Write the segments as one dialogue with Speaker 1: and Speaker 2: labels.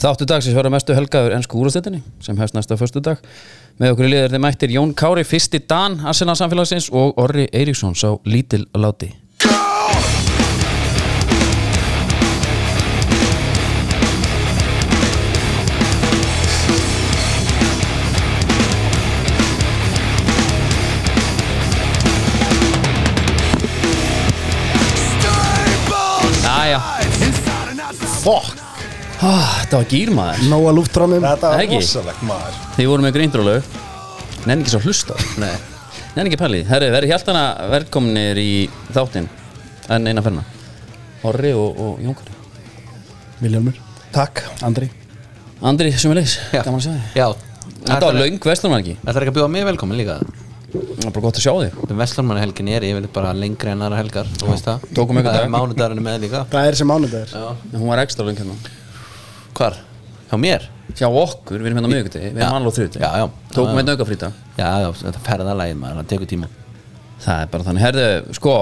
Speaker 1: Þáttu dagsins verður mestu helgaður ennsku úrstættinni sem hefst næsta förstu dag. Með okkur í liður þeim mættir Jón Kári, fyrsti Dan Arsenal samfélagsins og Orri Eiríksson sá lítil láti. Jæja,
Speaker 2: Fokk,
Speaker 1: ah, þetta var gýrmaður.
Speaker 3: Nóa lúftrámum
Speaker 2: þetta var
Speaker 1: Ekki?
Speaker 2: rosalegt maður
Speaker 1: Þið vorum með greindralög Nenni ekki svo hlusta Nei Nenni ekki pælið Herri, verið hjaltana velkomnir í þáttinn En eina ferna Orri og, og Jónkari
Speaker 3: Viljómur,
Speaker 2: Takk
Speaker 3: Andri
Speaker 1: Andri, sumilegs
Speaker 4: Já.
Speaker 1: Gaman að sjá þig
Speaker 4: Já
Speaker 1: Þetta var laung vestlunum ekki
Speaker 4: Það er ekki að bjóða mig velkomin líka
Speaker 1: Það var bara gott að sjá þig
Speaker 4: Vestlunmannahelgin er yfirleitt bara lengri en aðra helgar Þú veist það
Speaker 1: Tókum einhvern
Speaker 4: Það
Speaker 1: dag.
Speaker 4: er mánudarinn með líka
Speaker 3: Það er sem mánudagur
Speaker 4: Já
Speaker 1: En Hún var ekstra laung hérna
Speaker 4: Hvar? Hjá mér?
Speaker 1: Sjá okkur, við erum hérna á miðugudegi Við
Speaker 4: Já.
Speaker 1: erum alveg þrjúti
Speaker 4: Já, já. Já,
Speaker 1: Tókum hérna
Speaker 4: já.
Speaker 1: einn aukafrýta
Speaker 4: Já, já, þetta ferðalagið maður, það tekur tíma
Speaker 1: Það er bara þannig Herðu, sko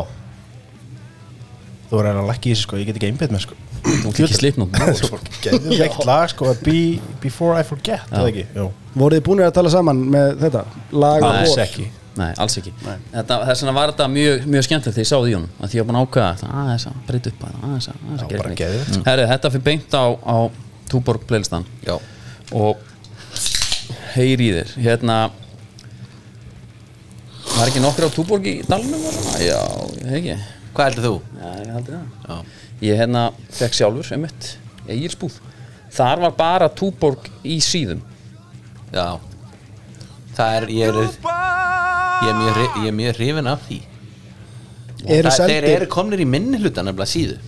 Speaker 2: Þú voru að lækki í þessu sko, ég get ekki einbeitt með sko
Speaker 1: Þú ert ekki slipnum
Speaker 3: sko.
Speaker 2: Svo geðveikt lag sko að be, Before I Forget, eða ekki? Jú
Speaker 3: Voruð þið búinir að tala saman með þetta? Lag og
Speaker 1: Alls
Speaker 3: vor?
Speaker 2: ekki
Speaker 1: Nei, alls ekki Þetta, Þess vegna var þetta mjög, mjög skemmtilegt þegar ég sáði í honum að því ég var búin að ákveða þetta aðeins að breyta upp aðeins aðeins að, aðeins
Speaker 2: Já,
Speaker 1: að gera
Speaker 2: bara
Speaker 1: neitt.
Speaker 2: geðveikt.
Speaker 1: Herri, þetta fyrir beint á, á Túborg playlistan
Speaker 4: Já
Speaker 1: og heyri í þér hérna var ekki nokkur á Túborg í dalnum og svona? Já, ég hef ekki Já,
Speaker 4: Hvað heldur þú?
Speaker 1: ég haldi það
Speaker 4: Já
Speaker 1: Ég hérna fekk sjálfur, einmitt, eigilsbúð Þar var bara Túborg í síðum
Speaker 4: Já Það er, ég er Ég er mjög, hri- ég er mjög hrifin af því
Speaker 3: Eru
Speaker 4: Það- Þeir
Speaker 3: seldir,
Speaker 4: eru komnir í minni hluta nefnilega síðu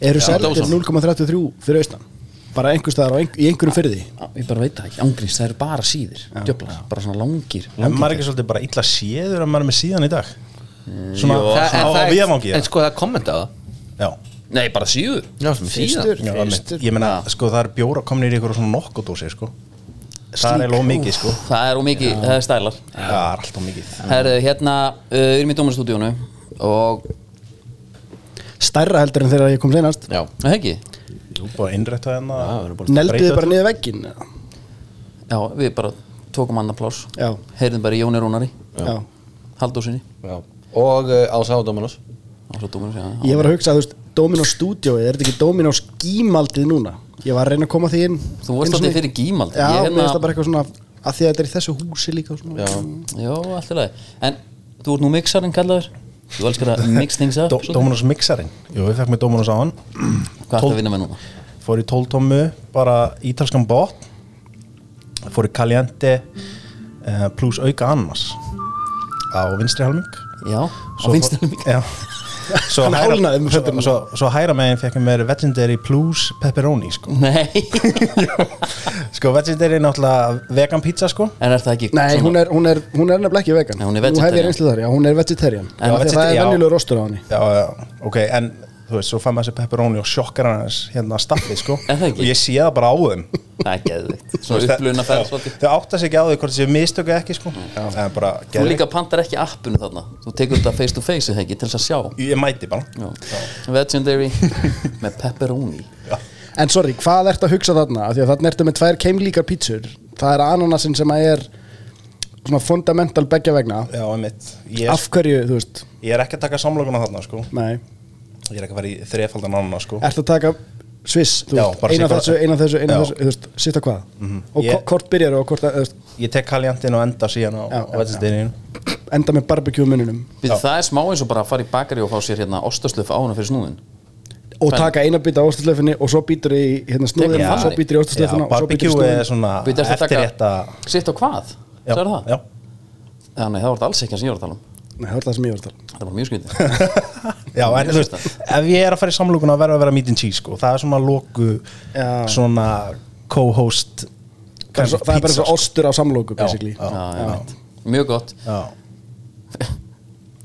Speaker 3: eru seldir
Speaker 4: Dóson.
Speaker 3: 0,33 fyrir austan Bara einhver staðar og ein, í einhverjum fyrði
Speaker 1: Ég bara veit það ekki, ángrins, það eru bara síðir Djöflar, bara svona langir,
Speaker 2: En
Speaker 1: langir
Speaker 2: maður er ekki svolítið bara illa séður að maður er með síðan í dag Svona,
Speaker 4: Þa- en
Speaker 2: svona á, á
Speaker 4: Eh, það er-
Speaker 2: viðamangi
Speaker 4: En sko það kommenta á það
Speaker 2: Já,
Speaker 1: Nei, bara síður
Speaker 4: Já, sem síðan
Speaker 2: já einmitt. ég meina, sko það er bjóra komin í ykkur svona nokkudósi sko Það er alveg mikið sko
Speaker 1: Það er ómikið, það er stælar
Speaker 2: Það er alltaf mikið
Speaker 1: Herðu, hérna, uh, við erum í dómarstúdíónu Og,
Speaker 3: Stærra heldur en þegar ég kom senast
Speaker 4: Já
Speaker 1: það ekki
Speaker 2: Jú, bara innrætta hérna
Speaker 4: við erum bara-
Speaker 3: Nelduðu
Speaker 2: Breyta
Speaker 3: bara niður veggin
Speaker 1: Já, við bara tókum annan plás
Speaker 3: Já,
Speaker 1: Heyrðum bara í Jóni Rúnari,
Speaker 3: já
Speaker 1: Haldósinni
Speaker 4: Já Og uh, Ása og Dómanos
Speaker 1: Og svo dómarinn segja
Speaker 3: Ég var að hugsa, þú veist, Dominos Studio Er þetta ekki Dominos gímaldið núna? Ég var að reyna að koma því inn
Speaker 1: Þú vorst
Speaker 3: einu sinni.
Speaker 1: alltaf fyrir hérna- gímald
Speaker 3: Já, mér finnst það bara eitthvað svona að Því að þetta er í þessu húsi líka og svona.
Speaker 1: Jó, allt í lagi En, þú ert nú mixarinn kallaður Þú elskar að mix things up
Speaker 4: sko.
Speaker 2: Dó-
Speaker 1: svolítið.
Speaker 2: Dominos mixarinn Jú, við fekk með Dominos á hann
Speaker 1: Hvað ertu að vinna með núna?
Speaker 2: fór í 12 tómmu, bara ítalskan bótt fór í Caliente uh, pluss auka annars á vinstri halming
Speaker 1: Já, á vinstinu mikið
Speaker 2: já Svo
Speaker 3: Hann
Speaker 2: hægra,
Speaker 3: hálnaði með
Speaker 2: svo, svo, svo hæra meginn fekk ég mér Legendary Plus Pepperoni sko.
Speaker 1: Nei,
Speaker 2: sko, Legendary er náttúrulega vegan pizza sko.
Speaker 1: en er það ekki
Speaker 3: Nei,
Speaker 1: svona-
Speaker 3: hún er, hún, er, hún er nefnilega ekki vegan
Speaker 1: Nei, hún er
Speaker 3: Nú hef ég
Speaker 1: vegetarian.
Speaker 3: reynslu þar, já, hún er vegetarian
Speaker 1: En
Speaker 3: já,
Speaker 2: vegeta-
Speaker 3: vegeta, Það er
Speaker 2: já.
Speaker 3: venjulegur rostur á henni
Speaker 2: já, já, ok, en þú veist, svo fann maður þessi Pepperoni og sjokkar hann hans hérna að staffi sko.
Speaker 1: Er það ekki?
Speaker 2: og ég sé það bara á þeim
Speaker 1: Það er geðvikt Svona uppluna ferð svolítið
Speaker 2: þau áttast ekki á því hvort þessi mistöku eða ekki sko. en bara
Speaker 1: Þú
Speaker 2: geðveikt.
Speaker 1: líka pantar ekki appinu þarna Þú tekur þetta face to face eða ekki til þess að sjá
Speaker 2: ég mæti bara
Speaker 1: Já. Legendary með pepperoni
Speaker 3: En sorry, hvað ertu að hugsa þarna? Af Því að þarna ertu með tvær keimlíkar pítsur Það er ananasin sem að er svona fundamental begja vegna
Speaker 2: Já, einmitt. Ég,
Speaker 3: Af hverju, þú veist,
Speaker 2: ég er ekki að taka samlokuna þarna, sko.
Speaker 3: nei
Speaker 2: Ég er ekki að fara í þrefaldan annana, sko.
Speaker 3: Ertu að taka sviss, þú
Speaker 2: Já,
Speaker 3: veist,
Speaker 2: bara
Speaker 3: eina
Speaker 2: sitt-
Speaker 3: þessu, eina þessu, eina
Speaker 2: Já. Mhm.
Speaker 3: þessu, þú veist, sitta hvað Og
Speaker 2: Ég-
Speaker 3: yeah. hvort byrjar og hvort, að- þú veist,
Speaker 2: Ég tek kaljantinn og enda síðan á
Speaker 3: Já, já,
Speaker 2: vettinsteynin.
Speaker 3: enda með barbecue á mununum
Speaker 1: Við það er smá eins og bara að fara í bakari og fá sér hérna ostaslufa ána fyrir snúðin
Speaker 3: Og taka eina býta á ostaslefinni og svo býtur í hérna snúðin
Speaker 1: Já.
Speaker 3: og svo býtur í ostaslefinna og svo býtur í
Speaker 2: barbecue
Speaker 3: snúðin
Speaker 2: er svona
Speaker 1: Býttu eftir að
Speaker 2: eftir
Speaker 1: taka
Speaker 2: þetta...
Speaker 1: sitt á hvað?
Speaker 2: Já,
Speaker 1: Sagði það?
Speaker 2: já.
Speaker 1: Já, nei, það var þetta alls ekki sem ég var að tala um
Speaker 3: Nei, það var það sem ég var að tala
Speaker 1: Það var mjög skrítið
Speaker 2: já, en þú veist, ef ég er að fara í samlokuna verður að vera meat and cheese, sko. Það er svona loku,
Speaker 3: Já.
Speaker 2: svona co-host
Speaker 3: Það er svo- það er bara eins og ostur á samlóku basically
Speaker 2: Já,
Speaker 1: Já,
Speaker 2: já.
Speaker 1: ég veit Mjög gott
Speaker 2: Já,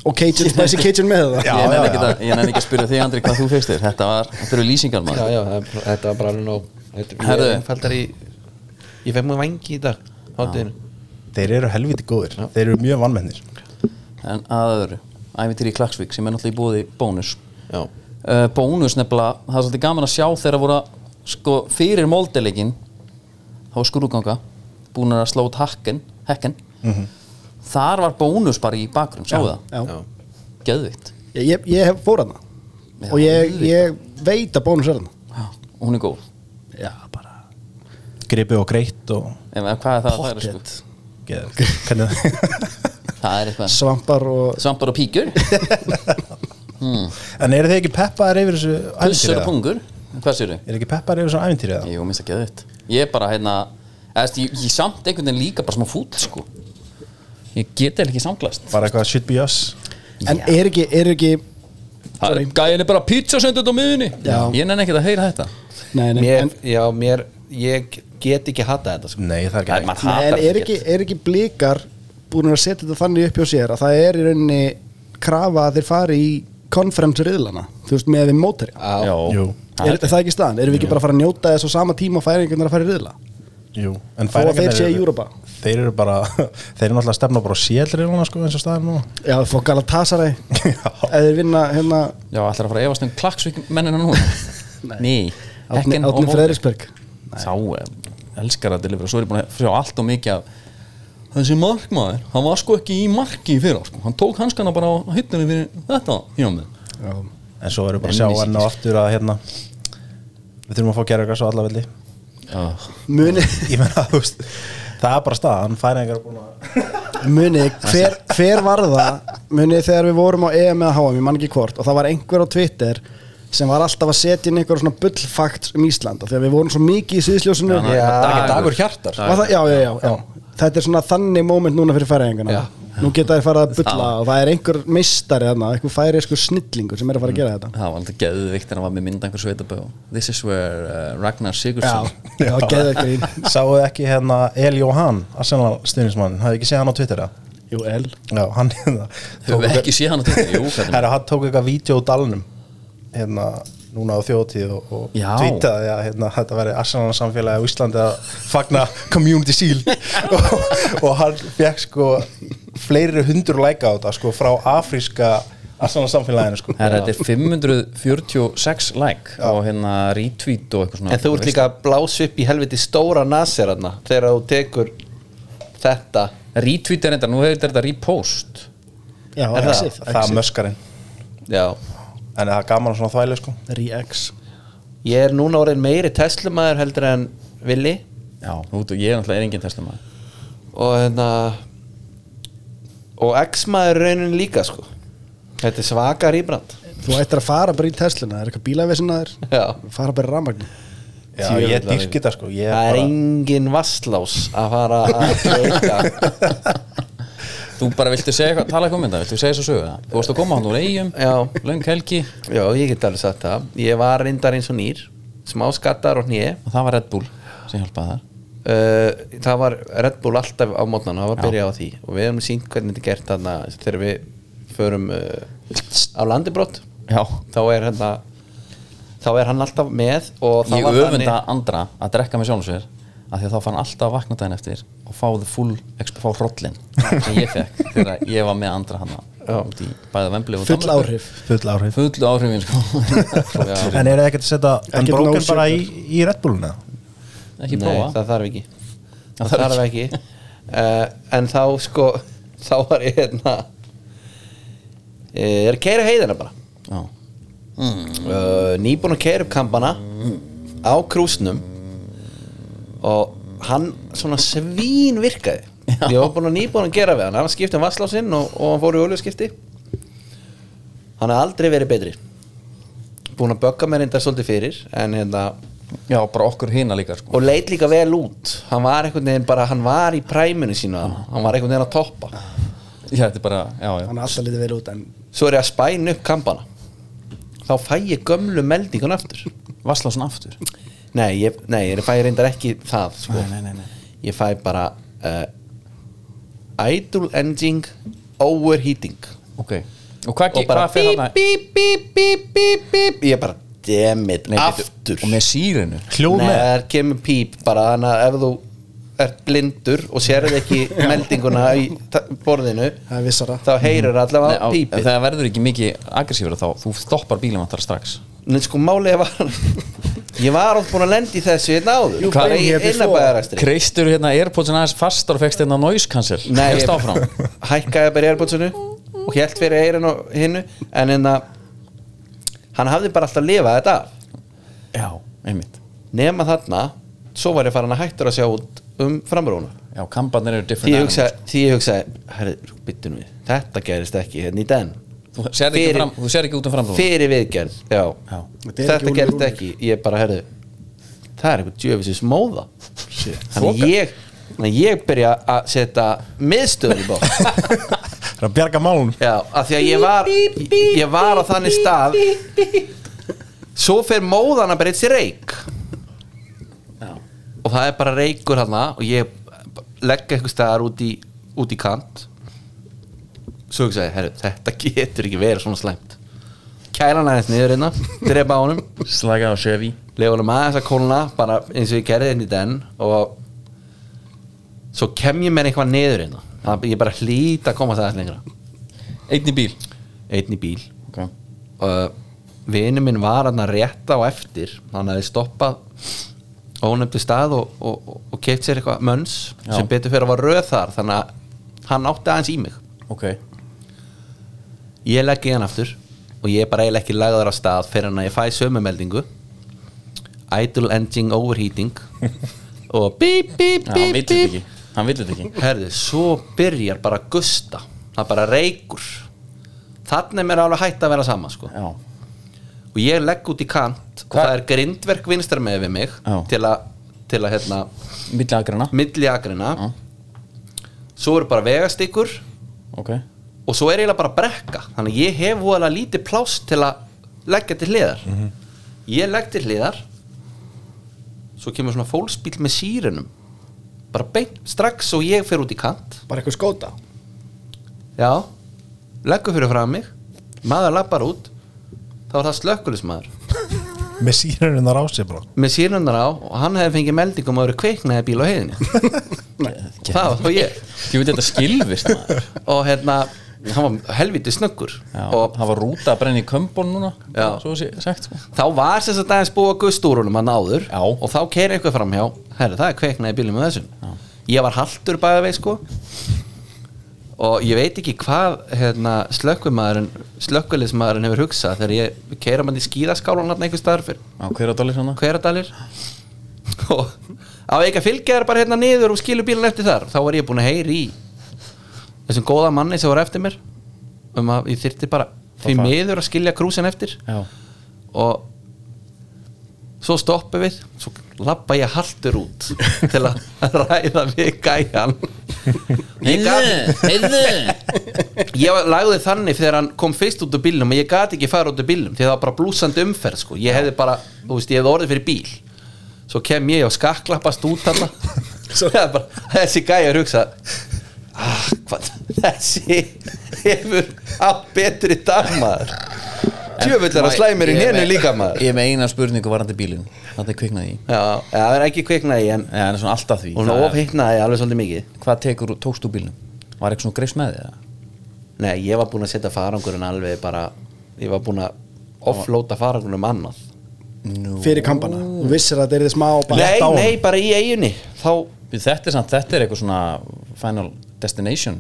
Speaker 3: og Cajun, spicy Cajun með það
Speaker 2: Já,
Speaker 1: Ég nenni
Speaker 2: já,
Speaker 1: ekki
Speaker 2: já.
Speaker 1: að, ég nenni ekki að spyrja þig Andri hvað þú feistir Þetta var, þetta eru lýsingar
Speaker 4: Já,
Speaker 1: maður
Speaker 4: já, það er- þetta var bara alveg nóg Þetta- ég
Speaker 1: Herðu.
Speaker 4: er einfaldar í Ég fekk mjög vangi í dag Háttiðinu
Speaker 2: Þeir eru helviti góðir. Þeir eru mjög vannmennir.
Speaker 1: En að öðru, æfintýri í Klagsvík sem er náttúrulega í bóði bónus
Speaker 4: Já
Speaker 1: uh, bónus nefnilega, það er svolítið gaman að sjá þegar voru að sko fyrir móldeleikinn þá var skrúganga búin að slót hakken, hekken þar var bónus bara í bakgrunn sáu það,
Speaker 3: Já.
Speaker 4: Já.
Speaker 1: geðvikt
Speaker 3: Ég, ég, ég hef fór hana
Speaker 1: Já,
Speaker 3: og ég, ég veit að bónus er hana
Speaker 1: og hún er góð
Speaker 3: Já, bara
Speaker 2: gripi og greitt og
Speaker 1: Ef, hvað er það, það er sko
Speaker 3: Pocket.
Speaker 2: geð, hvernig,
Speaker 1: það er eitthvað,
Speaker 3: Svampar og
Speaker 1: svampar og píkur
Speaker 2: en eru þið ekki peppaðar yfir þessu
Speaker 1: pussur
Speaker 2: ævintýri
Speaker 1: og
Speaker 2: eða?
Speaker 1: pungur, hvað séru?
Speaker 2: eru ekki peppaðar yfir þessu ævintýri eða?
Speaker 1: Jú, minnst það geðvitt Ég er bara, hérna eðst, ég, ég samt einhvern veginn líka bara smá fúll, sko Ég get eða ekki samglast
Speaker 2: bara eitthvað should be us
Speaker 3: En er ekki, er ekki
Speaker 1: Það- Gæinn er bara pizza sendið á miðunni
Speaker 3: Já.
Speaker 1: Ég nenni ekkert að heyra þetta
Speaker 3: Nei, nei,
Speaker 4: mér,
Speaker 3: en,
Speaker 4: já, mér, ég get ekki hata þetta sko.
Speaker 2: nei það er ekki
Speaker 1: Það er
Speaker 2: hægt
Speaker 1: maður
Speaker 3: nei, en
Speaker 1: hatar
Speaker 3: er, ekki, er ekki blíkar búin að setja þetta þannig upp hjá sér að það er í rauninni krafa að þeir fari í konferensriðlana þú veist, með við mótari
Speaker 4: Á,
Speaker 1: Já,
Speaker 2: jú,
Speaker 3: Er
Speaker 1: ah.
Speaker 3: er það ekki staðan? Erum við ekki bara að fara að njóta þess á sama tíma og færingarnar að fara í riðla?
Speaker 2: jú en
Speaker 3: Þó að þeir
Speaker 2: Færeyingarnir
Speaker 3: séu
Speaker 2: eru-
Speaker 3: í Júrópa.
Speaker 2: þeir eru bara þeir eru náttúrulega að stefna bara á sérlir sko eins og staðan nú
Speaker 3: Já, fór Galatasaray eða þeir vinna hérna
Speaker 1: Já, ætlar að fara að efast um klaksvík mennina nú Nei,
Speaker 3: Átni,
Speaker 1: Hekken og
Speaker 3: Átni
Speaker 1: Móberg.
Speaker 3: Freðrisberg
Speaker 1: Sá, eh, elskar að delivera Svo er ég búin að sjá allt og mikið af Þessi markmaður, hann var sko ekki í marki fyrir sko. Hann tók hanskana bara á hittinu fyrir þetta hjá mig
Speaker 2: en svo eru bara
Speaker 1: Nei,
Speaker 2: að sjá
Speaker 1: nei,
Speaker 2: enn og aftur að hérna við þurfum að fá gerðargas á alla velli
Speaker 1: Já,
Speaker 3: Muni,
Speaker 2: ég meina þú veist það er bara staðan færingar er búin að
Speaker 3: muni hver, hver var það muni þegar við vorum á EM eða HM ég man ekki hvort og það var einhver á Twitter sem var alltaf að setja inn einhver svona bullfakt um Ísland og þegar við vorum svo mikið í sviðsljósinu
Speaker 1: Já,
Speaker 4: Já,
Speaker 1: Dagur.
Speaker 4: dagur hjartar
Speaker 3: Var það, já, já, já, já. Þetta er svona þannig moment núna fyrir færiðingana
Speaker 4: Já.
Speaker 3: Nú geta þær farið að bulla og það er einhver meistari þarna, einhver færiðskur snillingur sem er að fara að gera þetta
Speaker 1: Það var alltaf geðvikt en hann var með mynda einhver sveitabæ This is where uh, Ragnar Sigurðsson
Speaker 3: Já, já, geðu ekki ín
Speaker 2: sáu ekki hérna El Johan Arsenal stuðnismann hafði ekki séð hann á Twitter eða?
Speaker 3: Jú, L
Speaker 2: já hann hérna
Speaker 1: Höfum við ekki séð hann á þetta? Jú, hvernig
Speaker 2: Herra, hann tók eitthvað vídeo úr dalnum hérna núna á þjóðtíð og, og
Speaker 1: Já.
Speaker 2: tweetaði að hérna, þetta veri Arsenal samfélagi á Íslandi að fagna community seal og, og hann fekk sko fleiri hundur læka á þetta sko frá afríska Arsenal samfélaginu sko
Speaker 1: Herra, þetta er 546 like og hérna retweet og eitthvað svona
Speaker 4: En þú ert líka að blása upp í helviti stóra nasir hana þegar þú tekur þetta
Speaker 1: Retweet er enda, nú hefur þetta repost
Speaker 3: Já,
Speaker 4: Er það-
Speaker 3: X-ið,
Speaker 2: það er
Speaker 3: X-ið.
Speaker 2: möskarinn
Speaker 4: Já
Speaker 2: en það er gaman að svona þvælu sko
Speaker 3: Re-X
Speaker 4: Ég er núna orðin meiri Tesla-maður heldur en Willi
Speaker 1: Já, þú ert, ég er náttúrulega er engin testamaður
Speaker 4: og hérna og X-maður raunin líka sko Þetta er svaka rýbrand
Speaker 3: Þú ættir að fara bara í Tesluna, það er eitthvað bílavesinna þér
Speaker 4: Já
Speaker 3: Fara bara í rafmagni
Speaker 2: já,
Speaker 4: Djöfull
Speaker 2: ég
Speaker 4: að
Speaker 2: dyrki þetta sko ég
Speaker 4: Það er
Speaker 2: bara,
Speaker 4: engin vasslás að fara að leika
Speaker 1: Þú bara viltu segja eitthvað, tala eitthvað um þetta, viltu segja þessu sögu það? Þú varst að koma hann úr eigum,
Speaker 4: Já.
Speaker 1: löng helgi
Speaker 4: Já, ég get alveg sagt það Ég var reyndar eins og nýr smá skattar og hnið
Speaker 1: og það var Red Bull sem hjálpaði þar
Speaker 4: uh, það var Red Bull alltaf á mótnan það var að byrja á því og við hefum sínt hvernig þetta er gert þarna þegar við förum uh, á landibrott
Speaker 1: Já,
Speaker 4: þá er hérna þá er hann alltaf með og það
Speaker 1: ég
Speaker 4: var
Speaker 1: öfunda andra að drekka með sjálfum sér af því að þá fann alltaf að vakna daginn eftir og fá the full exp, fá hrollin sem ég fekk þegar ég var með andra hana
Speaker 4: Já.
Speaker 1: út í bæða vembli og
Speaker 3: Full
Speaker 1: Danmörku.
Speaker 3: áhrif
Speaker 2: full áhrif
Speaker 1: full áhrifin sko. Já.
Speaker 2: en er það ekkert að setja
Speaker 3: Ekkert
Speaker 2: unbroken
Speaker 3: no
Speaker 2: bara í, í Red Bulluna
Speaker 1: ekki
Speaker 4: nei,
Speaker 1: prófa
Speaker 4: það þarf ekki
Speaker 1: Það
Speaker 4: það
Speaker 1: þarf
Speaker 4: þarf ekki uh, en þá sko þá var ég hérna eh, er að keira heiðina bara
Speaker 1: Já.
Speaker 4: uh, nýbúin að keira upp kampana á krúsnum og hann svona svín virkaði ég var búin að nýbúin að gera við hann hann skipti um vasslásinn og, og hann fór í oljuskipti hann hafði aldrei verið betri búin að bögga mér reyndar svolítið fyrir en hérna
Speaker 1: Já, bara okkur hina líka sko.
Speaker 4: og leit líka vel út hann var einhvern veginn bara, hann var í præminu sínu hann, hann var einhvern veginn að toppa
Speaker 1: Já, þetta er bara, já, já
Speaker 3: Hann er alltaf litið vel út en
Speaker 4: svo er ég að spæna upp kampana þá fæ ég gömlu meldingun aftur
Speaker 1: Vasslásson aftur
Speaker 4: Nei, ég, nei, ég fæ reyndar ekki það sko.
Speaker 1: Nei, nei, nei, nei.
Speaker 4: Ég fæ bara uh, Idle Engine Overheating
Speaker 1: Ok, og hvað,
Speaker 4: Og
Speaker 1: og
Speaker 4: bara
Speaker 1: hvað fer
Speaker 4: bíp,
Speaker 1: þarna?
Speaker 4: bíp, bíp, bíp, bíp, bíp Ég bara, damn it,
Speaker 1: Nei, bíddu,
Speaker 4: aftur
Speaker 1: Og með sírinu
Speaker 2: hljóð
Speaker 4: Nei,
Speaker 2: með
Speaker 4: það kemur píp bara Þannig að ef þú ert blindur og sérð ekki meldinguna í ta- borðinu
Speaker 3: það er vissara
Speaker 4: þá heyrir
Speaker 1: Nei,
Speaker 4: allavega
Speaker 1: á,
Speaker 4: pípið
Speaker 1: Það verður ekki mikið aggressífur þá, þú stoppar bílum að það strax
Speaker 4: Nei, sko, málið var Ég var átt búin að lenda í þessu hérna áður
Speaker 3: Jú,
Speaker 4: Bara
Speaker 3: bein
Speaker 4: í
Speaker 3: hér before.
Speaker 4: innabæðarakstri
Speaker 1: Kreistur hérna Airpodsin aðeins fastar og fekst hérna noise cancel
Speaker 4: Nei,
Speaker 1: Hélst áfram
Speaker 4: hækkaði bara í erbótsinu og hélt fyrir eirinn og hinnu en en hann hafði bara alltaf lifað þetta af.
Speaker 1: Já, einmitt
Speaker 4: nema þarna, svo var ég farin að hættur að sjá út um framrúna
Speaker 1: Já, kambarnir eru
Speaker 4: því
Speaker 1: different
Speaker 4: ég
Speaker 1: animals.
Speaker 4: hugsaði, því ég hugsaði herri, byttu við, þetta gerist ekki hérna í den
Speaker 1: Þú sér ekki,
Speaker 4: Fyrir-
Speaker 1: fram, þú sér ekki út um framrúðum
Speaker 4: fyrir viðgerð, já,
Speaker 1: Já.
Speaker 3: Þetta er ekki
Speaker 4: þetta
Speaker 3: Úlfur
Speaker 4: gerist
Speaker 3: Úlfur.
Speaker 4: ekki ég bara, herri, það er eitthvað djöfisins móða þannig
Speaker 1: Þoka.
Speaker 4: ég þannig ég byrja að setja miðstöður í bótt
Speaker 5: Það er að bjarga málun
Speaker 4: Já, af því að ég var ég var á þannig stað svo fer móðan að breyta sér reik og það er bara reikur hann og ég legg eitthvað staðar út í, út í kant svo hugsaði, herru, þetta getur ekki verið svona slæmt kælan aðeins niður hérna drepa á honum,
Speaker 1: Slaka á Chevy
Speaker 4: lefa honum aðeins að kólna bara eins og ég gerði hérna í den og svo kem ég með eitthvað niður hérna Það- ég bara hlýta að komast aðeins lengra
Speaker 1: Einn í bíl
Speaker 4: einn í bíl
Speaker 1: okay.
Speaker 4: uh, vinu minn var hann að rétta á eftir hann hefði stoppað ónefndi stað og, og, og, og keitt sér eitthvað mönns
Speaker 1: Já.
Speaker 4: sem betur fyrir að var röð þar þannig að hann átti aðeins í mig
Speaker 1: ok
Speaker 4: ég legg í hann aftur og ég er bara eiginlega ekki lagður af stað fyrir hann að ég fæ sömumeldingu idle engine overheating og bíp bíp
Speaker 1: Já, hann
Speaker 4: bíp
Speaker 1: vill þetta
Speaker 4: bíp
Speaker 1: ekki Hann vill þetta ekki
Speaker 4: herðu, svo byrjar bara að gusta það er bara reykur þannig er mér alveg hætt að vera sama sko
Speaker 1: Já,
Speaker 4: og ég legg út í kant og
Speaker 1: Hva-
Speaker 4: það er grindverk vinstra með við mig
Speaker 1: Já.
Speaker 4: til að, til að hérna,
Speaker 1: milli agrana
Speaker 4: milli agrina
Speaker 1: Já.
Speaker 4: svo eru bara vegastikur
Speaker 1: Ok
Speaker 4: og svo er eiginlega bara brekka þannig að ég hef voðalega lítið pláss til að leggja til hliðar
Speaker 1: Mhm.
Speaker 4: ég legg til hliðar svo kemur svona fólksbíl með sírunum bara beint strax og ég fer út í kant
Speaker 3: bara eitthvað skóta
Speaker 4: já, leggur fyrir frá mig maður lappar út þá er það slökkulismæður
Speaker 5: Með sírunum þar á sig bara
Speaker 4: með sírunar á og hann hefði fengið meldingum að vera kveiknaði bíl á heiðinni og það var þá ég
Speaker 1: Ég veit þetta skilvist maður
Speaker 4: og hérna, hann var helviti snöggur
Speaker 1: Já,
Speaker 4: og
Speaker 1: hann var rúta að brenna í kömbun núna
Speaker 4: Já.
Speaker 1: Svo sé, sagt sko
Speaker 4: þá var sem sagt aðeins búið að guðstúrunum hann áður
Speaker 1: Já.
Speaker 4: og þá keiri eitthvað framhjá herri það er kveiknaði bílum með þessum ég var haltur bæða veið sko og ég veit ekki hvað hérna, slökkumaðurinn slökkulismaðurinn hefur hugsað þegar ég keira mann í skíðaskálan hann einhver staðar fyrir
Speaker 1: Já, hver á dólir hann?
Speaker 4: hveradalir og á ekki að fylgja þér bara hérna niður og skilu bílun eftir þar þá var ég búin að heyri í þessum góða manni sem voru eftir mér um að ég þyrti bara því
Speaker 1: fara.
Speaker 4: miður að skilja krúsin eftir
Speaker 1: Já
Speaker 4: og svo stoppum við svo lappa ég haltur út til að ræða við gæjan ég gat
Speaker 1: Heyrðu, heyrðu
Speaker 4: ég var- lagði þannig þegar hann kom fyrst út úr bílnum og ég gati ekki fara út úr bílnum því það var bara blúsandi umferð sko. ég hefði bara, þú veist, ég hefði orðið fyrir bíl svo kem ég og skaklappast út þarna svo það er bara þessi gæjar hugsa ah, hvað, þessi hefur átt betri dag maður tjöfull er að slæmir í
Speaker 1: Ég er
Speaker 4: hennu
Speaker 1: með-
Speaker 4: líka maður já,
Speaker 1: Ég er með eina spurningu varandi bílinn Þetta er kviknaði í
Speaker 4: já, það er ekki kviknaði en
Speaker 1: Já, en svona alltaf því
Speaker 4: hún
Speaker 1: Það er-
Speaker 4: ofhittnaði alveg svolítið mikið
Speaker 1: Hvað tekur, tókst úr bílnum? Var eitthvað svona greist með þið?
Speaker 4: nei, ég var búin að setja farangurinn alveg bara ég var búin að offlóta farangurinn um annað
Speaker 1: Nú.
Speaker 3: fyrir kampana þú vissir að þetta er þið smá bara
Speaker 4: Nei,
Speaker 3: rétt á honum.
Speaker 4: nei, bara í eiginni Þá
Speaker 1: Þetta er samt, þetta er eitthvað svona Final Destination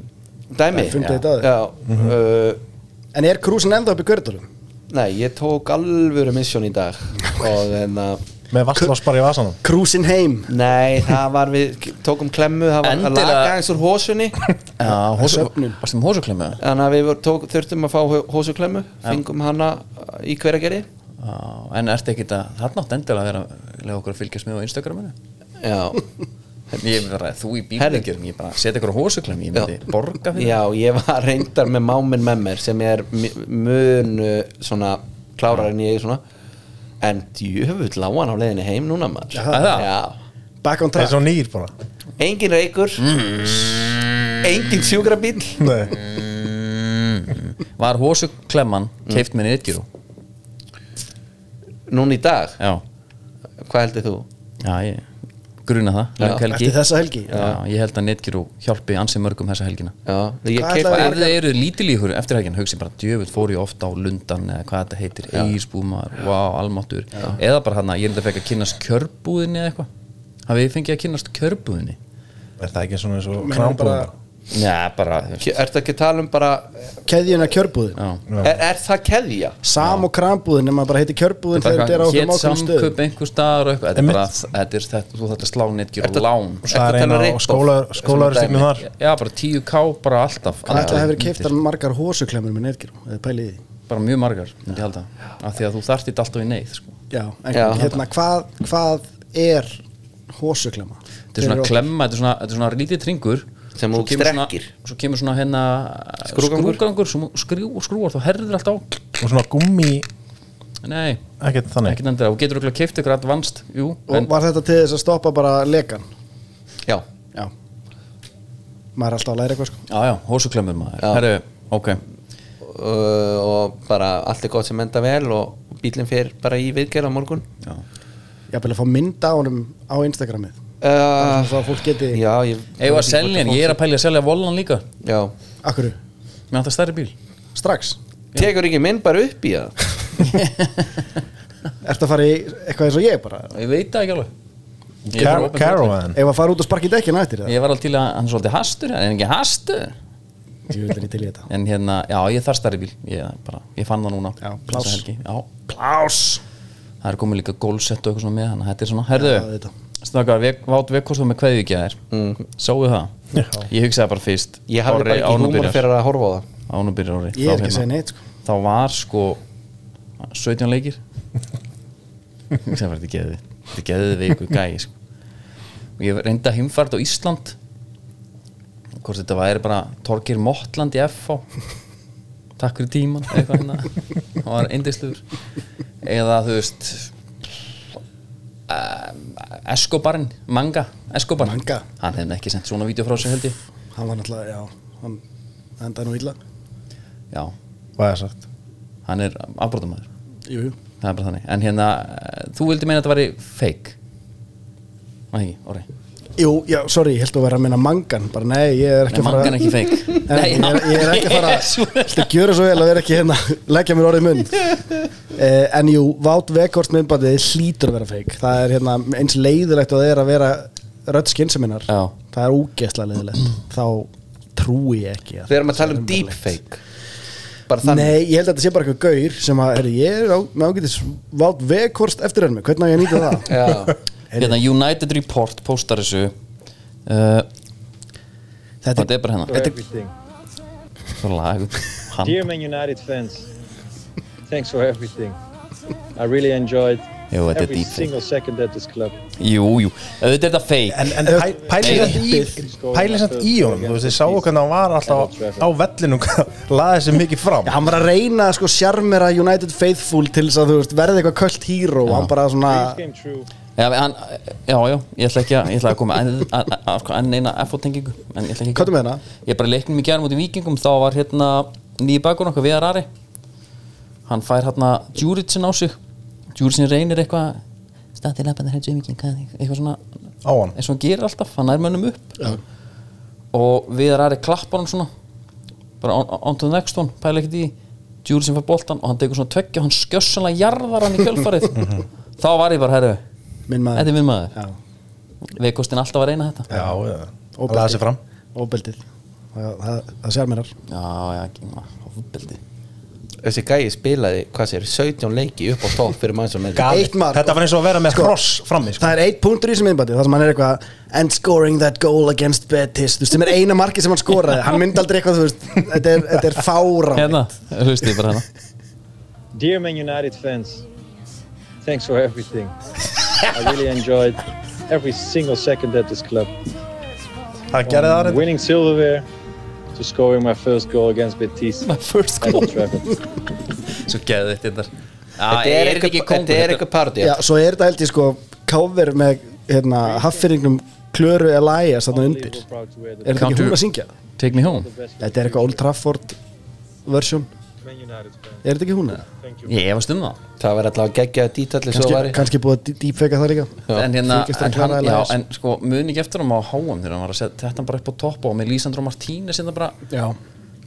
Speaker 3: Það
Speaker 4: dæmi
Speaker 3: er fundið
Speaker 4: Já.
Speaker 3: þetta á þér.
Speaker 4: Já, uh,
Speaker 3: en er krúsin enda upp í gördunum
Speaker 4: Nei, ég tók alvöru misjón í dag Og en að
Speaker 5: Með vasslás bara í vasanum
Speaker 3: krúsin heim
Speaker 4: Nei, það var við Tókum klemmu, það var að
Speaker 1: Endilega.
Speaker 4: laga eins úr hósunni
Speaker 1: Já, hósu,
Speaker 3: Söfnun.
Speaker 1: varstu með hósuklemmu?
Speaker 4: Þannig að við vor- tók, þurftum að fá hó- hósuklemmu Fengum hana í hveragerði
Speaker 1: Já, en ertu ekkit að, þarna átt endilega að vera lega okkur að fylgjast með á Instagraminu
Speaker 4: Já,
Speaker 1: Ég er bara, þú í
Speaker 4: Herri.
Speaker 1: bílningjörum, ég bara setja okkur á hósuklemmu, ég myndi
Speaker 4: Já.
Speaker 1: borga fyrir
Speaker 4: já, ég var reyndar með máminn með mér sem er mi- mun uh, svona klárar en ég svona en djöfull á hann á leiðinni heim núna maður
Speaker 1: það er það.
Speaker 4: Já,
Speaker 3: back on
Speaker 5: Það er
Speaker 3: track
Speaker 5: svo nýr bara
Speaker 4: engin reykur
Speaker 3: Mm.
Speaker 4: engin sjúkrabíl
Speaker 5: Nei
Speaker 1: Var hósuklemman keift með nýttjú?
Speaker 4: núna í dag,
Speaker 1: Já,
Speaker 4: hvað heldur þú?
Speaker 1: já, ég gruna það löng
Speaker 4: Já.
Speaker 1: helgi.
Speaker 3: Eftir þessa helgi?
Speaker 1: Já, ég held að Netgyru hjálpi ansi mörgum þessa helgina
Speaker 4: Já, ég
Speaker 3: Hvað
Speaker 4: keipa
Speaker 1: Og
Speaker 3: ætlaði-
Speaker 1: ef þið eru lítil í ykkur eftir helgin hugsi bara djöfull fór ég ofta á Lundan eða hvað þetta heitir, Eirsbúmar, vá, almáttur eða bara hann að ég er þetta fekk að kynast kjörbúðinni eða eitthvað hafið þið fengið að kynast kjörbúðinni?
Speaker 5: Er það ekki svona eins og
Speaker 3: Meina
Speaker 5: krámbúðar?
Speaker 1: Já, bara
Speaker 4: Ertu ekki að tala um bara
Speaker 3: Keðjuna kjörbúðin
Speaker 1: já.
Speaker 4: er, er það keðja?
Speaker 3: Sam og krambúðin nema bara heiti kjörbúðin þegar þetta er á okkur
Speaker 1: hétt
Speaker 3: mákum stöð
Speaker 1: samköp einhver staðar og eitthvað þetta er
Speaker 5: Einmitt.
Speaker 1: bara, þetta er þetta, þú þetta slá Netgyru lán
Speaker 5: Og það er
Speaker 4: Ertu að tala
Speaker 5: eina á
Speaker 4: rip-off?
Speaker 5: skóla- skólaverustýpnum þar
Speaker 1: Já, bara 10k bara alltaf
Speaker 3: Hvað ætla
Speaker 1: allar
Speaker 3: að hefur
Speaker 1: myndir.
Speaker 3: keiftar margar hósuklemmur með netgjörum eða pælið í því?
Speaker 1: bara mjög margar, myndi ég halda af því að þú þarft þetta alltaf í neyð sko.
Speaker 3: Já, en
Speaker 4: Já.
Speaker 3: hérna, hvað, hvað er hósuklemma?
Speaker 1: þetta er svona klemma, þetta er svona, þetta er svona lítið tringur
Speaker 4: Sem
Speaker 1: Svo
Speaker 4: þú
Speaker 1: kemur svona-
Speaker 4: strekkir.
Speaker 1: svo kemur svona hérna
Speaker 4: Skrúðgangur.
Speaker 1: skrúgangur sem þú skrú, skrúar, þú herðir alltaf á
Speaker 5: Og svona gummi,
Speaker 1: nei,
Speaker 5: ekkert þannig
Speaker 1: ekkert endur þú getur okkur að keifta ykkur advanced jú,
Speaker 3: Og
Speaker 1: en,
Speaker 3: var þetta til þess að stoppa bara lekan?
Speaker 4: Já,
Speaker 3: Já Maður er alltaf að læra eitthvað sko
Speaker 1: já, já, hósuklemmur maður herru, ok,
Speaker 4: uh, og bara allt er gott sem enda vel og bílinn fer bara í viðgerð á morgun
Speaker 1: já,
Speaker 3: Ég að fá mynda á honum á Instagramið
Speaker 4: uh,
Speaker 1: Ah,
Speaker 3: Svo að fólk geti
Speaker 4: Já, ég
Speaker 1: eigum að selja hann ég er að pæli að selja volan líka
Speaker 4: Já,
Speaker 3: Akkur,
Speaker 1: mér vantar stærri bíl
Speaker 3: strax
Speaker 4: tekur ekki minn bara upp í það
Speaker 3: Ertu að fara í eitthvað eins og ég bara
Speaker 1: ég veit það ekki alveg Ég er bara
Speaker 5: Car-
Speaker 1: opinn fyrir öllu.
Speaker 5: Caravan
Speaker 3: Ef að fara út og sparki dekkina eftir það
Speaker 1: ég var alveg til að hann er svolítið hastur, hann er ekki hastur
Speaker 3: Ég vil henni til í þetta
Speaker 1: en hérna, já, ég þarf stærri bíl ég, bara, ég fann það núna
Speaker 3: Já, pláss.
Speaker 1: Þessa helgi. já,
Speaker 3: Plás
Speaker 1: það er komið líka gólsett og eitthvað svona með hann þetta er svona,
Speaker 3: Já,
Speaker 1: herðu,
Speaker 3: þetta.
Speaker 1: snakar vát vekkostum með kveðið ekki að þér mm. sáu það, ég hugsaði bara fyrst
Speaker 4: Ég hafði bara ekki húmor fyrir að horfa á það
Speaker 1: ánubyrjar ári
Speaker 3: Ég
Speaker 1: Þá
Speaker 3: er ekki að segja
Speaker 1: hérna,
Speaker 3: neitt sko
Speaker 1: þá var sko 17 leikir ég hugsaði bara, þetta er geðið þetta er geðið við ykkur gæi sko. og ég reyndi að heimfært á Ísland hvort þetta væri bara Torgir Mottland í FH takk fyrir tíman eitthvað hann hann var eindisluður eða þú veist uh, Eskobarn Manga, Eskobarn
Speaker 3: Manga.
Speaker 1: hann hefði ekki sendt svona vídeo frá sér held ég
Speaker 3: Hann var náttúrulega, já Hann það endaði nú illa
Speaker 1: já,
Speaker 5: Hvað er sagt?
Speaker 1: hann er afbrotamæður
Speaker 3: Jú, jú
Speaker 1: það er bara þannig en hérna, eh, þú vildi meina að þetta væri fake Var það ekki, orði
Speaker 3: Jú, já, sorry, ég held að vera að minna mangan Bara nei, ég er
Speaker 1: Nei,
Speaker 3: ekki að fara
Speaker 1: mangan er ekki fake
Speaker 3: Nei, ég, er, ég er ekki að fara Þetta gjöra svo vel að vera ekki hérna Leggja mér orðið í munn eh, En jú, Vátt Vekort myndbandið hlýtur að vera feik Það er hérna eins leiðilegt og það er að vera Rödd skynseminar
Speaker 1: Já.
Speaker 3: Það er úgeðslega leiðilegt Þá trúi ég ekki að
Speaker 4: Við erum að tala um deepfake Bara þannig
Speaker 3: Nei, ég held að þetta sé bara eitthvað gaur sem að, herri, ég er á, með ágætis Vátt Vekorst eftir henni, hvernig á ég að nýta það?
Speaker 4: Já,
Speaker 1: hérna, United Report postar þessu uh,
Speaker 3: Þetta
Speaker 1: þetta er bara hérna
Speaker 6: for
Speaker 1: þetta
Speaker 6: everything.
Speaker 1: er bara lag hann,
Speaker 6: Dear Man United fans, thanks for everything. I really enjoyed
Speaker 1: Yo, what a
Speaker 6: every
Speaker 1: deep thing.
Speaker 6: single second at this club.
Speaker 1: jú, jú, auðvitað er þetta fake
Speaker 5: En, en pæ- pæli samt í pæli samt í honum, þú veist, þið sáu hvernig hann var alltaf á á vellinu hvað laði sér mikið fram
Speaker 3: Já, hann var að reyna að sko sjarmera United Faithful til þess að þú veist verði eitthvað kvöld hero hann bara svona
Speaker 1: Uh,
Speaker 6: Dreams came true.
Speaker 1: já, hann, já, já, ég ætla ekki að, ég ætla að koma að, að, að, að, enn eina FO-tengingu en ég ætla ekki að-
Speaker 3: Hvað er með hana?
Speaker 1: ég bara leiknum í gærum út í vikingum þá var hérna nýja bakur okkar Viðar Ari hann fær hérna Djúritsin á sig Djúritsin reynir eitthvað statið lappandi hættu um viking hvað- eitthvað svona
Speaker 5: á hann
Speaker 1: eins og hann gerir alltaf, hann nær mönnum upp Já. og Viðar Ari klappar hann svona bara on, on to the next one pæla ekkert í Djúritsin fær boltan og hann tekur svona tveggja og hann skjössanlega jarðar hann í kjölfarið þá var ég bara herru
Speaker 3: Minn maður
Speaker 1: þetta er minn maður
Speaker 3: Já,
Speaker 1: veikostin alltaf að reyna þetta
Speaker 5: Já, já, hann laði sér fram
Speaker 3: óbeldið Það, það, það sjarmerar
Speaker 1: já, já, ekki, ofbeldi
Speaker 4: þessi gæi spilaði, hvað sér, 17 leiki upp á topp fyrir mann sem
Speaker 3: Gal- Eitt mark.
Speaker 5: Þetta var eins og að vera með kross frammi sko.
Speaker 3: Það er eitt punktur í sem innbæti þar sem hann er eitthvað and scoring that goal against Betis þú veist, sem er eina marki sem hann skoraði hann myndi aldrei eitthvað, þú veist þetta er, þetta er fáran
Speaker 1: hérna, hlustu ég bara hérna
Speaker 6: Dear Man United fans, thanks for everything. I really enjoyed every single second at this club.
Speaker 5: Það gerði það
Speaker 6: From
Speaker 5: reynd
Speaker 6: winning silverware to scoring my first goal against Betis
Speaker 1: my first
Speaker 6: at Old
Speaker 1: goal
Speaker 6: Trafford.
Speaker 1: svo geðið þetta er
Speaker 4: Þetta Ah, er eitthvað- þetta er eitthvað party
Speaker 3: Já, svo er þetta held ég sko cover með hérna haffyrringum Klöru Elias þarna undir
Speaker 6: Unbelievable proud to wear the
Speaker 3: Er þetta
Speaker 1: Counter-
Speaker 3: ekki hún að syngja?
Speaker 1: take me home
Speaker 6: best
Speaker 3: Þetta er eitthvað Old Trafford version
Speaker 6: Man United fans.
Speaker 3: Er þetta ekki hún eða?
Speaker 6: Thank you.
Speaker 1: Ég efast um það
Speaker 4: Það verður alltaf að gegja að dítalli svo
Speaker 3: Kannski,
Speaker 4: væri
Speaker 3: kannski búið að dýpfeka það líka
Speaker 1: en hérna,
Speaker 3: Þykist að
Speaker 1: en,
Speaker 3: klára
Speaker 1: hann,
Speaker 3: að
Speaker 1: já,
Speaker 3: læra.
Speaker 1: en sko muni ekki eftir hann á háum þegar hann var að setja þetta bara upp á topp og með Lísandro Martínez sem það bara
Speaker 3: Já,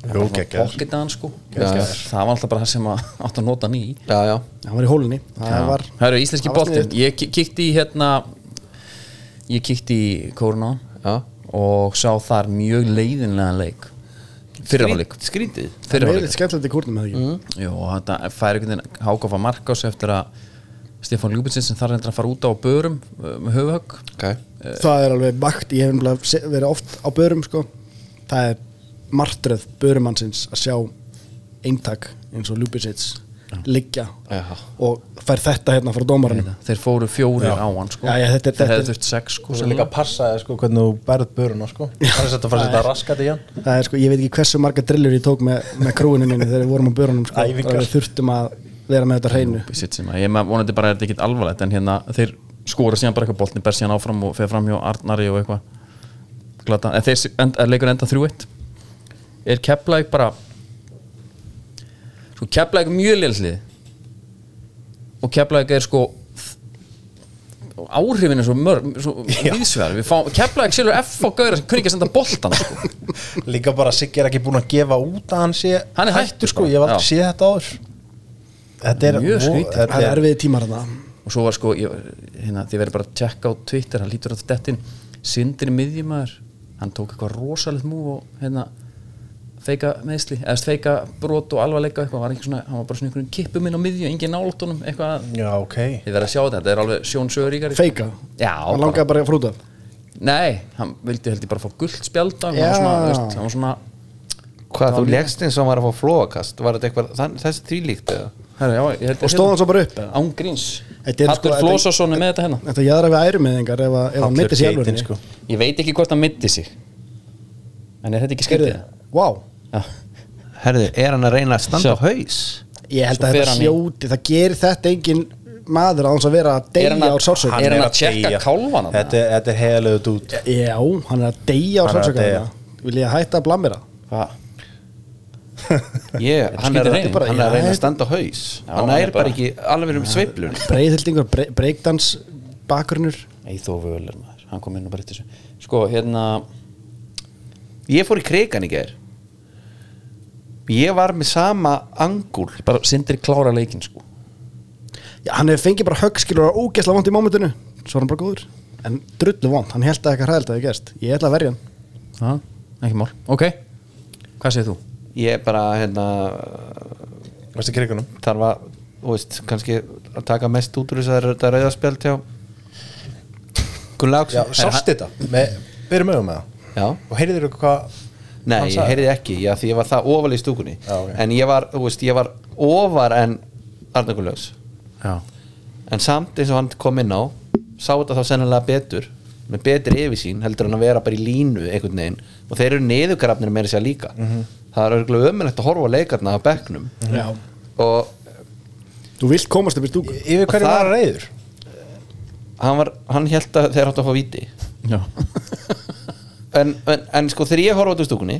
Speaker 5: Jó, geggjær
Speaker 1: pocketa hann sko
Speaker 4: Geggjaður.
Speaker 1: það var alltaf bara það sem að átt að nota hann í
Speaker 4: Já, já
Speaker 3: hann var í hólunni Það var
Speaker 1: Hörru, íslenski
Speaker 3: Það var
Speaker 1: boltinn,
Speaker 3: sniðugt.
Speaker 1: ég ki- kíkti í hérna ég kíkti í kóruna
Speaker 4: Já.
Speaker 1: og sá þar mjög leiðinlega leik fyrirháleik
Speaker 4: Skrít- Skrítið
Speaker 1: fyrirháleik
Speaker 3: meðlitt skemmtilegt í kúrnum eða ekki
Speaker 1: Mm. Jú, og þetta fær einhvern veginn hákafa Markos eftir að Stefán Ljúbitsins sem þar reyndar að fara út á börum uh, með höfuhögg
Speaker 4: Ok
Speaker 1: Eh.
Speaker 3: Það er alveg vakt, ég hef nefnilega se- verið oft á börum sko. Það er martröð börumannsins að sjá eintak eins og Ljubicic liggja
Speaker 4: Já.
Speaker 3: og fær þetta hérna frá dómarinu
Speaker 1: þeir fóru fjórir á hann sko.
Speaker 3: Já, já, þetta
Speaker 1: þeir
Speaker 3: er- þetta er-
Speaker 1: hefðu þurft sex sko,
Speaker 5: Og svo líka að passa þér, sko, hvernig þú berð böruna sko. Það er þetta að fara að setja raskat í hann
Speaker 3: Það er sko, ég veit ekki hversu marga drillur ég tók með, með krúinu minni þegar við vorum á börunum sko,
Speaker 5: Æfingar.
Speaker 3: og við þurftum að vera með þetta á hreinu
Speaker 1: sitt sem að ég maður vonandi bara er þetta ekkit alvarlegt en hérna þeir skora síðan bara eitthvað boltin ber síðan áfram og fer fram hjá Arnari og eitthvað glata, en þeir end, er leikur enda 3-1 er Keflæk bara sko Keflæk mjög lélslið og Keflæk er sko áhrifin er svo mörg svo viðsvegar, við fáum Keflæk sjálfur F og Gauðar sem kunni ekki að senda boltan sko.
Speaker 5: Líka bara Siggi er ekki búin að gefa út að hann sé
Speaker 1: Hann er hættur,
Speaker 5: sko,
Speaker 1: bara.
Speaker 5: ég hef
Speaker 1: Já.
Speaker 5: aldrei séð þetta áður Þetta er
Speaker 1: Mjög
Speaker 5: vo-
Speaker 1: skrítið.
Speaker 5: þetta
Speaker 3: Það er erfiði tímar þarna
Speaker 1: og svo var sko ég, hérna, þið verður bara að tjekka á Twitter hann lítur á dettin, Sindri miðjumæður hann tók eitthvað rosalegt múf og hérna feika meðsli, eða feika brot og alvarleika eitthvað, var ekki svona, hann var bara svona einhverjum kippum inn á miðju, engin náltónum, eitthvað að-
Speaker 5: Já, ok
Speaker 1: þið verður að sjá þetta, þetta er alveg sjónsöguríkari
Speaker 3: Feika,
Speaker 1: Já,
Speaker 3: hann langaði bara að frúta
Speaker 1: nei, hann vildi heldur bara fá gullt spjald af, hann
Speaker 3: Já.
Speaker 1: var svona, þú veist, hann var svona
Speaker 4: Hvað, þú leggst eins og hann var að fá flóakast Var þetta eitthvað, þann- þessi þvílíkt eða?
Speaker 1: herri, já, ég held
Speaker 3: Og stóð hann svo bara upp?
Speaker 1: Án gríns,
Speaker 3: Þetta er sko-
Speaker 1: Hallur
Speaker 3: þetta-
Speaker 1: Flósason er með þetta hérna
Speaker 3: Þetta jaðra við ærumiðingar ef, að- ef hann
Speaker 5: Allir
Speaker 3: mitti sér
Speaker 5: geitin,
Speaker 3: alveg
Speaker 5: sko.
Speaker 1: Ég veit ekki hvort hann middi sig En er þetta ekki
Speaker 3: Gerði,
Speaker 1: skrítið?
Speaker 3: wow
Speaker 1: Já.
Speaker 4: Herðu, er hann að reyna að standa
Speaker 1: Sjá.
Speaker 4: á haus?
Speaker 3: Ég held
Speaker 1: Svo fer
Speaker 3: að þetta
Speaker 1: hann í-
Speaker 3: sjóti, það gerir þetta engin maður á þess að vera að
Speaker 1: Er hann
Speaker 3: deyja
Speaker 1: að-
Speaker 3: á sársöka
Speaker 1: Hann er að
Speaker 5: deyja.
Speaker 1: tjekka kálfana þarna?
Speaker 5: Þetta er- þetta er heiðalögut út
Speaker 3: Já, hann er að deyja á
Speaker 5: Hann er að deyja.
Speaker 3: sársöka Vil ég hætta að blamira?
Speaker 1: Hva?
Speaker 4: Ég, hann er,
Speaker 1: skýtur
Speaker 4: að,
Speaker 1: inn.
Speaker 4: bara, hann er að
Speaker 3: Já,
Speaker 4: reyna að
Speaker 3: þetta-
Speaker 4: standa á haus Hann
Speaker 1: hann er
Speaker 4: er bara
Speaker 1: bara-
Speaker 4: ekki alveg um sveiflun
Speaker 3: Breiðhildingur, breakdans, bakgrunnur
Speaker 1: Eithó Völer maður, hann kom inn og breytti þessu Sko, hérna
Speaker 4: Ég fór í krigan í ger Ég var með sama angul
Speaker 1: bara Sindri klára leikinn sko
Speaker 3: Já, hann hefur fengið bara höggskilur og ógesla vond í mómentinu Svo er hann bara góður En drullu vond, hann held að eitthvað hræðilt að það gerst Ég ætla að verja hann
Speaker 1: ha? Ekki mál, ok Hvað segir þú?
Speaker 4: Ég er bara, hérna
Speaker 5: Varstu krigunum?
Speaker 4: Þar var, þú veist, kannski að taka mest út úr þess að þetta rauðaspjald hjá Gunnar
Speaker 5: Já,
Speaker 4: Áksson
Speaker 5: sást þetta með, Byrjum auðvitað með það
Speaker 4: Já
Speaker 5: Og heyrðir ykkur hvað
Speaker 4: Nei,
Speaker 5: hann
Speaker 4: ég
Speaker 5: sagði?
Speaker 4: heyrði ekki, já, því ég var það ofal í stúkunni
Speaker 5: Já, ok.
Speaker 4: En ég var, þú veist, ég var ofar en Arnarkulöfs
Speaker 1: Já,
Speaker 4: En samt eins og hann kom inn á Sá þetta þá sennilega betur Með betri yfirsýn heldur hann að vera bara í línu einhvern veginn Og þeir eru neðugrafnir meira sér líka
Speaker 5: Mhm.
Speaker 4: Það er örgulega ömulegt að horfa á leikarna á bekknum
Speaker 3: Já.
Speaker 4: Og
Speaker 3: Þú vilt komast upp í stúku
Speaker 5: Yfir
Speaker 4: Og
Speaker 5: hverju
Speaker 4: það-
Speaker 5: var reyður?
Speaker 4: hann, var, hann held að þeir áttu að fá viti
Speaker 1: já,
Speaker 4: en, en, en sko þegar ég horfa út úr stúkunni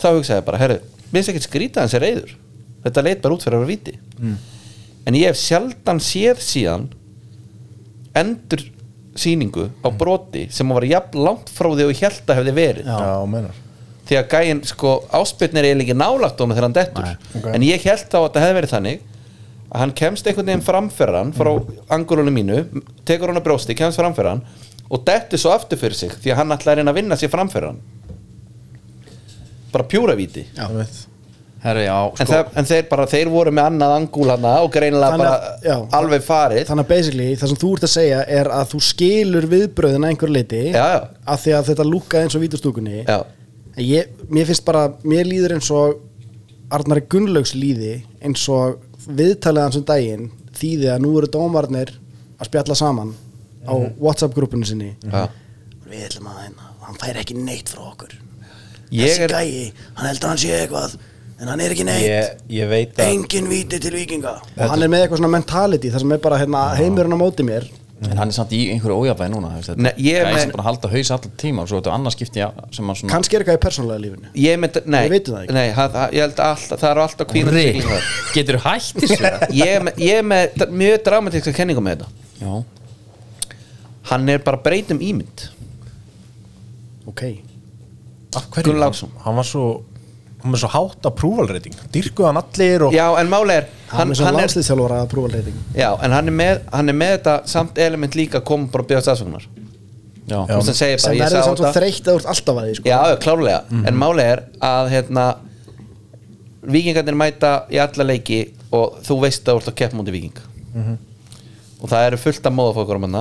Speaker 4: Þá hugsaði ég bara, herru Minnst ekkert skrýta hans er reyður Þetta leit bara út fyrir að vera viti mm. En ég hef sjaldan séð síðan Endur sýningu á broti sem var jafn langt frá því og ég held að hefði verið
Speaker 5: Já, menar
Speaker 4: því að gæinn sko áspilnir er eiginlega ekki nálægt honum þegar hann dettur
Speaker 5: Ok.
Speaker 4: en ég held þá að þetta hefði verið þannig að hann kemst einhvern veginn framferðan frá
Speaker 3: Mhm.
Speaker 4: angulunum mínu, tekur hann að brjósti kemst framferðan og dettur svo aftur fyrir sig því að hann ætlaði að reyna að vinna sér framferðan bara pjúravíti
Speaker 3: Já.
Speaker 5: Það veit.
Speaker 1: herri, já sko.
Speaker 4: en, það, en þeir bara, þeir voru með annað angul hana og greinilega
Speaker 3: Þannig
Speaker 4: bara
Speaker 3: að- já.
Speaker 4: alveg farið
Speaker 3: Þannig að basically, það sem þú ert að segja er að þú skilur viðbröðina einhver liti
Speaker 4: Já, já.
Speaker 3: Af því að þetta lúkaði eins og vítustúkunni
Speaker 4: já,
Speaker 3: En ég, mér finnst bara, mér líður eins og Arnari Gunnlaugs líði eins og viðtalið hans um daginn þýði að nú eru dómarnir að spjalla saman á Whatsapp-grúpunni sinni
Speaker 4: já.
Speaker 3: Við ætlum að hérna, hann fær ekki neitt frá okkur
Speaker 4: ég er
Speaker 3: gæi, hann heldur að hann sé eitthvað en hann er ekki
Speaker 5: Ég, ég veit að
Speaker 3: engin viti til vikinga og hann er með eitthvað svona mentality þar sem er bara hérna, heimurinn á móti mér
Speaker 1: en hann er samt í einhverju ójafæði núna þú veist, þetta-
Speaker 4: Nei, ég
Speaker 1: Gæi sem
Speaker 4: men-
Speaker 1: bara halda haus allan tíma og svo þetta annars skipti sem hann svona
Speaker 3: kannski er eitthvað í persónulega lífinu
Speaker 4: Ég mynd, nei,
Speaker 3: Við vitum það ekki.
Speaker 4: nei, það, það- ég held að alltaf, það eru alltaf kvíðan
Speaker 1: Rick, getur þú hætt þessu
Speaker 4: Ég er með, ég er með dr- mjög dramatíska kenningu með þetta
Speaker 1: já,
Speaker 4: Hann er bara breytum ímynd
Speaker 3: ok,
Speaker 4: Gunn Láksson
Speaker 5: hann var svo hann var svo hátt að prúvalreiting dyrkuð hann allir og
Speaker 4: Já, en máli er
Speaker 3: hann
Speaker 4: hann,
Speaker 3: er svo
Speaker 4: hann er,
Speaker 3: landsliðstjálfara að prúfa leiting
Speaker 4: Já, en hann er, með, hann er með þetta samt element líka að koma bara að bjóðast aðsökunar
Speaker 1: já,
Speaker 4: Þú veist hann segir
Speaker 3: sem
Speaker 4: bara, ég
Speaker 3: verður
Speaker 4: sá
Speaker 3: samt svo
Speaker 4: þetta
Speaker 3: þreytt að þú ert alltaf að því sko.
Speaker 4: Já, já, klárlega, en máli er að hérna Víkingarnir mæta í alla leiki og þú veist að þú ert að keppa múti Víking og það eru fullt af móðafókurum hann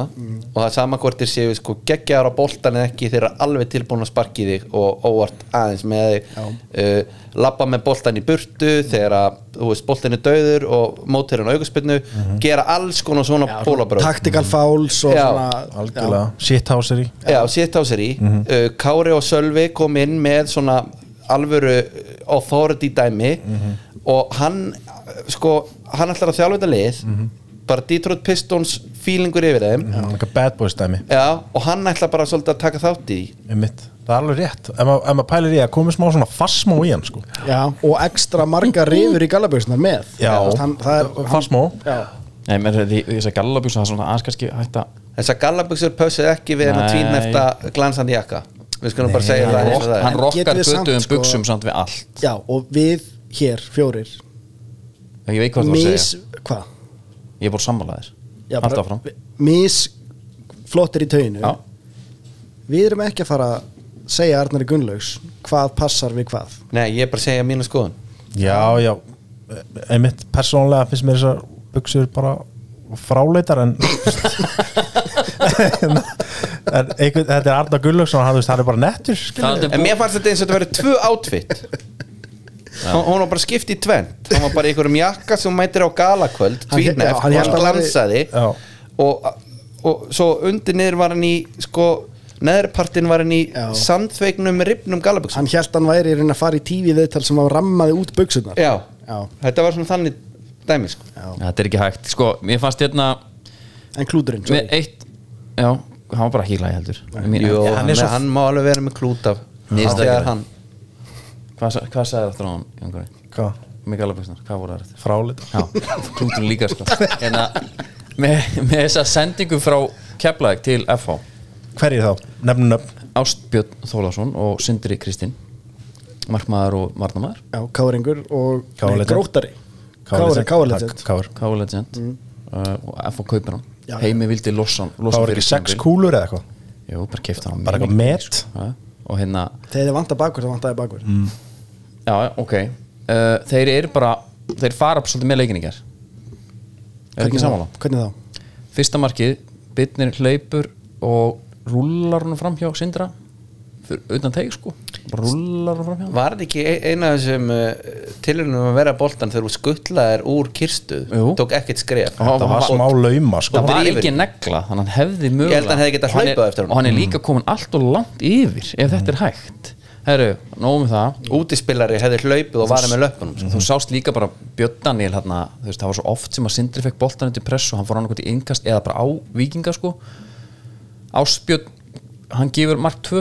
Speaker 4: og það er sama hvort þér séu sko geggjaðar á boltan eða ekki þeir eru alveg tilbúin að sparki þig og óvart aðeins með þig uh, labba með boltan í burtu þegar að, þú veist, boltan er döður og mótir hann aukaspinnu, gera alls konar svona bólabröð
Speaker 3: tactical fouls og
Speaker 4: Já.
Speaker 3: svona
Speaker 5: algjörlega, shithouser í
Speaker 4: Já, sítt á sér í
Speaker 1: Mhm.
Speaker 4: uh, Kári og Sölvi kom inn með svona alvöru authority dæmi
Speaker 1: Mhm.
Speaker 4: og hann uh, sko, hann ætlar að þjálfa þetta lið
Speaker 1: Mhm.
Speaker 4: bara Detroit Pistons feelingur yfir þeim
Speaker 5: hann er bad boys dæmi
Speaker 4: Já, og hann ætlar bara svolítið að taka þátt í því.
Speaker 5: Einmitt. það er alveg rétt, ef maður ef maður pælir í að komið smá svona fassmó í hann sko
Speaker 3: já. Já. og ekstra marga rifur í gallabjöksnar með
Speaker 5: Já.
Speaker 3: Þú veist, hann, það er hann,
Speaker 5: fassmó,
Speaker 3: já.
Speaker 1: nei, menn því þess að gallabjús það er svona aðeins kannski hætta
Speaker 4: Þessar gallabuxur pössuð ekki við hennar
Speaker 1: Nei.
Speaker 4: tvínefta glansandi jakka Við skulum bara segja það eins og það er.
Speaker 1: hann
Speaker 3: En
Speaker 1: rokkar
Speaker 3: getum við samt,
Speaker 1: götu um
Speaker 3: sko-
Speaker 1: buksum samt við allt
Speaker 3: já, og við hér fjórir
Speaker 1: ég veit hvað þú var að
Speaker 3: mis,
Speaker 1: segja,
Speaker 3: hvað?
Speaker 1: ég er bara sammálaðir
Speaker 3: Já,
Speaker 1: halda
Speaker 3: bara-
Speaker 1: áfram
Speaker 3: mis flottir í tauninu
Speaker 1: já,
Speaker 3: við erum ekki að fara að segja Arnari Gunnlaugs hvað passar við hvað
Speaker 4: Nei, ég er bara að segja mínu skoðun
Speaker 5: já já einmitt, persónulega finnst mér þessar buksur bara fráleitar en en einhvern, þetta er Arna Gullöksson hann, þú veist, hann er bara nettur skilur.
Speaker 4: En mér fannst þetta eins og þetta verið tvö outfit Hún hún var bara skipt í tvent Hún var bara í einhverjum jakka sem hún mætir á galakvöld
Speaker 3: Hann- já,
Speaker 4: Tvíneft,
Speaker 3: hann
Speaker 4: hún
Speaker 3: hélt að væri-
Speaker 4: glansaði
Speaker 5: Já.
Speaker 4: og, og svo undir niður var hann í sko, neðripartin var hann í
Speaker 3: Já.
Speaker 4: sandþveiknum ripnum galabuxum
Speaker 3: hann held hann væri í reyna að fara í tífi viðtal sem hann rammaði út buksunar
Speaker 4: Já.
Speaker 3: Já.
Speaker 4: þetta var svona þannig dæmi sko.
Speaker 1: þetta er ekki hægt sko, mér fannst hérna
Speaker 3: en klúturinn sorry.
Speaker 1: með eitt já, hann var bara ekki í lagi heldur Mér-
Speaker 4: Jú,
Speaker 1: Já,
Speaker 4: hann,
Speaker 5: er
Speaker 4: hann,
Speaker 5: svo-
Speaker 4: má alveg vera með klút af
Speaker 1: Nýjasta
Speaker 4: þegar
Speaker 1: gerð.
Speaker 4: hann
Speaker 1: hvað, sa- hvað sagði þetta á hann Jón Kári?
Speaker 5: Hvað?
Speaker 1: með gallabjúsnar, hvað voru það eftir
Speaker 5: fráleitar
Speaker 1: Já, klútur líka sko En að með, með þessa sendingu frá Keflæk til FH
Speaker 5: hverjir þá, nefnum nöfn
Speaker 1: Ástbjörn Þólasson og Sindri Kristinn Markmaður og Varnamaður
Speaker 3: já, káringur og
Speaker 5: Káa
Speaker 3: nei,
Speaker 5: legend.
Speaker 3: grótari
Speaker 5: Kári-
Speaker 3: kári, káarlegend
Speaker 5: Kári
Speaker 1: K-legend uh, og FH kaupir hann
Speaker 3: Já, já.
Speaker 1: Heimi vildi lossan
Speaker 5: Það var ekki sex
Speaker 2: sko.
Speaker 5: kúlur eða eitthvað
Speaker 1: Jú, bara keifta hann
Speaker 5: Bara
Speaker 1: mjög
Speaker 5: eitthvað
Speaker 1: mikið,
Speaker 5: met.
Speaker 1: sko. Já, Og hérna,
Speaker 3: þegar þið vantar bakur, það vantar bakur mm.
Speaker 1: já, já, ok uh, Þeir eru bara, þeir fara upp svolítið með leikinningar Er ekki samanlega?
Speaker 3: hvernig þá?
Speaker 1: fyrsta markið, bitnir hleypur og rullar hann fram hjá Sindra fyrir, utan teig sko bara rullar hann fram hjá
Speaker 4: Var þetta ekki e- eina af þessum uh, tilhörnum að vera boltan þegar þú skuttlaðir úr kirstu
Speaker 1: Jú.
Speaker 4: tók ekkert skref
Speaker 1: Já,
Speaker 5: Það var
Speaker 1: Og-
Speaker 5: smá lauma sko
Speaker 1: það var
Speaker 4: drífur.
Speaker 1: ekki negla, þannig að hann hefði mögulega
Speaker 4: Ég held að hann hefði
Speaker 1: Og
Speaker 4: getað
Speaker 1: er-
Speaker 4: hlaupað eftir honum. Mm.
Speaker 1: og hann er líka komin allt og langt yfir ef þetta er hægt herru, nóg með það
Speaker 4: Mm. Útispillari hefði hlaupið og varði með löpunum sko.
Speaker 1: þú sást líka bara Björn Daniel hérna, þú veist, það var svo oft sem að Sindri fekk boltan undir press og hann fór annað í innkast eða bara á vikinga sko Ástbjörn, hann gefur mark 2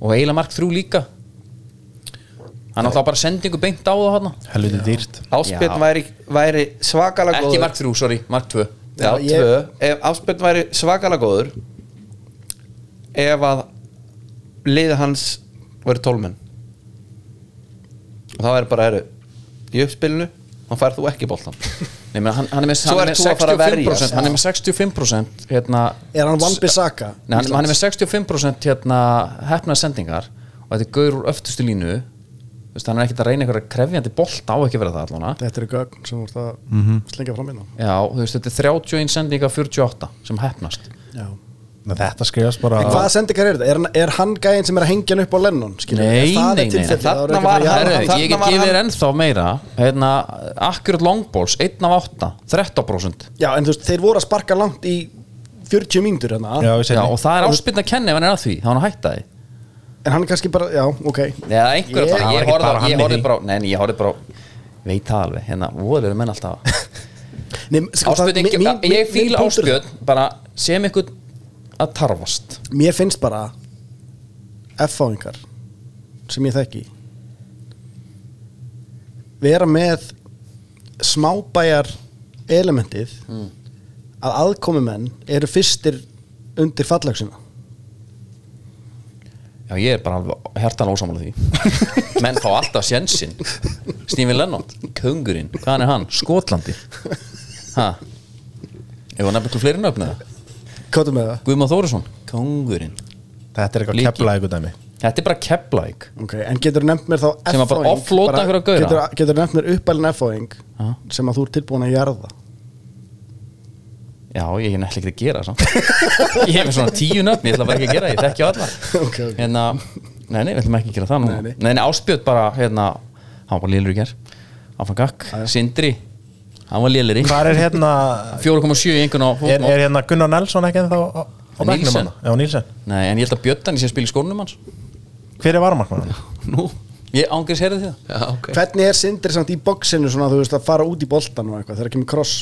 Speaker 1: og eiginlega mark 3 líka hann átti bara sendingu beint á það hann
Speaker 5: Helviti dýrt
Speaker 4: Áspjörn
Speaker 1: Já.
Speaker 4: væri, væri svakalega
Speaker 1: ekki
Speaker 4: góður
Speaker 1: mark 3, sorry, mark 2
Speaker 4: Já,
Speaker 3: Já, ég-
Speaker 4: tvö Ef Áspjörn væri svakalega góður ef að lið hans væri tólmenn og það væri bara heru, í uppspilinu, hann færð þú ekki boltan
Speaker 1: Nei, menn, hann, hann er með,
Speaker 4: Svo
Speaker 1: hann er með
Speaker 4: ert þú að fara að sko. verjast.
Speaker 1: 65% hann er með 65% hérna,
Speaker 3: er hann Van Bissaka?
Speaker 1: Nei, hann, hann er með 65% hérna hefnaða sendingar og þetta er gaur úr öftustu línu Þú veist, hann er ekkert að reyna einhverja krefjandi bolt á ekki að vera það allan
Speaker 3: þetta eru gögn sem voru það
Speaker 1: Mhm.
Speaker 3: mm -hmm. slengja fram innan
Speaker 1: Já, þú veist, þetta er 31 sendinga 48 sem hefnast
Speaker 5: Ná, Þetta skrifast bara
Speaker 3: En hvaða sendikar er þetta? Er, hann- er hann gæðin sem er að hengja hann upp á Lennon? skilur við?
Speaker 1: Nei,
Speaker 3: Er það
Speaker 1: nei, nei,
Speaker 3: eitt tilfelli?
Speaker 1: nei.
Speaker 3: Það eru
Speaker 4: Þarna
Speaker 3: ekki
Speaker 4: var
Speaker 3: bara-
Speaker 4: hann-
Speaker 1: Herru,
Speaker 4: þarna
Speaker 1: ég get
Speaker 4: var
Speaker 1: gefið þér
Speaker 4: hann-
Speaker 1: ennþá meira hérna, Akkurat longballs, 1 af 8 13%
Speaker 3: Já, en þú veist, þeir voru að sparka langt í 40 mínútur hérna
Speaker 5: Já, ég
Speaker 1: Já,
Speaker 5: segi
Speaker 1: og það er áspilna að kenna ef hann er að því þá er hann að hætta því
Speaker 3: En hann er kannski bara, já, ok
Speaker 1: Nei, það er einhver
Speaker 3: Ég-
Speaker 1: að fara
Speaker 5: Það var
Speaker 1: Ég horfði
Speaker 5: ekki bara
Speaker 1: á-
Speaker 5: hann
Speaker 1: ég
Speaker 5: í
Speaker 1: horfði
Speaker 5: því.
Speaker 1: bara á- Nei, nei, ég horfði bara á- Veit það alveg, hérna, voðalegur menn alltaf
Speaker 3: Nei, sko, það-
Speaker 1: Áspjörn,
Speaker 3: mín- mín-
Speaker 1: ég
Speaker 3: minn
Speaker 1: fíla
Speaker 3: punktur-
Speaker 1: áspjörn bara sem einhvern að tarfast
Speaker 3: Mér finnst bara F-fáingar sem ég þekki vera með smábæjar elementið
Speaker 1: Hmm.
Speaker 3: að aðkomumenn eru fyrstir undir fallagsina
Speaker 1: Já, ég er bara alveg hertan ósamlega því Menn fá alltaf sjensinn Stephen Lennart, köngurinn, hvaðan er hann? Skotlandi Ha? Ef hann nefnir fleiri nöfn eða?
Speaker 3: Kóta með það
Speaker 1: Guðmar Þórisson, köngurinn
Speaker 5: Þetta er eitthvað
Speaker 1: Líki.
Speaker 5: kepla eitthvað dæmi
Speaker 1: Þetta er bara keplæk
Speaker 3: okay, En getur nefnt mér þá
Speaker 1: Sem að bara
Speaker 3: F-fáing,
Speaker 1: offloada
Speaker 3: bara-
Speaker 1: einhverja gaura?
Speaker 3: getur- Getur nefnt mér uppælin F-fáing
Speaker 1: Ha?
Speaker 3: sem að þú ert tilbúin að jarða
Speaker 1: Já, ég er nefnilega ekki að gera samt Ég hef svona tíu nöfn, ég ætla bara ekki að gera það, Ég þekki á alla
Speaker 3: Ok, ok.
Speaker 1: Hérna, nei, nei, við ætlum ekki að gera það nú
Speaker 3: Nei, nei.
Speaker 1: Nei, nei, áspjöld bara, hérna Hann var lélur í ger Áfram gakk, Sindri Hann var lélur í
Speaker 5: Hvar er hérna
Speaker 1: 4,7 í einhvern á
Speaker 5: er,
Speaker 1: fótmál
Speaker 5: er hérna Gunnar Nelson ekki ennþá á, á
Speaker 1: Nielsen.
Speaker 5: bekknum hana? Já, Nílsen
Speaker 1: Nei, en ég held að Björn sé að spila í skónum hans
Speaker 5: Hver er varmarkmann?
Speaker 1: Nú, ég ángriðs heyrði því það
Speaker 4: Já, ok
Speaker 3: Hvernig er Sindri samt í boxinu svona þú veist að fara út í boltan og eitthvað þegar kemur cross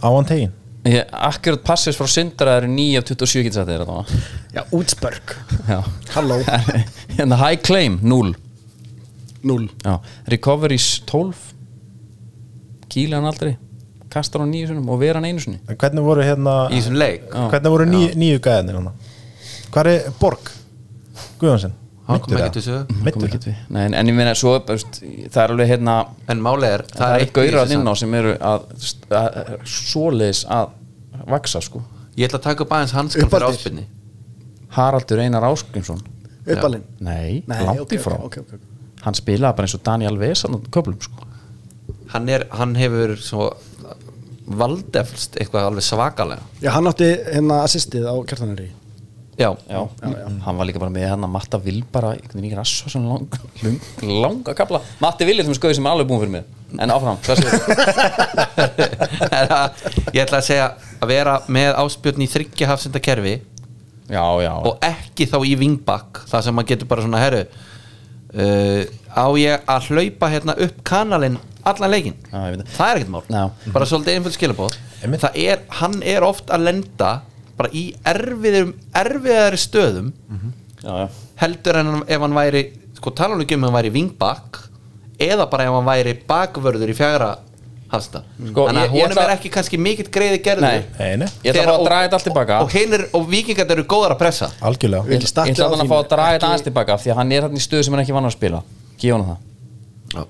Speaker 5: Á hann tegin
Speaker 1: Ég, akkurat passis frá Sindra eru 9 af 27 getur þetta þér
Speaker 3: Já, útspörk
Speaker 1: Já
Speaker 3: Halló,
Speaker 1: Hérna high claim, 0
Speaker 3: null
Speaker 1: Já. Recoveries 12 Kýla hann aldrei Kastar hann nýju sinum og vera hann einu sinni
Speaker 5: Hvernig voru hérna
Speaker 4: Í þessum leik
Speaker 5: Hvernig voru ný, nýju gæðinir hana? Hvar er Borg? Guðjónsson
Speaker 4: Hann kom ekki til þessu
Speaker 1: Kom ekki við. Nei, en, en ég meina svo veist, það er alveg hérna
Speaker 4: En máli er
Speaker 1: það er
Speaker 4: eitt í
Speaker 1: gaurað
Speaker 4: þessu
Speaker 1: inn á
Speaker 4: samt.
Speaker 1: sem eru að, að, að svoleiðis að vaksa sko
Speaker 4: Ég ætla að taka upp aðeins hanskan fyrir
Speaker 3: Uppaldir.
Speaker 4: áspilni
Speaker 1: Haraldur Einar Áskrimsson
Speaker 3: Uppalinn
Speaker 1: Nei,
Speaker 3: Nei,
Speaker 1: langt
Speaker 3: ok,
Speaker 1: í frá
Speaker 3: ok, ok, ok.
Speaker 1: Hann spilaði bara eins og Daniel Vesan og köplum sko
Speaker 4: hann, er, hann hefur svo valdeflst eitthvað alveg svakalega
Speaker 3: Já, hann átti hérna assistið á kjartanari
Speaker 4: Já,
Speaker 1: já, hann var líka bara með hann að Matta Vil bara einhvern veginn í rass og svona lang, lang, langa kapla Matti Vil er sem skoði sem er alveg búin fyrir mig en áfram, hvað segir þú?
Speaker 4: En að- ég ætla að segja að vera með áspjörn í þryggja hafsenda kerfi
Speaker 1: já, já,
Speaker 4: og ekki þá í vingbakk það sem maður getur bara svona herru uh, á ég að hlaupa hérna upp kanalinn allan leikinn
Speaker 1: Já, ég veit það.
Speaker 4: það er ekkert mál
Speaker 1: Já.
Speaker 4: bara svolítið einföld skilabóð
Speaker 5: Einmitt.
Speaker 4: það er, hann er oft að lenda bara í erfiðum erfiðari stöðum
Speaker 1: já, já.
Speaker 4: heldur en hann- ef hann væri sko tala nú ekki um ef hann væri vingbakk eða bara ef hann væri bakvörður í fjagra hafsta
Speaker 1: Sko,
Speaker 4: þannig
Speaker 1: ég-
Speaker 4: að
Speaker 1: ég
Speaker 4: honum
Speaker 1: ætla-
Speaker 4: er ekki kannski mikill greiði gerður
Speaker 1: Nei.
Speaker 5: Nei, nei,
Speaker 1: ég ætla að fá að draga þetta allt tilbaka
Speaker 4: og, og, hinir, og vikingar eru góðar að pressa
Speaker 5: algjörlega
Speaker 3: Við-
Speaker 1: ég ætla
Speaker 3: Stakla á
Speaker 1: að, að
Speaker 3: þínu,
Speaker 1: fá að draga þetta
Speaker 3: ekki-
Speaker 1: aðeins tilbaka af því að hann er hann í stöðu sem hann er ekki vann að spila gefa hann það,
Speaker 4: Já,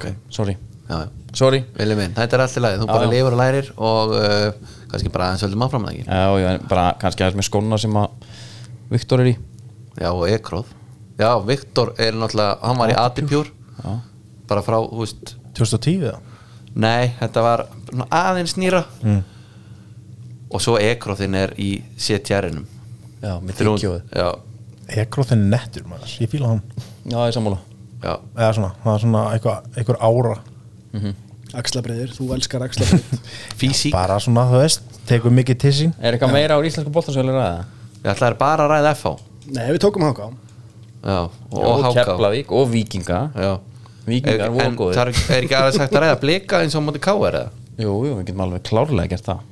Speaker 4: ok,
Speaker 1: sorry
Speaker 4: já, já
Speaker 1: sorry,
Speaker 4: Vili minn, þetta er allt í lagi, þú
Speaker 1: Já,
Speaker 4: bara
Speaker 1: já.
Speaker 4: lifur og lærir og uh, kannski bara aðeins höldum áfram það ekki
Speaker 1: já, já, en bara kannski aðeins með skóna sem að Viktor er í
Speaker 4: Já, og Ekróð Já, Viktor er náttúrulega, hann var í Adipjúr
Speaker 1: Já.
Speaker 4: bara frá, þú veist
Speaker 5: 2010 eða?
Speaker 4: Nei, þetta var svona aðeins nýra og svo Ekróðin er í CTR-inum
Speaker 1: já, með
Speaker 4: Já,
Speaker 5: Ekroþinn nettur maður, ég fíla hann
Speaker 1: já, ég er sammála
Speaker 4: já
Speaker 5: eða svona, það er svona eitthvað, eitthvað ára
Speaker 3: Axlabreiður, þú elskar axlabreiður
Speaker 4: Físík,
Speaker 5: bara svona, þú veist, tekur mikið til sín
Speaker 1: er eitthvað meira úr íslensku boltansölu ræða?
Speaker 4: við ætlaðum bara að ræða FH
Speaker 3: Nei, við tókum háká
Speaker 4: Já, og, og HK
Speaker 1: Keflavík og Víkinga
Speaker 4: Já.
Speaker 1: Víkingar
Speaker 4: En-
Speaker 1: voru
Speaker 4: en
Speaker 1: góðir.
Speaker 4: það er, er ekki aðeins hægt að ræða blika eins og móti káar eða
Speaker 1: Jú, jú, við getum alveg klárlega gert það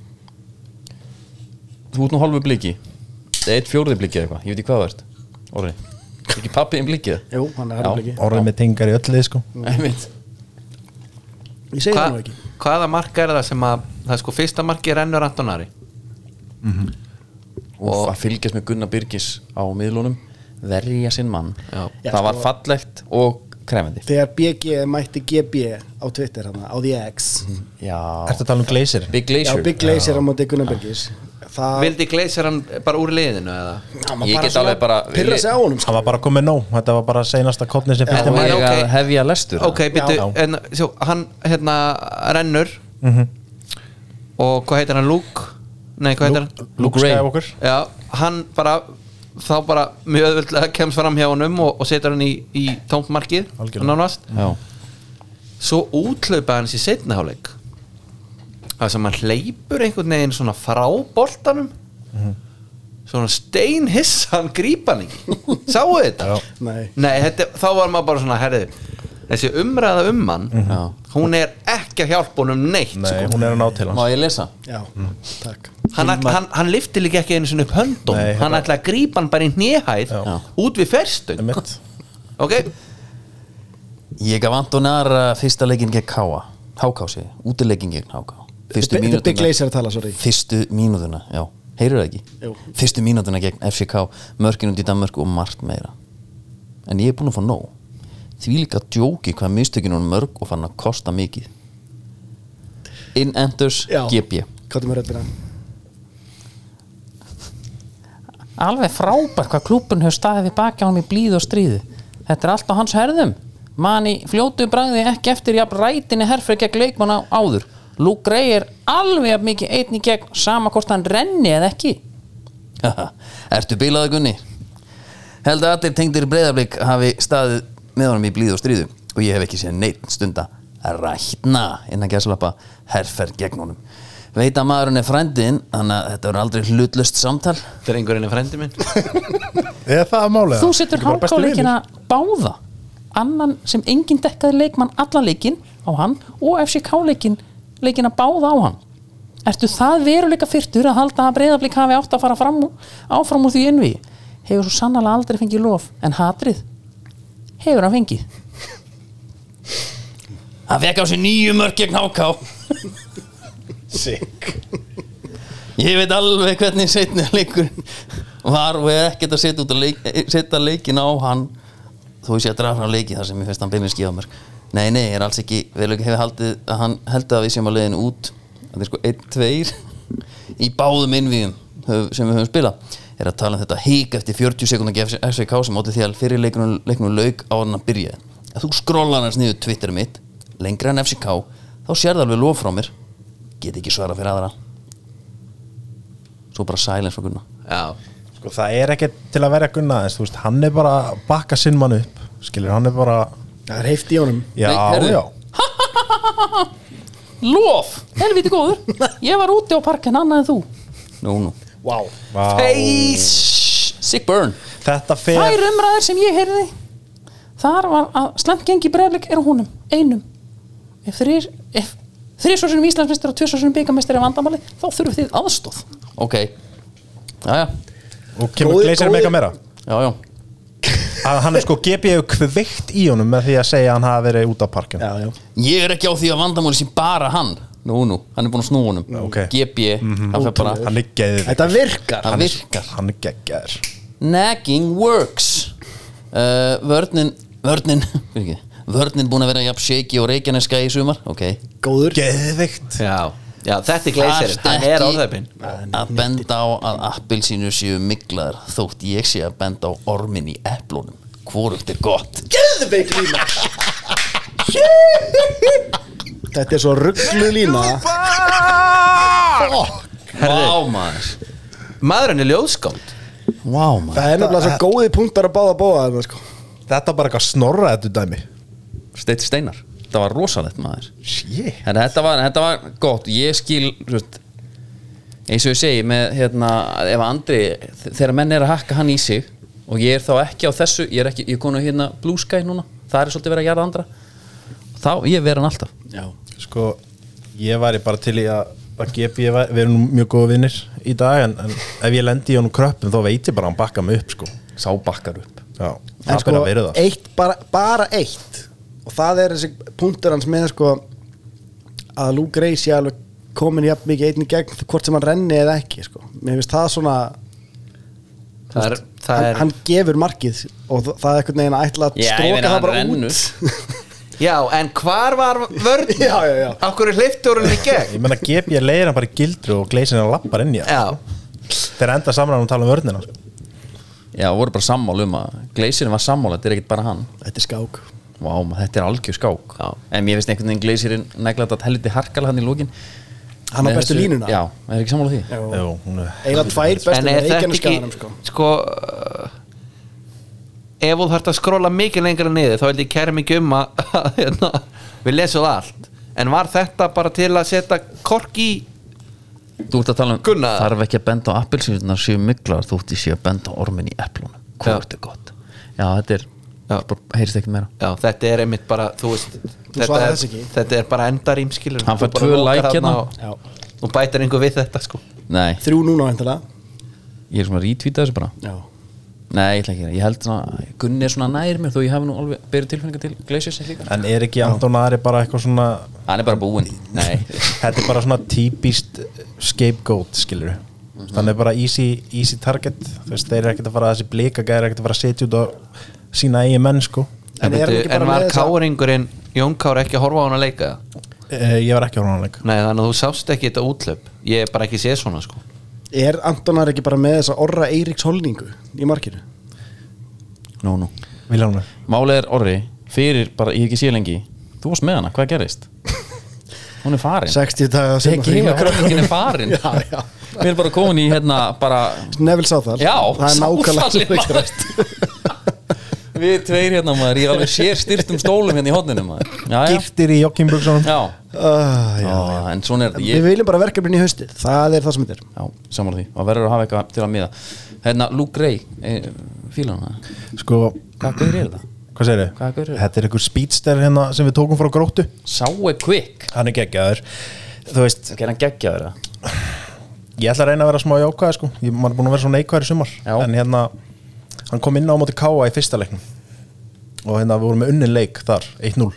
Speaker 1: Þú ert nú hálfu bliki Eitt fjórði bliki eða eitthvað, ég veit ekki hvað það ert Orri, Er ekki pappi um blikið
Speaker 3: Jú, hann er
Speaker 1: Já.
Speaker 3: harfleiki
Speaker 5: orðið með tingar í öllu því, sko
Speaker 1: Einmitt.
Speaker 3: Ég segi
Speaker 4: Hva,
Speaker 3: það nú ekki
Speaker 4: hvaða mark er það sem að það er sko fyrsta marki rennur Antonari
Speaker 1: Og að fylgjast með Gunnar Byrgis á miðlunum Verja sinn mann
Speaker 4: Já.
Speaker 3: Já,
Speaker 1: Það var
Speaker 3: sko-
Speaker 1: fallegt og krefandi
Speaker 3: Þegar BG mætti GB á Twitter hana, á The X
Speaker 1: Mhm. Já,
Speaker 5: Ertu að tala um gleysir?
Speaker 1: Big
Speaker 3: Já,
Speaker 1: Glacier
Speaker 3: Big Glacier á móti Gunnarbergis Það
Speaker 4: vildi Gleisir hann bara úr liðinu eða
Speaker 3: Já, maður
Speaker 1: Ég
Speaker 3: bara
Speaker 1: get
Speaker 3: svona
Speaker 1: alveg bara-
Speaker 3: Pirra sig á honum sko.
Speaker 5: Hann var bara komið nóg, þetta var bara seinasta kotni sem fylgdi
Speaker 1: Það
Speaker 5: maður
Speaker 1: var
Speaker 4: ok.
Speaker 1: að hefja lestur
Speaker 4: ok, býttu,
Speaker 5: Já.
Speaker 4: en sjó, hann hérna rennur og hvað heitir hann, Luke? nei, hvað heitir hann?
Speaker 1: Luke Ray.
Speaker 5: Skywalker
Speaker 4: já, hann bara þá bara mjög öðvöldlega kemst fram hjá honum og, og setur hann í, í tómt markið
Speaker 5: Algjörlega.
Speaker 4: nánast
Speaker 1: Já,
Speaker 4: svo útlaupa hans í setna hálfleik það sem hann hleypur einhvern veginn svona frá boltanum
Speaker 5: Mhm.
Speaker 4: svona steinhissa hann grípa hann ekki sáu þetta
Speaker 5: Já.
Speaker 3: Nei
Speaker 4: nei, þetta, þá var maður bara svona herði þessi umræða um hann hún er ekki að hjálpa honum neitt
Speaker 5: Mhm. Nei,
Speaker 4: sko.
Speaker 5: hún er að ná til
Speaker 1: Má
Speaker 5: hans
Speaker 1: ég lesa?
Speaker 3: Já, takk
Speaker 4: hann, all, hann, hann lifti líka ekki einu sinni upp höndum
Speaker 5: Nei,
Speaker 4: hann
Speaker 5: hérna-
Speaker 4: ætla að grípa hann bara í hnihæð
Speaker 5: Já.
Speaker 4: út við ferstöng
Speaker 5: Einmitt.
Speaker 4: ok,
Speaker 1: Ég gaf Anton Ara fyrsta leikinn gegn Káa Háká sé, útileikinn gegn Háká Fyrstu
Speaker 3: Þetta er Big
Speaker 1: mínútuna
Speaker 3: Laser að tala, sorry
Speaker 1: Fyrstu mínútuna, já, heyrðu það ekki?
Speaker 3: Jú.
Speaker 1: Fyrstu mínútuna gegn FCK Mörkin út í Danmörku og margt meira En ég er búinn að fá nóg Því líka djóki hvað mistökin hún mörg og fann að kosta mikið In Enders
Speaker 3: Já.
Speaker 1: GB
Speaker 3: Káttum við röddina
Speaker 1: Alveg frábært hvað klúbun hefur staðið við baki á hann í blíð og stríði. Þetta er allt á hans herðum. Mani fljótu bragði ekki eftir jafn rætinni herfrið gegn leikmanna áður. Luke Gray er alveg jafn mikið einn í gegn sama hvort hann renni eða ekki. Haha, Ertu bílaða Gunni? Held að allir tengdir breyðablík hafi staðið með honum í blíð og stríðu og ég hef ekki séð neitt stunda að rætna innan gæslappa herferð gegn honum. Veit að maðurinn er frændin, þannig að þetta verður aldrei hlutlust samtal.
Speaker 4: drengurinn er frendi minn
Speaker 5: Eða það að málega
Speaker 1: Þú setur hákáleikina báða annan sem enginn dekkaði leikmann allan leikinn á hann og FCK-leikinn leikina báða á hann Ertu það veruleika fyrtur að halda að breyðablík hafi átt að fara fram, úr- áfram úr því innví hefur svo sannlega aldrei fengið lof en hatrið hefur hann fengið Hann fekk á sig nýju mörg gegn háká
Speaker 5: Sick
Speaker 1: Ég veit alveg hvernig setna leikur var og hef ekkert að setja, út að leik, eh, setja leikin á hann þó ég sé að draga frá leiki þar sem ég finnst hann beinlega skíða mér Nei, nei, ég er alls ekki vel ekki hefði haldið að hann held að við séum að leiðin út þetta er sko 1-2 í báðum innvíðum höf- sem við höfum spilað er að tala um þetta hík eftir 40 sekundar gefs SVK sem átti því að fyrir leiknum, leiknum lauk á hann að byrja að þú skrólar hans niður Twitter mitt lengra en FCK þá sérðu alveg lof frá mér get ekki svara fyrir aðra svo bara silence frá Gunna
Speaker 4: já,
Speaker 5: Sko það er ekkert til að verja Gunna aðeins, þú veist, hann er bara að bakka sinn mann upp, skilur, hann er bara
Speaker 3: Það er heift í honum
Speaker 5: já,
Speaker 1: Nei, heyrðu.
Speaker 5: já,
Speaker 1: Lof, helviti góður Ég var úti á parkinn annað en þú Nú, nú
Speaker 3: Vá
Speaker 5: Vá.
Speaker 1: Face Sick burn
Speaker 5: þetta
Speaker 1: Þær
Speaker 5: fer
Speaker 1: umræður sem ég heyrði Þar var að slemt gengi breyðleik er á honum Einum Ef þrýr ef Þrýr svo sinum Íslandsmeistar og tvisvar sinum byggamestari vandamali þá þurfum þið aðstóð Ok, já, já,
Speaker 5: og kemur
Speaker 3: Góði-
Speaker 5: gleysir með
Speaker 3: góði-
Speaker 5: eitthvað meira
Speaker 1: já, já.
Speaker 5: að hann er sko gefið kveikt í honum með því að segja að hann hafi verið út á parkin
Speaker 3: Já, já
Speaker 1: Ég er ekki á því að vandamáli sem bara hann Nú, nú, hann er búin að snúa honum
Speaker 5: ok. Mhm.
Speaker 1: GB, það fer bara
Speaker 5: hann er geður,
Speaker 3: Þetta virkar
Speaker 1: Það virkar
Speaker 5: hann er geggjær
Speaker 1: Nagging works uh, Vörnin Vörnin fyrirgefðu, Vörnin búin að vera jafn shaky og reikjaneska í sumar Ok
Speaker 3: Góður
Speaker 5: geðvikt,
Speaker 4: já, já þetta er gleysirinn,
Speaker 1: Þarft
Speaker 4: hann er
Speaker 1: ekki
Speaker 4: áþæpinn
Speaker 1: Að benda á að appelsínur séu miklaðar Þótt ég sé að benda á ormin í eplónum Hvorugt er gott
Speaker 3: Geðveik lína Þetta er svo rugglu lína
Speaker 1: Vá maður
Speaker 4: maðurinn er ljóðskáld
Speaker 1: Vá maður
Speaker 3: Það er nefnilega svo góði punktar að báða bóða þeim, sko.
Speaker 5: þetta er bara eitthvað snorra þetta dæmi
Speaker 1: Steitt steinar Þetta var rosalegt maður
Speaker 5: shit,
Speaker 1: En þetta var, þetta var gott Ég skil þú veist, eins og ég segi með, hérna, ef Andri, þegar menn er að hakka hann í sig og ég er þá ekki á þessu ég er ekki, ég er konu hérna Blue Sky núna það er svolítið verið að gera andra þá, ég verið hann alltaf
Speaker 3: Já.
Speaker 5: sko ég væri bara til í að að gefi, ég væri, við erum nú mjög góða vinnir í dag, en, en ef ég lendi í honum kröppum þá veit ég bara að hann bakka mig upp, sko
Speaker 1: sá bakkar upp
Speaker 5: já,
Speaker 3: En
Speaker 5: það
Speaker 3: sko,
Speaker 5: byrja að vera það
Speaker 3: eitt, bara, bara eitt og það er þessi punktur hans með sko að Luke Gray sé alveg komin jafn mikið einn í gegn hvort sem hann renni eða ekki sko. mér finnst það svona
Speaker 4: það er, það
Speaker 3: hann,
Speaker 4: er
Speaker 3: hann gefur markið og þ- það er einhvern veginn að ætla að stróka það bara út
Speaker 4: já, en hvar var vörn
Speaker 3: Já, já, já.
Speaker 4: okkur er hlifturinn í gegn
Speaker 5: Ég menna GP leiðir hann bara í gildru og gleysir hann lappar inn í það
Speaker 4: já,
Speaker 5: Þeir enda samræðan og tala um vörnina sko.
Speaker 1: já, voru bara sammál um að Gleisirinn var sammál, þetta er ekkert bara hann
Speaker 3: þetta er skák
Speaker 1: Vá, maður, þetta er algjör skák
Speaker 4: Já.
Speaker 1: en mér finnst einhvern veginn Gleisirinn neglat að helviti harkal hann í lókin
Speaker 3: hann á bestu línuna
Speaker 1: já, er ekki sammála því
Speaker 5: Jú, hún er-
Speaker 3: eiginlega tvær bestu
Speaker 4: en er
Speaker 3: með
Speaker 4: þetta
Speaker 3: reikinu
Speaker 4: ekki
Speaker 3: skæðanum
Speaker 4: sko,
Speaker 3: sko.
Speaker 4: uh, ef þú þarft að skróla mikið lengra niður þá held ég kæra mikið um að hérna, við lesum það allt en var þetta bara til að setja kork í
Speaker 1: Þú ert að tala um
Speaker 4: Gunnar.
Speaker 1: Þarf ekki að benda á appelsínunar séu myglar Þú ert í séu að benda á ormin í eplunum Hvort er gott Já, þetta er
Speaker 4: Já.
Speaker 1: bara heyrist ekkert meira
Speaker 4: Já, þetta er einmitt bara, þú veist þetta
Speaker 3: svarar
Speaker 4: er,
Speaker 3: þessu ekki.
Speaker 4: þetta er bara endarím skilur
Speaker 1: Hann
Speaker 4: Þú
Speaker 1: fær
Speaker 4: bara
Speaker 1: tvö
Speaker 4: lokar
Speaker 1: like
Speaker 4: þarna
Speaker 1: hérna.
Speaker 4: og-
Speaker 3: Já.
Speaker 4: og bætir einhver við þetta sko
Speaker 1: Nei,
Speaker 3: Þrjú núna veintilega
Speaker 1: ég er svona að retweeta þessu bara
Speaker 3: Já
Speaker 1: Nei, ég ætla ekki að gera. Ég held svona, Gunni er svona nær mér Þó ég hafi nú alveg berið tilfinninga til Glaciers líka
Speaker 2: En er ekki Anton Ari bara eitthvað svona
Speaker 1: Hann er bara búinn Nei,
Speaker 2: Þetta er bara svona típist
Speaker 5: eh,
Speaker 2: scapegoat skilur
Speaker 1: Mhm.
Speaker 2: Hann er bara easy, easy target Þú veist, þeir eru ekkert að fara þessi blika Þeir eru ekkert að fara að setja út á sína eigin menn sko
Speaker 3: En
Speaker 4: En,
Speaker 3: er hann
Speaker 4: veitu,
Speaker 3: ekki
Speaker 4: en
Speaker 3: bara
Speaker 4: var
Speaker 3: með þessa-
Speaker 4: káringurinn Jón Kár ekki að horfa á hann að leika það?
Speaker 2: e, Ég var ekki á hrónuleik
Speaker 4: Nei, þannig að þú sást ekki þetta útlöp Ég er bara ekki séð svona sko
Speaker 3: Er Antonar ekki bara með þessa orra Eiríks holningu í markinu?
Speaker 1: nú, nú
Speaker 2: Viljánu
Speaker 1: Málið er orri, fyrir bara, ég hef ekki sé lengi Þú varst með hana, hvað gerist? Hún er farin
Speaker 3: 60 daga sem
Speaker 1: Ekki heima, krökkinn er farin
Speaker 3: Já, já
Speaker 1: Við erum bara komin í hérna bara
Speaker 3: Neville Southall
Speaker 1: Já,
Speaker 3: Það er nákvæmlega
Speaker 1: sásalinn,
Speaker 3: sem ekki
Speaker 1: maður. Við tveir hérna maður, ég er alveg sér styrtum stólum hérna í hotninu maður Já, já,
Speaker 2: Girtir í joggingbuksunum
Speaker 1: já,
Speaker 3: Ah,
Speaker 1: já,
Speaker 3: já.
Speaker 1: en svona er þetta ég-
Speaker 3: Við viljum bara verkefnin í haustið Það er það sem þetta er
Speaker 1: Já, samanlega því, og verður að hafa eitthvað til að miða Hérna, Luke Gray, e, fílan hana
Speaker 2: Sko,
Speaker 1: Hvað gaur er það?
Speaker 2: hvað segir þið?
Speaker 1: Hvaða gaur er það?
Speaker 2: Þetta er einhver speedster hérna sem við tókum frá gróttu
Speaker 1: Sáe Quick
Speaker 2: Hann er geggjaður Þú veist,
Speaker 1: Ok, hann geggja þeirra
Speaker 2: ég ætla að reyna að vera smá jákvæði sko Ég maður er búin að vera svona neikvæður í sumar
Speaker 1: Já.
Speaker 2: En hérna, hann kom inn á móti Káa í fyrsta leiknum Og hérna við vorum með unnin leik þar, 1-0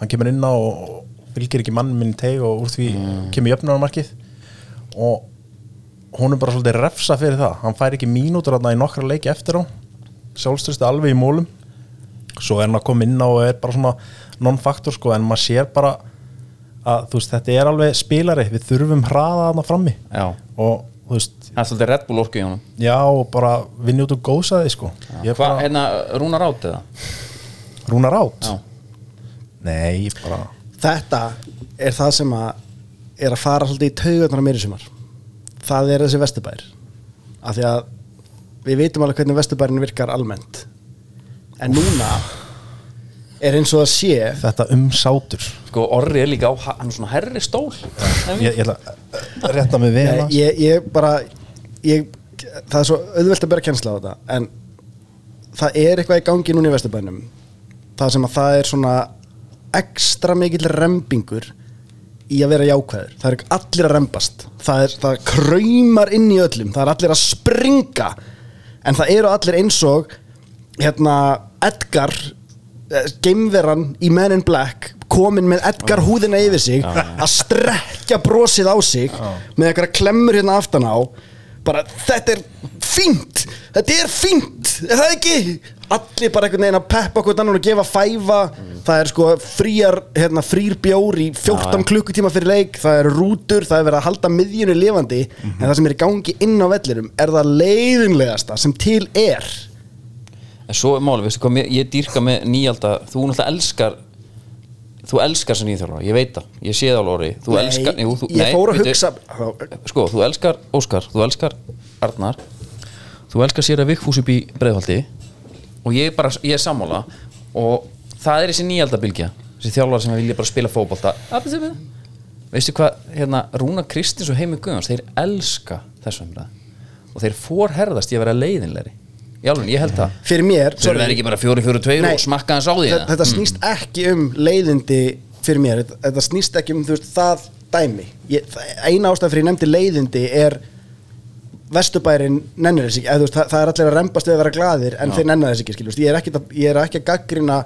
Speaker 2: Hann kemur inn á og fylgir ekki mann minn í teig Og úr því kemur jöfnarmarkið Og hún er bara svolítið refsa fyrir það Hann fær ekki mínútur þarna í nokkra leiki eftir á Sjálfstöðst alveg í mólum Svo er hann að koma inn á og er bara svona non-faktor sko En maður sér bara að þú veist, þetta er alveg spilari Við þurfum hraða þarna frammi
Speaker 1: Já,
Speaker 2: og þú veist,
Speaker 1: það er svolítið Red Bull orku í honum
Speaker 2: já og bara vinni út og góðsa þig sko ég er
Speaker 1: Hvað,
Speaker 2: bara,
Speaker 1: hérna, Rúnar átt eða?
Speaker 2: rúnar átt
Speaker 1: Já,
Speaker 2: nei, ég bara,
Speaker 3: Þetta er það sem að er að fara svolítið í taugarnar mér í sumar Það er þessi vesturbær Af því að við veitum alveg hvernig vesturbærin virkar almennt En núna er eins og að sé
Speaker 2: þetta umsátur
Speaker 1: sko, Orri er líka á, hann er svona herri stól
Speaker 2: ég, ég ætla að rétta mig við
Speaker 3: Nei,
Speaker 2: hérna. hana
Speaker 3: ég, ég bara ég, það er svo auðvelt að bera kennsla á þetta en það er eitthvað í gangi núna í Vesturbænum það sem að það er svona ekstra mikill rembingur í að vera jákvæður það er allir að rembast það, er, það kraumar inn í öllum það er allir að springa en það eru allir eins og hérna Edgar eh, geimveran í Men in Black komin með Edgar húðina yfir sig að strekja brosið á sig með eitthvað klemmur hérna aftan á bara þetta er fínt þetta er fínt, er það ekki? allir bara einhvern veginn að peppa okkur annan og gefa fæfa það er sko fríar, hérna, frýr bjór í 14 klukkutíma fyrir leik það er rútur, það er verið að halda miðjunu lifandi en það sem er í gangi inn á vellirum er það leiðinlegasta sem til er
Speaker 1: En svo er máli, veistu hvað, mér- ég dýrka með nýjalda Þú náttúrulega elskar Þú elskar sem nýþjálfara, ég veit það Ég sé það alveg Orri, þú elskar jú, þú,
Speaker 3: ég fór að
Speaker 1: bíddu.
Speaker 3: hugsa
Speaker 1: sko, þú elskar Óskar, þú elskar Arnar þú elskar sér að Vigfús upp í breiðhaldi og ég er bara, ég er sammála og það er þessi nýjaldabilgja þessi þjálfar sem vilja bara spila fótbolta veistu hvað, hérna Rúna Kristins og Heimi Guðans, þeir elska þessu umræð og þeir forherðast í að vera leiðinleiri í alveg, ég held það
Speaker 3: fyrir mér
Speaker 1: Þeir verður ekki bara 4-4-2
Speaker 3: Nei.
Speaker 1: og smakka hans á því
Speaker 3: þetta,
Speaker 1: eða? Mm.
Speaker 3: þetta snýst ekki um leiðindi fyrir mér, þetta, þetta snýst ekki um þú veist, það dæmi ég, það- eina ástæð fyrir ég nefndi leiðindi er vesturbærin nennir þess ekki eða, þú veist, það, það er allir að rembast við að vera glaðir en þeir nennar þess ekki, skiljum, ég er ekki að, ég er ekki að gaggrina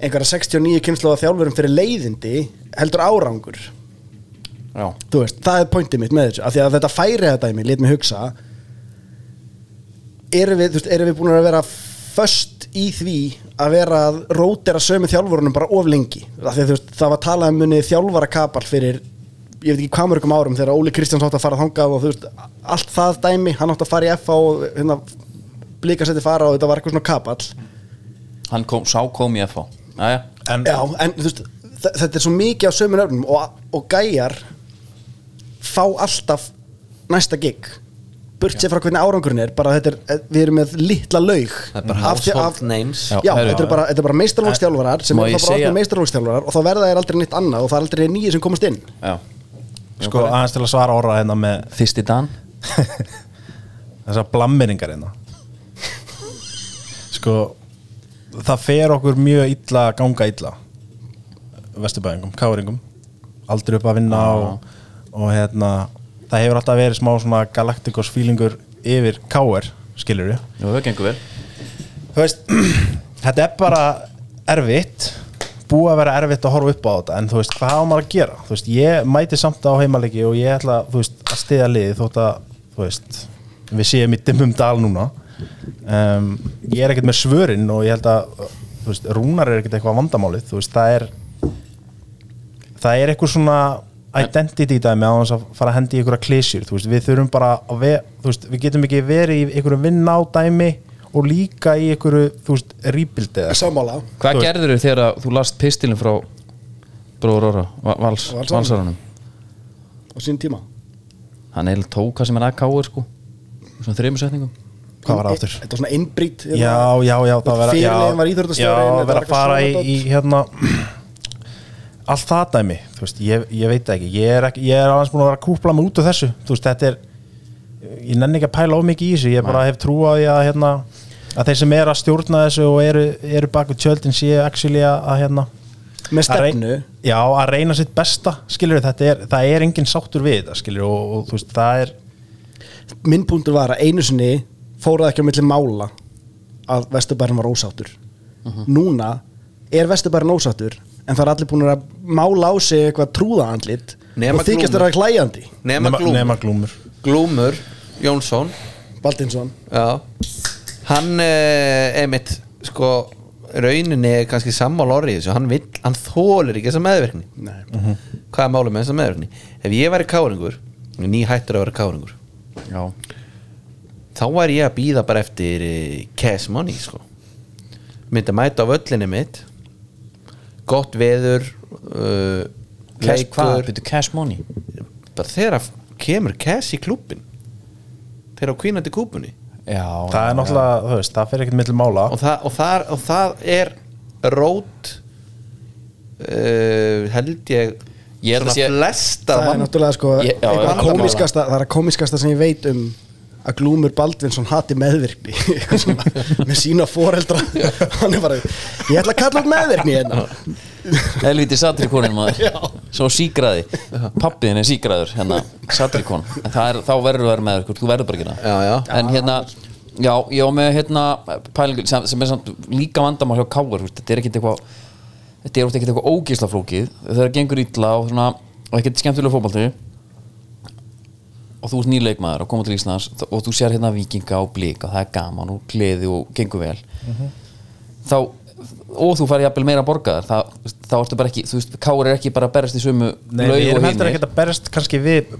Speaker 3: einhverja 69 kynnslóða þjálfurum fyrir leiðindi heldur árangur
Speaker 1: Já.
Speaker 3: þú veist, það er pointið mitt með þessu af því að þetta færi þetta dæmi, lét mig hugsa erum við, þú veist, erum við búin að vera föst í því að vera að rótera sömu þjálfurunum bara of lengi af því að þú veist, það var talað um munið þjálfara kapal fyrir, ég veit ekki hvað mörgum árum þegar Óli Kristjáns átt að fara þangað og þú veist allt það dæmi, hann átt að fara í FA og hérna, blika seti fara og þetta var eitthvað svona kapall
Speaker 1: Hann kom, sá kom í FH Jæja,
Speaker 4: Mm.
Speaker 2: en
Speaker 3: Já, en þú veist, þe- þetta er svo mikið á sömu nöfnum og, og gæjar fá alltaf næsta gig burt sér frá hvernig árangurinn er bara þetta er, við erum með litla laug
Speaker 4: Það er bara
Speaker 3: Af því-
Speaker 4: household
Speaker 3: af-
Speaker 4: names.
Speaker 3: Já,
Speaker 1: Já, heyrðu.
Speaker 3: þetta er bara, þetta er bara meistarlókstjálfarar sem
Speaker 1: Má
Speaker 3: er
Speaker 1: ég
Speaker 3: bara
Speaker 1: segja-
Speaker 3: orðin meistarlókstjálfarar og þá verða þeir aldrei neitt annað og það er aldrei nýjir sem komast inn
Speaker 1: já
Speaker 2: sko aðeins til að svara orra hérna með
Speaker 1: Þýsti Dan
Speaker 2: þessar blammeringar hérna sko það fer okkur mjög illa að ganga illa Vesturbæðingum, Káringum aldrei upp að vinna og, og hérna, það hefur alltaf verið smá svona galaktikos fílingur yfir Káir, skilur við
Speaker 1: Nú, það gengur vel
Speaker 2: þú veist, þetta er bara erfitt búið að vera erfitt að horfa upp á þetta en þú veist, hvað á maður að gera þú veist, ég mæti samt á heimalegi og ég ætla þú veist, að stiða liði þótt að þú veist, við séum í dimmum dal núna um, ég er ekkert með svörin og ég held að þú veist, rúnar er ekkert eitthvað vandamálið þú veist, það er það er eitthvað svona identity dæmi á þess að fara að hendi í einhverja klísjur þú veist, við þurfum bara að ve þú veist, við getum ekki verið í einhverju vinna á dæmi og líka í einhverju þú veist, rebuild eða
Speaker 3: Sammála
Speaker 1: Hvað
Speaker 2: Þú veist-
Speaker 1: gerður þau þegar að þú last pistilin frá Bróður Óra, Vals,
Speaker 3: Valsaranum.
Speaker 1: Valsaranum
Speaker 3: á sín tíma
Speaker 1: Hann eiginlega tók hvað sem hann að káir sko í Svona þreymur setningum
Speaker 2: hvað var það aftur?
Speaker 3: Þetta var svona innbrýtt
Speaker 2: já, já, já, það vera já,
Speaker 3: Fyrirlegin var íþjóðastjóri
Speaker 2: já, vera að fara í, í hérna allt það dæmi, þú veist, ég, ég veit það ekki ég er, ekki, ég er aðeins búin að vera að kúpla mig út af þessu, þú veist, þetta er ég nenni ekki að pæla of mikið í þessu, ég bara hef trú á því að hérna, að þeir sem er að stjórna þessu og eru, eru baku tjöldin séu actually að, að hérna
Speaker 3: Með
Speaker 2: að rey-
Speaker 3: stefnu
Speaker 2: já, að reyna sitt besta, skilur þetta er, það er engin sáttur við þetta, skilur og, og þú veist, það er
Speaker 3: Minn punktur var að einu sinni fórað ekki á milli mála að Vesturbærin var ósáttur
Speaker 2: Mhm.
Speaker 3: Núna er Vesturbærin ósáttur en það er allir búin að mála á sig eitthvað trúðaandlit
Speaker 4: Nema
Speaker 3: og þykjast
Speaker 4: Glúmur.
Speaker 3: þeirra hlæjandi
Speaker 4: nema
Speaker 2: nema-
Speaker 4: glúmur,
Speaker 2: nema glúmur
Speaker 4: glúmur Jónsson
Speaker 3: Baldinsson
Speaker 4: Já, hann eh, einmitt, sko rauninni er kannski sammál orðið þessu hann, vill, hann þólir ekki þessa meðverkni
Speaker 3: Nei.
Speaker 1: Mhm.
Speaker 4: hvað er málið með þessa meðverkni ef ég væri káringur, ný hættur að vera káringur
Speaker 1: Já,
Speaker 4: þá væri ég að býða bara eftir eh, cash money sko myndi að mæta á völlinni mitt gott veður uh,
Speaker 1: cash, hvað,
Speaker 4: leikur
Speaker 1: byrju cash money
Speaker 4: bara þegar að kemur cash í klúbbin þegar á kvínandi kúbunni
Speaker 1: Já,
Speaker 2: það er náttúrulega, þú veist, það fer ekkert milli mála
Speaker 4: og það, og það, og það er rót uh, held ég
Speaker 1: Ég held að sé-
Speaker 4: svona flesta
Speaker 3: það er
Speaker 4: vand-
Speaker 3: náttúrulega sko
Speaker 1: Ég- já,
Speaker 3: eitthvað
Speaker 1: vandamála.
Speaker 3: kómiskasta, það er að kómiskasta sem ég veit um að Glúmur Baldvinsson hati meðvirkni Eitthvað svona, með sína foreldra hann er bara, ég ætla að kalla hann meðvirkni hérna.
Speaker 1: Helviti satrikonin maður Svo sígraði, pappiðin er sígraður hérna, satrikon En það er, þá verður þú að vera með ykkur, þú verður bara ekki það
Speaker 4: Já, já.
Speaker 1: En hérna, já, ég á með hérna pælingu sem, sem er samt líka vandamál hjá káar Þetta er ekkit eitthvað Þetta er oft ekkit eitthvað ógisla flókið Það er gengur illa og svona og ekkit skemmtilega fótbalti og þú ert nýleikmaður og koma til Íslands og þú sér hérna vikinga og blika það er gaman og gleði og gengur vel þá og þú fari jafnvel meira borgaðar þá, þá ertu bara ekki, þú veist, Káur er ekki bara að berast í sömu
Speaker 2: Nei,
Speaker 1: laug
Speaker 2: við
Speaker 1: og
Speaker 2: erum heldur
Speaker 1: hinir
Speaker 2: ekkert að berst kannski við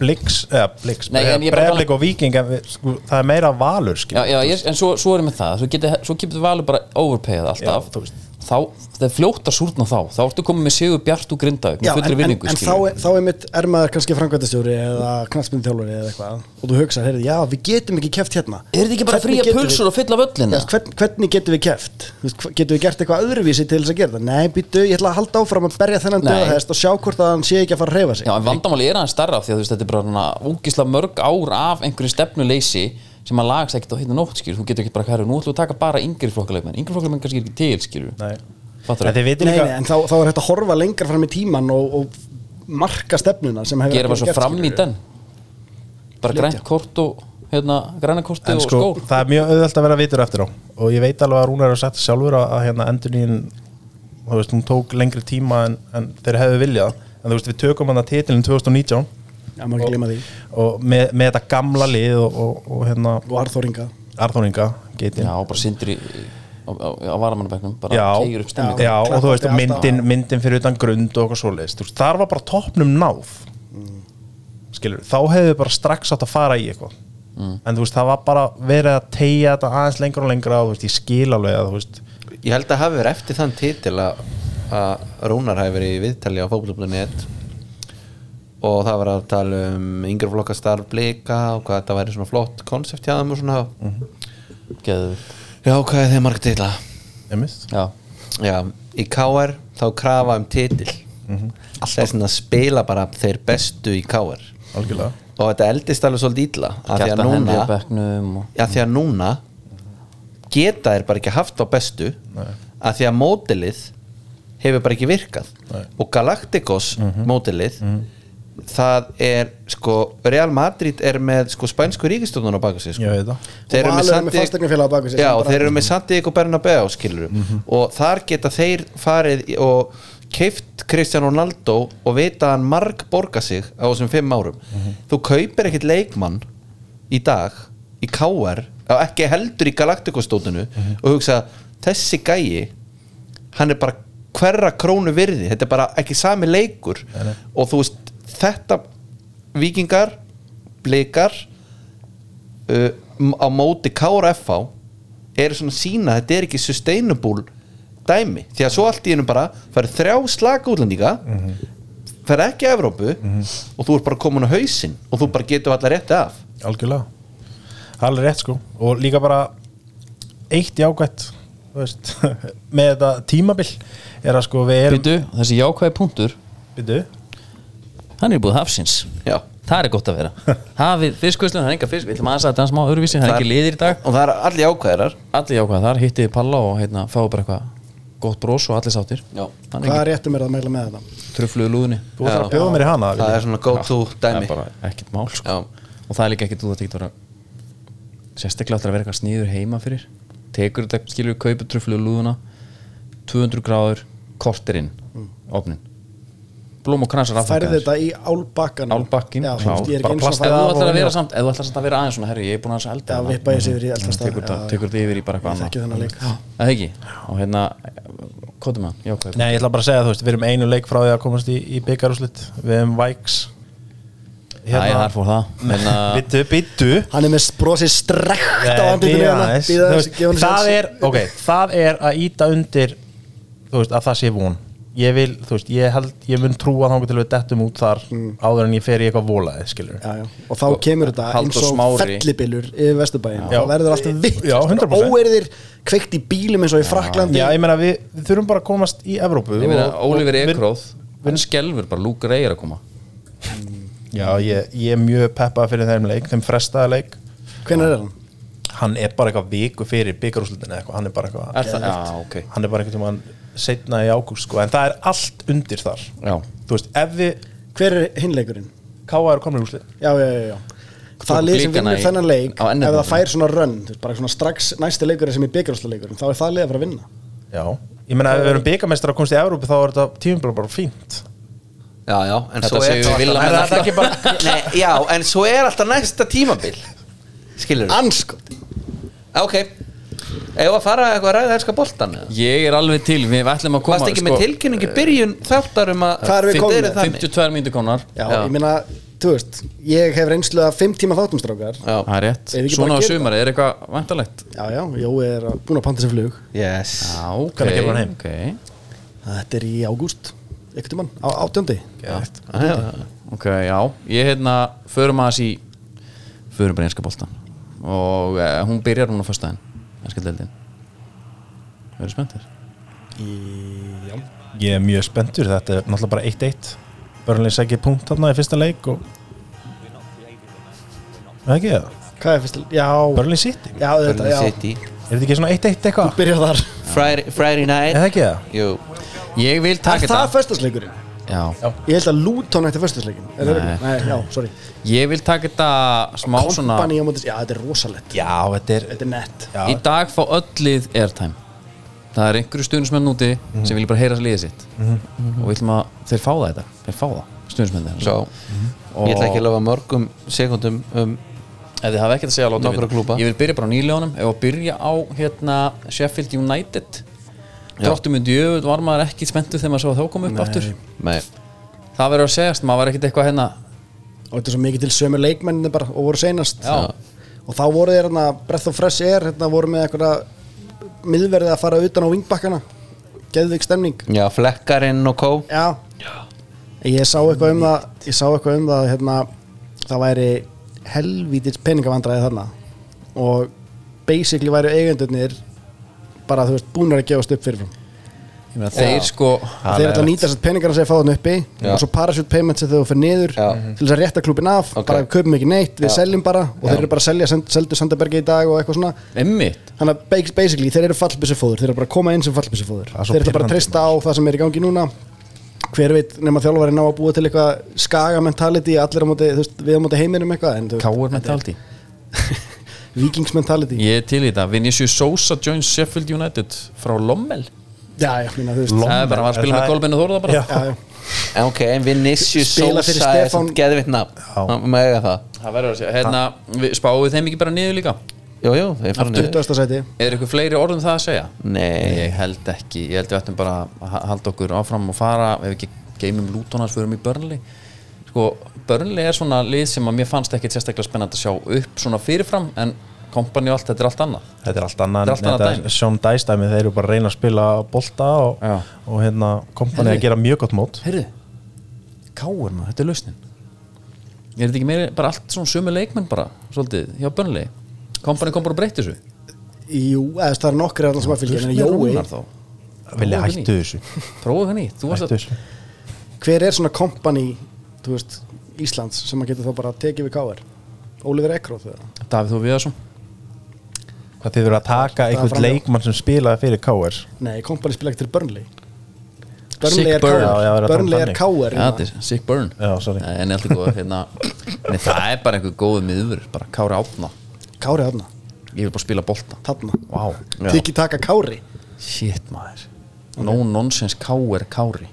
Speaker 2: Blix, eða Blix
Speaker 1: Nei, en ég bara-
Speaker 2: Breiðablik og Viking, en við, sko, það er meira valur skil,
Speaker 1: já, já, ég, en svo, svo erum við það svo getur svo getur valur bara overpayað alltaf
Speaker 2: Já, þú veist.
Speaker 1: þá, það er fljótt að súrna þá þá ertu komið með Sigur Bjart og Grindavík
Speaker 3: Já,
Speaker 1: með
Speaker 3: en,
Speaker 1: fullri
Speaker 3: en,
Speaker 1: vinningu
Speaker 3: en þá, er- þá er mitt er maður kannski framkvæmtastjóri eða knallspindþjálfari eða eitthvað og þú hugsa, heyrðu, já, við getum ekki keft hérna
Speaker 1: er þetta ekki bara
Speaker 3: Hvernig
Speaker 1: fría
Speaker 3: getum við-
Speaker 1: pulsur og fylla völlina
Speaker 3: Já, hvern, hvernig getum við keft? Þú veist, hva- Getum við gert eitthvað öðruvísi til þess að gera það? Nei, býtu, ég ætla að halda áfram að berja þennan
Speaker 1: Nei.
Speaker 3: döðahest og sjá hvort að hann sé ekki að fara að reyfa sig
Speaker 1: Já, en vandamáli er aðeins starra því að þú veist, þetta er bara svona ógisla mörg ár af einhverju stefnuleysi sem að lagast ekkert á hérna nótt skýr þú getur ekkert bara hverju, nú ætlum við að taka bara yngri flokkaleikmenn yngri flokkaleikmenn kannski er ekki til skýr
Speaker 2: Nei,
Speaker 1: Fattar
Speaker 2: en þið veitir
Speaker 3: Nei,
Speaker 2: líka
Speaker 3: nei, en þá, þá er hægt að horfa lengra fram í tíman og, og marka stefnuna sem hefur
Speaker 1: gera
Speaker 3: ekki
Speaker 1: bara svo
Speaker 3: verið
Speaker 1: fram í
Speaker 3: skilurðu.
Speaker 1: den bara grænt kort og hérna, græna korti
Speaker 2: En
Speaker 1: og
Speaker 2: sko,
Speaker 1: skór
Speaker 2: það er mjög auðvelt að vera vitur eftir á og ég veit alveg að Rúnar er sagt sjálfur að, að hérna endurnýjun þú veist, hún tók lengri tíma en, en þeir hefðu viljað en þú veist, við tökum hann að titilin 2019
Speaker 3: Já, maður ekki glima því
Speaker 2: og með, með þetta gamla lið og, og, og hérna
Speaker 3: Og Arþóringa
Speaker 2: Arþóninga, geitin
Speaker 1: já, bara sindri á, á, á varamannabæknum bara
Speaker 2: já,
Speaker 1: tegir upp stemmingu
Speaker 2: já, og þú veist,
Speaker 3: Klappandi
Speaker 2: myndin, myndin fyrir utan grund og eitthvað svoleiðist, þú veist, þar var bara toppnum náð Mm. skilur, þá hefðu bara strax átt að fara í eitthvað
Speaker 1: Mm.
Speaker 2: en þú veist, það var bara verið að tegja þetta aðeins lengra og lengra og þú veist, ég skil alveg að þú veist,
Speaker 4: ég held að hafi verið eftir þann titil að að Rúnar hafi verið í viðtali á fókbalplanet og það var að tala um yngri flokkastar blika og hvað þetta væri svona flott konsept hjá þeim og svona
Speaker 1: Geðveikt.
Speaker 4: já, hvað er þeim marg titla?
Speaker 2: emist
Speaker 1: já,
Speaker 4: Já, í KR þá krafa um titil þess vegna spila bara þeir bestu í KR
Speaker 2: algjörlega
Speaker 4: og þetta eldist alveg svolítið illa af því að
Speaker 1: gæta henni á
Speaker 4: núna
Speaker 1: bæknum og
Speaker 4: af því að núna geta þeir bara ekki haft á bestu
Speaker 2: Nei.
Speaker 4: að því að mótilið hefur bara ekki virkað
Speaker 2: Nei. Mhm.
Speaker 4: og Galacticos mótilið það er sko Real Madrid er með sko spænsku ríkistofnun á baka sig sko.
Speaker 2: Ég veit það
Speaker 4: þeir eru
Speaker 3: Og
Speaker 4: með
Speaker 3: Valur er með
Speaker 4: Santiago-
Speaker 3: fasteignafélag á bak við sig,
Speaker 4: já,
Speaker 3: sem bara-
Speaker 4: þeir eru með Santiago Bernabeu skilur og þar geta þeir farið í- og keift Cristiano Ronaldo og vita að hann marg borga sig á þessum fimm árum þú kaupir ekkit leikmann í dag í KR, á- ekki heldur í Galacticostótinu og hugsa þessi gæi hann er bara hverra krónu virði þetta er bara ekki sami leikur og þú veist, þetta vikingar, blikar uh, m- á móti KRFH eru svona sína þetta er ekki sustainable dæmi því að svo allt í hennu bara færi þrjá slaka útlendinga mm ekki að Evrópu og þú er bara komin á hausinn og þú bara getur allar rétti af
Speaker 2: Algjörlega Allir rétt sko Og líka bara Eitt jákvætt Þú veist Með þetta tímabil Er að sko við erum
Speaker 1: Bíddu, þessi jákvæði punktur
Speaker 2: Byrju
Speaker 1: hann er búið hafsins
Speaker 4: Já.
Speaker 1: það er gott að vera hafið fiskvöslun, það er enga fisk við ætlum aðeins að þetta er smá öruvísi, það er ekki liðir í dag
Speaker 4: og það er allir ákvæðarar
Speaker 1: allir jákvæða þar, hittið palla og hérna, fáið bara eitthvað gott brós og allir sáttir
Speaker 4: Já.
Speaker 1: Þannig
Speaker 3: Hvað
Speaker 1: ekki
Speaker 3: réttum er það að mæla með þetta?
Speaker 1: trufluðu lúðinni
Speaker 2: Þú ætlar að bjóða mér í hana
Speaker 4: það er svona go to
Speaker 1: það
Speaker 4: dæmi
Speaker 1: er bara ekkert mál sko.
Speaker 4: Já.
Speaker 1: og það er líka ekkert þú þetta ekki vera sérstaklega áttur að vera eitthvað sniður heima fyrir tekur þetta skilur kaupið trufluðu lúðuna 200 gráður korterinn mm. opnin blóm og kransar
Speaker 3: Færði
Speaker 1: afþakkaðir.
Speaker 3: þetta í álbakkan
Speaker 1: álbakkin
Speaker 3: Já,
Speaker 1: klár,
Speaker 3: þú veist, ég er
Speaker 1: bara
Speaker 3: ekki eins
Speaker 1: plast
Speaker 3: og
Speaker 1: ef
Speaker 3: að
Speaker 1: þú
Speaker 3: fara
Speaker 1: ætlar
Speaker 3: af
Speaker 1: að vera
Speaker 3: og-
Speaker 1: samt ef þú ætlar samt að vera aðeins svona herri ég er búin aðeins að elda
Speaker 3: Já,
Speaker 1: hana.
Speaker 3: vippa ég sig yfir í eldast
Speaker 1: Tekur þetta-
Speaker 3: stað. Já,
Speaker 1: tekur þetta yfir í bara
Speaker 3: Ég
Speaker 1: eitthvað
Speaker 3: þekki þennan leik.
Speaker 1: það ekki og hérna kóttum hann jákvæð
Speaker 2: Nei, ég ætla bara að segja þú veist Við erum einu leik frá því að komast í, í byggarúslit Við erum Vikes
Speaker 1: Æ,
Speaker 2: Hérna-
Speaker 1: þar fór það hérna
Speaker 2: Bittu, bittu
Speaker 3: Hann er með brosið strekt á
Speaker 2: Nei,
Speaker 3: andlutinu
Speaker 2: bíða
Speaker 3: hérna.
Speaker 2: aðeins.
Speaker 3: Bíða
Speaker 2: Þú
Speaker 3: aðeins,
Speaker 2: veist,
Speaker 3: gefa honum
Speaker 2: það
Speaker 3: séns.
Speaker 2: er ok, það er að íta undir þú veist, að það sé von ég vil, þú veist, ég held ég mun trúa þangur til við dettum út þar
Speaker 3: Mm.
Speaker 2: áður en ég fer í eitthvað volaði, skilur
Speaker 3: já, já. og þá kemur þetta
Speaker 1: Halldór
Speaker 3: eins og
Speaker 1: Smári.
Speaker 3: fellibilur yfir Vesturbæin
Speaker 2: Já.
Speaker 3: þá verður alltaf vitt
Speaker 2: Já, 100%.
Speaker 3: óerðir kveikt í bílum eins og í Fraklandi
Speaker 2: já, ég meina, við, við þurfum bara að komast í Evrópu
Speaker 1: ég meina
Speaker 2: og- og-
Speaker 1: Ólífur
Speaker 2: við-
Speaker 1: Ekróð hann skelfur bara Luke Ray er að koma
Speaker 2: já, ég, ég er mjög peppað fyrir þeim leik, þeim frestaða leik
Speaker 3: hvenær er hann?
Speaker 2: hann er bara eitthvað viku fyrir byggarúslitin eitthvað, hann er bara eitthvað
Speaker 1: er það já ok
Speaker 2: hann er bara eitthvað mann setna í ágúst sko, en það er allt undir þar
Speaker 1: já
Speaker 2: þú veist, ef við
Speaker 3: hver er hinleikurinn?
Speaker 2: káa eru komin í úslit
Speaker 3: Já, já, já, já. Það lið sem
Speaker 1: blikana
Speaker 3: vinnur
Speaker 1: í-
Speaker 3: þennan leik
Speaker 1: á
Speaker 3: ef
Speaker 1: NM
Speaker 3: það
Speaker 1: -mótinu.
Speaker 3: fær svona rönn bara svona strax næsti leikur sem er byggjárhúsleikurinn þá er það lið að fara að vinna
Speaker 2: Já, ég meina ef við verum byggamestrar að komast í Evrópu þá er þetta tímabla bara fínt
Speaker 4: já, já, en
Speaker 1: Þetta
Speaker 4: svo
Speaker 1: segir
Speaker 4: er
Speaker 1: við Villa
Speaker 4: alltaf-
Speaker 1: menn
Speaker 4: er þetta ekki bara- Nei, já, en svo er alltaf næsta tímabil skilur
Speaker 3: Anskot
Speaker 4: ok, eða fara eitthvað að ræða elska boltan eða?
Speaker 1: ég er alveg til við ætlum að koma sko,
Speaker 4: Varst ekki með tilkynningi byrjun þáttar um að
Speaker 3: Hvað erum við
Speaker 4: Þið
Speaker 3: komin
Speaker 4: eruð
Speaker 3: með?
Speaker 4: þannig.
Speaker 1: 52 mínútur konar
Speaker 3: Já,
Speaker 4: Já.
Speaker 3: ég meina, þú veist ég hef reynslu að 5 tíma þáttum strákar
Speaker 4: Já.
Speaker 1: það er rétt
Speaker 3: Erum við ekki
Speaker 1: svona á
Speaker 3: bara að gera
Speaker 1: sumari er eitthvað vantalegt
Speaker 3: Já, já, Jói er að- búinn að panta sér flug
Speaker 4: Yes
Speaker 1: já ok
Speaker 2: Hvenær kemur hann heim?
Speaker 1: ok
Speaker 3: Þetta er í ágúst, ekkert um hann, á átjöndi
Speaker 1: ok já ég hérna förum aðeins í förum bara í einska boltan og eh, hún byrjar núna á föstudaginn einska deildin verður spenntir
Speaker 2: Ég er mjög spenntur, þetta er náttúrulega bara 1-1 Börnlega segir punkt þarna í fyrsta leik og Það er ekki það,
Speaker 3: Hvað er fyrst? Já,
Speaker 2: Börnlega City
Speaker 3: já, þetta,
Speaker 4: Burnley
Speaker 3: já
Speaker 4: City
Speaker 2: Er þetta ekki svona 1-1 eitthvað?
Speaker 3: Byrja þar
Speaker 4: Friday, Friday
Speaker 2: Er
Speaker 4: night
Speaker 2: það ekki það?
Speaker 4: Jú
Speaker 1: ég vil
Speaker 3: Er
Speaker 1: taka
Speaker 3: það
Speaker 1: þetta
Speaker 3: föstasleikurinn?
Speaker 1: já
Speaker 3: Ég held að Luton ætti föstasleikin Er það
Speaker 1: Nei.
Speaker 3: ekki? Nei, já, sorry
Speaker 1: Ég vil taka þetta smá svona
Speaker 3: Kompani á mótis, já, þetta er rosalett
Speaker 2: Já, þetta er
Speaker 3: Þetta er nett
Speaker 2: Já,
Speaker 1: Í dag fá öll lið airtime Það er einhverju stundismenn úti sem vilja bara heyra liðið sitt og við ætlum að þeir fá það þetta þeir fá það, stundismenn þeir
Speaker 4: Svo Ég ætla ekki að lofa mörgum sekundum um
Speaker 1: Ef þið hafa ekkert að segja láta
Speaker 4: Nokkra
Speaker 1: vita.
Speaker 4: klúbba.
Speaker 1: Ég vil byrja bara á nýleganum Ef að byrja á hérna, Sheffield United Drottum undir jöfut var maður ekki spenntu þegar maður svo að þá kom upp aftur
Speaker 4: Nei
Speaker 1: Það verður að segjast, maður var ekkert eitthvað hérna
Speaker 3: Og þetta er svo mikið til sömu leikmenninni bara Og voru seinast
Speaker 1: Já.
Speaker 3: Og þá voru þeir hérna Breath of Fresh Air Hérna voru með eitthvað Miðverðið að fara utan á vingbakkana Geðvik stemning
Speaker 4: Já, flekkarinn og kó
Speaker 3: Já Ég sá eitthvað um það Ég sá eitthvað um það hérna, Það væri helvítils peningavandræði þarna Og basically væri eigendurnir Bara þú veist búnar að gefast upp fyrirfram
Speaker 1: Ég meina, þeir sko
Speaker 3: þeir ætla að nýta þess að peningarna sem þeir fá þannig uppi
Speaker 4: Já.
Speaker 3: og svo parachute payment sem þau fyrir niður
Speaker 4: Já.
Speaker 3: til þess að rétta klubin af,
Speaker 4: Ok.
Speaker 3: bara við kaupum ekki neitt við seljum bara og þeir eru bara að selja send, seldu Sandabergi í dag og eitthvað svona
Speaker 1: Emmitt
Speaker 3: þannig að ba- basically þeir eru fallbissufóður þeir eru bara að koma inn sem fallbissufóður
Speaker 5: er svo
Speaker 3: þeir eru bara að
Speaker 5: pirrandi,
Speaker 3: treysta á það sem er í gangi núna hver veit nema þjálfari ná að búa til eitthvað skaga mentality allir á móti, þú veist, við á móti heiminum eitthvað en þú veist,
Speaker 1: Káur mentaldi
Speaker 3: vikings mentality
Speaker 1: Ég er til í þetta Vinicius Sosa joins Sheffield United frá Lommel
Speaker 3: já, já, minna, þú veist
Speaker 1: Það er bara að var að spila
Speaker 5: Er
Speaker 1: með
Speaker 5: það-
Speaker 1: golfinu Þórða bara
Speaker 5: Já.
Speaker 3: já, já.
Speaker 4: En ok, en Vinicius
Speaker 3: Spila fyrir
Speaker 4: Sosa er
Speaker 3: Stefán-
Speaker 4: svona geðvitt nafn Má- Má eiga það
Speaker 1: Það verður að segja Hérna, við, spáum við þeim ekki bara niður líka
Speaker 4: Jú, jú, þeir fara niður
Speaker 3: 20. sæti
Speaker 1: Er eitthvað fleiri orðum það að segja?
Speaker 4: Nei,
Speaker 1: Ég held ekki, ég held við ættum bara að ha- halda okkur áfram og fara ef við ekki geymum lútonars fyrir mig börnli sko, börnli er svona lið sem að mér fannst ekkit sérstaklega spennandi að sjá upp svona fyrirfram en kompani og allt, þetta er allt annað
Speaker 5: Þetta er allt annað,
Speaker 1: Þetta er allt annað dæmi.
Speaker 5: Sjón dæstæmi, þeir eru bara að reyna að spila bolta og,
Speaker 1: Já.
Speaker 5: og hérna kompanið
Speaker 1: Heyrðu.
Speaker 5: að gera mjög gott mót
Speaker 1: Heyrðu, káur maður, þetta er lausnin Er þetta ekki meira, bara allt svona sömu leikmenn bara, svolítið, hjá börnli kompani kom bara að breytta þessu
Speaker 3: jú, eða þú veist, það er nokkri allan sem að fylgja en
Speaker 1: Burt með
Speaker 3: Jói,
Speaker 1: Rúnar þá.
Speaker 5: Vilja
Speaker 1: Prófaðu
Speaker 5: hættu
Speaker 1: ný.
Speaker 5: þessu
Speaker 1: Prófaðu hann í, þú varst
Speaker 5: Hættu
Speaker 1: að
Speaker 5: þessu
Speaker 3: hver er svona kompani þú veist, Íslands sem að geta þá bara tekið við káir Oliver Ekroth eða?
Speaker 1: Davíð Þú Viðarsson
Speaker 5: Hvað þið verður að taka einhvern
Speaker 3: framhjá.
Speaker 5: leikmann sem spilaði fyrir KR
Speaker 3: nei, kompani spila ekki til Burnley Burnley
Speaker 1: Sick
Speaker 3: er
Speaker 1: Burn.
Speaker 5: Já, já, verður að tala
Speaker 3: káir
Speaker 5: um
Speaker 3: Burnley er
Speaker 5: þannig.
Speaker 3: hérna. káir
Speaker 1: Ja, þetta er Sick Burn
Speaker 5: Já, sorry.
Speaker 1: Nei, En alltaf góð, hérna Nei, það er bara einhver góðu miður Bara Kári Átna
Speaker 3: kári þarna,
Speaker 1: Ég vil bara spila bolta
Speaker 3: þarna
Speaker 5: Vá
Speaker 1: Já.
Speaker 3: Tiki taka kári
Speaker 1: Shit maður No nonsense K.R. Kári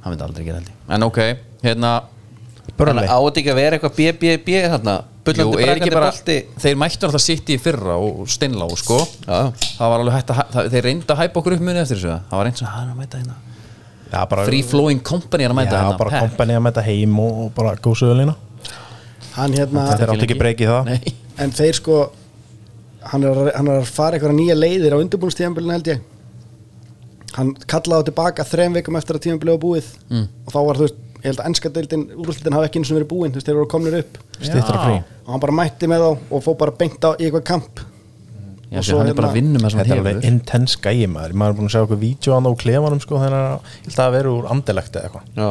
Speaker 1: Hann myndi aldrei gera held ég En ok, hérna
Speaker 4: þannig
Speaker 5: Börnleik
Speaker 4: að átt ekki að vera eitthvað BBB þarna
Speaker 1: jú,
Speaker 4: Bullandi
Speaker 1: er ekki
Speaker 4: brakandi
Speaker 1: bara,
Speaker 4: bolti
Speaker 1: Þeir mættu alltaf sitt í fyrra og steinlá sko.
Speaker 4: Já.
Speaker 1: Það var alveg hægt að hæ- það, Þeir reyndu að hæpa okkur upp muni eftir þessu Það var reynd svona, hann er að mæta hérna
Speaker 5: Já, bara
Speaker 1: Free flowing company er að mæta
Speaker 5: Já,
Speaker 1: hérna
Speaker 5: bara
Speaker 1: Pep.
Speaker 5: kompanið að mæta heim og og bara góðsöðulina
Speaker 3: hann hérna,
Speaker 5: Þetta er átt ekki breykið það
Speaker 1: Nei,
Speaker 3: en þeir sko hann er, að- hann er að fara einhverja nýja leiðir á undirbúinstíðanbílinu held ég hann kallaði á tilbaka þrem vikum eftir að tíðanbílu var búið mm. og þá var þú veist, ég held að ennska deildin úrslutinn hafi ekki eins og verið búin, þú veist, þeir voru komnir upp
Speaker 5: Stittra frí
Speaker 3: og hann bara mætti með þá og fór bara beint á í eitthvað kamp
Speaker 1: Já,
Speaker 3: Og
Speaker 1: því
Speaker 3: svo
Speaker 1: hann er bara
Speaker 3: hérna-
Speaker 1: að vinna með
Speaker 5: Þetta er
Speaker 1: svona
Speaker 5: alveg intens gæi maður Maður er búin að sjá okkur vídjóan á klefanum sko Þannig að ég held að vera úr andelegt eða eitthvað
Speaker 4: Já,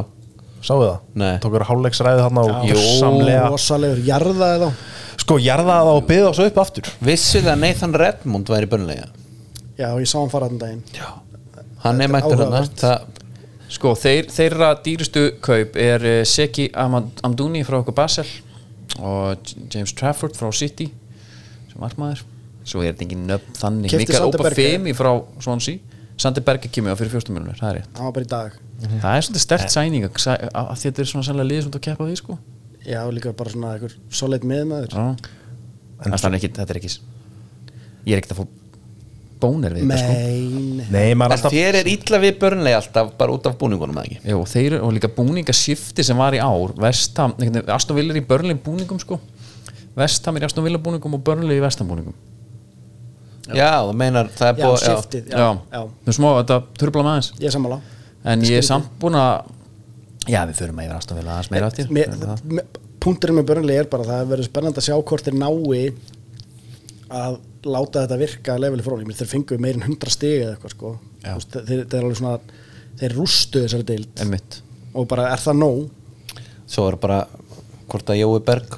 Speaker 5: Sáðu það?
Speaker 4: Nei.
Speaker 5: Tókur hálfleiksræði þarna og
Speaker 1: Jú.
Speaker 5: samlega
Speaker 3: rosalegur jarðaði þá
Speaker 5: Sko, jarða það og byða svo upp aftur
Speaker 4: vissu það Nathan Redmond væri bönlega
Speaker 3: já, og ég sá hann fara þann daginn
Speaker 4: Já Hann er mættur hann
Speaker 3: áhugavert.
Speaker 1: Sko, þeir, þeirra dýrustu kaup er eh, Seki Am- Amdouni frá okkur Basel og J- James Trafford frá City sem varmaður svo er þetta engin nöfn þannig
Speaker 3: Keypti
Speaker 1: Mikael
Speaker 3: Sander Berger.
Speaker 1: Obafemi frá Swansea Sander Berger kemur á fyrir fjórstumjölunir, það er rétt
Speaker 3: hann var bara í dag
Speaker 1: það er svolítið stert sæning að sæ- að- að þetta er svona sannlega liðið sem þú keppa á því sko
Speaker 3: já, og líka bara svona einhver solid miðmaður
Speaker 1: Já. en það er ekki, þetta er ekki ég er ekkert að fá bónir við þetta sko
Speaker 3: mein
Speaker 5: Nei, maður er
Speaker 4: En
Speaker 5: alltaf
Speaker 4: þér er illa við börnlega alltaf bara út af búningunum eða ekki
Speaker 1: Jó, og þeir, og líka búningasifti sem var í ár Vestam, nekkjum, Aston Villa er í Burnley búningum sko Vestam er í Aston Villa búningum og Burnley í Vestam búningum
Speaker 4: Já, þú meinar það er
Speaker 3: já,
Speaker 4: búið
Speaker 3: shiftið, já, já,
Speaker 1: Nú smá, þetta trubla með aðeins
Speaker 3: ég er sammála
Speaker 1: En ég er samt búin að Já, við förum að yfir Aston Villa aðeins meira eftir
Speaker 3: Mér-
Speaker 1: Förum við það.
Speaker 3: me- punkturinn með Burnley er bara að það verður spennandi að sjá hvort þeir nái að láta þetta virka að leveli frónum, þeir fengu meirin 100 stig eða eitthvað sko
Speaker 1: Já.
Speaker 3: Þú veist, þeir, þeir, alveg svona, þeir rústu þessari deild
Speaker 1: Einmitt.
Speaker 3: og bara er það nóg
Speaker 4: Svo er bara hvort að Jói Berg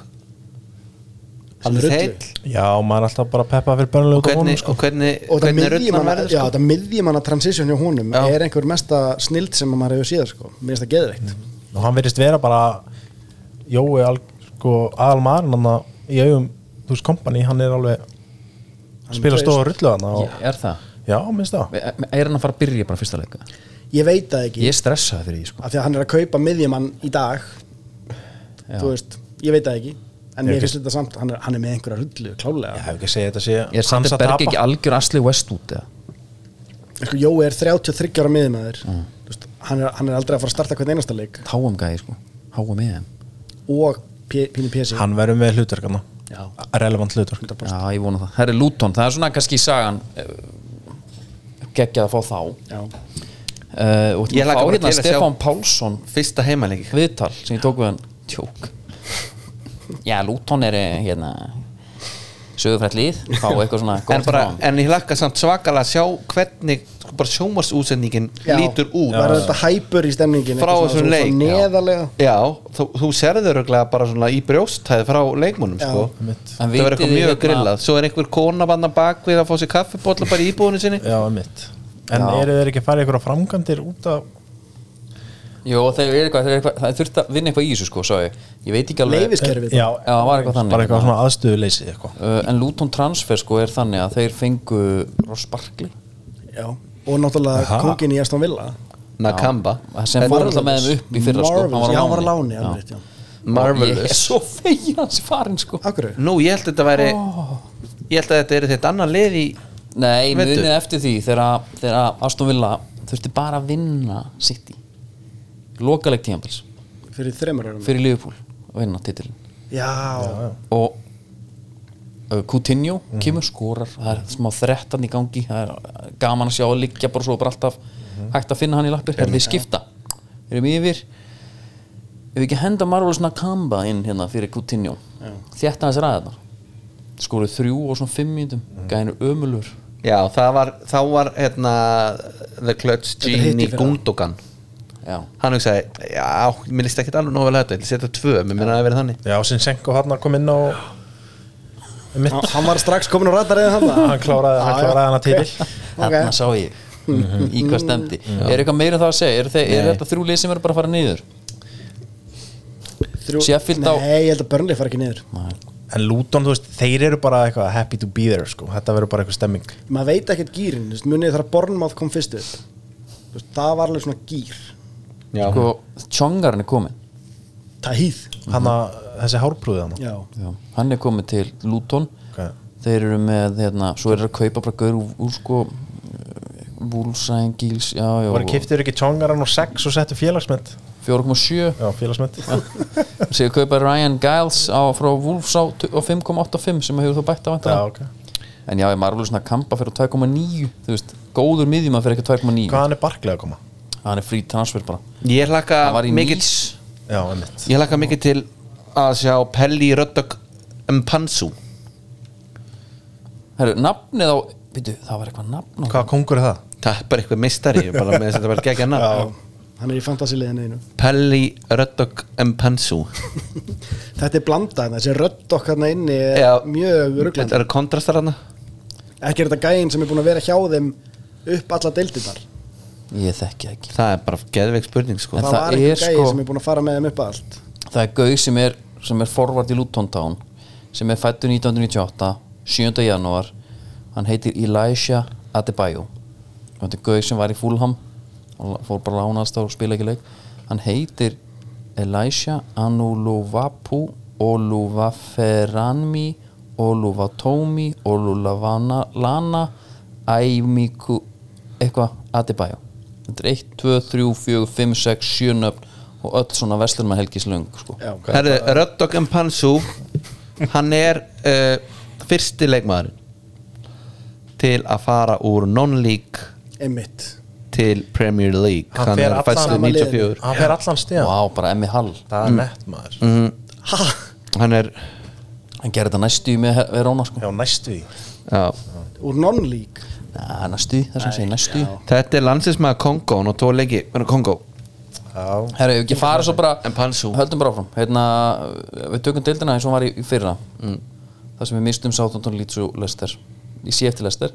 Speaker 4: Hann er
Speaker 3: rullu.
Speaker 4: heill
Speaker 5: Já, maður er alltaf bara að peppa fyrir börnuleg
Speaker 4: Og
Speaker 5: út á honum
Speaker 4: hvernig,
Speaker 5: sko.
Speaker 4: og hvernig,
Speaker 3: og
Speaker 4: hvernig
Speaker 3: þetta
Speaker 4: rullan
Speaker 3: miðjumanna-
Speaker 4: verður
Speaker 3: já,
Speaker 4: sko
Speaker 3: þetta miðjumanna transition hjá honum
Speaker 4: Já.
Speaker 3: er einhver mesta snild sem maður hefur síðar sko, mér finnst það geðveikt
Speaker 5: Og hann verðist vera bara Jói, al, sko, aðal maður hann að í augum, þú veist, kompani hann er alveg
Speaker 3: Hann
Speaker 5: spila
Speaker 3: traust.
Speaker 5: stóð að rullu hann og,
Speaker 1: Ég- Er það?
Speaker 5: Já, minnst það
Speaker 1: Er hann að fara að byrja bara fyrsta leika?
Speaker 3: ég veit það ekki,
Speaker 1: Ég er stressaði fyrir því sko
Speaker 3: af því að hann er að kaupa miðjumann í dag
Speaker 1: Já.
Speaker 3: þú veist, ég veit það ekki en
Speaker 5: Ég
Speaker 3: mér
Speaker 5: ekki-
Speaker 3: finnst þetta samt, hann er, hann er með einhverja rullu klálega
Speaker 5: Ég hef ekki að segja þetta sé
Speaker 1: Er Sander Berg ekki algjör Asli West út eða?
Speaker 3: sko, Jói er 33 ára miðumæður mm. hann, er- hann er aldrei að fara að starta hvern einasta leik
Speaker 1: Háum gæði sko Háum með þeim
Speaker 3: og P- Pínu Pési
Speaker 5: Hann verður með hlutverkana
Speaker 4: Já.
Speaker 5: Relevant hlutverk
Speaker 1: Já, ég vona það Herri Luton, það er svona kannski sagan eh, geggjað að fá þá
Speaker 3: já,
Speaker 1: uh, og
Speaker 4: Ég
Speaker 1: ég
Speaker 4: hlakka
Speaker 1: fá
Speaker 4: bara
Speaker 1: hérna
Speaker 4: til að
Speaker 1: Stefán Pálsson
Speaker 4: Fyrsta heimalegi
Speaker 1: viðtal sem ég tók við hann tjók já, Luton er eh, hérna sögufrætt lið, fá eitthvað svona
Speaker 4: en,
Speaker 1: gott
Speaker 4: bara,
Speaker 1: frá hann.
Speaker 4: en ég lakka samt svakalega að sjá hvernig sko, bara sjómarsútsendingin lítur út
Speaker 3: verður þetta hæpur í stemningin
Speaker 4: frá
Speaker 3: eitthvað
Speaker 4: þessum
Speaker 3: svona-
Speaker 4: leik
Speaker 3: svona neðarlega
Speaker 4: já, þú, þú serður örugglega bara svona í brjóstæði frá leikmónum sko.
Speaker 5: einmitt.
Speaker 4: það
Speaker 1: En
Speaker 4: verður
Speaker 1: vitið
Speaker 4: eitthvað
Speaker 1: þið
Speaker 4: mjög
Speaker 1: hérna-
Speaker 4: grillað svo er einhver kona vanna bak við að fá sér kaffibólla bara í íbúðinu sinni
Speaker 5: Já, mitt En eru þeir ekki að fara í einhverja framkvæmdir út af
Speaker 1: Jó, þeir eru eitthvað, þeir eru eitthvað, það þurfti að vinna eitthvað í þessu sko, sá ég Ég veit ekki alveg
Speaker 3: leifiskerfið
Speaker 5: Já,
Speaker 1: Já, það var eitthvað þannig.
Speaker 5: Bara eitthvað svona aðstöðuleysi eitthvað
Speaker 1: uh, En Luton Transfer sko er þannig að þeir fengu Ross Barkley
Speaker 3: Já. og náttúrulega kongin í Aston Villa
Speaker 4: Nakamba
Speaker 1: sem fór alltaf með þeim upp í fyrra sko
Speaker 3: Marvelous, já, hann var á láni
Speaker 1: Já.
Speaker 3: alveg, já.
Speaker 1: Ég er
Speaker 4: Marvelous
Speaker 1: svo fegin hans farin sko
Speaker 3: Akkur,
Speaker 4: nú, ég held að þetta væri ég held að þetta er þetta annar lið í
Speaker 1: Nei,
Speaker 4: Veitu?
Speaker 1: munið eftir því þegar að- þegar að Aston Villa þurfti bara að vinna City lokaleg tíambils
Speaker 5: Hm?
Speaker 3: fyrir þreymur árum
Speaker 1: fyrir Liverpool að vinna titilin
Speaker 3: já,
Speaker 1: og uh, Coutinho kemur skorar það er smá þrettan í gangi það er uh, gaman að sjá að liggja bara svo bara alltaf hægt að finna hann í lappir er við skipta, við erum yfir ef við ekki henda Marvelous Nakamba inn hérna fyrir Coutinho þétta hans ræðina skoruð þrjú og svona fimm mínutum mm. gæðinu ömulur
Speaker 4: já, það var, þá var hérna The Clutch
Speaker 3: er hitt í
Speaker 4: Genie
Speaker 3: fyrra.
Speaker 4: Gundogan
Speaker 1: já,
Speaker 4: hann hugsaði, já, mér líst ekki alveg nóg vel að þetta, ég ætla að setja tvö, mér minna að það hafi verið þannig
Speaker 5: Já, sem Senko hann kom inn á Mitt,
Speaker 3: Hann- hann var strax komin á ratarið hann
Speaker 5: hann kláraði, hann kláraði hann að til
Speaker 1: þarna sá ég Mhm, í hvað stemdi er eitthvað meira það að segja, er, þeir, er þetta þrjú lið sem eru bara að fara niður
Speaker 3: Þrjú...
Speaker 1: Sheffield á-
Speaker 3: Nei, ég held að Burnley fara ekki niður
Speaker 5: En Luton, þú veist, þeir eru bara eitthvað happy to be there, sko Þetta verður bara eitthvað stemming
Speaker 3: maður veit ekkert gýrin, þú veist, munið þegar Bornmáð kom fyrst upp Þú veist, það var alveg svona gýr
Speaker 4: já,
Speaker 1: sko, tjongarinn er komin
Speaker 3: Tahíð
Speaker 5: Hann að, þessi hárprúðið hann
Speaker 3: já,
Speaker 1: Já, hann er komið til Luton
Speaker 5: Ok.
Speaker 1: þeir eru með, hérna, svo eru að kaupa bara gaur úr, úr sko eh, Wolves, Ryan Gils, já, já
Speaker 5: Voru kiftir ekki tjongaran og sex og settu félagsmynd
Speaker 1: 4,7
Speaker 5: Já, félagsmynd
Speaker 1: séu kaupa Ryan Giles á, frá Wolves á, tu- á 5,85 sem hefur þú bætt á
Speaker 5: Já,
Speaker 1: þetta
Speaker 5: ok
Speaker 1: en já, ég margulur svona kampa fyrir 2,9 þú veist, góður miðjum að fyrir eitthvað 2,9
Speaker 5: Hvaðan er Barkley að koma?
Speaker 1: hann er frí transfer bara
Speaker 4: ég hlakka
Speaker 1: hann var í
Speaker 4: mikið
Speaker 1: Nýs
Speaker 5: Já, einmitt
Speaker 4: ég hlakka mikið til að sjá Pelli Röddök Mpansu
Speaker 1: Herru, nafnið á, byrju, það var eitthvað nafn á
Speaker 5: Hvaða kongur er það?
Speaker 4: það er bara eitthvað mistari, ég er bara með þess að þetta var gegja nafn
Speaker 3: hann er í fantasiliðinu einu
Speaker 4: Pelli Röddök Mpansu
Speaker 3: þetta er blanda, hérna, þessi rödd okkar inni er
Speaker 4: Já.
Speaker 3: mjög
Speaker 4: þetta
Speaker 3: ruggland
Speaker 4: eru kontrastar hana
Speaker 3: ekki er þetta gæinn sem er búin að vera hjá þeim upp alla deildirnar það,
Speaker 1: ég þekki það ekki
Speaker 4: það er bara geðveik spurning sko
Speaker 1: En það
Speaker 3: var ekki
Speaker 1: er
Speaker 3: gæinn
Speaker 1: sko-
Speaker 3: sem er búin að fara með þeim upp að allt
Speaker 1: það er gauð sem er sem er forvart í Luton Town sem er fættur 1998 7. janúar hann heitir Elisha Adebayo og þetta er gauð sem var í Fulham og fór bara lánast og spila ekki leik hann heitir Elisha Anulovapu Oluvaferanmi Oluvatomi Olulavana Lana Aimiku eitthvað Adebayo þetta er 1, 2, 3, 4, 5, 6, 7 nöfn og öll svona verslunum að helgis löng sko.
Speaker 3: já,
Speaker 4: Herðu, Röddok Mpansu hann er uh, fyrsti leikmaðurinn til að fara úr non-league
Speaker 3: einmitt
Speaker 4: til Premier League
Speaker 5: Hann fer
Speaker 4: er
Speaker 5: allan
Speaker 4: fæddur
Speaker 5: sama
Speaker 4: 94
Speaker 5: Hann fer allan stíðan
Speaker 1: Vá, bara Emmi Hall
Speaker 5: Það er nett maður mm.
Speaker 4: hann er
Speaker 1: Hann gerði þetta næstu í með Verona sko.
Speaker 5: Já, næstu í
Speaker 4: já.
Speaker 3: úr non-league
Speaker 1: Na, Næstu, í, það sem segir næstu í.
Speaker 4: þetta er landsinsmaður Kongo og tó leiki verður Kongo
Speaker 5: Já,
Speaker 1: Herra, ef ekki fara svo bara
Speaker 4: En Pansu.
Speaker 1: Höldum bara áfram hérna, Við tökum deildina eins og hún var í, í fyrra
Speaker 4: Mm.
Speaker 1: Það sem við mistum sáttundun lítsu Lester Ég sé eftir Lester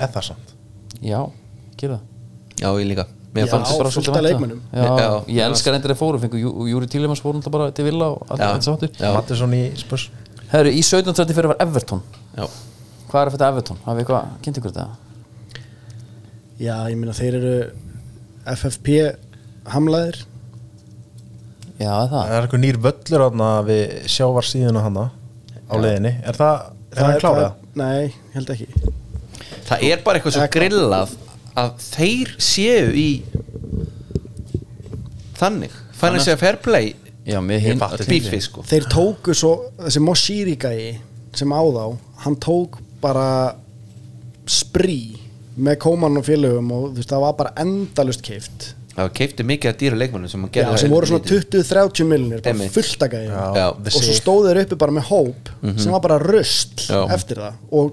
Speaker 5: eða það samt
Speaker 1: Já, gera það
Speaker 4: já ég líka mér
Speaker 3: Já.
Speaker 4: fannst
Speaker 1: Bara
Speaker 3: fullt
Speaker 1: svolítið
Speaker 3: af
Speaker 1: vanta.
Speaker 3: leikmönnum.
Speaker 1: Já,
Speaker 4: Já,
Speaker 1: Ég elskar endur að fóru Fengu Jú- Júri Tílimans fórum þetta bara til Villa og allt
Speaker 4: Já.
Speaker 1: þetta sáttur
Speaker 4: Já.
Speaker 5: Mattisson í spurs
Speaker 1: Herru, í 1734 var Everton
Speaker 4: já.
Speaker 1: Hvað er þetta Everton? Hafið eitthvað, kynnt ykkur þetta?
Speaker 3: já, ég meina þeir eru FFP hamlaðir
Speaker 1: Já, er það
Speaker 5: Það er eitthvað nýr völlur hann við sjávar síðuna hann á leiðinni Er það, er hann klárað?
Speaker 3: það- nei, ég held ekki
Speaker 4: það er bara eitthvað svo grillað að þeir séu í þannig þannig að fair play
Speaker 1: Já, mér hinn
Speaker 4: bífi sko
Speaker 3: þeir tóku svo þessi Moshiri gæi sem á þá hann tók bara sprí með kóman og félögum og þú veist það var bara endalust keift
Speaker 4: það keipti mikið af dýra leikmannum sem,
Speaker 3: já, sem voru svona 20-30 miljonir bara
Speaker 4: Einmitt.
Speaker 3: fullt að gæi
Speaker 5: Já,
Speaker 4: Já, Mhm.
Speaker 3: og svo stóðu þeir uppi bara með hóp sem var bara röst
Speaker 4: Já.
Speaker 3: eftir það og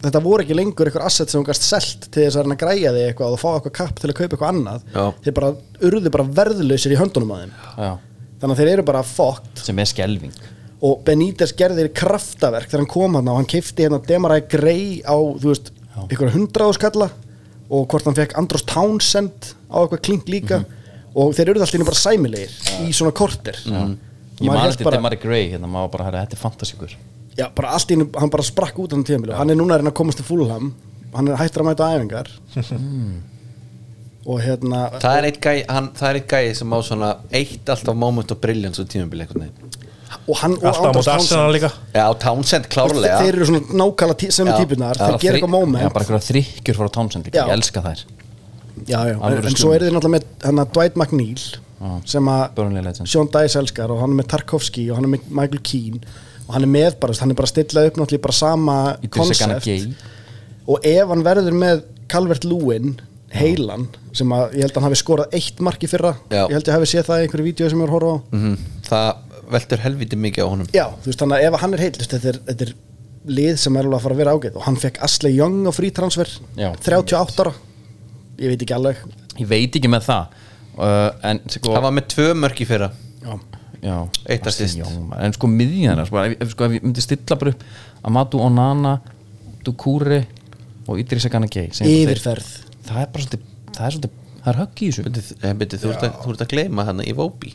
Speaker 3: þetta voru ekki lengur einhver asset sem þú gast selt til þess að reyna að græja þig eitthvað og fá eitthvað kapp til að kaupa eitthvað annað
Speaker 4: Já.
Speaker 3: þeir bara urðu bara verðlausir í höndunum að þeim
Speaker 1: Já.
Speaker 3: þannig að þeir eru bara fucked
Speaker 1: sem er skelving
Speaker 3: og Benítez gerðir kraftaverk þegar hann kom hann og hann keifti hérna Demarai Grey á, þú veist, ykkur hundraðu skalla og hvort hann fekk Andros Townsend á eitthvað klink líka og þeir eru alltaf bara sæmilegir í svona korter
Speaker 1: ég
Speaker 3: Maður
Speaker 1: man
Speaker 3: hélt
Speaker 1: þetta
Speaker 3: bara-
Speaker 1: Demari Gray hérna maður bara herra, þetta er fantasíkur
Speaker 3: Já, bara allt í hennu, hann bara sprakk út á hann tíðanbílu Hann er núna að reyna að komast til fúlham Hann er hættur að mæta á æfingar Og hérna
Speaker 4: Það er eitt gæi, hann, það er eitt gæi sem á svona eitt alltaf moment of brilliance og tímabili einhvern veginn.
Speaker 3: Og hann og
Speaker 5: Alltaf á
Speaker 3: András
Speaker 5: móti Arsenal
Speaker 3: Townsend.
Speaker 5: líka
Speaker 4: Já, Townsend
Speaker 3: Þeir
Speaker 4: klárlega.
Speaker 3: þeir eru svona nákala tí, sem
Speaker 4: Já,
Speaker 3: típunar
Speaker 4: já,
Speaker 3: Þeir gera eitthvað moment
Speaker 1: Já, bara eitthvað þrykkjur frá Townsend líka,
Speaker 3: Já.
Speaker 1: ég elska þær
Speaker 3: já, já. En,
Speaker 1: Alvöru
Speaker 3: en
Speaker 1: stuðning.
Speaker 3: svo eru þeir náttúrulega með hana, Dwight McNeil Sem að
Speaker 1: Burnley Legend
Speaker 3: Sean Dice elskar Og hann er með Tarkovsky Og hann er með Michael Keane Og hann er með bara Hann er bara að stilla upp náttúrulega í bara sama
Speaker 1: Idris Elgana
Speaker 3: konsept
Speaker 1: Gay.
Speaker 3: Og ef hann verður með Calvert Lewin heilan sem að ég held að hann hafi skorað eitt mark í fyrra
Speaker 4: Já.
Speaker 3: ég held ég hafi séð það í einhverju vídeo sem ég var að horfa á
Speaker 1: Mm.
Speaker 4: Mhm. Það veldur helviti mikið á honum.
Speaker 3: já, þú veist þannig að ef hann er heilist þetta er, þetta er lið sem er alveg að fara að vera ágætt og hann fekk Asli Young á frítransfer
Speaker 1: Já.
Speaker 3: 38 ára ég veit ekki alveg
Speaker 1: Ég veit ekki með það uh, En sko
Speaker 4: Það var með tvö mörk í fyrra.
Speaker 3: já,
Speaker 1: já,
Speaker 4: eitt
Speaker 1: Aston
Speaker 4: assist.
Speaker 1: Young, maður. En sko miðjan sko, ef, ef, sko, ef ég myndi stilla bara upp Amadou Onana, Dukure og Idris Aganagay
Speaker 3: yfirferð
Speaker 1: Það er bara svolítið Það er svolítið, það er högg í þessu
Speaker 4: Byrju, eh, byrju, þú, ert að, þú ert að gleyma hann í Vóbi.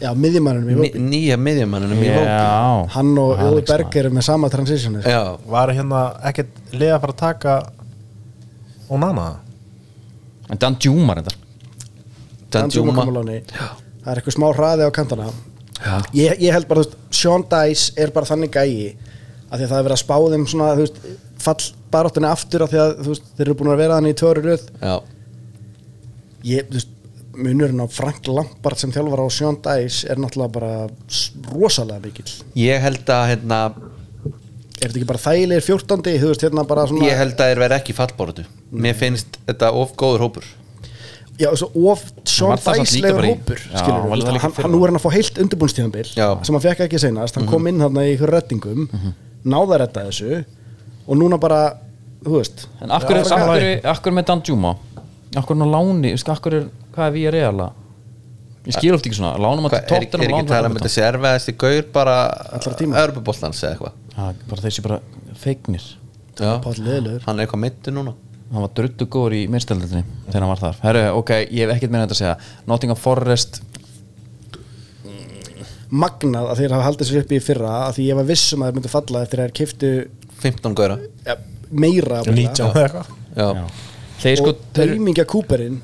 Speaker 3: já, miðjumannum í Vópi
Speaker 4: Nýja miðjumannunum í Vóbi.
Speaker 1: Já
Speaker 3: hann og
Speaker 1: Alex
Speaker 3: Jói Berg eru með sama transitionu
Speaker 4: Já.
Speaker 5: Var hérna ekkert leið að fara að taka Onana
Speaker 1: Mann. En Dan Djúmar þetta
Speaker 3: Dan Juma kom á láni. það er eitthvað smá hraði á kantana ég, ég held bara, þú veist, Sean Dice er bara þannig gæi að því að það er verið að spá þeim svona, þú veist, fall baráttunni aftur af því að, þú veist, þeir eru búin að vera þannig í tvöru röð
Speaker 4: Já.
Speaker 3: ég, þú veist, munurinn á Frank Lampard sem þjálfar á Sean Dice er náttúrulega bara s- rosalega mikill
Speaker 4: Ég held að hérna,
Speaker 3: er þetta ekki bara þægilegir 14. þú veist, hérna bara svona
Speaker 4: ég held að þeir verði ekki í fallbáratu. Mér finnst þetta of góður hópur.
Speaker 3: já, svo, of Sean
Speaker 1: Hann var það samt
Speaker 3: Dice
Speaker 1: líka
Speaker 3: legur
Speaker 1: bara í-
Speaker 3: hópur
Speaker 1: Já,
Speaker 3: skilur
Speaker 1: hann var það
Speaker 3: við,
Speaker 1: líka
Speaker 3: hann,
Speaker 1: í fyrra. Mhm.
Speaker 3: hann nú er hann að fá heilt undirbúnstíðanbil
Speaker 4: Já.
Speaker 3: sem hann fekk ekki seinast, hann kom inn hann í ykkur reddingum, mm -hmm. náða retta þessu og núna bara, þú veist
Speaker 1: En akkur,
Speaker 5: Já,
Speaker 1: er,
Speaker 5: sammála
Speaker 1: akkur, er, akkur er með Dan Djúma Akkur er hann á láni, veist, akkur er Hvað er við að reyla Ég skil oft ekki svona, lánum að
Speaker 4: Hva, er, er ekki talað um þetta sé erfiðasti gaur bara
Speaker 3: Allra tíma.
Speaker 4: Örbuboltans eða eitthvað
Speaker 1: Bara þessi bara feignir
Speaker 3: Páll Leðilegur.
Speaker 4: hann er eitthvað mittu núna
Speaker 1: hann var druttu góður í minnstældinni þegar hann var þar Herru, ok, ég hef ekkert meina þetta að segja Nottingham Forest
Speaker 3: magnað að þeir hafa haldið sér upp í fyrra að því ég var vissum að þeir myndu falla eftir að þeir keiftu
Speaker 4: 15 gaura
Speaker 3: ja, meira af þeirra.
Speaker 5: 19 eða eitthvað
Speaker 4: já.
Speaker 1: þeir sko,
Speaker 3: og
Speaker 1: þeir,
Speaker 3: taumingja Cooperinn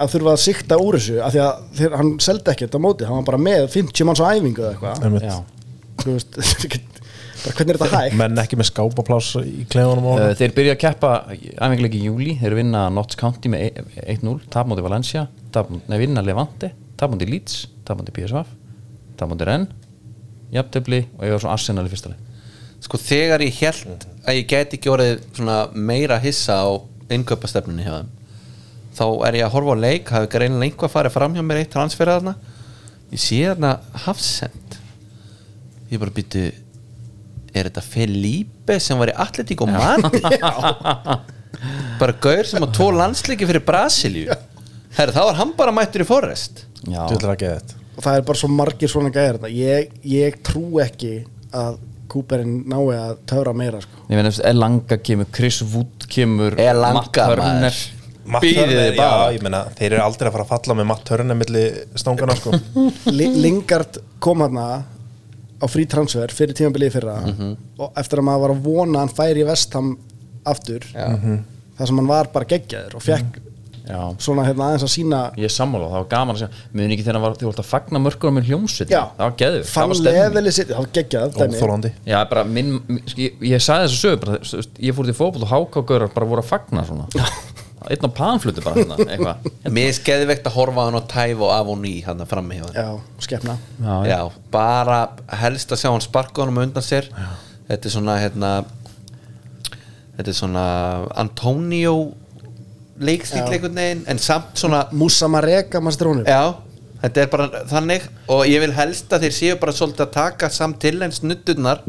Speaker 3: að þurfa að sikta úr þessu að því að þeir, hann seldi ekkert á móti hann var bara með 50 manns á æfingu eða eitthvað
Speaker 5: Einmitt.
Speaker 1: já,
Speaker 3: Þú veist, þetta er ekkert- bara hvernig er þetta hægt
Speaker 5: Menn ekki með skápapláss í klefunum á
Speaker 1: uh,
Speaker 5: honum.
Speaker 1: þeir byrja að keppa æfinglegi í júli, þeir vinna Notts County með e- 1-0, tapmóti Valencia tap, nei, vinna Levante, tapmóti Leeds tapmóti PSV, tapmóti Rennes jafntefli og ég var svona Arsenal í fyrsta leik
Speaker 4: sko þegar ég held að ég get ekki orðið svona meira hissa á innkaupastefnunni hjá þeim þá er ég að horfa á leik hafi greinilega einhvað farið fram hjá mér eitt transferið þarna ég sé þarna Hafsend ég bara býtu er þetta Felipe sem var í Atletík og Madrid bara gaur sem á tvo landsleiki fyrir Brasilíu herri þá var hann bara mættur í Forrest
Speaker 1: já,
Speaker 5: Þú ætlar að geða þetta
Speaker 3: og það er bara svo margir svona gæðir þetta ég, ég trú ekki að Cooperinn nái að töfra meira sko.
Speaker 1: ég meina, Elanga kemur, Chris Wood kemur
Speaker 4: Elanga,
Speaker 1: Matt Turner.
Speaker 4: maður.
Speaker 5: Matt
Speaker 1: býðið
Speaker 5: Turner,
Speaker 1: bara
Speaker 5: Já, ég meina, þeir eru aldrei að fara að falla með Matt Turner milli stóngana sko
Speaker 3: Li- Lingard kom hana á frí transfer fyrir tímabilið í fyrra
Speaker 1: Mhm.
Speaker 3: og eftir að maður var að vona að hann færi í vestam aftur þar sem hann var bara geggjaður og fekk
Speaker 1: Mhm. já,
Speaker 3: svona hérna aðeins að sína
Speaker 1: Ég er sammála, það var gaman að segja Muni ekki þegar það var, þið voru að fagna mörgur með hljómsveit
Speaker 3: Já.
Speaker 1: Það var geður, það
Speaker 3: fann
Speaker 1: var stemning
Speaker 3: leðili sitt, það var geggjað dæmi.
Speaker 5: Óþólandi
Speaker 1: Já, bara minn, minn- sk- ég, ég sagði þessu sögur bara, þú veist, Ég fór til fótboll og hákágaurar bara voru að fagna svona Einn á panflutu bara hérna, eitthvað
Speaker 4: Mér er skeðvegt að horfa á hann og tæfa og af og ný hann frammi hjá hann
Speaker 3: Já, skefna
Speaker 1: Já,
Speaker 4: já, bara helst að sjá hann sparka honum undan sér þetta er svona hérna, þetta er svona Antonio leikstíl einhvern veginn en samt svona
Speaker 3: Musa Mareka, maður strónum
Speaker 4: já, þetta er bara þannig og ég vil helst að þeir séu bara svolítið að taka samt til en snutturnar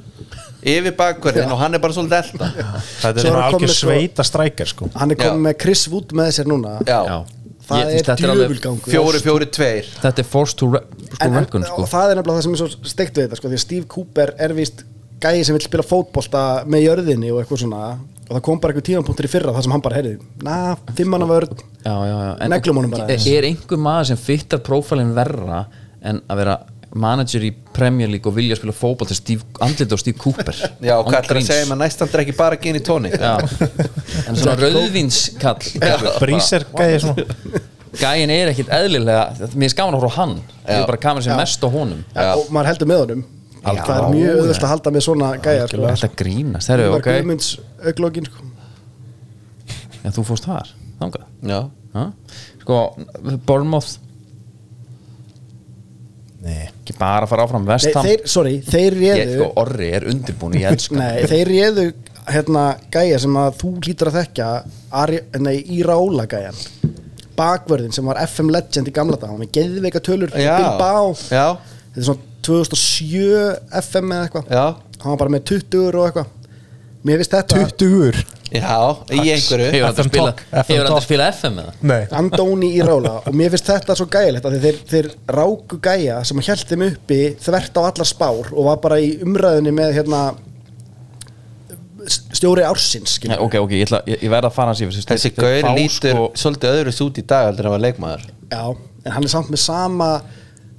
Speaker 4: yfir bakverðin og hann er bara svolítið elda
Speaker 5: Þetta er
Speaker 3: Svo er
Speaker 5: svona
Speaker 3: hann
Speaker 5: algjör
Speaker 3: kominn sko-
Speaker 5: sveita strækjar sko
Speaker 3: hann er komið
Speaker 4: Já.
Speaker 3: með Chris Wood með sér núna
Speaker 4: Já,
Speaker 1: Já.
Speaker 3: Það
Speaker 1: Ég-
Speaker 3: er
Speaker 1: þetta alveg-
Speaker 3: djöfulgangur.
Speaker 4: fjóri, fjóri, tveir
Speaker 1: Þetta er force to re- sko,
Speaker 3: en,
Speaker 1: reckon
Speaker 3: en,
Speaker 1: sko.
Speaker 3: og það er nefnilega það sem er svo steikt við þetta sko, því að Steve Cooper er víst gæi sem vil spila fótbolta með jörðinni og eitthvað svona og það kom bara eitthvað tímanpunktur í fyrra það sem hann bara heyrði na, fimmanna vörð
Speaker 1: já, já, já. En-
Speaker 3: Neglum honum bara aðeins.
Speaker 1: Er einhver maður sem fittar prófælinn verra en að vera manager í Premier League og vilja spila fótball til Steve, andlit og Steve Cooper
Speaker 4: Já,
Speaker 1: Án
Speaker 4: hvað ætlar að
Speaker 1: gríns.
Speaker 4: segja, maður næstan drekki bara gin í tónik
Speaker 1: Já. en svona rauðvinskall
Speaker 4: Ah.
Speaker 5: Bríser gæði svona
Speaker 1: gæin er ekkit eðlilega mér er gaman að horfa á hann það er bara kameran sem mest á honum
Speaker 3: og maður heldur með honum það er mjög auðvist að halda með svona gæja sko.
Speaker 1: þetta grínast, það eru
Speaker 3: var
Speaker 1: ok
Speaker 3: Guðmunds auglókin sko.
Speaker 1: en þú fórst þar, þangað
Speaker 4: Já,
Speaker 1: Ha? sko, Bournemouth
Speaker 5: Nei,
Speaker 1: ekki bara að fara áfram
Speaker 3: Nei,
Speaker 1: vestam
Speaker 3: þeir, sorry, þeir
Speaker 1: ég,
Speaker 3: réðu
Speaker 1: sko, orri er undirbúin ég elska
Speaker 3: nei, þeir réðu hérna gæja sem að þú lítur að þekka Ari, nei, Írála gæjan bakvörðin sem var FM legend í gamla dag hann var geðveika tölur
Speaker 4: Já.
Speaker 3: Bilbao
Speaker 4: Já.
Speaker 3: þetta er svona 2007 FM eða eitthvað
Speaker 4: Já.
Speaker 3: hann var bara með 20 og eitthvað mér finnst þetta
Speaker 5: 20
Speaker 4: já, í einhverju
Speaker 1: hefur hann
Speaker 5: FM
Speaker 1: spila,
Speaker 5: Talk, FM
Speaker 1: hefur hann
Speaker 5: Talk.
Speaker 1: að spila FM eða
Speaker 5: Nei
Speaker 3: Andóni í rála og mér finnst þetta svo gægilegt að þeir, þeir ráku gæja sem held þeim uppi þvert á allar spár og var bara í umræðinni með hérna stjóri ársins
Speaker 1: Nei,
Speaker 3: skilur.
Speaker 1: ok, ok, ég, ætla, ég, ég verð að fara hans yfir þessi-
Speaker 4: Þessi
Speaker 1: þeir
Speaker 4: gaur
Speaker 1: fá,
Speaker 4: lítur
Speaker 1: sko,
Speaker 4: svolítið öðru út í dag heldur en að var leikmaður
Speaker 3: Já, en hann er samt með sama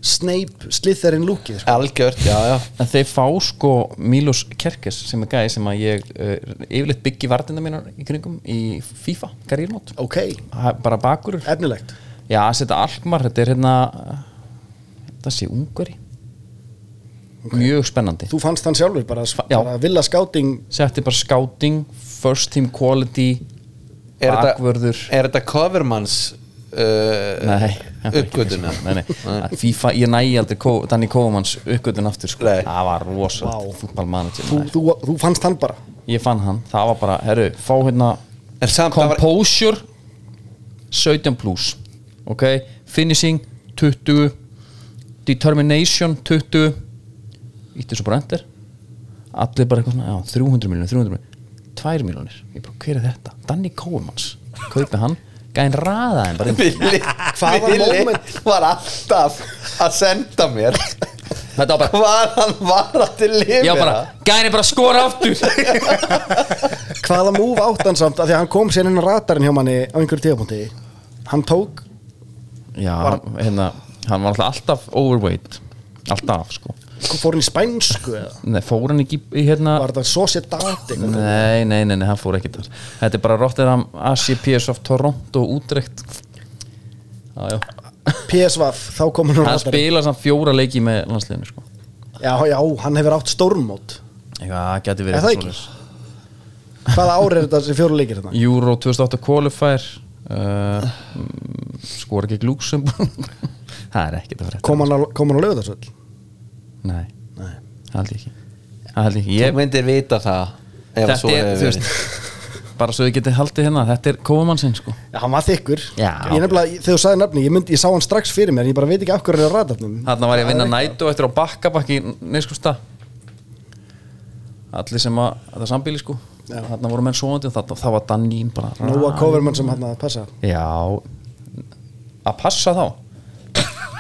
Speaker 3: Snape Slytherin lúkið sko.
Speaker 4: Algjört, já, já
Speaker 1: En þeir fá sko Milos Kerkes sem er gæði sem að ég uh, yfirleitt byggi vartina mínar í kringum í FIFA, karírmót
Speaker 3: Ok,
Speaker 1: bara bakurur
Speaker 3: efnilegt
Speaker 1: Já, þetta Alkmar, þetta er hérna þetta sé Ungari mjög spennandi
Speaker 3: Þú fannst hann sjálfur bara,
Speaker 1: Já.
Speaker 3: bara vilja skáting
Speaker 1: setti bara scouting, first team quality
Speaker 4: Er þetta-
Speaker 1: bakvörður
Speaker 4: Er þetta covermanns uh,
Speaker 1: Nei, það var ekki
Speaker 4: uppgötuna?
Speaker 1: þessi. nei, nei. Að FIFA, ég næ aldrei Kó, Danny Kófumans uppgötun aftur sko.
Speaker 4: Nei.
Speaker 1: það var rosa
Speaker 3: Vá.
Speaker 1: fútballmanager
Speaker 3: þú, þú, þú fannst hann bara
Speaker 1: ég fann hann, það var bara, herru, fá hérna
Speaker 4: En samt það var-
Speaker 1: composure 17 plus ok, finishing 20 determination 20 ítti svo bara endur allir bara eitthvað svona, já, 300 miljonir 300 miljonir, 2 miljonir ég bara, hver er þetta? Danny Kóumans kaupi hann, gæðin raða hann bara inn.
Speaker 4: Vili,
Speaker 3: Hvað var
Speaker 4: Vili
Speaker 3: moment?
Speaker 4: var alltaf að senda mér
Speaker 1: þetta var bara,
Speaker 4: Hvað hann var að til
Speaker 1: já
Speaker 4: lifið
Speaker 1: bara gæðin er bara að skora aftur
Speaker 3: hvaða múf átt hann samt af því að hann kom sér inn á ratarinn hjá manni á einhverju tíðapunkti hann tók
Speaker 1: já, hann- hérna, hann var alltaf alltaf overweight alltaf, sko
Speaker 3: fór hann í spænsku eða
Speaker 1: Nei, fór hann ekki í hérna
Speaker 3: var þetta Sociedad eitthvað?
Speaker 1: Nei, nei, nei, nei, hann fór ekki þar Þetta er bara Rotterdam, Asia, PSV, Toronto, Utrecht Já, já
Speaker 3: PSV, þá kom hann á
Speaker 1: Hann
Speaker 3: radarinn.
Speaker 1: spila samt fjóra leiki með landsliðinu sko.
Speaker 3: já, já, hann hefur átt stórmót
Speaker 1: Já, það geti verið
Speaker 3: Er það
Speaker 1: eitthvað
Speaker 3: ekki?
Speaker 1: svoleiðis.
Speaker 3: hvaða ár er þetta sem fjóru leikir þetta?
Speaker 1: Euro 2008 qualifier uh, mm, Skor ekki glúksum Það er ekkert að vera
Speaker 3: kom hann á, kom hann á lögðarsvöld?
Speaker 1: Nei,
Speaker 3: Nei.
Speaker 1: það held ég ekki Það held ég ekki
Speaker 4: Ég
Speaker 1: ég,
Speaker 4: myndir vita það ef að
Speaker 1: Þetta
Speaker 4: svo
Speaker 1: er,
Speaker 4: hefur
Speaker 1: þú
Speaker 4: verið.
Speaker 1: veist Bara svo þið getið haldið hérna Þetta er kofumann sinn sko
Speaker 3: Já, hann var þykkur
Speaker 1: Já.
Speaker 3: Ég nefnilega, þegar þú sagði nafni, ég, myndi, ég sá hann strax fyrir mér en Ég bara veit ekki af hverju hann er á radarnum
Speaker 1: Þarna var ég að vinna nætu eftir á bakkabakki Neinskusta Allir sem að, þetta er sambíli sko
Speaker 3: Já.
Speaker 1: Þarna voru menn svoandi og þarna, það var Dannín bara
Speaker 3: Nóa Coverman sem hann að passa
Speaker 1: Já Að passa þá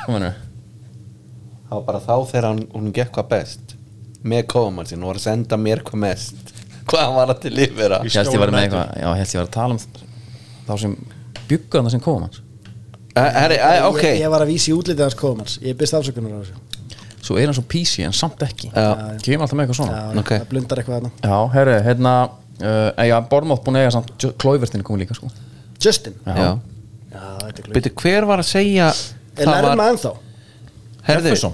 Speaker 1: Kominu
Speaker 4: Það var bara þá þegar hann, hún gekk hvað best með kofumann sinn, hún var að senda mér hvað mest hvað hann var að til lifera
Speaker 1: Ég held ég var með eitthvað Já, ég held ég var að tala um þá sem byggu hann sem kofum hans
Speaker 4: Eh, Herri, æ, ok
Speaker 3: ég, ég var að vísi í útlitið hans Covermans Ég byrst afsökunar á þessu
Speaker 1: Svo er hann svo písi en samt ekki
Speaker 4: Já.
Speaker 1: Kemur alltaf með eitthvað svona
Speaker 3: Já,
Speaker 4: Ok.
Speaker 3: Það blundar eitthvað þarna
Speaker 1: Já, herri, hérna uh, Já, Bormótt búin að eiga samt Klóivertin er komið líka sko
Speaker 3: Justin Já,
Speaker 4: Já.
Speaker 3: þetta er glögg
Speaker 4: Byrju, hver var að segja
Speaker 3: Er
Speaker 4: það
Speaker 3: lærma
Speaker 4: var,
Speaker 3: ennþá?
Speaker 4: herðu,
Speaker 1: Jefferson.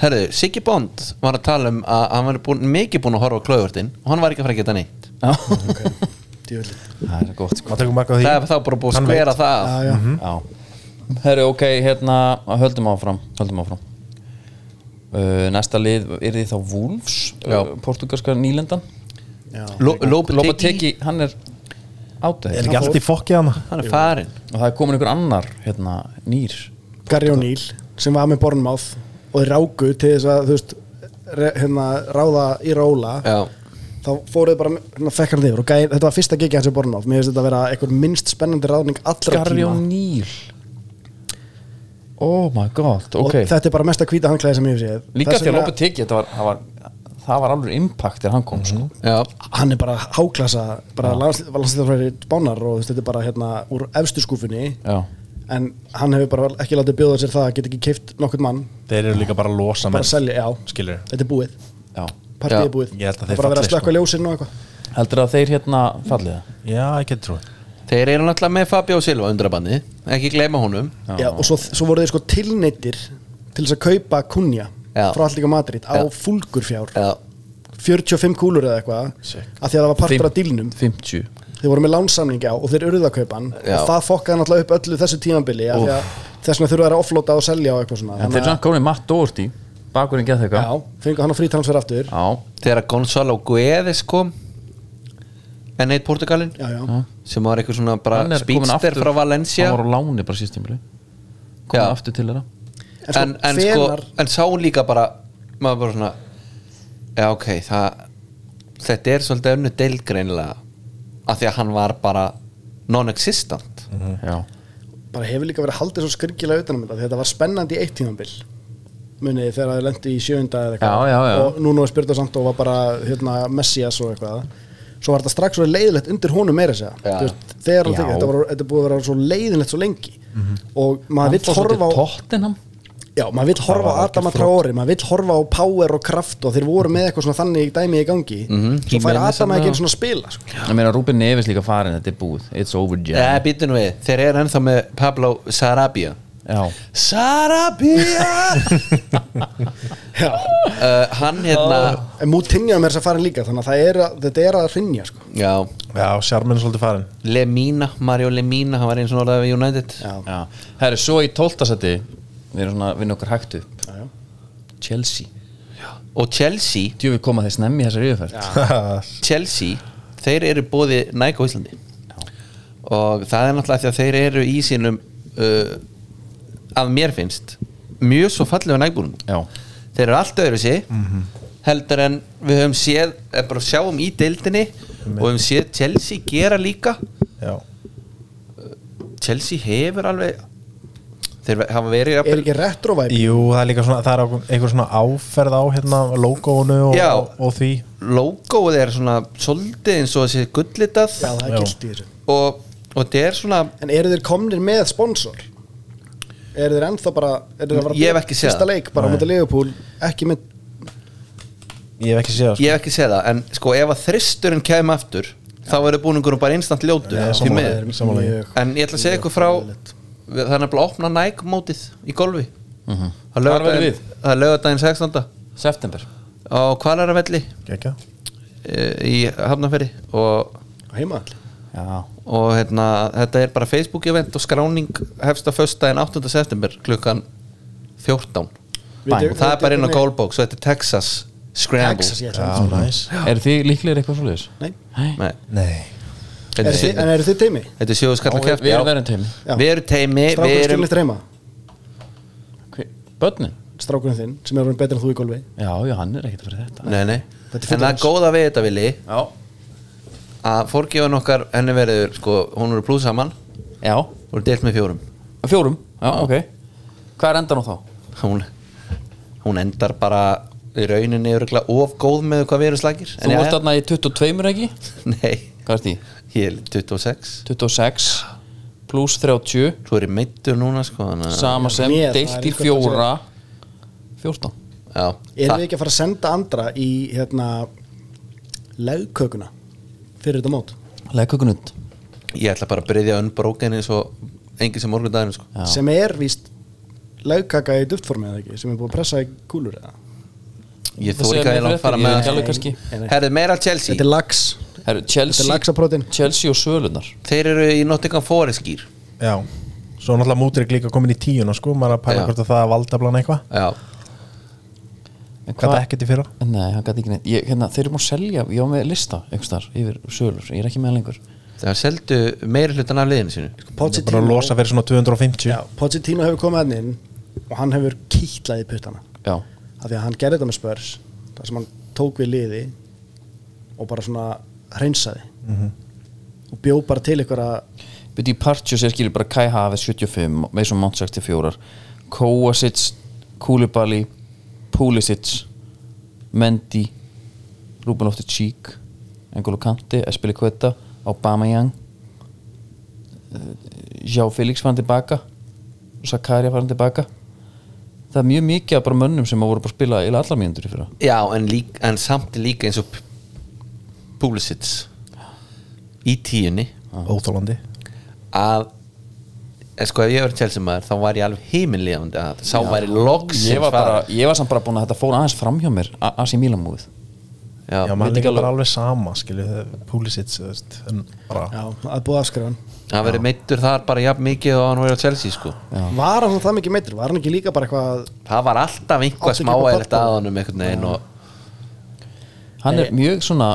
Speaker 4: herðu, Siggi Bond var að tala um að hann var búin, mikið búin að horfa á klöðvörtin og hann var ekki að fara að geta neitt
Speaker 1: Já,
Speaker 3: Djöfullinn.
Speaker 1: það er gott sko
Speaker 5: Maður tekur mark á því
Speaker 4: það er þá bara búið að
Speaker 5: Hann
Speaker 4: skvera það
Speaker 3: Já, já
Speaker 1: Já Mhm. Herru, ok, hérna, höldum áfram Höldum áfram uh, Næsta lið er því þá Wolves
Speaker 4: Já.
Speaker 1: uh, Portugalska nýlendan
Speaker 3: Já.
Speaker 4: Lópateki,
Speaker 1: Lopateki, hann er átæð
Speaker 5: Er
Speaker 1: Og
Speaker 5: ekki allt í fokkið hana?
Speaker 4: hann er farinn
Speaker 1: það er komin einhver annar, hérna, nýr
Speaker 3: Gary O'Neill sem var með Bournemouth og þeir ráku til þess að þú veist re- hérna, ráða í róla
Speaker 4: Já.
Speaker 3: þá fóruðu bara, hérna, fekk hann yfir og gæði, þetta var fyrsta gigið hans í Bornhof mér finnst þetta að vera einhver minnst spennandi ráðning allra
Speaker 1: Garjón Níl Oh my god, ok
Speaker 3: og þetta er bara mesta hvíta handklæði sem ég hef séð
Speaker 1: Líka
Speaker 3: Þess
Speaker 1: því að
Speaker 3: vegna-
Speaker 1: Lópa Tiki það var, það var, það var alveg impact þegar hann kom
Speaker 3: Mhm.
Speaker 1: sko.
Speaker 4: Já.
Speaker 3: hann er bara háklasa bara landslítafræri bánar og þú veist, þetta er bara hérna úr efstu skúfunni
Speaker 1: Já,
Speaker 3: en hann hefur bara ekki látið bjóða sér það að geta ekki keift nokkurn mann
Speaker 5: Þeir eru líka bara að losa
Speaker 3: bara að selja, já,
Speaker 5: Skilur.
Speaker 3: þetta er búið
Speaker 1: já
Speaker 3: partíð
Speaker 4: Já,
Speaker 3: er búið,
Speaker 5: ég held að
Speaker 3: Það er
Speaker 5: þeir
Speaker 3: bara að vera að
Speaker 5: falli,
Speaker 3: slökka ljósinn og eitthvað
Speaker 1: Heldur að þeir hérna fallið það?
Speaker 5: Já, ég getur trúið
Speaker 4: Þeir eru náttúrulega með Fabio Silva undrabanni Ekki gleyma honum
Speaker 3: já, og svo, svo voru þeir sko tilneittir til þess að kaupa kunja
Speaker 4: Já.
Speaker 3: frá Allíka Madrid á
Speaker 4: Já.
Speaker 3: fúlgurfjár
Speaker 4: Já.
Speaker 3: 45 kúlur eða eitthvað af því að það var partur af dílnum
Speaker 1: 50
Speaker 3: þeir voru með lánsamningi á og þeir urðu að kaupa hann
Speaker 4: Já.
Speaker 3: og það fokkaði náttúrulega upp öllu þessu tímanbili af því að þess vegna þurfa þær að offlota og selja og eitthvað svona
Speaker 1: En þeir eru samt komið Matt Doherty Bakurinn geð þeirka
Speaker 3: já, fengu hann á frítransfer aftur já,
Speaker 1: já
Speaker 4: Þegar Gonzalo Guedes kom En eitt Portugalin
Speaker 3: já,
Speaker 4: Sem var eitthvað svona bara
Speaker 1: Hann er kominn
Speaker 4: spýtster
Speaker 1: aftur-
Speaker 4: frá Valencia
Speaker 1: Hann var á láni bara sístímili
Speaker 4: Já.
Speaker 1: Komið aftur til þeirra
Speaker 4: en, en, sko,
Speaker 3: hvenar-
Speaker 4: en sá líka bara maður bara svona já ok, það þetta er svolítið önnu deilgreinlega af því að hann var bara non-existent
Speaker 1: Já
Speaker 3: bara hefur líka verið haldið svo skringilega utanum þetta því þetta var spennandi í eitt tímanbil munið þið, þegar það lendi í sjöunda eða eitthvað
Speaker 1: Já, já, já.
Speaker 3: og núna var spyrtað samt og var bara hérna, Messias og eitthvað svo var þetta strax svo leiðilegt undir honum meira að segja
Speaker 4: Já.
Speaker 3: Þú veist, þegar hann
Speaker 1: Já. Mhm.
Speaker 3: tekið, þetta, var, þetta er búið að vera svo leiðilegt svo lengi og maður
Speaker 1: Hann
Speaker 3: vill
Speaker 1: fór svo til
Speaker 3: horfa á
Speaker 1: Tottenham
Speaker 3: Já, maður vill horfa á Adama Traori, maður vill horfa á Power og Kraft og þeir voru með eitthvað svona þannig dæmi í gangi svo fær
Speaker 1: Jimenez
Speaker 3: Adama
Speaker 1: Mhm. þarna.
Speaker 3: ekki einu svona að spila sko.
Speaker 1: Ég meina Rúben Neves líka farin Þetta er búið It's over
Speaker 4: eða
Speaker 1: Jen
Speaker 4: býtum við, þeir eru ennþá með Pablo Sarabia
Speaker 1: Já
Speaker 4: Sarabia uh, hann hérna
Speaker 3: En Moutinho er með þess að fara líka, þannig að það er að, þetta er að rinja sko.
Speaker 4: já,
Speaker 5: Já, sjarminn er svolítið farin
Speaker 4: Lemina, Mario Lemina hann var eins og orðað við United
Speaker 3: Já.
Speaker 1: Já Herri, svo í tóltasæti Við erum svona að vinna okkur hægt upp
Speaker 3: Já, já.
Speaker 1: Chelsea
Speaker 4: og Chelsea,
Speaker 1: Djú, við koma þess nefn í þessari yfirferð
Speaker 4: Chelsea þeir eru bóði Nike á Íslandi og það er náttúrulega því að þeir eru í sínum uh, að mér finnst mjög svo fallega nægbúrum
Speaker 1: Já
Speaker 4: þeir eru allt öðru sig heldur en við höfum séð eh, bara sjáum í deildinni og höfum séð Chelsea gera líka
Speaker 5: Já,
Speaker 4: Chelsea hefur alveg þeir hafa verið
Speaker 3: Er
Speaker 4: jafnvel-
Speaker 3: ekki retrovæp?
Speaker 5: jú, það er líka svona Það er ákveð- einhver svona áferð á hérna logoinu og,
Speaker 4: Já.
Speaker 5: og, og því
Speaker 4: logoið er svona svolítið eins og þessi gullitað
Speaker 3: Já, það er
Speaker 5: Já.
Speaker 3: gilt í þessu
Speaker 4: og, og þetta er svona
Speaker 3: En eru þeir komnir með sponsor? Eru þeir ennþá bara eru þeir að fara að
Speaker 4: Ég hef
Speaker 3: byrja
Speaker 4: ekki séð
Speaker 3: Fyrsta
Speaker 4: það.
Speaker 3: leik bara á
Speaker 5: Nei.
Speaker 3: mútið Leopold Ekki með
Speaker 5: Ég hef ekki séð það sko.
Speaker 4: ég hef ekki segið það, en sko ef að þristurinn kæmi aftur, þá verður búningunum bara instant ljótur,
Speaker 5: Já,
Speaker 4: því
Speaker 5: sammála
Speaker 4: miður
Speaker 5: þér. sammála
Speaker 4: en ég ætla að segja ykkur frá það er nefnilega að opna Nike mótið í golfi það
Speaker 1: Mhm. Hvar verður við?
Speaker 4: er lögadaginn 16.
Speaker 1: September
Speaker 4: á Kvalaravelli
Speaker 5: Gekka.
Speaker 4: e, í Hafnarferði og,
Speaker 3: á heimaðall
Speaker 1: Já
Speaker 4: og hérna, þetta er bara Facebook event og skráning hefst að föstudaginn 8. september klukkan 14
Speaker 1: Bang.
Speaker 4: og það er bara inn á Goalbox og þetta er Texas Scramble
Speaker 3: Texas, ég ætla
Speaker 5: Já,
Speaker 3: að
Speaker 5: næs
Speaker 1: Er þið líklegir eitthvað svo leiðis?
Speaker 3: Nei.
Speaker 1: Nei
Speaker 4: Nei,
Speaker 5: Nei
Speaker 4: þetta
Speaker 3: Er
Speaker 4: er,
Speaker 3: þið-
Speaker 4: sjö-
Speaker 3: En eru þið teimi?
Speaker 4: þetta er sjóðu skalla
Speaker 1: Og Við
Speaker 4: kæft
Speaker 1: við erum verið teimi
Speaker 3: Já.
Speaker 4: við erum teimi við
Speaker 3: Strákurinn
Speaker 4: erum
Speaker 3: skilnið reyma
Speaker 1: Hver- Börnin?
Speaker 3: Strákurinn þinn sem er orðinn betri en þú í golfi
Speaker 1: Já, já, hann er ekkert fyrir þetta
Speaker 4: Nei, nei.
Speaker 3: Þetta er
Speaker 4: en það er
Speaker 3: fullorðins.
Speaker 4: góða við þetta vilji
Speaker 1: Já
Speaker 4: að fórgjöfun okkar henni verður sko, hún eru pluss saman
Speaker 1: Já
Speaker 4: og er deilt með fjórum
Speaker 1: Fjórum? Já, ok Hvað er endan á þá?
Speaker 4: hún, hún endar bara í rauninni örugglega of góð með hvað við erum slagir
Speaker 1: Þú varst þarna í 22 ekki?
Speaker 4: nei,
Speaker 1: Hvað ert í?
Speaker 4: ég er 26
Speaker 1: 26 pluss 30
Speaker 4: svo er ég meittur núna sko, þannig að-
Speaker 1: sama sem
Speaker 3: Mér, það
Speaker 1: deilt
Speaker 3: er
Speaker 1: í
Speaker 3: líka
Speaker 1: fjóra 14
Speaker 4: já,
Speaker 3: Erum
Speaker 4: það,
Speaker 3: við ekki að fara að senda andra í hérna Legkökuna Fyrir þetta mót
Speaker 1: Legkökunund
Speaker 4: ég ætla bara að byrja unbroken eins og engin sem morgun daginn sko.
Speaker 1: Já.
Speaker 3: Sem er víst Legkaka í duftformi eða ekki Sem er búið að pressa í kúlur eða
Speaker 4: ég
Speaker 1: segir
Speaker 4: þóri
Speaker 1: mér
Speaker 4: ekki að ég langt
Speaker 1: fréttir,
Speaker 4: fara
Speaker 1: ég er ekki
Speaker 4: með
Speaker 1: alveg kannski-
Speaker 4: herðu meira Chelsea
Speaker 3: Þetta er lax
Speaker 1: Herru,
Speaker 3: Þetta er laxaprótein.
Speaker 1: Chelsea, Chelsea og Sölunar
Speaker 4: þeir eru í Nottingham Forest skýr
Speaker 5: Já Svo er náttúrulega mútrygg líka komin í tíuna sko Maður er að
Speaker 4: Já.
Speaker 5: pæla hvort að það valda blana eitthvað
Speaker 4: já,
Speaker 1: En
Speaker 5: Hvað
Speaker 1: hvað-
Speaker 5: það ekkert í fyrra
Speaker 1: Nei, hann gæti ekki neitt ég, hérna, Þeir eru múið að selja, ég á með lista einhvers þar yfir Sölur, ég er ekki með hann lengur
Speaker 4: það seldu meiri hlutan af liðinu sinu
Speaker 5: Það er bara að losa fyrir svona 250
Speaker 3: Já, Pochettino hefur komið hann inn og hann hefur kýtlað í puttana
Speaker 1: Já,
Speaker 3: af því að hann gerði þetta með spörs þar sem hann tók við liði og bara svona hreinsaði
Speaker 4: Mhm.
Speaker 3: og bjó bara til einhverja
Speaker 1: Byrju í Partjós er skilur bara Kai Havertz 75, Mason Mount 64 Kovacic, Koulibaly Pulisic Mendy Ruben Loftus Cheek Engolo Kante, Espili Kveta Obama Young eh, Já Felix fann tilbaka Zakaria fann tilbaka Það er mjög mikið af bara mönnum sem að voru bara að spila eða allar mínundur í fyrra
Speaker 4: Já, en, lík, en samt líka eins og P- Pulisic í tíunni
Speaker 5: Óþólandi
Speaker 4: að en sko ef ég verið Chelsea maður þá var ég alveg heiminlíðandi að sá væri loksins
Speaker 1: Ég var, bara,
Speaker 4: farinn.
Speaker 1: ég var samt bara búin að þetta fór aðeins fram hjá mér a- Asi Mílamúið
Speaker 4: Já,
Speaker 5: Já, maður
Speaker 1: veit ekki
Speaker 5: líka
Speaker 1: alveg.
Speaker 5: bara alveg sama, skilju, púlisits, þú veist, en bara,
Speaker 3: Já, að búið afskrifa hann
Speaker 4: hann verið meittur þar bara jafn mikið og hann verið á Chelsea sko
Speaker 3: Var hann það mikið meitur? Var hann ekki líka bara eitthvað
Speaker 4: það var alltaf
Speaker 3: Átti
Speaker 4: einhvað
Speaker 3: ekki
Speaker 4: smáæðilegt
Speaker 3: upp á
Speaker 4: að
Speaker 3: pallborðið.
Speaker 4: honum einhvern veginn og
Speaker 1: hann
Speaker 3: Eh,
Speaker 1: er mjög svona,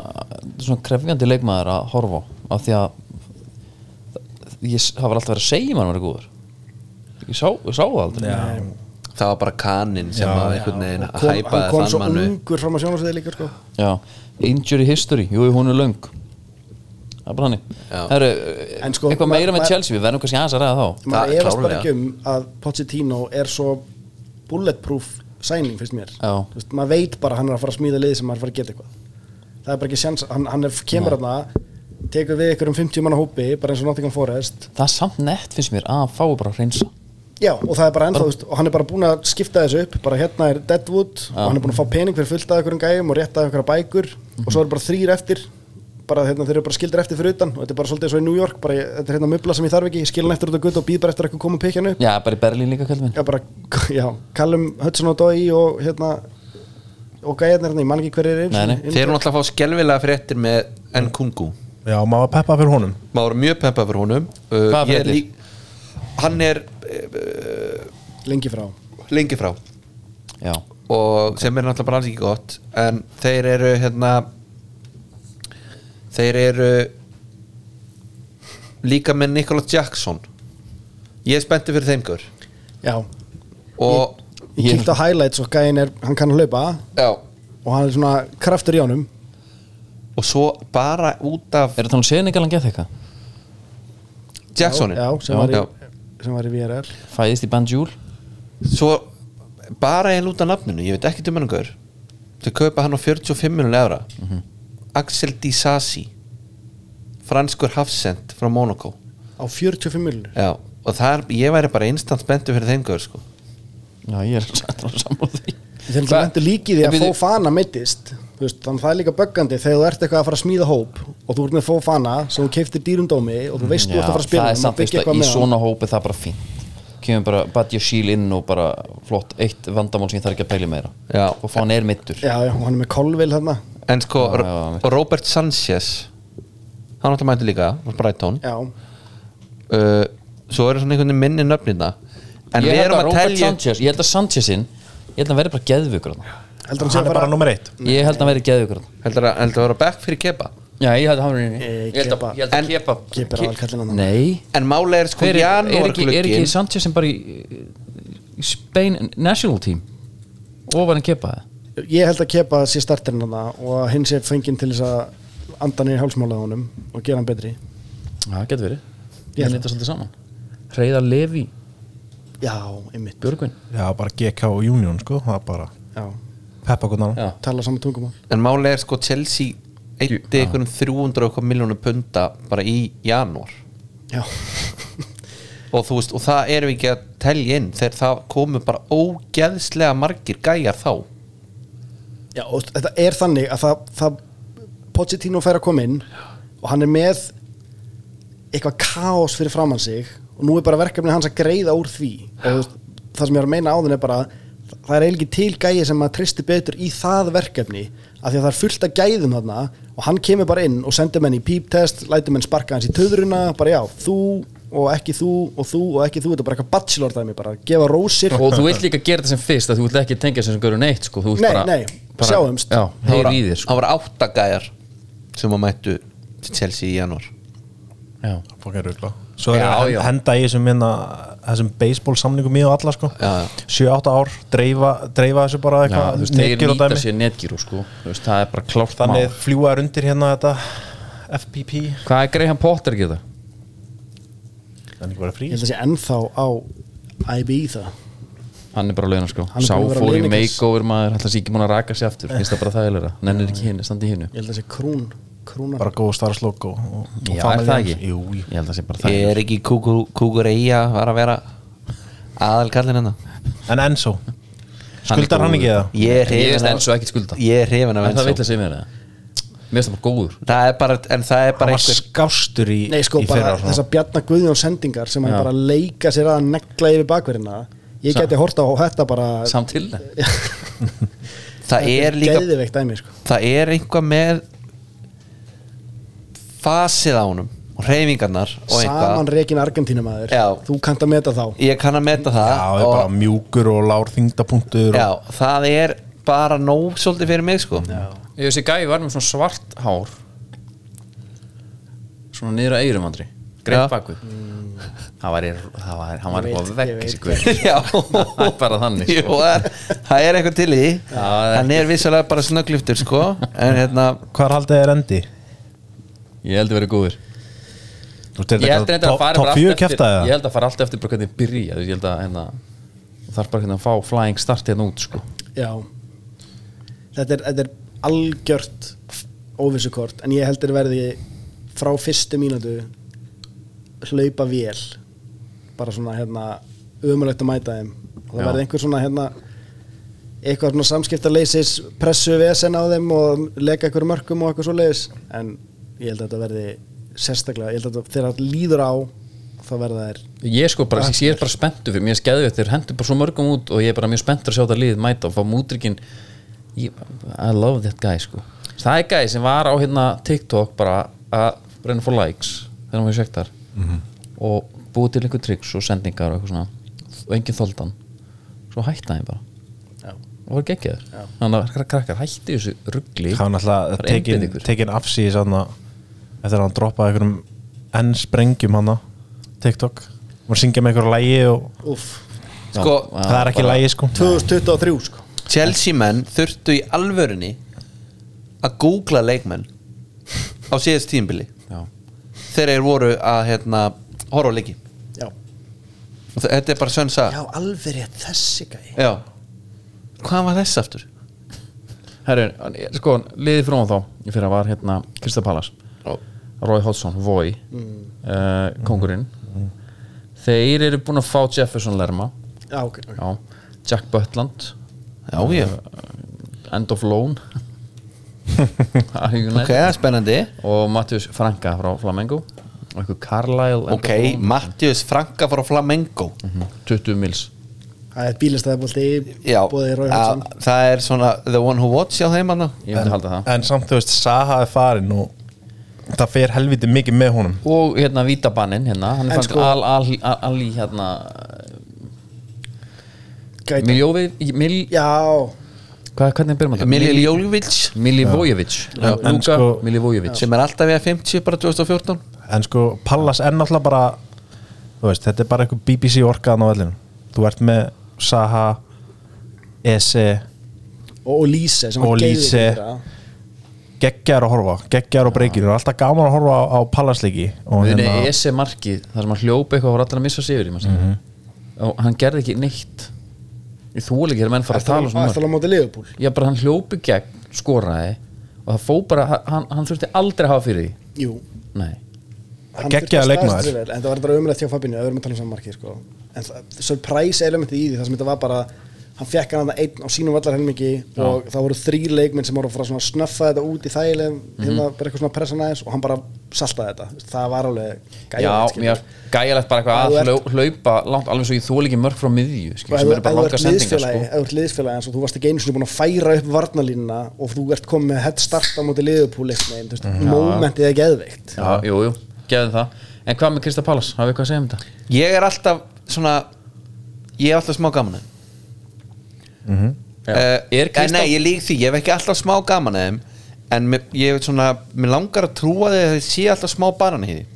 Speaker 1: svona krefjandi leikmaður að horfa á af því að ég s- það var alltaf verið að segja mann verið góður ég sá, ég sá það aldrei
Speaker 5: já,
Speaker 4: það var bara kaninn sem
Speaker 5: Já,
Speaker 4: að einhvern veginn
Speaker 3: Kom- Hann
Speaker 4: hæpaði
Speaker 3: kom svo
Speaker 4: þann mannu
Speaker 3: ungur fram á sjónarsviði líka sko.
Speaker 1: já, injury history, jú hún er löng það er bara hannig
Speaker 4: Já.
Speaker 1: Heru,
Speaker 3: En sko,
Speaker 1: eitthvað
Speaker 3: ma-
Speaker 1: meira með
Speaker 3: ma-
Speaker 1: Chelsea, við verðum kannski aðeins að ræða þá
Speaker 3: Maður
Speaker 4: er
Speaker 3: efast bara
Speaker 4: klárlega.
Speaker 3: ekki um að Pochettino er svo bulletproof sæning finnst mér
Speaker 1: Já.
Speaker 3: Þú veist, Maður veit bara að hann er að fara að smíða liði sem hann er að fara að geta eitthvað Það er bara ekki sjans Hann, hann er, kemur þarna tekur við ykkur um 50 manna hópi bara eins og Nottingham Forest
Speaker 1: það er samt nett finnst mér að hann fái bara að hreinsa
Speaker 3: Já, og það er bara ennþá, þú veist, og hann er bara búin að skipta þessu upp bara hérna er Deadwood og hann er búin að fá pening fyrir fullt af einhverjum gæjum og rétta einhverja bækur og svo eru bara þrýr eftir bara hérna, þeir eru bara skildir eftir fyrir utan og þetta er bara svolítið eins og í New York, bara ég- þetta er hérna mubla sem ég þarf ekki, ég skil hann eftir út á gutt og býð bara eftir að eitthvað koma og pikja hann upp
Speaker 1: já, bara í Berlín líka kallum minn
Speaker 3: Já, bara, já, Callum Hudson og Dói og hérna og gæjarnir hérna, ég man ekki hver er einu
Speaker 1: Nei, nei.
Speaker 3: sinni.
Speaker 4: þeir eru náttúrulega að fá skelvilega fréttir með Nkunku
Speaker 5: já, maður var peppað fyrir honum
Speaker 4: maður var mjög peppað fyrir honum Uh,
Speaker 1: Hvaða
Speaker 4: ég er
Speaker 1: fréttir?
Speaker 4: lík- hann er uh,
Speaker 3: lengi frá
Speaker 4: lengi frá
Speaker 1: já,
Speaker 4: og sem er náttúrulega bara alls ekki gott en þeir eru hérna þeir eru líka með Nikola Jackson ég er spennti fyrir þeim gaur
Speaker 3: Já,
Speaker 4: og
Speaker 3: ég
Speaker 1: Ég-
Speaker 3: kíkti á highlights og gæjin er, hann kann að hlaupa
Speaker 4: já
Speaker 3: og hann er svona kraftur í honum
Speaker 4: og svo bara út af
Speaker 1: er það þannig seningalan gett eitthvað
Speaker 4: Jacksonin
Speaker 3: Já, sem var í, sem var í VRL
Speaker 1: fæðist í Banjúl
Speaker 4: svo bara ég lúta nafninu, ég veit ekki um hann gaur þau kaupa hann á 45 miljón evra
Speaker 1: Mhm.
Speaker 4: Axel Di Sassi franskur hafsend frá Monaco
Speaker 3: á 45 miljonur
Speaker 4: Já, og þar, ég væri bara instant spenntu fyrir þeim gaur sko
Speaker 1: já, ég er sammála því
Speaker 3: þeir eru vendur líkið í að fó fana meittist veist, þannig að það er líka böggandi þegar þú ert eitthvað að fara að smíða hóp og þú ert með fó fana sem þú keiftir dýrundómi og þú veist þú ert að fara að spila
Speaker 1: það er
Speaker 3: honum og
Speaker 1: samt
Speaker 3: byggja
Speaker 1: veist
Speaker 3: eitthvað
Speaker 1: að í
Speaker 3: með
Speaker 1: svona hópi það er bara fínt kemur bara Badja Shield inn og bara flott eitt vandamál sem ég þarf ekki að pæli meira
Speaker 4: Já.
Speaker 1: og fá hann er mittur
Speaker 3: hann. já, já, og hann er með kolvil þarna
Speaker 4: En sko,
Speaker 1: Já,
Speaker 4: já,
Speaker 1: já, mitt.
Speaker 4: Robert Sanchez Hann átti að mæta líka, frá Brighton
Speaker 3: já,
Speaker 4: uh, Svo eru svona einhvern veginn minni nöfnina En
Speaker 1: ég
Speaker 4: við
Speaker 1: held
Speaker 4: erum
Speaker 1: að
Speaker 4: að
Speaker 1: Robert
Speaker 4: telja
Speaker 1: Sanchez ég held að Sanchezinn ég held að hann verði bara geðvökur þarna.
Speaker 3: heldur hann sé
Speaker 5: Hann er
Speaker 3: að
Speaker 5: bara
Speaker 3: fara
Speaker 5: nummer eitt
Speaker 1: ég held að hann verði geðvökur þarna.
Speaker 4: Heldur að heldur að vera back fyrir kepa
Speaker 1: já ég held að hann verði
Speaker 3: Eh,
Speaker 1: ég held að- ég held að kepa
Speaker 3: keipir á allkallin hann
Speaker 1: nei
Speaker 4: En máli er sko
Speaker 1: Hver er, er, ekki, er ekki
Speaker 4: janúarglugginn
Speaker 1: Sanchez sem bara í, í Spain national team ofan en kepa það
Speaker 3: ég held að keipa sé starterinn hann og að hinn sé fenginn til þess að andan í hálsmálaða honum og gera hann betri
Speaker 1: já það getur verið
Speaker 3: Ég
Speaker 1: ég
Speaker 3: held
Speaker 1: held þetta svolítið saman Hreyðar Levi
Speaker 3: já, einmitt
Speaker 1: Björgvin
Speaker 5: Já, bara GK og Union, sko, það er bara
Speaker 3: já,
Speaker 5: peppa hvernig
Speaker 1: Já.
Speaker 5: annan
Speaker 3: tala saman tungumál
Speaker 4: En máli er sko Chelsea Eitti einhverjum 300 og eitthvað miljónu punta Bara í janúar
Speaker 3: já,
Speaker 4: og þú veist, og það erum við ekki að telja inn þegar það komu bara ógeðslega margir gæjar þá
Speaker 3: Já, og þetta er þannig að það, það Pochettino fær að koma inn og hann er með eitthvað kaos fyrir framann sig og nú er bara verkefni hans að greiða úr því og þú veist, það sem ég er að meina áðun er bara það er eiginlega ekki til gæi sem að tristi betur í það verkefni af því að það er fullt af gæðum þarna og hann kemur bara inn og sendir menn í píptest lætur menn sparka hans í töðruna bara já, þú og ekki þú og þú og ekki þú, þetta er bara eitthvað bachelor dæmi bara, gefa rósir
Speaker 1: og þú vilt líka gera þetta sem fyrst að þú vilt ekki tengja sem sem görur neitt sko. Þú vilt
Speaker 3: Nei,
Speaker 1: bara,
Speaker 3: nei,
Speaker 1: bara,
Speaker 3: sjáumst.
Speaker 1: já,
Speaker 4: það
Speaker 1: heyri
Speaker 4: voru-
Speaker 1: í þér sko.
Speaker 4: það voru átta gæjar sem að mættu til Chelsea í janúar
Speaker 1: já.
Speaker 5: Fokkar rugla Svo er
Speaker 1: Já,
Speaker 5: að
Speaker 1: já.
Speaker 5: henda í þessum minna
Speaker 2: hérna, þessum baseball samningum í og alla sko
Speaker 4: Já, já.
Speaker 2: 7-8 ár, dreifa, dreifa þessu bara
Speaker 1: Já,
Speaker 2: eitthvað
Speaker 1: þú veist, þeir
Speaker 2: netgir og
Speaker 1: nýta
Speaker 2: dæmi.
Speaker 1: sér netgíru sko Þú veist, það er bara klárt
Speaker 2: þannig
Speaker 1: mál
Speaker 2: fljúa þær undir hérna þetta FPP
Speaker 1: Hvað er Graham Potter að geta?
Speaker 2: þannig bara frí
Speaker 3: Ég held að sé ennþá á IB það
Speaker 1: Hann er bara launa sko
Speaker 3: Hann er
Speaker 1: Sá
Speaker 3: búinn að vera
Speaker 1: fór í
Speaker 3: launakess.
Speaker 1: makeover maður Alltaf sé ekki múin að raka sér aftur Finnst það bara þægilega Nennir ekki hinn, standi hinn
Speaker 3: Ég held að sé krún Krúnar
Speaker 2: bara góð starfslokk og, og, og
Speaker 1: Já, er
Speaker 2: family
Speaker 1: það
Speaker 2: hans.
Speaker 1: ekki?
Speaker 2: Jú, jú.
Speaker 1: Ég held að það sé bara
Speaker 4: Ég
Speaker 1: þægilega
Speaker 4: er ekki kúkur eiga var að vera aðal kallin hennar
Speaker 2: en Enzo,
Speaker 1: Hann er
Speaker 2: skuldar hann ekki
Speaker 1: góður.
Speaker 2: það?
Speaker 4: Ég er
Speaker 1: Ég
Speaker 4: hrifin
Speaker 1: veist enn svo ekkert skulda
Speaker 4: Ég er hrifin af
Speaker 1: En það
Speaker 4: Enzo
Speaker 1: vill að segja mér það Mér finnst það bara góður
Speaker 4: Það er bara, en það er bara
Speaker 2: hann var
Speaker 4: einhver
Speaker 2: skástur í,
Speaker 3: Nei sko
Speaker 2: í
Speaker 3: bara
Speaker 2: fyrra
Speaker 3: þessar
Speaker 2: svona.
Speaker 3: þess Bjarnar Guðjón sendingar sem hann
Speaker 1: Já.
Speaker 3: bara leika sér að negla yfir bakverðina Ég geti horta á þetta bara
Speaker 1: Samt til það
Speaker 4: Það er líka,
Speaker 3: Geðveikt dæmi sko
Speaker 4: það er einhvað með fasið á honum og hreyfingarnar og
Speaker 3: Saman
Speaker 4: einhvað
Speaker 3: rekin Argentínumæður
Speaker 4: Já.
Speaker 3: Þú kannt að meta þá
Speaker 4: Ég kann að meta
Speaker 2: já,
Speaker 4: það
Speaker 2: það er
Speaker 4: og,
Speaker 2: bara mjúkur og lár þingdapunktur og,
Speaker 4: já, það er bara nóg svolítið fyrir mig sko Já,
Speaker 1: Ég veist, gæði var með svona svart hár Svona niður að eyrum andri Greip
Speaker 4: Já.
Speaker 1: bakvið Það var, það var, hann var
Speaker 3: Ég
Speaker 1: eitthvað
Speaker 3: veit,
Speaker 1: vegg
Speaker 3: ég
Speaker 1: þessi
Speaker 3: veit.
Speaker 1: guð Það er bara þannig
Speaker 4: Jú,
Speaker 1: sko.
Speaker 4: það er- það er eitthvað til í því.
Speaker 1: það er
Speaker 4: Hann er vissulega bara snöggliftur sko En hérna,
Speaker 2: hvað er haldið er endi?
Speaker 1: Ég held að vera góður
Speaker 2: Þú veist, er
Speaker 1: Ég
Speaker 2: þetta
Speaker 1: held reyndar að
Speaker 2: eitthvað
Speaker 1: fara
Speaker 2: top- top
Speaker 1: bara
Speaker 2: 4
Speaker 1: allt eftir
Speaker 2: kæfta
Speaker 1: Ég
Speaker 2: eða?
Speaker 1: held að fara allt eftir bara hvernig byrja Þú veist, Ég held að hérna Það er bara hvernig að fá flying start hérna út sko.
Speaker 3: Já Þetta er, þetta er algjört óvissukort en ég heldur verði frá fyrstu mínútu hlaupa vél bara svona hérna umulegt að mæta þeim og það
Speaker 1: Já.
Speaker 3: verði einhver svona hérna eitthvað svona samskiptaleysis pressu vesen á þeim og leka einhver mörkum og eitthvað svo leiðis en ég held að þetta verði sérstaklega ég held að þetta- þegar það líður á þá verða þær
Speaker 1: Ég sko bara, ég er bara spenntu fyrir Mér er skeðið þeir hendur bara svo mörgum út Og ég er bara mjög spenntur að sjá það liðið mæta Og fá mútrykkin I love that guy sko Það er gæði sem var á hérna TikTok bara að reyna for likes Þegar hann var sektar mm Og búið til einhver triks og sendingar og eitthvað svona Og enginn þoldan Svo hætta hann bara
Speaker 3: já,
Speaker 1: og var geggjaður þannig að krakkar hætti þessu ruggli
Speaker 2: hann alltaf tekin, tekin afsýðis hann eftir að hann droppaði einhverjum enn sprengjum hann TikTok, hann var að syngja með einhverju lægi og
Speaker 3: uff
Speaker 4: sko,
Speaker 2: það er ekki lægi sko
Speaker 3: 2023 sko
Speaker 4: Chelsea menn þurftu í alvörunni að googla leikmenn á síðast tímbili
Speaker 1: Já.
Speaker 4: þegar þeir voru að hérna, horfa á leiki
Speaker 3: já,
Speaker 4: og þe- þetta er bara sönn saga
Speaker 3: já alveg rétt þessi gæi
Speaker 4: Já. hvað var þess aftur?
Speaker 1: Herri, hann- sko, liðið frá þá ég fyrir að var hérna Krista Pallas Roy Hodgson, Voy mm. kongurinn þeir eru búin að fá Jefferson Lerma
Speaker 3: já, ok, ok
Speaker 1: já. Jack Butland
Speaker 4: Já, já,
Speaker 1: End of Loan
Speaker 4: ok,
Speaker 1: okay.
Speaker 4: það er spennandi
Speaker 1: og Matthews Franka frá Flamengo og einhver Carlisle End of
Speaker 4: Ok,
Speaker 1: Loan.
Speaker 4: Mattius Franka frá Flamengo
Speaker 1: 20 mils
Speaker 3: Það er bílastæðabólti
Speaker 4: Já,
Speaker 3: Bóðið Rói
Speaker 4: að,
Speaker 3: Hálsson
Speaker 4: það er svona The One Who Watch á þeim hann
Speaker 1: ég myndi halda það
Speaker 2: en samt þú veist, Saha er farin og það fer helviti mikið með honum
Speaker 1: og hérna Vítabannin hérna, hann
Speaker 3: En
Speaker 1: fannst
Speaker 3: sko-
Speaker 1: sko, al, al, al, Ali hérna
Speaker 3: Gæti
Speaker 1: Miljóvi, Mil,
Speaker 3: Já,
Speaker 1: hvað, hvernig byrjum þetta?
Speaker 4: Milil Jólvits
Speaker 1: Milivojevic
Speaker 2: Já. En
Speaker 1: Luka
Speaker 2: sko-
Speaker 1: Milivojevic
Speaker 4: sem er alltaf í að 50 bara 2014
Speaker 2: en sko, Pallas er náttúrulega bara þú veist, þetta er bara einhver BBC orkaðan á vellinu þú ert með Saha Ese,
Speaker 3: og, og Lýse sem
Speaker 2: Og
Speaker 3: var
Speaker 2: Lýse.
Speaker 3: geðveikur í fyrra.
Speaker 2: geggjar að horfa geggjar og breykir, það er alltaf gaman að horfa á, á Pallasleiki og
Speaker 1: við
Speaker 2: hérna,
Speaker 1: erum ESE markið þar sem hann hljópa eitthvað og var allir að missa sig yfir
Speaker 3: Mhm.
Speaker 1: mm -hmm. og hann gerði ekki neitt ég þúlega ekki þegar menn fara að tala um svona mörg.
Speaker 3: Ætlaðu á móti Leifupúl
Speaker 1: já bara hann hljópi gegn skoraði og það fó bara, hann, hann þurfti aldrei að hafa fyrir því
Speaker 3: Jú
Speaker 1: nei,
Speaker 3: hann
Speaker 2: Geggjaður
Speaker 3: þurfti að
Speaker 2: leikmaður.
Speaker 3: staðsetja sig vel, En það var þetta umlegt hjá Fabinho Það verðum að tala um saman markið sko. En það, surprise elementið í því Það sem þetta var bara Hann fekk hann að einn á sínum vallarhelmingi Og það voru þrý leikminn sem voru að fara svona að snöffa þetta út í þægilegum Hérna bara eitthvað svona pressan aðeins Og hann bara saltaði þetta Það var alveg
Speaker 1: já,
Speaker 3: gæjalegt, skilur.
Speaker 1: mér gæjalegt bara
Speaker 3: Ef þú
Speaker 1: eitthvað að
Speaker 3: ert-
Speaker 1: hlau- hlaupa langt, alveg svo ég þúlega ekki mörg frá miðju skil,
Speaker 3: og
Speaker 1: sem
Speaker 3: ef
Speaker 1: eru bara
Speaker 3: þú ef
Speaker 1: langa
Speaker 3: þú ert
Speaker 1: sendingar
Speaker 3: liðsfélagi
Speaker 1: sko.
Speaker 3: ef þú ert liðsfélagi eins og þú varst ekki einu sinni búin að færa upp varnalínuna og þú ert komið með head start á móti liðupúli
Speaker 1: Mhm.
Speaker 3: momentið er geðveikt
Speaker 1: Já, jú, jú, gefðu það En hvað með Krista Pallas, hafið eitthvað að segja um þetta?
Speaker 4: ég er alltaf svona ég er alltaf smá gaman að þeim uh,
Speaker 1: er
Speaker 4: eh,
Speaker 1: Krista
Speaker 4: nei, ég lík því, ég hef ekki alltaf smá gaman að þeim en mér, ég er svona mér langar að trúa því að þið sé alltaf smá banan í því
Speaker 1: ég,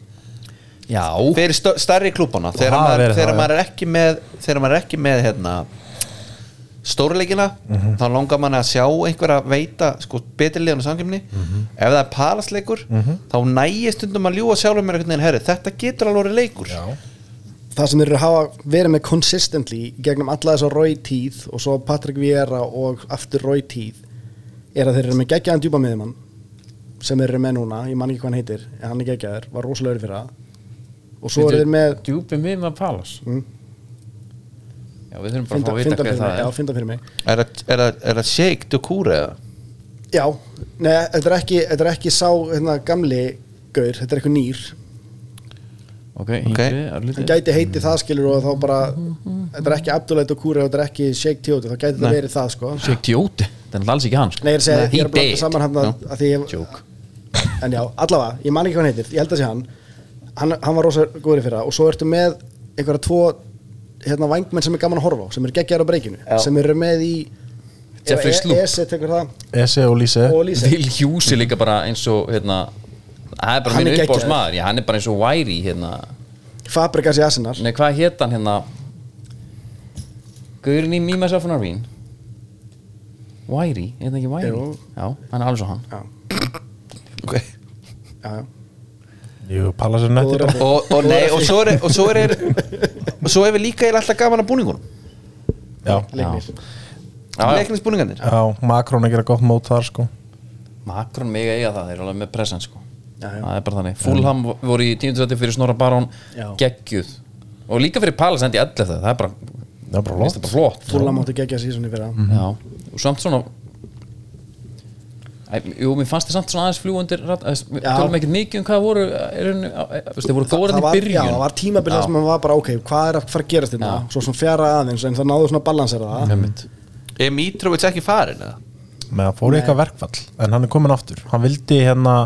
Speaker 1: Já,
Speaker 4: fyrir stö- stærri klúbana þegar,
Speaker 5: hafa
Speaker 4: maður,
Speaker 5: verið
Speaker 4: þegar,
Speaker 5: það,
Speaker 4: maður er ekki með, þegar maður er ekki með hérna, stórleikina þá langar mann að sjá einhverja veita sko, betri liðan og samkjöfni ef það er palasleikur þá nægir stundum að ljúga sjálfum mér einhvern veginn herri þetta getur alveg orðið leikur
Speaker 3: það sem þeir eru að hafa verið með consistently í gegnum alla þessa Roy tíð og svo Patrick Vieira og aftur Roy tíð er að þeir eru með geggjaðan djúpa miðjumann sem þeir eru með núna, ég man ekki hvað hann heitir en hann er geggjaður, var rosalega fyrir það og svo eru þeir með Mm.
Speaker 2: djúpi mið með Palas
Speaker 1: um já við þurfum bara að fá
Speaker 3: finda,
Speaker 1: að vita
Speaker 3: finda
Speaker 1: hvað
Speaker 3: fyrir mig,
Speaker 1: það
Speaker 3: já,
Speaker 1: er
Speaker 3: finda fyrir mig
Speaker 4: er það- er það- er það shake to kúra eða
Speaker 3: já, neða, þetta er ekki, þetta er ekki sá hérna, gamli gaur, þetta er eitthvað nýr
Speaker 1: Ok, yngri,
Speaker 3: hann
Speaker 1: örlítið
Speaker 3: gæti heiti það skilur og þá bara þetta er ekki Abdulleit og Kúri og þetta er ekki Shake Tjóti, þá gæti þetta verið það sko
Speaker 1: Sjekk tjóti, þannig alls ekki hans
Speaker 3: Nei, ég er að segja, ég er að blanda
Speaker 1: did.
Speaker 3: saman hann að,
Speaker 1: Já.
Speaker 3: að því ég... Joke. En já, allavega, ég man ekki hvað hann heitir, ég held að sé hann Hann, hann var rosa góður í fyrra og svo ertu með einhverja tvo hérna vangmenn sem er gaman að horfa á, sem eru geggjar á breykinu sem eru með í E-
Speaker 1: Jeffrey
Speaker 3: ef-
Speaker 1: Sloop.
Speaker 3: ESE tekur það
Speaker 5: Ese og Lise
Speaker 3: og Lise
Speaker 1: Will Hughes er líka bara eins og hérna, hann er bara
Speaker 3: Hann
Speaker 1: minn
Speaker 3: er geggjaður.
Speaker 1: uppáðs maður já, hann er bara eins og Væri hérna.
Speaker 3: Fabrikas í Asinar
Speaker 1: Nei, hvað hétt hann hérna Gaurin í Me, Myself and Irene Væri, er það ekki Væri?
Speaker 3: Jú.
Speaker 1: Já, hann er alveg svo hann
Speaker 3: Já,
Speaker 4: okay.
Speaker 3: já, já
Speaker 5: Jú, Pallas er nættir
Speaker 3: Góður.
Speaker 4: og, og, nei, og svo er, og svo er, og svo er við líka eiginlega alltaf gaman að búningunum
Speaker 5: Já,
Speaker 3: Leiknir
Speaker 4: leikningsbúningarnir
Speaker 5: já, Makrón að gera gott mót þar sko
Speaker 1: Makron mig eiga það, þeir eru alveg með present sko
Speaker 3: Já, já.
Speaker 1: Það er bara þannig Fulham voru í 10. seti fyrir Snorra Barón
Speaker 3: Já.
Speaker 1: geggjuð og líka fyrir Palace endi 11 það er bara,
Speaker 5: Það er bara
Speaker 1: mér finnst það
Speaker 5: lótt
Speaker 1: bara flott
Speaker 3: Fúla máttu geggja sísunni fyrra
Speaker 1: Já, og samt svona Æ, Jú, mér fannst þið samt svona aðeins fljúandir Við
Speaker 3: Já.
Speaker 1: tölum ekkert mikið um hvað voru er, er, er, Þeir eh, voru góður
Speaker 3: það
Speaker 1: enn í
Speaker 3: var, já,
Speaker 1: byrjun
Speaker 3: það var tímabilið þar sem maður var bara ok, hvað er að fara að gerast þetta
Speaker 1: Já.
Speaker 3: svo svona fjara aðeins, en það náðu svona að balansera það
Speaker 1: Einmitt.
Speaker 4: er Mitrovic ekki farin eða
Speaker 5: með að fóru eitthvað verkfall en hann er komin aftur hann vildi hérna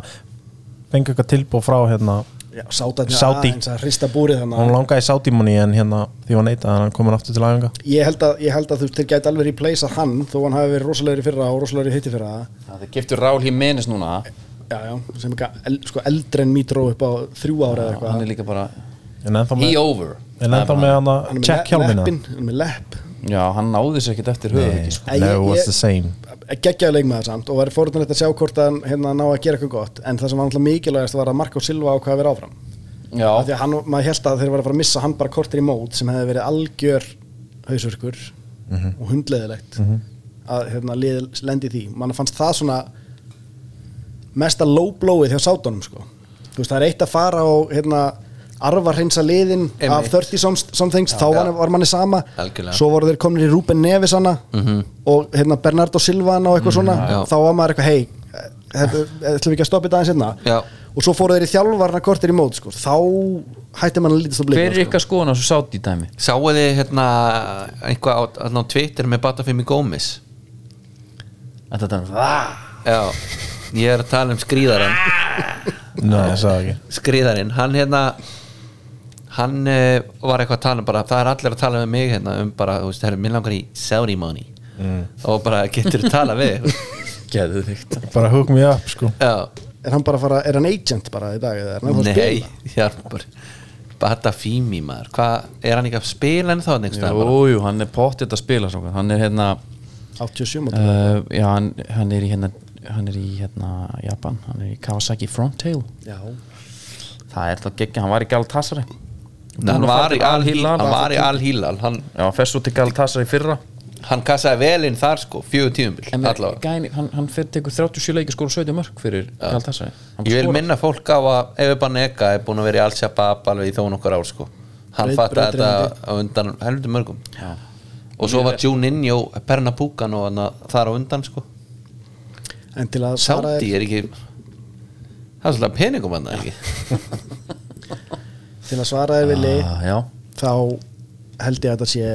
Speaker 5: fengi eitthvað tilbúð frá hérna
Speaker 3: Já, sátatni
Speaker 5: Sádi.
Speaker 3: aðeins að hrista búrið þannig
Speaker 5: hann langaði sátímunni en hérna því hann neitaði en hann er komin aftur til æfinga
Speaker 3: ég held að, ég held að þú veist, þeir gæti alveg replaceað hann þó hann hafi verið rosalegri fyrra og rosalegri hitti fyrra
Speaker 1: Já, Þeir giftu Rál Jiménez núna
Speaker 3: já, já, sem eitthvað el, sko, eldri en Mitró upp á þrjú ára eða
Speaker 1: Hann
Speaker 3: eitthvað
Speaker 1: er líka bara
Speaker 5: en ennþá
Speaker 1: He
Speaker 5: með,
Speaker 1: over
Speaker 5: en ennþá með hann
Speaker 3: Hann
Speaker 5: að
Speaker 3: er með
Speaker 5: check
Speaker 3: le-
Speaker 5: hjálmina
Speaker 3: leppinn, hann er með lepp
Speaker 1: Já, hann náði sér ekkert eftir höfuð sko.
Speaker 3: Nei,
Speaker 5: no
Speaker 3: ég-
Speaker 5: was
Speaker 3: ég-
Speaker 5: the same
Speaker 3: geggjaðu leikmaður samt og væri fórhundanlegt að sjá hvort hann hérna, ná að gera eitthvað gott en það sem var alltaf mikilvægast var að Marko Silva ákvað að vera áfram
Speaker 1: Já,
Speaker 3: af því að hann, maður held að þeir var að fara að missa hann bara kortir í mót sem hefði verið algjör hausurkur og hundleðilegt að hérna, lið, lendi í því mann fannst það svona mesta low blowið hjá sátunum sko. þú veist það er eitt að fara og hérna, arfa hreinsa liðin af 30 som, somethings, þá var, var manni sama
Speaker 4: Algjörlega. Mhm.
Speaker 3: svo voru þeir komnir í Rúben Nevis hana og hérna, Bernardo Silvan og eitthvað svona,
Speaker 4: já.
Speaker 3: þá var maður eitthvað hei, þetta ætlum við ekki að stoppa þetta aðeins hérna
Speaker 4: Já.
Speaker 3: og svo fóru þeir í þjálfarna kortir í mót sko. þá hætti mann að lítast á
Speaker 1: hver er
Speaker 3: blík
Speaker 1: ykkar skoðan á þessu sátt í dæmi?
Speaker 4: Sáu þið hérna eitthvað á, hérna á Twitter með Batafimi Gómez
Speaker 1: Þetta er það
Speaker 4: Já, ég er að tala um skrýðarinn
Speaker 5: nei, ég sagði ekki
Speaker 4: Skrýðarinn, hann hérna hann uh, var eitthvað að tala um bara, það er allir að tala um mig hérna um bara, þú veist, það er minn langar í Saudi money og bara getur þú tala við
Speaker 1: Geðvikt
Speaker 5: bara hug me up sko
Speaker 4: Já,
Speaker 3: er hann bara að fara, er hann agent bara í dag eða er hann ennþá að
Speaker 4: nei,
Speaker 3: spila?
Speaker 4: hjálpar Batafimi maður, hvað, er hann ekki að spila en þá einhvers staðar bara?
Speaker 1: Jújú, hann er pottið að spila svo. Hann er hérna
Speaker 3: 87 mót
Speaker 1: uh, Já, hann, hann er í hérna Hann er í hérna Japan Hann er í Kawasaki Frontail
Speaker 3: já,
Speaker 1: Það er þá geggja, hann var í Galatasaray
Speaker 4: Nei, Hann var í Al-Hilal Hann var í Al-Hilal, hann,
Speaker 1: Já, hann fer svo til Galatasaray í fyrra
Speaker 4: hann kassaði vel inn þar sko, fjögur tíumbil
Speaker 1: En
Speaker 4: allavega
Speaker 1: gæni, hann, hann fer tekur 37 leiki skóra 17 mörg fyrir Galatasaray Hann
Speaker 4: Ég vil
Speaker 1: skorar.
Speaker 4: minna fólk á að Efi Banega er búin að vera í Al-Shabaab alveg í þón okkur ár sko Hann
Speaker 3: Braut-
Speaker 4: fatt að
Speaker 3: brautryðjandi.
Speaker 4: þetta á undan helviti mörgum Og svo var Juninho Pernapúkan og hann þar á undan sko
Speaker 3: en til að svara
Speaker 4: Sáti
Speaker 3: þér-
Speaker 4: er ekki Það er svolítið peningum hann ekki
Speaker 3: til að svara þér villi
Speaker 1: Ah, Já,
Speaker 3: þá held ég að þetta sé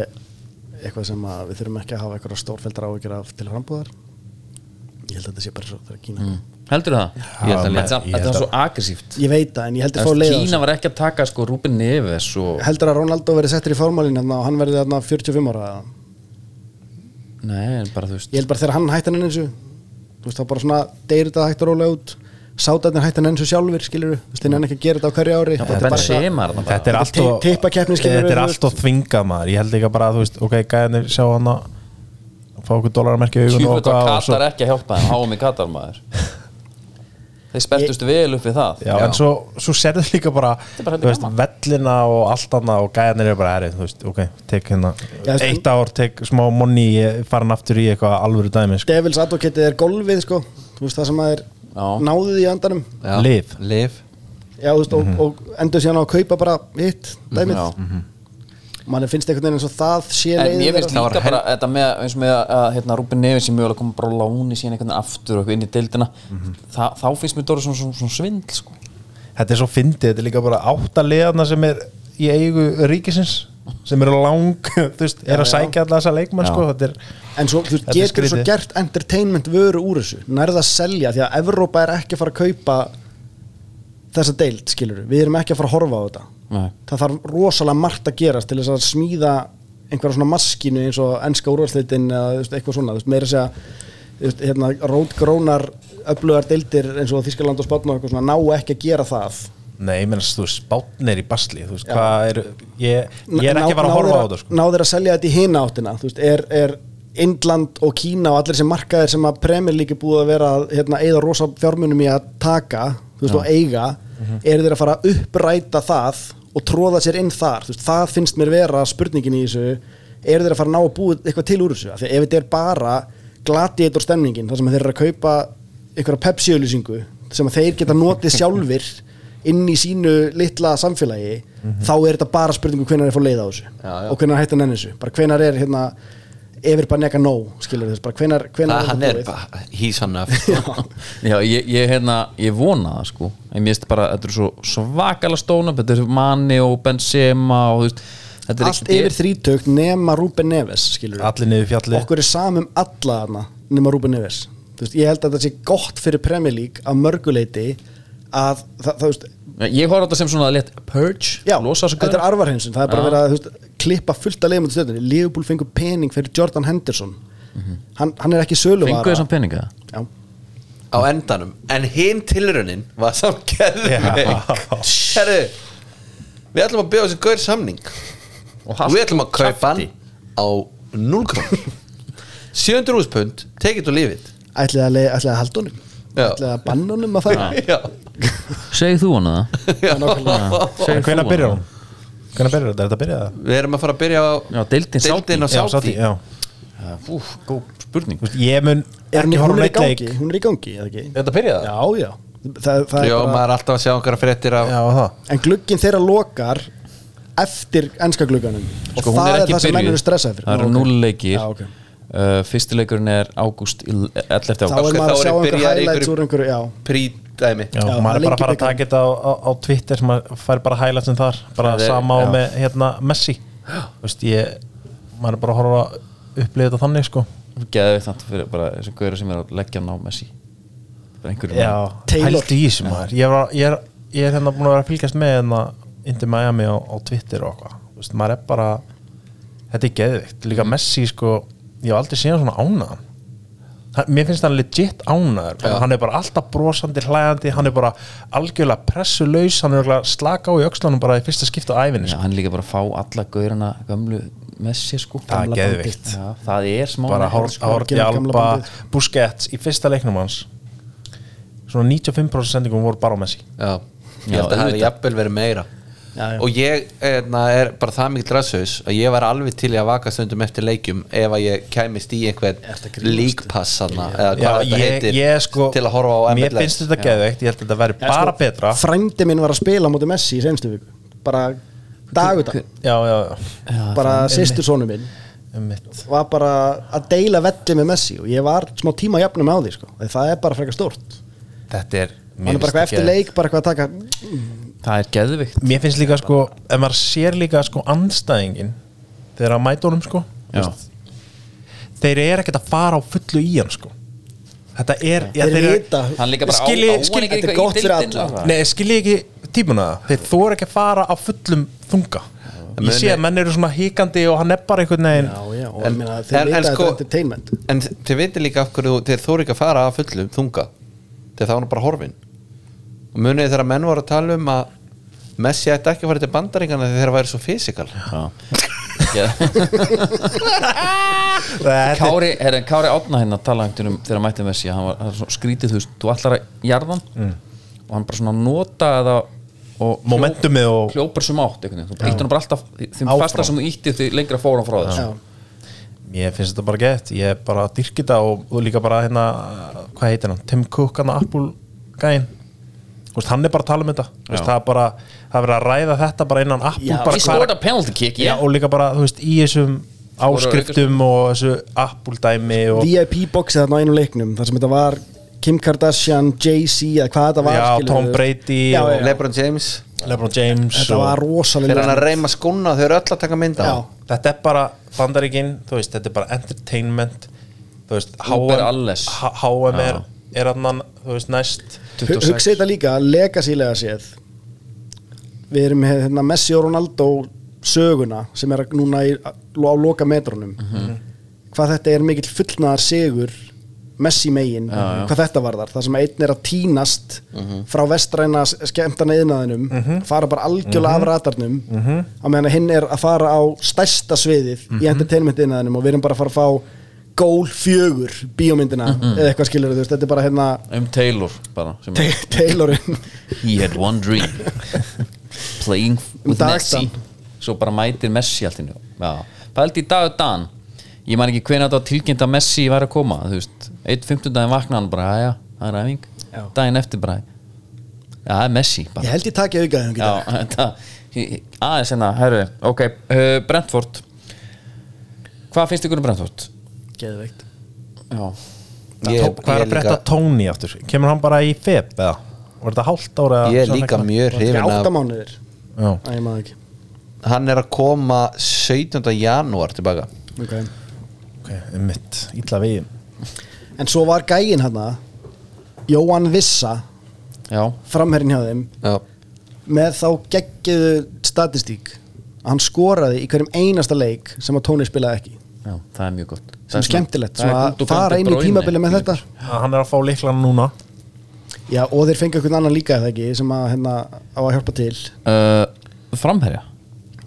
Speaker 3: eitthvað sem að við þurfum ekki að hafa eitthvað stórfældar áhyggjur af til frambúðar ég held að þetta sé bara svo það er
Speaker 1: Mm.
Speaker 3: Kína
Speaker 1: heldur það?
Speaker 4: Ég held að
Speaker 1: En
Speaker 4: leið-
Speaker 1: samt-
Speaker 5: ég
Speaker 1: Þetta
Speaker 5: held
Speaker 1: er
Speaker 5: að-
Speaker 1: svo agressíft
Speaker 3: ég veit það en ég held að fá leið á
Speaker 1: Kína
Speaker 3: þessu.
Speaker 1: var ekki að taka sko Rúben Neves og
Speaker 3: heldur að Ronaldo verið settur í formálinu þarna og hann verið þarna 45 ára eða?
Speaker 1: Nei, en bara þú veist
Speaker 3: ég held bara þegar hann hætti hann inn eins og þú veist þá bara svona deyrir þetta hægt að róla út sátarnir hættan enn svo sjálfur skilur við, þeir nenni ekki að gera þetta á hverju ári
Speaker 1: bara Benzema er þarna bara.
Speaker 2: Þetta er allt og
Speaker 3: Tippa keppni, skilur
Speaker 2: Þetta
Speaker 3: við,
Speaker 2: er
Speaker 3: þú
Speaker 2: allt og þvinga maður Ég held líka bara að þú veist Ok, gæðinni sjá hann að Fá okkur dólarmerki
Speaker 1: Tjúfut
Speaker 2: augun og
Speaker 1: og
Speaker 2: okkar og svo
Speaker 1: Katar ekki að hjálpa þeim Háum í Katar maður Þeir spertust vel upp við það
Speaker 2: Já, en svo, svo serðu líka bara
Speaker 1: er bara
Speaker 2: Þú veist,
Speaker 1: gaman.
Speaker 2: vellina og allt annað og gæðanir eru bara erið, þú veist, ok, tek hérna
Speaker 3: Já, sko-
Speaker 2: eitt ár, tek smá monni farin aftur í eitthvað alvöru dæmi sko.
Speaker 3: Devils advocate er golfið sko þú veist það sem að er
Speaker 1: Já.
Speaker 3: náðuð í andanum
Speaker 4: Já.
Speaker 2: Lyf.
Speaker 4: Lyf.
Speaker 3: já, þú veist, og, og endur síðan á að kaupa bara hitt dæmið
Speaker 1: Mhm. Já.
Speaker 3: mann finnst einhvern veginn eins og það sé
Speaker 1: En
Speaker 3: leiðin
Speaker 1: ég finnst
Speaker 3: þeirra.
Speaker 1: líka bara þetta með, eins og með að- að hérna, Rúben Neves sem mögulega kom bara á láni síðan einhvern veginn aftur og eitthvað inn í deildina Þa, þá finnst mér Dóri svona, svona, svona svindl sko.
Speaker 2: Þetta er svo fyndið, þetta er líka bara átta leðarna sem er í eigu ríkisins sem eru lang, þú veist, er að sækja alla þessa leikmann, sko, þetta er
Speaker 3: en svo, þú veist,
Speaker 2: Þetta er
Speaker 3: getur svo
Speaker 2: skrítið.
Speaker 3: gert entertainment vöru úr þessu nærða að selja því að Evrópa er ekki að fara að kaupa þessa deild skilur við erum ekki að fara að horfa á þetta
Speaker 1: Nei.
Speaker 3: það þarf rosalega margt að gerast til þess að smíða einhverja svona maskínu eins og ennska úrvalsleitin eða þú veist, eitthvað svona, þú veist, meira að segja þú veist, hérna, rótgrónar öflugar deildir eins og Þískaland og Spátn og eitthvað svona ná ekki að gera það
Speaker 2: Nei, ég menn, þú veist, spátn er í basli þú veist, hvað er, ég, ég er ekki að fara að
Speaker 3: Ná-
Speaker 2: horfa á
Speaker 3: náðir
Speaker 2: þetta, sko
Speaker 3: náðir að selja þetta í hina áttina þú veist, er, er Indland og Kína og allir sem markaðir sem að Premier League er búið að vera að, hérna, eða rosa fjármunum í að taka þú veist, og eiga,
Speaker 2: Mhm.
Speaker 3: eru þeir að fara að uppræta það og tróða sér inn þar þú veist, það finnst mér vera spurningin í þessu eru þeir að fara að ná að búið eitthvað til úr þessu Af því að ef þetta er bara gladiðitor stemningin þar sem þeir eru að kaupa einhverja pepsi-auðlýsingu sem að þeir geta notið sjálfir inn í sínu litla samfélagi þá er þetta bara spurningu hvenær er fór leið á þessu
Speaker 4: Mhm. Já, já.
Speaker 3: og hvenar hættan enn þessu bara hvenar er hérna ef er bara neka nóg skilur þess bara hvenar, hvenar
Speaker 4: Það hann er
Speaker 3: búið?
Speaker 4: bara He's enough
Speaker 1: Já, ég, ég, hérna, ég vona það sko en mér finnst bara, þetta er svo svakalega stóna þetta er Mani og Benzema og, þú veist, þetta er
Speaker 3: allt yfir þrítökt nema Rúben Neves skilur
Speaker 2: Allir niður fjalli
Speaker 3: okkur er samum alla þarna nema Rúben Neves Þú veist, ég held að þetta sé gott fyrir Premier League að mörguleiti að það, það, það,
Speaker 1: Ég horf á þetta sem svona létt purge
Speaker 3: Já,
Speaker 1: losa þessu
Speaker 3: þetta er
Speaker 1: gaur.
Speaker 3: arvarhinsun Það er bara
Speaker 1: Já.
Speaker 3: verið að þú veist, klippa fullt að leiðum út í stöðunni Liverpool fengur pening fyrir Jordan Henderson
Speaker 4: Mhm.
Speaker 3: hann, hann er ekki söluvara
Speaker 1: Fengu þessan peninga
Speaker 3: Já,
Speaker 4: Á endanum En hinn tilraunin Var samt geðveik Herru Við ætlum að bjóða þessi gaur samning
Speaker 1: Og
Speaker 4: Og
Speaker 1: hast-
Speaker 4: við ætlum að kaupa hann
Speaker 1: kjafti.
Speaker 4: Á 0 krónur 700 úspund Take it or leave it
Speaker 3: ætliði að, leið- ætliði að halda honum
Speaker 4: Já.
Speaker 3: Ætliði að banna honum að fara
Speaker 4: Já
Speaker 1: Segð þú hana það Segðu
Speaker 2: En hvenær
Speaker 1: þú
Speaker 2: byrjar
Speaker 1: hana
Speaker 2: hún? Hvenær byrjar þetta? Er þetta byrjað það?
Speaker 4: Við erum að fara að byrja á
Speaker 1: Já, deildin Sádi.
Speaker 4: Deildin á
Speaker 2: Já, Sáti,
Speaker 4: Sáti
Speaker 2: já
Speaker 1: það? Ú, góð spurning
Speaker 2: Þú veist, Ég mun
Speaker 3: Er hún, hún
Speaker 2: ekki
Speaker 3: er í
Speaker 2: horfa á neitt leik
Speaker 3: gangi, hún er í gangi eða ekki?
Speaker 4: Þetta byrjaði
Speaker 3: Já, já það, það er
Speaker 4: Já,
Speaker 3: bara,
Speaker 4: maður er alltaf að sjá einhverja fréttir af
Speaker 2: Já, það
Speaker 3: En glugginn þeirra lokar eftir enska glugganum
Speaker 1: Sko,
Speaker 3: Og
Speaker 1: hún
Speaker 3: það
Speaker 1: er
Speaker 3: er,
Speaker 1: ekki
Speaker 3: það sem menn
Speaker 1: byrjuð
Speaker 3: eru stressaði fyrir
Speaker 1: Það eru
Speaker 3: Nú, ok.
Speaker 1: núl leikir
Speaker 3: Já, ok.
Speaker 1: uh, Fyrsti leikurinn er ágúst 11.
Speaker 3: Þá
Speaker 1: ágúst
Speaker 3: er
Speaker 4: Ok,
Speaker 3: maður að
Speaker 4: þá er
Speaker 3: sjá einhver
Speaker 4: ég byrjaður í
Speaker 3: highlights
Speaker 4: einhverju-
Speaker 3: úr einhverju Já,
Speaker 4: prítæmi
Speaker 2: Já,
Speaker 3: Já,
Speaker 2: maður er bara að fara að
Speaker 3: lengi
Speaker 2: taka þetta á, á, á Twitter sem að fær bara highlights um þar bara
Speaker 1: Það er-
Speaker 2: sama
Speaker 1: já.
Speaker 2: á með hérna Messi Þú veist, ég, maður er bara að horfa að upplifa þetta þannig sko
Speaker 1: Geðið þetta fyrir bara þessum gauður sem er að leggja ná Messi Það er einhverjum
Speaker 2: Já,
Speaker 3: Taylor.
Speaker 2: hældi í þessu maður ég er, að- ég, er, ég er hérna búin að vera að fylgjast með hérna Indi Miami á, á Twitter og eitthvað Þú veist, maður er bara þetta er geðvikt,
Speaker 3: Mm.
Speaker 2: líka Messi sko ég hef aldrei séð hann svona ánaðan Hann- mér finnst hann legit ánaður bara, hann er bara alltaf brosandi, hlægandi hann er bara algjörlega pressulaus hann er örugglega að slaka á í öxlanum bara í fyrsta skipta á æfinni
Speaker 1: Já,
Speaker 2: sko.
Speaker 1: Hann er líka bara að fá alla gaurana gömlu Messi sko
Speaker 2: Það er
Speaker 1: Gamla
Speaker 2: geðveikt.
Speaker 1: bandið. Já, Það er smá
Speaker 2: bara
Speaker 1: nefn,
Speaker 2: Hor-
Speaker 1: sko.
Speaker 2: Horti
Speaker 3: gamla- gamla
Speaker 2: Alba
Speaker 3: bandið.
Speaker 2: Busquets í fyrsta leiknum hans svona 95% sendingum voru bara á Messi
Speaker 4: Já,
Speaker 1: Já,
Speaker 4: ég held að það hefði
Speaker 1: auðvitað.
Speaker 4: jafnvel verið meira og ég eðna, er bara það mikil rassus að ég var alveg til í að vaka stundum eftir leikjum ef að ég kæmist í einhvern líkpass eða hvað
Speaker 2: Já,
Speaker 4: þetta
Speaker 2: ég,
Speaker 4: heitir
Speaker 2: ég sko
Speaker 4: til að horfa á
Speaker 2: Mér
Speaker 4: MLS.
Speaker 2: finnst þetta geðveikt, ég held að þetta væri bara betra
Speaker 3: Frændi minn var að spila á móti Messi í senstu viku Bara dagudag
Speaker 2: Já, já, já,
Speaker 3: Bara sýstu sonu minn
Speaker 2: um mitt
Speaker 3: var bara að deila velli með Messi og ég var smá tíma jafnum á því sko. Því það er bara frekar stórt
Speaker 2: Þetta er
Speaker 3: hann er bara
Speaker 2: Mér
Speaker 3: eitthvað
Speaker 2: finnst
Speaker 3: eftir
Speaker 2: þetta
Speaker 3: leik bara eitthvað að taka
Speaker 1: Það er geðvikt
Speaker 2: geðveikt. Mér finnst líka sko, ef maður sér líka sko andstæðingin þegar að mæta honum sko
Speaker 1: Já.
Speaker 2: Þeir eru ekkert að fara á fullu í hann sko Þetta er já,
Speaker 3: þeir
Speaker 2: eru-
Speaker 3: vita
Speaker 1: Hann líka bara á-
Speaker 2: Skilji-
Speaker 1: á hann
Speaker 2: skilji-
Speaker 1: ekki
Speaker 3: þetta er
Speaker 1: eitthvað í
Speaker 3: gott fyrir
Speaker 1: deildinni,
Speaker 3: alla.
Speaker 1: eða?
Speaker 2: Nei, skilji ekki tímuna það Þeir þóra ekki að fara á fullum þunga Ég sé að menn eru svona híkandi og hann er bara einhvern veginn
Speaker 3: já, já, og
Speaker 4: En-
Speaker 3: en, meina,
Speaker 4: en-
Speaker 3: þeir vita
Speaker 4: en
Speaker 3: að
Speaker 4: sko-
Speaker 3: þetta er entertainment
Speaker 4: en þið veitir líka af hverju þú- þeir þóru ekki að fara að fullum þunga þegar það var nú bara horfin og munið þegar menn voru að tala um að Messi ætti ekki að fara til bandaringana þegar það væri svo fysikal
Speaker 1: Já.
Speaker 5: Þetta er-
Speaker 1: Kári, herra, Kári átna hérna talangtun um þegar hann mætti Messi hann var, hann var svona skrítið, þú veist, þú ætlar að jarðan og hann bara svona notaði það og
Speaker 2: Momentumið og-
Speaker 1: hljópar sem átt, einhvern veginn, þú ítti hann bara alltaf þeim
Speaker 2: Áfram.
Speaker 1: fastar sem þú ítti því lengra fór hann frá þessu
Speaker 2: Ég finnst þetta bara gett, ég er bara að dyrki þetta og, og líka bara hérna, hvað heitir hann, Tim Cook, hann Apple gæinn Þú veist, hann er bara að tala um þetta Þú veist, það er bara, það er verið að ræða þetta bara innan Apple
Speaker 3: Já,
Speaker 2: bara
Speaker 1: Ég
Speaker 2: hvað er-
Speaker 1: skora penalty kick,
Speaker 2: Já,
Speaker 1: já
Speaker 2: og líka bara, þú veist, í þessum áskriftum og þessu Apple dæmi og
Speaker 3: VIP boxið þarna á einum leiknum þar sem þetta var Kim Kardashian, Jay-Z eða hvað þetta var
Speaker 2: Já,
Speaker 3: skilurðu.
Speaker 2: Tom Brady
Speaker 3: já,
Speaker 2: og-
Speaker 3: já,
Speaker 4: Lebron James,
Speaker 2: LeBron James
Speaker 3: þetta
Speaker 2: og...
Speaker 3: var rosalega
Speaker 4: þegar hann að reyma skóna þau eru öll að taka mynda
Speaker 3: Já.
Speaker 2: þetta er bara bandaríkin þú veist, þetta er bara entertainment þú veist,
Speaker 1: Uber
Speaker 2: HM,
Speaker 1: alles.
Speaker 2: H- HM er,
Speaker 1: Já.
Speaker 2: er annan, þú veist, næst
Speaker 3: hugsa þetta líka, legacy-lega séð við erum með hérna, Messi og Ronaldo söguna sem er núna í, á loka metrunum hvað þetta er mikill fullnaðar sigur Messi megin, hvað þetta var þar þar sem einn er að tínast frá vestræna skemmtana yðnaðinum fara bara algjörlega af ratarnum á meðan að hinn er að fara á stærsta sviðið í entertainment yðnaðinum og við erum bara að fara að fá gól fjögur bíómyndina eða eitthvað skilur þú veist, þetta er bara hérna
Speaker 1: um Taylor bara sem er,
Speaker 3: Tay- Taylorinn
Speaker 1: he had one dream playing with
Speaker 3: dagdann.
Speaker 1: Messi svo bara mætir Messi allt innu pældi í dag og dan ég man ekki hvernig þetta var tilkynnt að Messi væri að koma þú veist, eitt fimmtudaginn vakna hann bara aðja, það er æfing daginn eftir bara já, það er Messi
Speaker 3: Ég
Speaker 1: bara
Speaker 3: held ég taki aukaðum
Speaker 1: já, þetta, aðeins hérna, herru ok, uh, Brentford hvað finnst ykkur um Brentford?
Speaker 3: Geðveikt
Speaker 1: já,
Speaker 4: ég,
Speaker 2: hvað er að bretta Tony aftur kemur hann bara í feb eða var þetta hálft ára
Speaker 4: ég er líka mjög
Speaker 3: Það er
Speaker 4: hrifin
Speaker 3: átta
Speaker 4: af
Speaker 3: mánuðir
Speaker 2: já,
Speaker 3: Æ, ég maður ekki
Speaker 4: hann er að koma 17. janúar tilbaka
Speaker 3: okay.
Speaker 2: ok, mitt, illa veginn
Speaker 3: En svo var gægin hann Jóhann Vissa
Speaker 1: já,
Speaker 3: Framherrin hjá þeim
Speaker 4: já,
Speaker 3: Með þá geggiðu statistík að Hann skoraði í hverjum einasta leik Sem að Tóni spilaði ekki
Speaker 1: já það er mjög gott
Speaker 3: Sem er skemmtilegt
Speaker 1: það er
Speaker 3: Svona
Speaker 1: Gundogan
Speaker 3: að fara inn
Speaker 1: De
Speaker 3: í
Speaker 1: Bruyne.
Speaker 3: tímabili með þetta
Speaker 2: hann er að fá líklan núna
Speaker 3: Já og þeir fengu einhvern annan líka eða ekki Sem að hérna á að hjálpa til
Speaker 1: uh, framherja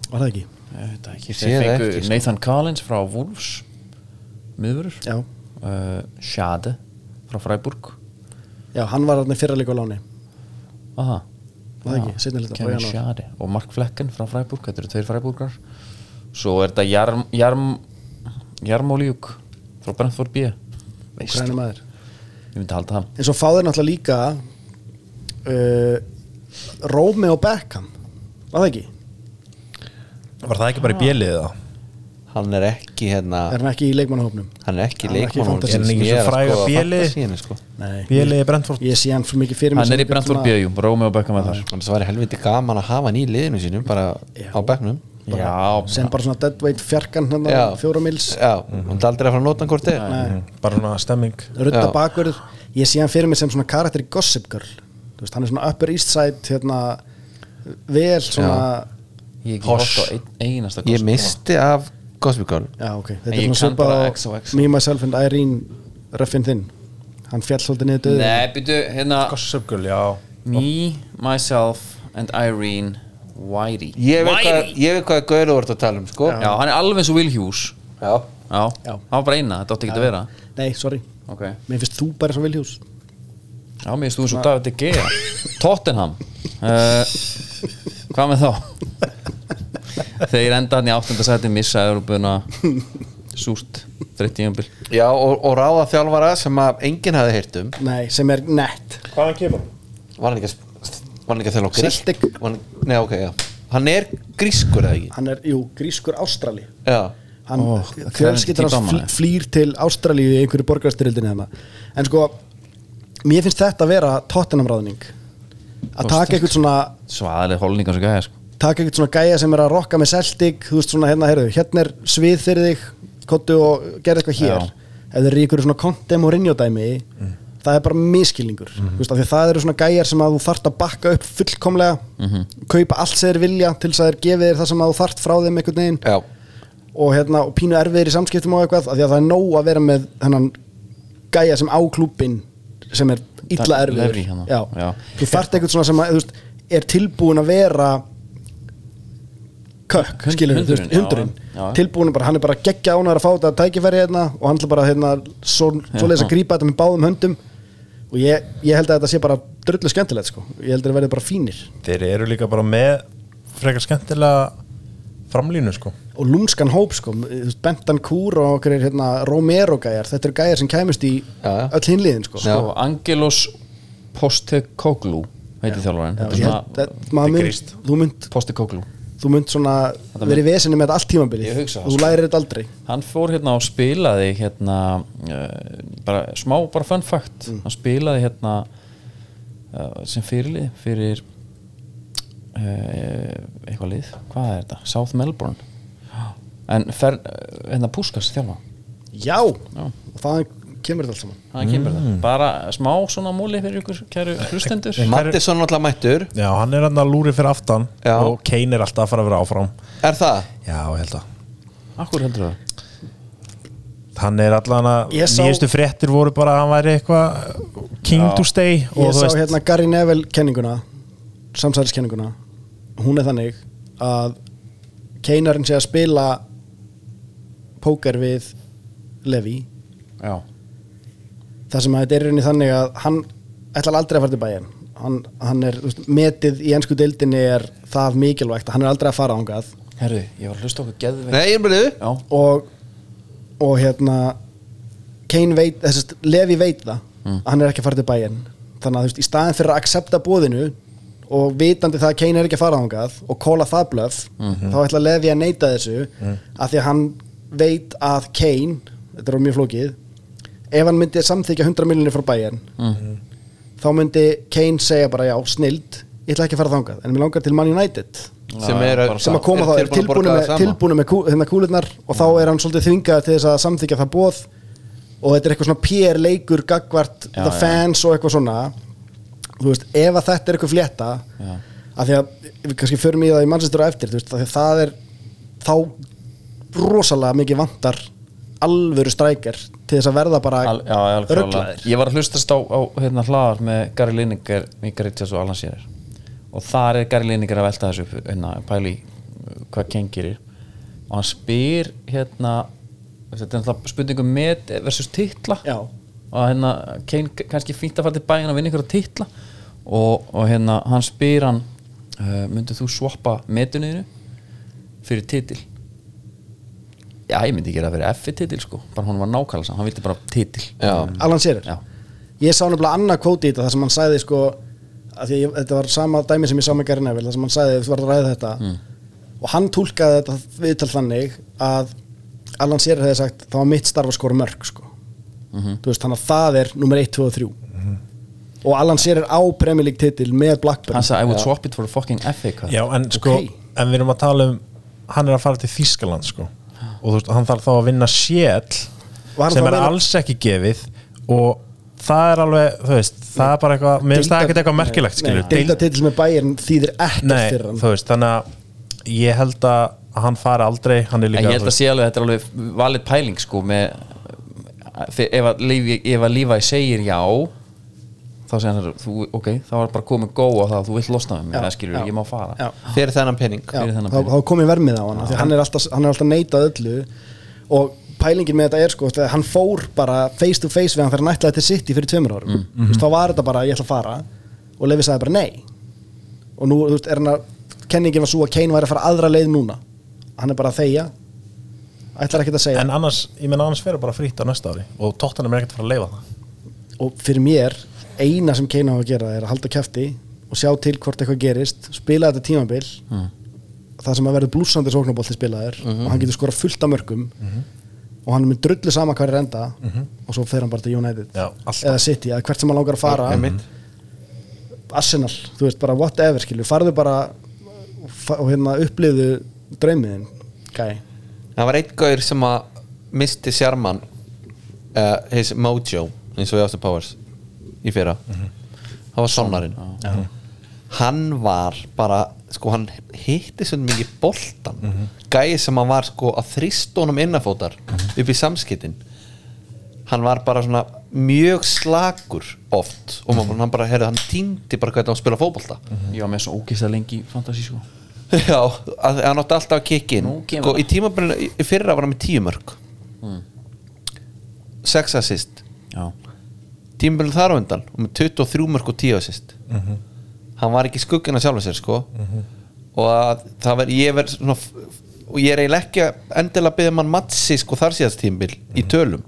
Speaker 3: Var það ekki?
Speaker 1: Þeir
Speaker 4: sé það
Speaker 1: fengu
Speaker 4: ekki, sko.
Speaker 1: Nathan Collins frá Wolves miðurur
Speaker 3: Já
Speaker 1: uh, Schade frá Freiburg
Speaker 3: Já, hann var hann fyrra leik á láni
Speaker 1: Aha.
Speaker 3: Var það ekki? Seinni hluta, frá
Speaker 1: Kevin
Speaker 3: janúar.
Speaker 1: Schade og Mark Flecken frá Freiburg þetta eru tveir Freiburgar svo er þetta Jarm, Jarm, Jarmoliuk frá Brentford B Veist,
Speaker 3: Grænum maður
Speaker 1: ég myndi halda hann
Speaker 3: En svo fá þeir náttúrulega líka uh, Rómi og Beckham Var það ekki?
Speaker 2: var það ekki
Speaker 3: Ah.
Speaker 2: bara í bjelið eða
Speaker 4: hann er ekki hérna
Speaker 3: Er hann ekki í leikmannahópnum?
Speaker 4: hann er ekki
Speaker 3: Hann er ekki
Speaker 4: leikmann
Speaker 3: fantasy. Er hann
Speaker 2: ekki svo frægur Bélé?
Speaker 4: sko.
Speaker 3: Nei
Speaker 2: bjelið í Brentford
Speaker 3: Ég sé hann fyrir mikið fyrir mér
Speaker 1: hann
Speaker 3: sem
Speaker 1: er í
Speaker 3: einhvern
Speaker 1: Brentford B,
Speaker 3: svona-
Speaker 1: jú, Rómi og Beckham er þar
Speaker 4: þannig að það væri helviti gaman að hafa hann í liðinu sínum bara á bekknum
Speaker 1: já,
Speaker 3: Sem bara svona deadweight fjarkan hann
Speaker 4: Já.
Speaker 3: Fjóra mils
Speaker 4: já, hann er aldrei að fara að nota hann hvort eð
Speaker 2: bara svona stemming
Speaker 3: Rutta
Speaker 4: Já.
Speaker 3: bakverð Ég sé hann fyrir mér sem svona karakter í Gossip Girl Þú veist, hann er svona upper east side hérna Vel svona
Speaker 1: ég ekki
Speaker 2: Hoss.
Speaker 1: hótt á ein, einasta
Speaker 4: ég misti af Gossip Girl
Speaker 3: Já, ok Þetta
Speaker 1: Ég
Speaker 3: er svona
Speaker 1: kann
Speaker 3: svipað
Speaker 1: bara
Speaker 3: á
Speaker 1: XOXO.
Speaker 3: Me, Myself and Irene Ruffin Thin Hann fjall svolítið niður döðu
Speaker 1: Nei, byrju, hérna
Speaker 2: gossöpgul, já
Speaker 1: Me, myself and Irene Whitey
Speaker 4: ég veit hvað, ég veit hvað Gaur voru að tala um sko.
Speaker 1: Já, hann er alveg eins og Will Hughes
Speaker 4: já.
Speaker 1: Já,
Speaker 3: Já.
Speaker 1: hann var bara eina, þetta átti ekki að vera
Speaker 3: Nei, sorry
Speaker 1: Ok
Speaker 3: Mér finnst þú bara svo viljús
Speaker 1: Já, mér finnst þú eins og David De Gea Tottenham uh, Hvað með þá? Þeir enda hann í áttundasæti missa Európuna Súrt, 30 jömbil
Speaker 4: já, og, og ráða þjálfara sem að enginn hafði heyrt um
Speaker 3: Nei, sem er nett
Speaker 2: hvaðan kemur?
Speaker 4: var hann ekki að, var hann ekki að þjálfa á Grikkjum?
Speaker 3: Celtic.
Speaker 4: Var hann, nei, ok, já hann er grískur eða ekki
Speaker 3: Hann er, jú, grískur Ástrali
Speaker 4: já,
Speaker 3: Hann,
Speaker 1: Ó,
Speaker 3: oh,
Speaker 1: það er
Speaker 3: fjölskyldur
Speaker 1: típa
Speaker 3: hans fl
Speaker 1: maður.
Speaker 3: flýr til Ástrali í einhverju borgarstyrildinni hana En sko, mér finnst þetta að vera tottenamráðning Að taka eitthvað svona
Speaker 1: Svaðaleg holningar sem gæja sko.
Speaker 3: taka eitthvað svona gæja sem er að rokka með Celtic þú veist svona hérna, heyrðu, hérna er svið fyrir þig kottu og gerð eitthvað hér
Speaker 1: Já.
Speaker 3: ef þeir eru í einhverju svona kontem og rinjódæmi mm. það er bara miskilningur
Speaker 1: Mhm.
Speaker 3: mm. veist, af því að það eru svona gæjar sem að þú þarft að bakka upp fullkomlega,
Speaker 1: Mhm.
Speaker 3: kaupa allt sem þeir vilja til þess að þeir gefi þér það sem að þú þarft frá þeim einhvern veginn
Speaker 4: já,
Speaker 3: og, hérna, og pínu erfiðir í samskiptum og eitthvað af því að það er nóg að vera með hennan gæja sem á klúbin sem er illa
Speaker 1: Það-
Speaker 3: erfiður
Speaker 1: lefri hérna.
Speaker 3: Já.
Speaker 1: Já.
Speaker 3: þú þarft einhvern svona sem að, þú veist, er tilbúin að vera kökk,
Speaker 1: Hund-
Speaker 3: skilur við, þú veist,
Speaker 1: hundurinn, já,
Speaker 3: hundurinn
Speaker 1: já, já.
Speaker 3: tilbúin bara, hann er bara geggja ánæður að fá þetta tækifæri hérna og hann er bara hérna svo, svoleiðis að grípa þetta með báðum höndum og ég, ég held að þetta sé bara drullu skemmtilegt sko, ég held að þetta verði bara fínir
Speaker 2: Þeir eru líka bara með frekar skemmtilega framlínu sko
Speaker 3: og lúmskan hóp sko, þú veist, Bentan Kúr og okkur er hérna Romero gæjar, þetta eru gæjar sem kæmust í
Speaker 4: Já, já.
Speaker 3: öll hinliðin sko
Speaker 1: sko, Angelos Postekoglu heitir þjálfarinn
Speaker 3: Já,
Speaker 1: Þetta er
Speaker 3: ég
Speaker 1: svona-
Speaker 3: held að maður mynd, þú mynd
Speaker 1: Postekoglu
Speaker 3: þú mynd svona verið í vesinni með þetta allt tímabilið
Speaker 1: Ég hugsa það,
Speaker 3: þú
Speaker 1: sko.
Speaker 3: lærir þetta aldrei
Speaker 1: hann fór hérna og spilaði hérna uh, bara, smá bara fun fact hann spilaði hérna uh, sem fyrirlið fyrir uh, eitthvað lið hvað er þetta? South Melbourne en fer, eh, hérna Puskas þjálfa
Speaker 3: já, og það kemur þetta allt saman
Speaker 1: hann kemur það Mm. bara smá svona múli fyrir ykkur kæru hlustendur
Speaker 4: Mattisson alltaf mættur
Speaker 2: Já, hann er hann að lúri fyrir aftan
Speaker 4: Já.
Speaker 2: og Kane er alltaf að fara að vera áfram
Speaker 4: Er það?
Speaker 2: Já, ég held að
Speaker 1: akkur heldur það?
Speaker 2: Hann er allan að
Speaker 3: Ég sá-
Speaker 2: nýjustu fréttir voru bara að hann væri eitthvað king to stay og
Speaker 3: ég
Speaker 2: þú
Speaker 3: sá
Speaker 2: veist
Speaker 3: hérna Gary Neville kenninguna samsæðiskenninguna hún er þannig að Keinarinn sé að spila póker við Levi
Speaker 1: já
Speaker 3: það sem að þetta er í rauninni þannig að hann ætlar aldrei að fara til bæinn hann, hann er, þú veist, metið í ennsku deildinni er það mikilvægt að hann er aldrei að fara ángað
Speaker 1: herru, ég var að hlusta okkur geðveikt
Speaker 4: Nei, ég er bara þau
Speaker 1: já,
Speaker 3: og og hérna Kane veit, þessist, Levi veit það að hann er ekki að fara til bæinn þannig að þú veist, í staðin fyrir að accepta bóðinu og vitandi það að Kane er ekki að fara þangað og kóla það blöð þá ætla Levi að neyta þessu mm. af því að hann veit að Kane þetta er orðið mjög flókið ef hann myndi samþykja 100 miljonir frá bæinn þá myndi Kane segja bara já, snild, ég ætla ekki að fara þangað en mér langar til Man United
Speaker 4: Sem er
Speaker 3: sem að koma þá er
Speaker 4: tilbúin
Speaker 3: tilbúinu
Speaker 4: að borga
Speaker 3: með,
Speaker 4: það sama.
Speaker 3: tilbúinu með kú, hérna kúlurnar og þá er hann svolítið þvingaður til þess að samþykja það bóð og þetta er eitthvað svona PR leikur gagvart the
Speaker 1: já.
Speaker 3: fans og eitthvað svona þú veist, ef að þetta er eitthvað flétta
Speaker 1: Já.
Speaker 3: af því að við kannski förum í það í mannsistur á eftir, þú veist, af því að það er þá rosalega mikið vantar alvöru strækjar til þess að verða bara
Speaker 1: Al, já, já, alveg klárlega.
Speaker 3: rugglaðir
Speaker 1: ég var að hlustast á, á hérna, hlaðar með Gary Lineker, Mika Richards og Alan Shearer og þar er Gary Lineker að velta þessu upp hérna, pæli í, uh, hvað Ken gerir og hann spyr hérna þetta er náttúrulega spurningum með versus titla
Speaker 3: Já.
Speaker 1: og hérna Ken kannski fínt að fara til bæinn og vinna ykkur að titla og, og hérna hann spyr hann uh, myndið þú swappa metunniðinu fyrir titil já ég myndi gera það fyrir F titil sko bara hann var nákvæmlega saman, hann vildi bara titil
Speaker 4: Já,
Speaker 3: Alan Shearer
Speaker 1: Já.
Speaker 3: ég sá nefnilega annað kvóti í þetta þar sem hann sagði sko að því að ég, þetta var sama dæmi sem ég sá með Gary Neville þar sem hann sagði þú var að ræða þetta
Speaker 2: Mm.
Speaker 3: og hann túlkaði þetta viðtal þannig að Alan Shearer hefði sagt það var mitt starf að skora mörg sko
Speaker 2: Mhm.
Speaker 3: þú veist þannig að það er nummer 1, 2 og 3 og Alan Shearer á Premier League titil með Blackburn
Speaker 1: hann sagði I would swap it for a fucking FA cup
Speaker 2: Já, en sko,
Speaker 3: Ok.
Speaker 2: en við erum að tala um hann er að fara til Þískaland sko og þú veist, hann þarf þá að vinna sjél
Speaker 3: Var hann
Speaker 2: sem
Speaker 3: þá að
Speaker 2: er
Speaker 3: vinna-
Speaker 2: alls ekki gefið og það er alveg, þú veist, það er bara eitthvað mér finnst það ekkert eitthvað merkilegt, skilur
Speaker 3: deilda titil með Bayern þýðir ekkert
Speaker 2: Nei,
Speaker 3: fyrir hann
Speaker 2: þú veist, þannig að ég held að hann fari aldrei, hann er
Speaker 1: en
Speaker 2: líka
Speaker 1: ég held að sé alveg að þetta er alveg valid pæling sko með fyr- ef að Levi- ef að Levi segir já þá segir hann þú, ok, þá er bara komið góð á það að þú vill losna með mér, það skilur, ég má fara
Speaker 3: já.
Speaker 4: fyrir þennan penning
Speaker 3: Já,
Speaker 1: fyrir þennan
Speaker 3: þá,
Speaker 1: pening.
Speaker 3: þá kom ég vermið á hann af því að hann er alltaf, hann er alltaf neitað öllu og pælingin með þetta er sko þegar hann fór bara face to face við hann þegar hann ætlaði til City fyrir tveimur árum mm -hmm. þá var þetta bara ég ætla að fara og Levi sagði bara nei og nú þú veist, er hann að kenningin var svo að Kane væri að fara aðra leið núna hann er bara að þegja ætlar ekkert að segja
Speaker 2: en annars, ég menna annars fyrir bara frýtt á næsta ári og tóttan er ekkert að fara að leifa það
Speaker 3: og fyrir mér eina sem Kane á að gera er að halda kæfti og sjá til hvort eitthvað gerist spila þetta tímabil
Speaker 2: Mm.
Speaker 3: það sem að verður blúsandi sóknabólti spilaður
Speaker 2: Mhm.
Speaker 3: og hann getur skora fullt af mörgum og hann er með drullu sama hvað er enda og svo fer hann bara til United
Speaker 2: Mhm. Já, alltaf.
Speaker 3: eða City, eða hvert sem hann langar að fara Arsenal, þú veist bara whatever skilju, farðu bara fa- og hérna upplifðu draumiðin gæ,
Speaker 4: Það var einn gaur sem að misti sjarman uh, his mojo eins og í Austin Powers í fyrra það var sonnarinn hann var bara sko hann hitti svo mikið boltan gæi sem hann var sko að þrýst honum innafótar upp í samskittin hann var bara svona mjög slakur oft og maður, hann bara, heyrðu, hann týndi bara hvernig hann spila fótbolta
Speaker 1: ég var með svo ógeðslega lengi í fantasy sko
Speaker 4: já, að, hann átti alltaf að kikki inn
Speaker 1: Nú kemur
Speaker 4: sko,
Speaker 1: það. Hmm.
Speaker 4: í tímabrinu, í fyrra var hann með tíu mörg sex assist
Speaker 1: já,
Speaker 4: tímabrinu þar á undan og með 23 mörg og 10 assist
Speaker 1: Mhm.
Speaker 4: hann var ekki skuggina sjálfa sér sko og að það verð, ég verð svona f- f- og ég er eiginlega ekki að endilega að byggja mann matsi sko þar síðast tímabil í
Speaker 1: Mhm.
Speaker 4: tölum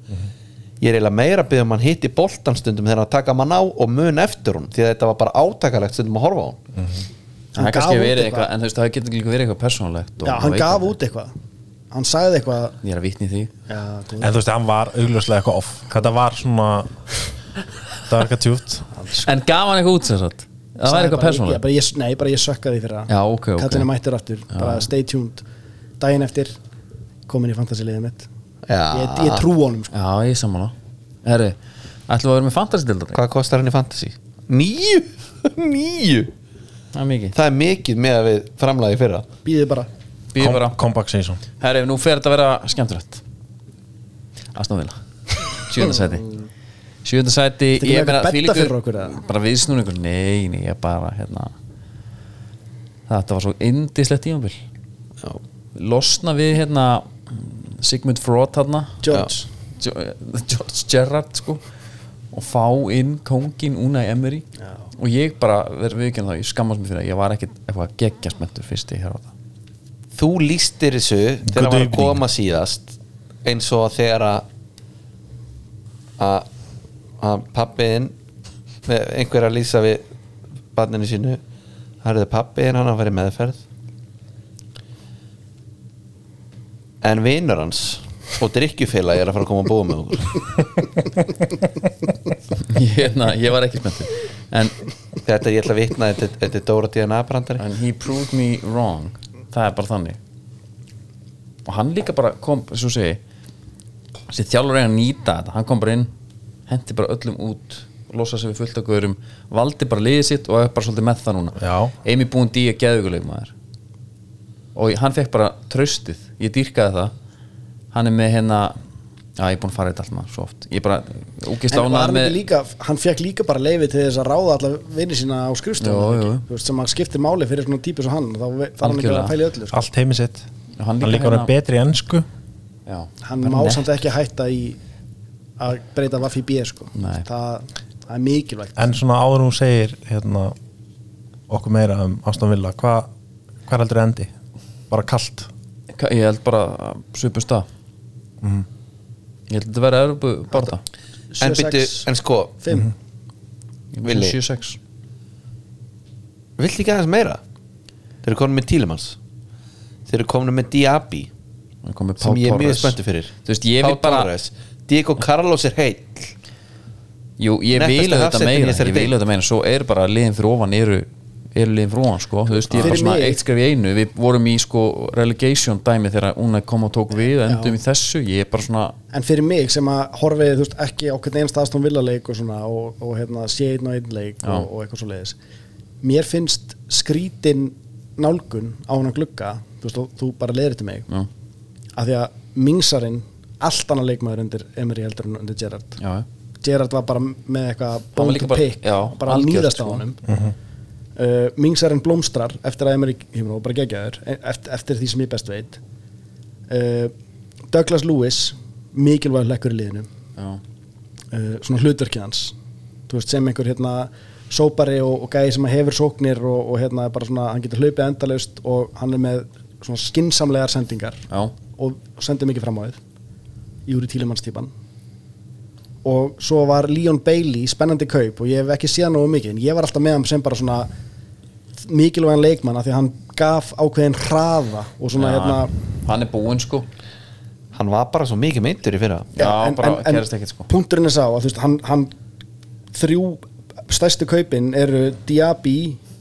Speaker 4: ég er eiginlega meira að byggja mann hitti boltan stundum þegar hann taka mann á og mun eftir hún því að þetta var bara átakalegt stundum að horfa á hún
Speaker 1: það
Speaker 3: Hann
Speaker 1: er kannski
Speaker 3: gaf út
Speaker 1: verið
Speaker 3: eitthvað.
Speaker 1: eitthvað en þú veist, það getur líka verið eitthvað persónulegt og
Speaker 3: Já,
Speaker 1: maður
Speaker 3: hann
Speaker 1: veit
Speaker 3: gaf
Speaker 1: aldrei.
Speaker 3: út eitthvað Hann sagði eitthvað
Speaker 1: ég er að vitni því
Speaker 3: Já, góð.
Speaker 2: En þú veist, hann var augljóslega eitthvað off Þetta var svona Það var eitthvað tjútt
Speaker 1: en gaf hann eitthvað út sem sagt það
Speaker 3: Sko. Sagði
Speaker 1: var eitthvað
Speaker 3: bara, ég-
Speaker 1: persónulegt
Speaker 3: bara ég- Nei, bara ég sökkaði fyrir það
Speaker 1: Já, ok, ok.
Speaker 3: Kallinu mættur aftur, bara stay tuned Daginn eftir, komin í fantasiliðið mitt
Speaker 4: Já.
Speaker 3: Ég, ég trú honum sko.
Speaker 1: já, ég er sammála herri, ætlum við að vera með fantasy dildar
Speaker 4: Hvað kostar hann í fantasy? Níu? Níu?
Speaker 1: það er mikið
Speaker 4: Það er mikið með að við framlagi fyrra
Speaker 3: Býðið bara
Speaker 1: býðum bara
Speaker 2: Comeback season
Speaker 1: Herri, nú fer þetta að vera skemmtilegt Asnovila Sjöndasæti Sjöndasæti
Speaker 3: Þetta er ekki eitthvað betta fyrir okkur, eða?
Speaker 1: Bara viðsnúningur, nei, nei, ég bara hérna Þetta var svo indislegt tímabil
Speaker 4: Já.
Speaker 1: Losna við hérna Sigmund Frot hérna
Speaker 3: George,
Speaker 1: Jo- eh, George Gerrard sko og fá inn kóngin Unai Emery Já. og ég bara, verður við ekki það, ég skammast mér fyrir það ég var ekkert eitthvað geggjast mentur fyrst ég hér á það
Speaker 4: Þú lístir þessu þegar
Speaker 2: Good
Speaker 4: hann var að
Speaker 2: evening.
Speaker 4: koma síðast eins og þegar að að- að pappiðin einhver að lýsa við barninu sínu það er það pappiðin hann að fara í meðferð en vinur hans og drikkjufélagi er að fara að koma að búa með okkur
Speaker 1: ég, hérna, ég var ekki spenntur en
Speaker 4: þetta ég ætla að vitna þetta, þetta er Dóra DNA brandari
Speaker 1: and he proved me wrong það er bara þannig og hann líka bara kom svo segi þessi þjálfur er að nýta þetta hann kom bara inn, hendi bara öllum út losa sig við fullt af guðurum valdi bara liðið sitt og er bara svolítið með það núna
Speaker 2: Já.
Speaker 1: Amy Búin D er geðuguleg maður og ég- hann fekk bara tröstið ég dýrkaði það hann er með hérna Já, ég er búin að fara í þetta allt maður svo oft Ég er bara, úkist
Speaker 3: en var
Speaker 1: ánað
Speaker 3: hann
Speaker 1: með
Speaker 3: ekki líka Hann fekk líka bara leiði til þess að ráða alla vinni sína á
Speaker 1: Jú, jú.
Speaker 3: skrifstofun sem að skiptir máli fyrir svona típu sem hann þá ve- þarf hann ekki
Speaker 1: Algjörlega.
Speaker 3: að pæla í öllu sko.
Speaker 2: Allt heimi sitt
Speaker 1: Já, hann
Speaker 2: Hann
Speaker 1: líka
Speaker 2: líka orðið
Speaker 1: hérna-
Speaker 2: betri í ennsku
Speaker 1: Já,
Speaker 3: Hann
Speaker 1: bara
Speaker 3: má
Speaker 1: nett.
Speaker 3: samt ekki hætta í að breyta vaff í B sko.
Speaker 1: Nei.
Speaker 3: það, það er mikilvægt
Speaker 2: En svona áður hún segir hérna, okkur meira um Aston Villa Hvað hva heldur endi? Bara kalt
Speaker 1: Ka- Ég held bara svipum stað
Speaker 4: Mhm.
Speaker 1: Ég held að þetta verði Evropu barða
Speaker 4: en, byrju,
Speaker 3: 7-6,
Speaker 4: en sko,
Speaker 3: 5
Speaker 4: Villi.
Speaker 1: 7-6
Speaker 4: vilt ekki aðeins meira þeir eru komin með Tílemans þeir eru komin með Diaby
Speaker 1: Ég kom með Pau
Speaker 4: sem ég er mjög
Speaker 1: Torres.
Speaker 4: spenntu fyrir
Speaker 1: Þú veist, ég
Speaker 4: Pau
Speaker 1: vil bara
Speaker 4: Torres. Diego Carlos er heill
Speaker 1: Jú, ég
Speaker 4: Nettasta
Speaker 1: vil þetta
Speaker 4: hafsettin í
Speaker 1: meira
Speaker 4: þessari
Speaker 1: Ég vil
Speaker 4: deild.
Speaker 1: þetta meira Svo er bara liðin fyrir ofan eru eru liðin fyrir ofan, sko Þú veist, ég er bara
Speaker 3: Fyrir
Speaker 1: svona
Speaker 3: mig-
Speaker 1: eitt skref í einu Við vorum í, sko, relegation dæmi þegar hún kom og tók við og endum í þessu Ég er bara svona
Speaker 3: en fyrir mig sem að horfið þú veist, ekki á hvern einst aðstofn villaleik og, svona, og, og hérna, sé einn og einn leik og, og eitthvað svo leiðis mér finnst skrítin nálgun á hann að glugga þú, veist, og, þú bara leiðir til mig
Speaker 1: Já.
Speaker 3: af því að mingsarinn allt annað leikmaður undir Emery heldur en undir Gerrard
Speaker 1: Já,
Speaker 3: Gerrard var bara með eitthvað
Speaker 1: var
Speaker 3: bone
Speaker 1: líka
Speaker 3: to
Speaker 1: bara-
Speaker 3: pick
Speaker 1: já,
Speaker 3: bara að
Speaker 1: algjört,
Speaker 3: nýðast á
Speaker 1: sko.
Speaker 3: honum uh, Mingsarinn blómstrar eftir að Emery hefur nú bara geggjaður e- eftir, eftir því sem ég best veit uh, Douglas Lewis mikilvæg lekkur í liðinu
Speaker 1: já,
Speaker 3: uh, svona hlutverki hans þú veist sem einhver hérna sópari og, og gæði sem að hefur sóknir og, og hérna er bara svona hann getur hlaupið endalaust og hann er með svona skinsamlegar sendingar
Speaker 1: já
Speaker 3: og sendir mikið fram á þið Júri Tílimanns típan og svo var Leon Bailey spennandi kaup og ég hef ekki séð nógu mikið en ég var alltaf með hann sem bara svona mikilvægan leikmann af því að hann gaf ákveðin hraða og svona
Speaker 1: Já,
Speaker 3: hérna
Speaker 1: Hann er búinn, sko
Speaker 4: hann var bara svo mikið meintur í fyrra
Speaker 1: Já, bara gerist ekkert, sko.
Speaker 3: punkturinn er sá að þú veist hann, hann þrjú stærstu kaupin eru Diaby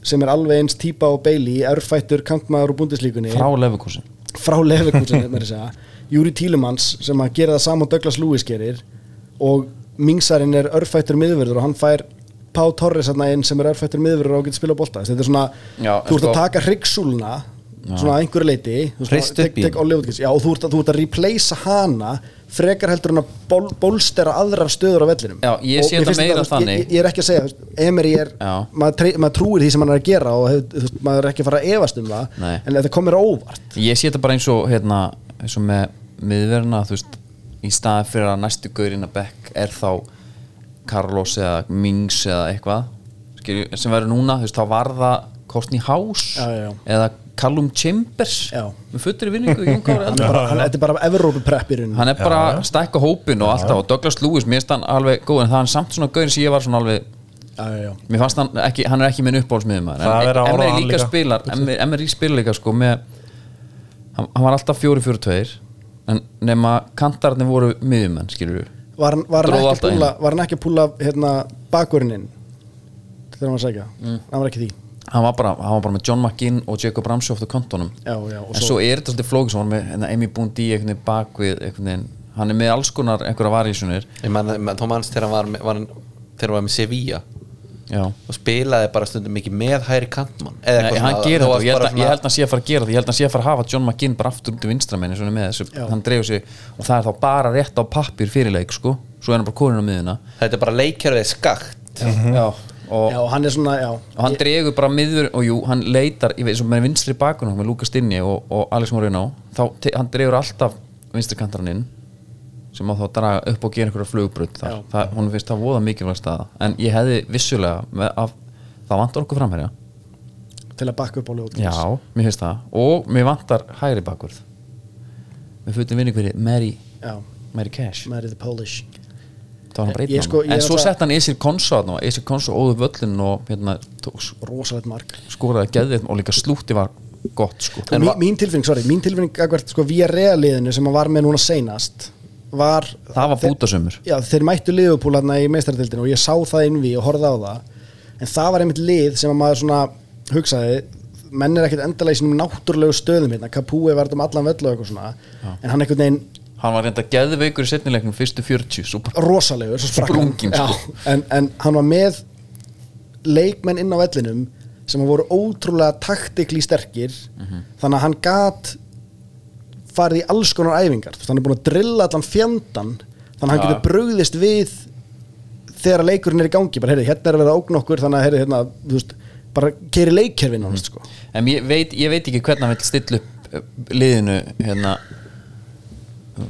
Speaker 3: sem er alveg eins típa og Bailey erfættur kantmaður og bundislíkunni
Speaker 1: Frá lefukursin
Speaker 3: frá Leverkusen er meira að segja. Júri Tílemans sem að gera það sama og Douglas Lewis gerir og Mingsarinn er örfættur miðverður og hann fær Pá Torres hérna inn sem er örfættur miðverður og getur spila bolta Þess, þetta er svona,
Speaker 1: Já, en
Speaker 3: þú ert
Speaker 1: sko-
Speaker 3: að taka hryggsúluna svona að einhverju leiti þú veist,
Speaker 4: Hrist upp
Speaker 3: tek-
Speaker 4: í
Speaker 3: tek
Speaker 4: hana.
Speaker 3: Ollie Watkins. Já, og þú ert, að, þú ert að replacea hana frekar heldur en að ból, bólstera aðrar stöður á vellinum
Speaker 1: Já, ég
Speaker 3: Og
Speaker 1: sé þetta
Speaker 3: finnst
Speaker 1: meira
Speaker 3: þú veist,
Speaker 1: þannig.
Speaker 3: ég, ég er ekki að segja, þú veist, Emery er
Speaker 1: Já.
Speaker 3: maður, tre, maður trúir því sem hann er að gera og hef, þú veist, maður er ekki að fara að efast um það
Speaker 1: Nei.
Speaker 3: en þetta komir á óvart
Speaker 1: Ég sé þetta bara eins og hérna, eins og með miðverna þú veist, í staði fyrir að næstu gaurinn að bekk er þá Carlos eða Mings eða eitthvað skilju, sem verður núna, þú veist, þá var það Courtney House
Speaker 3: Já, já, já.
Speaker 1: eða Callum Chambers
Speaker 3: Já.
Speaker 1: með fullri vinningu Jón Kári
Speaker 3: Hann er bara, hann, þetta er bara Evrópuprepp í rauninu
Speaker 1: hann er bara að stækka hópin og alltaf og Douglas Lewis, mér finnst hann alveg góð en það er samt svona gaurinn sem ég var svona alveg
Speaker 3: já, já, já.
Speaker 1: mér fannst hann ekki, hann er ekki minn uppáhaldsmiðum
Speaker 2: Það er að ára
Speaker 1: Emery
Speaker 2: hann
Speaker 1: líka
Speaker 2: líka.
Speaker 1: spilar Emery- Emery spilar líka sko með hann, hann var alltaf 4-4-2 en nema kantarnir voru miðjumenn skilur við
Speaker 3: var, hann- var, hann
Speaker 1: Dróð
Speaker 3: ekki
Speaker 1: alltaf
Speaker 3: að púla, var hann ekki að púla hérna, bakvörinin þegar hann var að segja
Speaker 1: Mm.
Speaker 3: hann var ekki því
Speaker 1: hann var bara, hann var bara með John McGinn og Jacob Ramsey ofta kontónum
Speaker 3: já, já, og
Speaker 1: en svo er þetta svolítið flókis hann var með hérna, Amy Bundy einhvern veginn bak við einhvern veginn hann er með alls konar einhverja varísunir
Speaker 4: Ég man, man, Tom Hans þegar hann var, með- var, hann- þegar hann var með Sevilla
Speaker 1: já
Speaker 4: og spilaði bara stundum mikið með hæri kantmann eða
Speaker 1: Nei,
Speaker 4: eitthvað
Speaker 1: hann
Speaker 4: svona-
Speaker 1: gerir
Speaker 4: það
Speaker 1: þetta
Speaker 4: var
Speaker 1: og ég held,
Speaker 4: bara
Speaker 1: að, ég
Speaker 4: svona-
Speaker 1: held að hann sé að fara að gera þetta ég held að hann sé að fara að hafa John McGinn bara aftur út í vinstramenni svona með þessu,
Speaker 3: Já.
Speaker 1: hann dreifur sig og það er þá bara rétt á pappir fyrirleik sko, svo er hann bara konin á miðuna
Speaker 4: Þetta er bara leikjörðið skakt
Speaker 1: Mhm. já, og,
Speaker 3: já, hann er svona, já,
Speaker 1: og hann dregur bara miður og jú, hann leitar, ég veit, svo með vinstri bakun með Lucas Dinni og, og Alex Moreno þá te, hann dregur alltaf vinstri kantarinn inn sem á þá að draga upp og gera einhverja flugbrut þar, það, hún finnst það voða mikilvæg staða, en ég hefði vissulega með, af, það vantar okkur framherja
Speaker 3: til að bakka upp á ljóð
Speaker 1: Já, mér finnst það og mér vantar hægri bakvörð með fullin vinning fyrir Mary,
Speaker 3: já,
Speaker 1: Mary Cash
Speaker 3: Mary the Polish
Speaker 1: það var hann
Speaker 3: Ég- ég
Speaker 1: breytið
Speaker 3: sko- ég
Speaker 1: en
Speaker 3: er
Speaker 1: svo
Speaker 3: alltaf-
Speaker 1: sett hann Esir Konsa þarna og Esir Konsa óðu völlin og hérna, tók,
Speaker 3: rosalegt mark
Speaker 1: skoraði geðið og líka slútti var gott sko.
Speaker 3: og mín, mín tilfinning, sorry, mín tilfinning akvært, sko, via realiðinu sem hann var með núna seinast var,
Speaker 1: það var bútasömmur
Speaker 3: já, þeir mættu liðupúl hérna í meistardildinu og ég sá það innví og horfði á það en það var einmitt lið sem að maður svona hugsaði, menn er ekkert endala í sínum náttúrulegu stöðum hérna, Kapúi var þetta um allan völl og eitthvað svona en hann einhvern veginn
Speaker 1: hann var reynda geðveikur í setnilegnum fyrstu 40 svo bara
Speaker 3: rosalegur, svo sprakk
Speaker 1: Sprunginn, sko.
Speaker 3: hann Já, en, en hann var með leikmenn inn á vellinum sem voru ótrúlega taktikli sterkir
Speaker 1: Mhm.
Speaker 3: þannig að hann gat farið í alls konar æfingar Þú veist, hann er búin að drilla allan fjandan þannig að hann
Speaker 1: Já.
Speaker 3: getur brugðist við þegar leikurinn er í gangi bara, heyrðu, hérna er að vera ógn okkur þannig að heyrðu, hérna, þú veist, bara keiri leikkerfin mm. sko.
Speaker 1: en ég veit, ég veit ekki hvernig hann vill stilla upp eh, liðinu hérna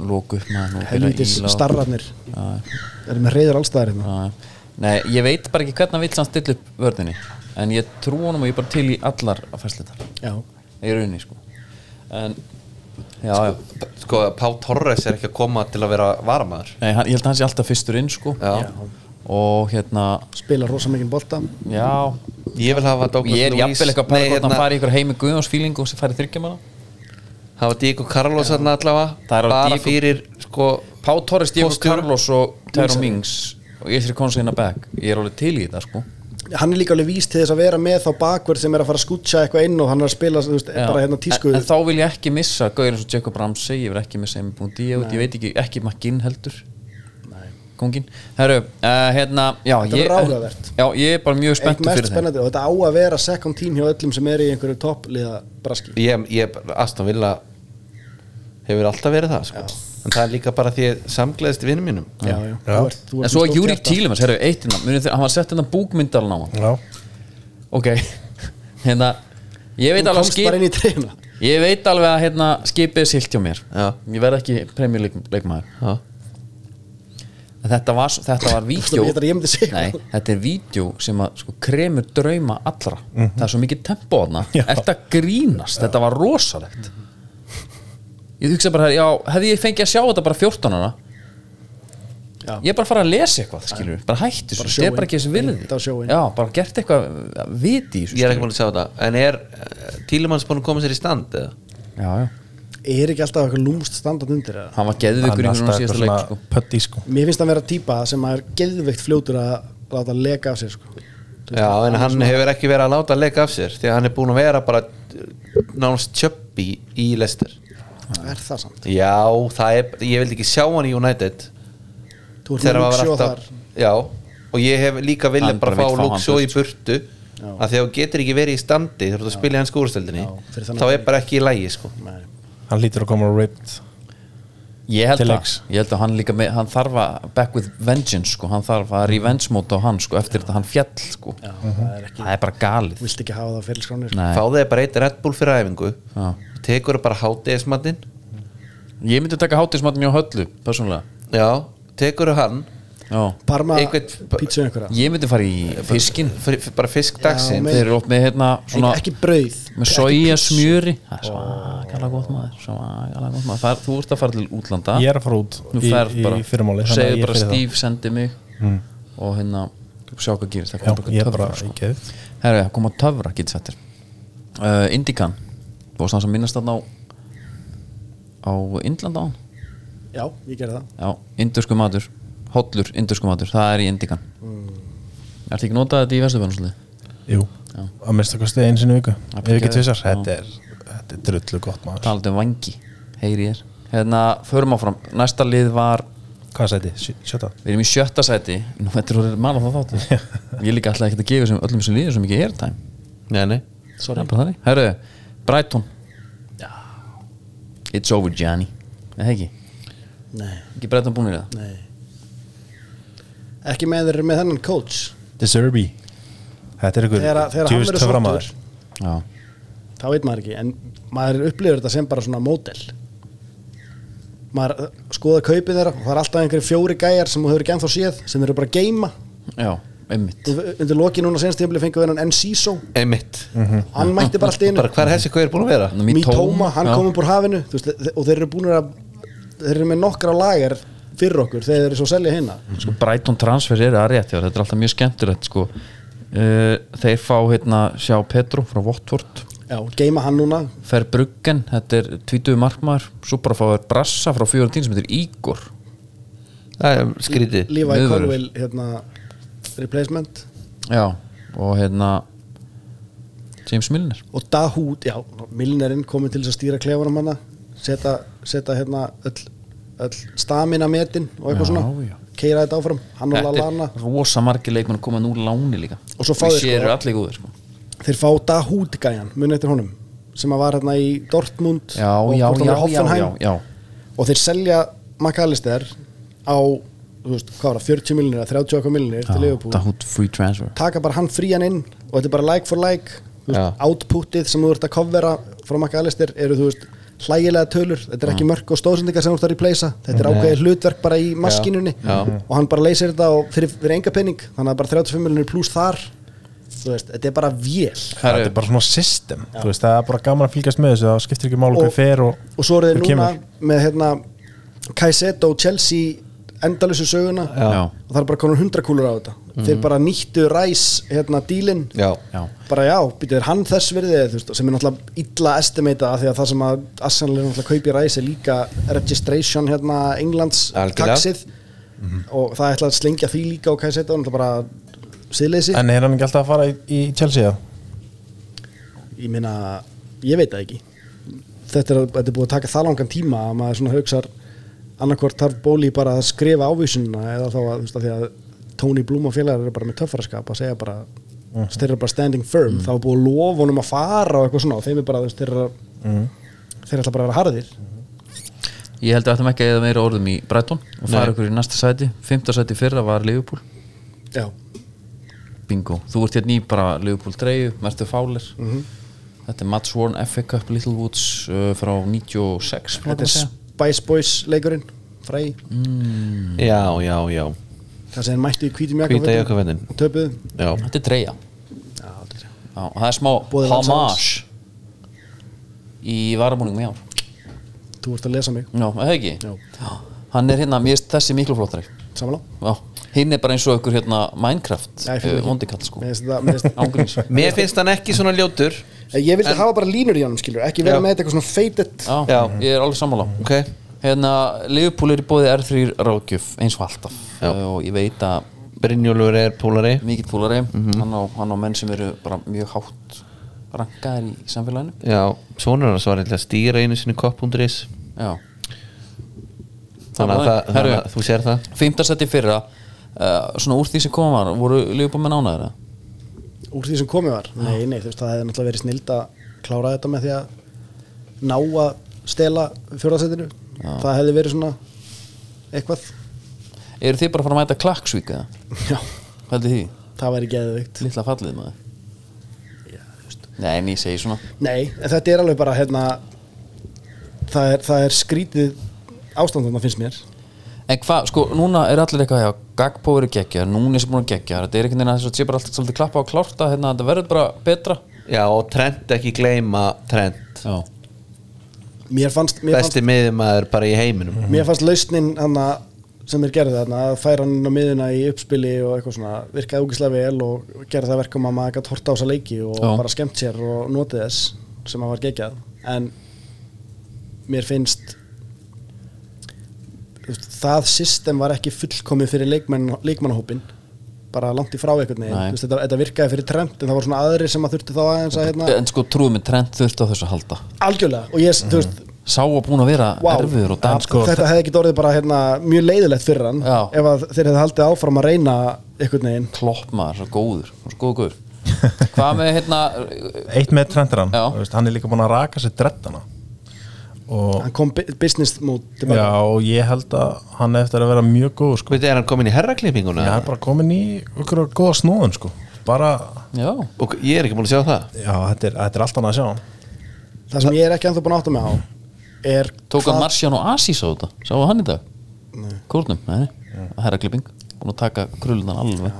Speaker 1: lóku upp maður og byrja að
Speaker 3: helvítis
Speaker 1: ýla og-
Speaker 3: starrarnir
Speaker 1: Já.
Speaker 3: erum með reyður allstæðar hérna.
Speaker 1: Já, já. Ah, Nei, ég veit bara ekki hvernig hann vill hann stilla upp vörðinni en ég trú honum og ég er bara til í allar að fæsleita
Speaker 3: Já.
Speaker 1: í rauninni sko en, já, já
Speaker 4: Sko, Pá Torres er ekki að koma til að vera varamaður
Speaker 1: Nei, hann, ég held að hann sé alltaf fyrstur inn sko
Speaker 4: Já.
Speaker 1: og hérna,
Speaker 3: spila rosa mikinn bolta
Speaker 1: já
Speaker 4: Ég vil hafa Douglas
Speaker 1: ég er
Speaker 4: Luiz-
Speaker 1: jafnvel eitthvað
Speaker 4: Nei,
Speaker 1: pæla hvort hann
Speaker 4: hérna,
Speaker 1: fari í ykkur heimi guðjónsfíling og sem fari þryggjamanna
Speaker 4: hafa Diego Carlos þarna allavega
Speaker 1: Það er alveg
Speaker 4: bara
Speaker 1: Diego-
Speaker 4: fyrir sko
Speaker 1: Pá Torres, Diego
Speaker 4: Póststjóra.
Speaker 1: Carlos og Tæro Mings og ég þrjá konsigna back ég er alveg til í þetta sko
Speaker 3: hann er líka alveg víst til þess að vera með þá bakverð sem er að fara að skútsa eitthvað inn og hann er að spila þú veist,
Speaker 1: Já.
Speaker 3: bara hérna tísku
Speaker 1: en, en þá vil ég ekki missa gauðir eins og Jacob Ramsey ég vil ekki missa M.D. ég veit ekki, ekki McGinn heldur kongin herru, uh, hérna já,
Speaker 3: Þetta
Speaker 1: ég,
Speaker 3: verður áhugavert.
Speaker 1: já, ég er bara mjög
Speaker 3: eitt
Speaker 1: spenntur
Speaker 3: mest
Speaker 1: fyrir þeim
Speaker 3: spennandi og þetta á að vera second team hjá öllum sem er í einhverju toppliða braski
Speaker 4: ég, ég, Aston Villa hefur alltaf verið það sko. en það er líka bara því að samgleðist vinnum mínum
Speaker 3: já, já. Þú ert, þú
Speaker 1: en
Speaker 3: ert
Speaker 1: svo
Speaker 3: með stórt
Speaker 1: Júri
Speaker 3: hjarta.
Speaker 1: Tílemans, herru, eittina hann var sett hérna búkmyndalinn á hann
Speaker 2: Já,
Speaker 1: ok, hérna ég veit
Speaker 3: Þú
Speaker 1: alveg að
Speaker 3: komst
Speaker 1: skip
Speaker 3: bara inn í treyna
Speaker 1: ég veit alveg að hérna skipið er silt hjá mér
Speaker 4: Já.
Speaker 1: ég verð ekki premjuleikmaður
Speaker 4: Já.
Speaker 1: En þetta var, svo- þetta var vídeo
Speaker 3: Ég ætla að ég myndi segja
Speaker 1: Nei, þetta er vídeo sem að sko, kremur drauma allra það er svo mikið tempo þarna Ertu að grínast, þetta var rosalegt Ég hugsa bara, já, hefði ég fengið að sjá þetta bara 14 ára
Speaker 3: Já.
Speaker 1: Ég er bara að fara að lesa eitthvað, skilur við, bara hættu svo,
Speaker 3: Bara
Speaker 1: þetta er bara
Speaker 3: sjóinn,
Speaker 1: ekki þessi virði
Speaker 3: beint á sjóinn.
Speaker 1: Já, bara gert eitthvað að viti í þessu
Speaker 4: ég er ekki búin að sjá þetta en er Tílimanns búin að koma sér í stand eða?
Speaker 1: skilurðu. Já, já,
Speaker 3: er ekki alltaf eitthvað lúmst standað undir það
Speaker 1: hann var geðvikur í hún síðasta leik sko.
Speaker 2: pötti sko
Speaker 3: mér finnst það vera típa sem er geðveikt fljótur að láta leka af sér sko. Þú veist,
Speaker 4: já, en hann hefur ekki verið að láta að leika af sér því að hann er búin að vera bara eh, nánast tjöppi í Leicester
Speaker 3: er það samt
Speaker 4: já, það er, ég vildi ekki sjá hann í United
Speaker 3: þú ert
Speaker 4: þegar
Speaker 3: með
Speaker 4: maður var
Speaker 3: Luxio
Speaker 4: alltaf
Speaker 3: þar
Speaker 4: já, og ég hef líka vilja
Speaker 1: Hann
Speaker 4: bara
Speaker 1: bara
Speaker 4: fá
Speaker 1: vill fá hann
Speaker 4: Luxo í burtu
Speaker 3: Já.
Speaker 4: að því að þú getur ekki verið í standi þegar þú spila í hans skúrstöldinni
Speaker 3: Já, fyrir þannig
Speaker 4: þá er bara ekki í lægi sko
Speaker 3: Nei.
Speaker 2: Hann lítur að koma ripped
Speaker 1: ég held
Speaker 2: Til
Speaker 1: að,
Speaker 2: leiks.
Speaker 1: ég held að hann líka með, hann þarf að back with vengeance sko, hann þarf að revenge móta á hann sko, eftir þetta hann fjall sko Já, það, er það er bara galið
Speaker 3: vilt ekki hafa það á fyrirskráni sko.
Speaker 1: Nei.
Speaker 4: fá þig bara eitt Red Bull fyrir æfingu
Speaker 1: Já.
Speaker 4: tekur bara hátíðismatinn
Speaker 1: ég myndi taka hátísmatn hjá höllu, persónulega
Speaker 4: já, tekur hann
Speaker 1: Já.
Speaker 3: Parma,
Speaker 4: Einhvern-
Speaker 3: pítsu einhverja
Speaker 1: ég myndi fara í fiskin
Speaker 4: fyrir- fyrir- bara fisk dagsinn
Speaker 3: með-
Speaker 1: þeir eru oft með hérna svona,
Speaker 3: ekki brauð
Speaker 1: með soja smjöri svakalega gott maður svakalega gott maður Far, þú ert að fara til útlanda
Speaker 2: Ég er að fara út
Speaker 1: þú
Speaker 2: í,
Speaker 1: ferð
Speaker 2: í,
Speaker 1: bara
Speaker 2: í fyrirmáli þannig að
Speaker 1: segir
Speaker 2: ég
Speaker 1: bara
Speaker 2: fer í það.
Speaker 1: Steve sendi mig og hérna sjá hvað gerist það
Speaker 2: Já,
Speaker 1: kom bara
Speaker 2: ég er
Speaker 1: eitthvað
Speaker 2: bara
Speaker 1: töfra sko.
Speaker 2: ekki eða
Speaker 1: herru, það kom að töfra getur settir uh, Indikan þú varst hans að minnast þarna á á Indlanda án
Speaker 3: já, ég gerði það
Speaker 1: já, indusku matur hollur indusku matur, það er í Indikan
Speaker 2: Mm.
Speaker 1: ertu ekki notað þetta í Vesturbjörnusliði?
Speaker 2: Jú, að minnsta kosti einu sinni í viku
Speaker 1: Það er
Speaker 2: Ef ekki
Speaker 1: geðveikt.
Speaker 2: tvisar,
Speaker 1: Já.
Speaker 2: þetta er, þetta er drullu gott maður
Speaker 1: talandi um vangi, heyri ég er hérna, förum áfram, næsta lið var
Speaker 2: Hvað sæti? Sjö- Sjötta?
Speaker 1: við erum í sjötta sæti, nú þetta er orðið mann á það þáttu, ég líka alltaf ekkert að gefa sem, öllum sem liður sem ekki airtime
Speaker 4: nei, nei.
Speaker 1: Sorry. herru, Brighton it's over Gianni eða ekki,
Speaker 3: Nei.
Speaker 1: ekki Brighton búinir það
Speaker 3: Nei. ekki með þeir eru með þennan coach
Speaker 2: Deserby Þetta er ykkur
Speaker 3: Þegar- þegar hann
Speaker 2: djöfull
Speaker 3: verður
Speaker 2: töframaður.
Speaker 3: sóttur.
Speaker 1: já,
Speaker 3: þá veit maður ekki en maður upplifur þetta sem bara svona módel maður uh, skoðar kaupið þeirra og það er alltaf einhverjir fjóri gæjar sem þú hefur ekki ennþá séð sem eru bara að geima
Speaker 1: já, einmitt
Speaker 3: undir loki núna senst tímabili fengið við hennan NCSO
Speaker 4: einmitt
Speaker 3: hann mætti bara allt í einu
Speaker 4: bara hvað er þessi hvað er búin að vera
Speaker 3: Mítóma, hann
Speaker 1: já.
Speaker 3: kom upp úr hafinu þú veist, þe- og þeir eru búin að þeir eru með nokkra lagar fyrir okkur þegar þeir eru svo að selja hérna
Speaker 1: sko Brighton transfer er að rétt já, þetta er alltaf mjög skemmtilegt sko Uh, þeir fá hérna sjá Petro frá Votvort
Speaker 3: já, geima hann núna
Speaker 1: fer Bruggen, þetta er 20 markmaður svo bara fá þér Brassa frá 14 sem heitir Ígor
Speaker 4: það er skrítið
Speaker 3: Levi
Speaker 1: Miðvörður.
Speaker 3: Colwell hérna, replacement
Speaker 1: já, og hérna James Milner
Speaker 3: og Dahoud, já, Milnerinn komið til þess að stýra klefunum hana setja, setja hérna öll, öll stamina metin og
Speaker 1: Já, já.
Speaker 3: eitthvað svona keira þetta áfram, hann og Lallana
Speaker 1: er rosa margir leikmenn koma nú láni líka
Speaker 3: Og svo fá þeir,
Speaker 1: Við
Speaker 3: sko-
Speaker 1: séu allir góðir sko.
Speaker 3: þeir fá Dahoud gæjan, muni eftir honum sem að var hérna í Dortmund
Speaker 1: já,
Speaker 3: og
Speaker 1: já,
Speaker 3: hvort hann
Speaker 1: já,
Speaker 3: er
Speaker 1: já,
Speaker 3: Hoffenheim
Speaker 1: já, já
Speaker 3: og þeir selja McAllister á, þú veist, hvað var það, 40 miljonir eða 30 okkur miljonir til Liverpool
Speaker 1: Dahut free transfer
Speaker 3: taka bara hann frían inn og þetta er bara like for like þú
Speaker 4: Já.
Speaker 3: veist, outputið sem þú ert að covera frá McAllister eru þú veist hlægilega tölur, þetta er ekki mörg og stóðsendingar sem þú ert að replacea, þetta er ákveðið hlutverk bara í maskinunni
Speaker 4: Já.
Speaker 3: og hann bara leysir þetta og fyrir, fyrir enga penning, þannig að bara 35 miljonir pluss þar þú veist, þetta er bara vél
Speaker 2: Þetta er bara svona system þú veist, Það er bara gaman að fylgjast með þessu Það skiptir ekki máli
Speaker 3: Og-
Speaker 2: hver fer og,
Speaker 3: og svo eru þeir
Speaker 2: hver
Speaker 3: núna með hérna Kaiseto og Chelsea endalysu söguna
Speaker 1: Já.
Speaker 3: og það er bara konur 100 kúlur á þetta þeir bara nýttu ræs hérna dílin
Speaker 4: Mhm. já,
Speaker 1: já,
Speaker 3: bara já, býtur hann þess verðið þú veist, sem er náttúrulega illa estimata af því að það sem að Arsenal er náttúrulega kaupi ræs er líka registration hérna Englands
Speaker 4: Algjörlega.
Speaker 3: taxið og það ætla að slengja því líka og Kaiseto náttúrulega bara síðleysi
Speaker 2: En er hann ekki alltaf að fara í, í Chelsea? eða?
Speaker 3: ég meina, ég veit það ekki þetta er, þetta er búið að taka það langan tíma að maður svona haugsar annarkvort þarf bóli bara að skrifa ávísunna eða þá að, þú veist, að því að Tony Bloom og félagar eru bara með töffaraskap að segja bara mm. þeir eru bara standing firm þá er búið að lofa honum að fara og eitthvað svona og þeim er bara, þú veist, þeir eru þeir ætla bara að vera harðir
Speaker 1: ég held að ættum ekki að eða meira orðum í Brighton og fara ykkur í næsta sæti, fymta sæti fyrra var Liverpool,
Speaker 3: já,
Speaker 1: bingo þú ert hérna í bara Liverpool treyju, Mertu Fowler
Speaker 3: Mhm.
Speaker 1: þetta er Matt Sworn FA Cup Little Woods uh, frá 96 má
Speaker 3: þetta
Speaker 1: maður
Speaker 3: er
Speaker 1: segja.
Speaker 3: Spice Boys leikurinn fræ,
Speaker 4: já, já, já
Speaker 3: það sem þeir mættu í hvítum
Speaker 4: hvita
Speaker 3: jakkafötum
Speaker 4: jakkafendin
Speaker 3: og töpuðu
Speaker 4: já,
Speaker 1: þetta er treyja
Speaker 3: Já, þetta er-
Speaker 1: Já, og það er smá
Speaker 3: Boðið
Speaker 1: homage í varumúningum í ár
Speaker 3: þú ert að lesa mig,
Speaker 1: Já, er það ekki?
Speaker 3: Já.
Speaker 1: Hann er hérna, mér finnst þessi miklu flottari
Speaker 3: samanlá
Speaker 1: Já, hinn er bara eins og ykkur hérna Minecraft
Speaker 3: Nei, ég fíla
Speaker 1: eh,
Speaker 3: ekki.
Speaker 1: vondikall sko
Speaker 3: Mér finnst þetta- mér finnst-
Speaker 1: Ángurins
Speaker 4: mér finnst hann ekki svona ljótur
Speaker 3: Eh, Ég vildi hafa bara línur í honum, skilur, ekki vera
Speaker 4: Já.
Speaker 3: með þetta eitthvað svona feitet
Speaker 1: Já,
Speaker 4: Já.
Speaker 1: ég er alveg sammála
Speaker 4: ok,
Speaker 1: Hérna, Liverpool er í bóði R3 ráðgjöf eins og alltaf
Speaker 4: Já.
Speaker 1: Eh, og ég veit að
Speaker 4: Brynjólfur er pólari
Speaker 1: mikill fúlari
Speaker 4: Mhm.
Speaker 1: hann, á, hann á menn sem eru bara mjög hátt rankaðir í samfélaginu
Speaker 4: já, svona er hann svarið til að stýra einu sinni kopp.is
Speaker 1: Já
Speaker 4: þannig að, það,
Speaker 1: Herru,
Speaker 4: þannig að þú sér það
Speaker 1: fimmtastætti fyrra uh, svona úr því sem koma var voru Liverpool með nánaðir
Speaker 3: úr því sem komið var nei, nei, þú veist, það hefði náttúrulega verið snild að klára þetta með því að ná að stela fjórðarsettinu það hefði verið svona eitthvað,
Speaker 1: Eru þið bara að fara að mæta klakksvík eða?
Speaker 3: já,
Speaker 1: Hvað heldur því?
Speaker 3: það væri geðvikt
Speaker 1: Lilla fallið maður Nei, en ég segi svona
Speaker 3: nei, en þetta er alveg bara hérna, það er, það er skrítið ástand þarna finnst mér
Speaker 1: En hvað, sko, núna er allir eitthvað já, Gagpo eru geggja, núni sem búin að geggja Þetta er einhvern veginn að þess að sé bara alltaf svolítið klappa og klárta hérna, þetta verður bara betra
Speaker 4: Já, og Trent ekki gleyma Trent
Speaker 1: Já,
Speaker 3: mér fannst, mér fannst, Mhm.
Speaker 4: Besti miðumæður bara í heiminum
Speaker 3: mér fannst lausnin hana, sem er gerðið þarna að færa hann inn á miðuna í uppspili og eitthvað svona virkaði ógislega vel og gerði það verkum að maður gætt horta á þessa leiki og
Speaker 1: Já.
Speaker 3: bara skemmt sér og notið þess sem að var gegjað en mér finnst þú veist, það system var ekki fullkomið fyrir leikmenn, leikmannahópin bara langt í frá einhvern veginn
Speaker 1: Nei.
Speaker 3: Þú veist, þetta, þetta virkaði fyrir trend en það var svona aðrir sem að þurfti þá aðeins að hérna,
Speaker 1: En sko, trúið mig, Trent þurfti á þessu að halda
Speaker 3: algjörlega og ég, þú veist,
Speaker 1: Sá að búin að vera
Speaker 3: Vá.
Speaker 1: erfiður og
Speaker 3: Ja,
Speaker 1: dæmt sko,
Speaker 3: þetta hefði ekki orðið bara hérna, mjög leiðilegt fyrir hann
Speaker 1: Já.
Speaker 3: ef að þeir hefði haldið áfram að reyna einhvern veginn
Speaker 1: klopp maður, svo góður Svo góður góður Hvað með hérna
Speaker 2: eitt með trendirann
Speaker 1: Já.
Speaker 2: veist, hann er líka búin að raka sér dreddana og,
Speaker 3: hann kom bu- business mode
Speaker 2: já,
Speaker 3: tilbaka
Speaker 2: og ég held að hann er eftir að vera mjög góð sko.
Speaker 4: Veitir, er hann komin í herraklippinguna?
Speaker 2: ég er bara komin í okkur góða snóðun sko. bara,
Speaker 1: Já,
Speaker 4: Og ég er ekki búin að sjá það
Speaker 2: já, þetta er, þetta er allt annað að sjá
Speaker 3: það sem ég er ekki ennþá búin að átta mig á er
Speaker 1: tók hann
Speaker 3: hvað-
Speaker 1: Marcian og Asís á þetta Sáu hann í dag? Kórnum, nei, herraklipping Búin að taka krullunan alveg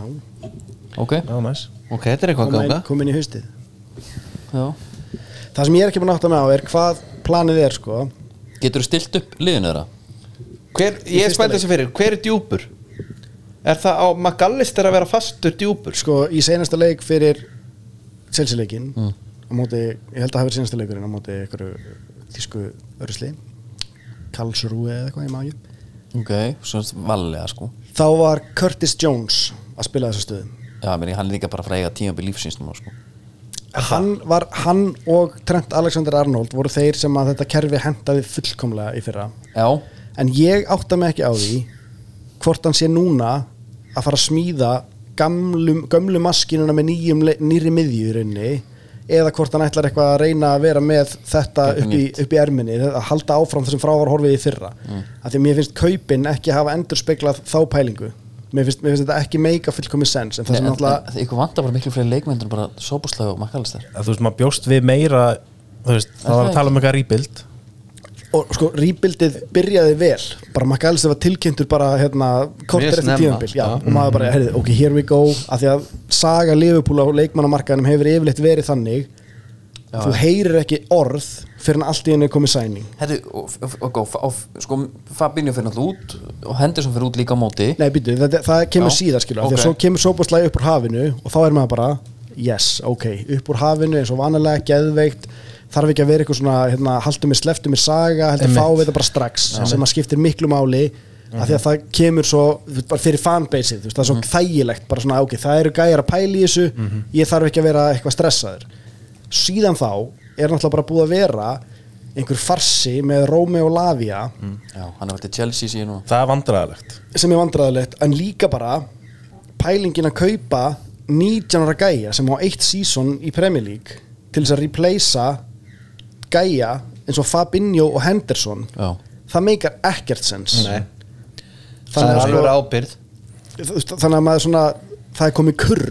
Speaker 1: Ok,
Speaker 2: já, næs
Speaker 4: Ok, þetta er eitthvað að
Speaker 3: kom inn-
Speaker 4: ganga
Speaker 3: kom inn í haustið
Speaker 1: já
Speaker 3: það sem ég er ekki búin að átta mig á er hvað planið er sko
Speaker 1: Getur þú stilt upp liðinu þeirra?
Speaker 4: hver, Ég er spænt þessu fyrir, hver er djúpur? Er það á Magallister að vera fastur djúpur?
Speaker 3: sko í seinasta leik fyrir selsileikin
Speaker 1: Mm.
Speaker 3: á móti, ég held að hafi verið seinasta leikurinn á móti einhverju tísku örysli Karlsruhe eða eitthvað, ég maður ekki
Speaker 1: Ok, svo vallega sko
Speaker 3: þá var Curtis Jones að spila þessa stöðu
Speaker 1: Já, meni, hann er líka bara að fræga tímabil lífsins núna sko.
Speaker 3: hann, var, hann og Trent Alexander Arnold voru þeir sem að þetta kerfi hendaði fullkomlega í fyrra
Speaker 1: Já,
Speaker 3: en ég átta mig ekki á því hvort hann sé núna að fara að smíða gamlum, gömlu maskinuna með nýjum, le- nýri miðju í rauninni eða hvort hann ætlar eitthvað að reyna að vera með þetta
Speaker 1: Eitthvað
Speaker 3: upp í, upp í erminni að halda áfram þessum frávar horfið í fyrra mm. að því að mér finnst kaupin ekki hafa endur speklað þá pælingu mér finnst, mér finnst þetta ekki meika fullkomið sens en það
Speaker 1: Nei,
Speaker 3: sem
Speaker 1: en,
Speaker 3: alltaf
Speaker 1: en, ykkur vantar bara miklu fleiri leikmyndur en bara sóbúslega og makkalistar
Speaker 2: að, þú veist, maður bjóst við meira þú veist, það var
Speaker 1: það
Speaker 2: að tala um eitthvað rebuild
Speaker 3: og sko rýbildið byrjaði vel bara maður gæðist að var tilkynntur bara hérna, kortir
Speaker 4: Mjög
Speaker 3: eftir
Speaker 4: snemma.
Speaker 3: tíðanbíl já,
Speaker 4: Já. Mm.
Speaker 3: og maður bara, heyrðu, ok, here we go af því að saga Liverpool á leikmannamarkaðinum hefur yfirleitt verið þannig þú heyrir ekki orð fyrir en allt í henni komið sæning
Speaker 1: Herri, og, og, og, og, og sko, Fabinho fyrir náttúrulega út og Henderson fyrir út líka á móti
Speaker 3: nei, býtu, það, það kemur
Speaker 1: Já.
Speaker 3: síðar skilu af því
Speaker 1: Ok.
Speaker 3: að svo kemur sópastlæði upp úr hafinu og þá er maður bara, yes, ok upp úr hafinu eins og vanalega, geðveikt þarf ekki að vera eitthvað svona hérna, haldur mér sleftu mér saga, heldur fá við þetta bara strax sem að skiptir miklu máli af
Speaker 1: Mhm.
Speaker 3: því að það kemur svo þú veist, bara fyrir fanbaseið, þú veist, það er svo þægilegt bara svona, ok, það eru gæjar að pæla í þessu
Speaker 1: Mhm.
Speaker 3: ég þarf ekki að vera eitthvað stressaður síðan þá er náttúrulega bara búið að vera einhver farsi með Rómi og Lavia
Speaker 1: Já, hann er verið til Chelsea síðan og
Speaker 2: það er vandræðilegt
Speaker 3: sem er vandræðilegt en líka bara pælingin að kaupa 19 ára gæja sem á eitt sísón í Premier League til þess að replacea gæja eins og Fabinho og Henderson
Speaker 1: Já.
Speaker 3: það meikar ekkert sens
Speaker 4: Nei,
Speaker 3: þannig,
Speaker 4: það er
Speaker 3: að
Speaker 4: alveg
Speaker 3: sko,
Speaker 4: ábyrð
Speaker 3: þú veist, þannig að maður svona það er komið kurr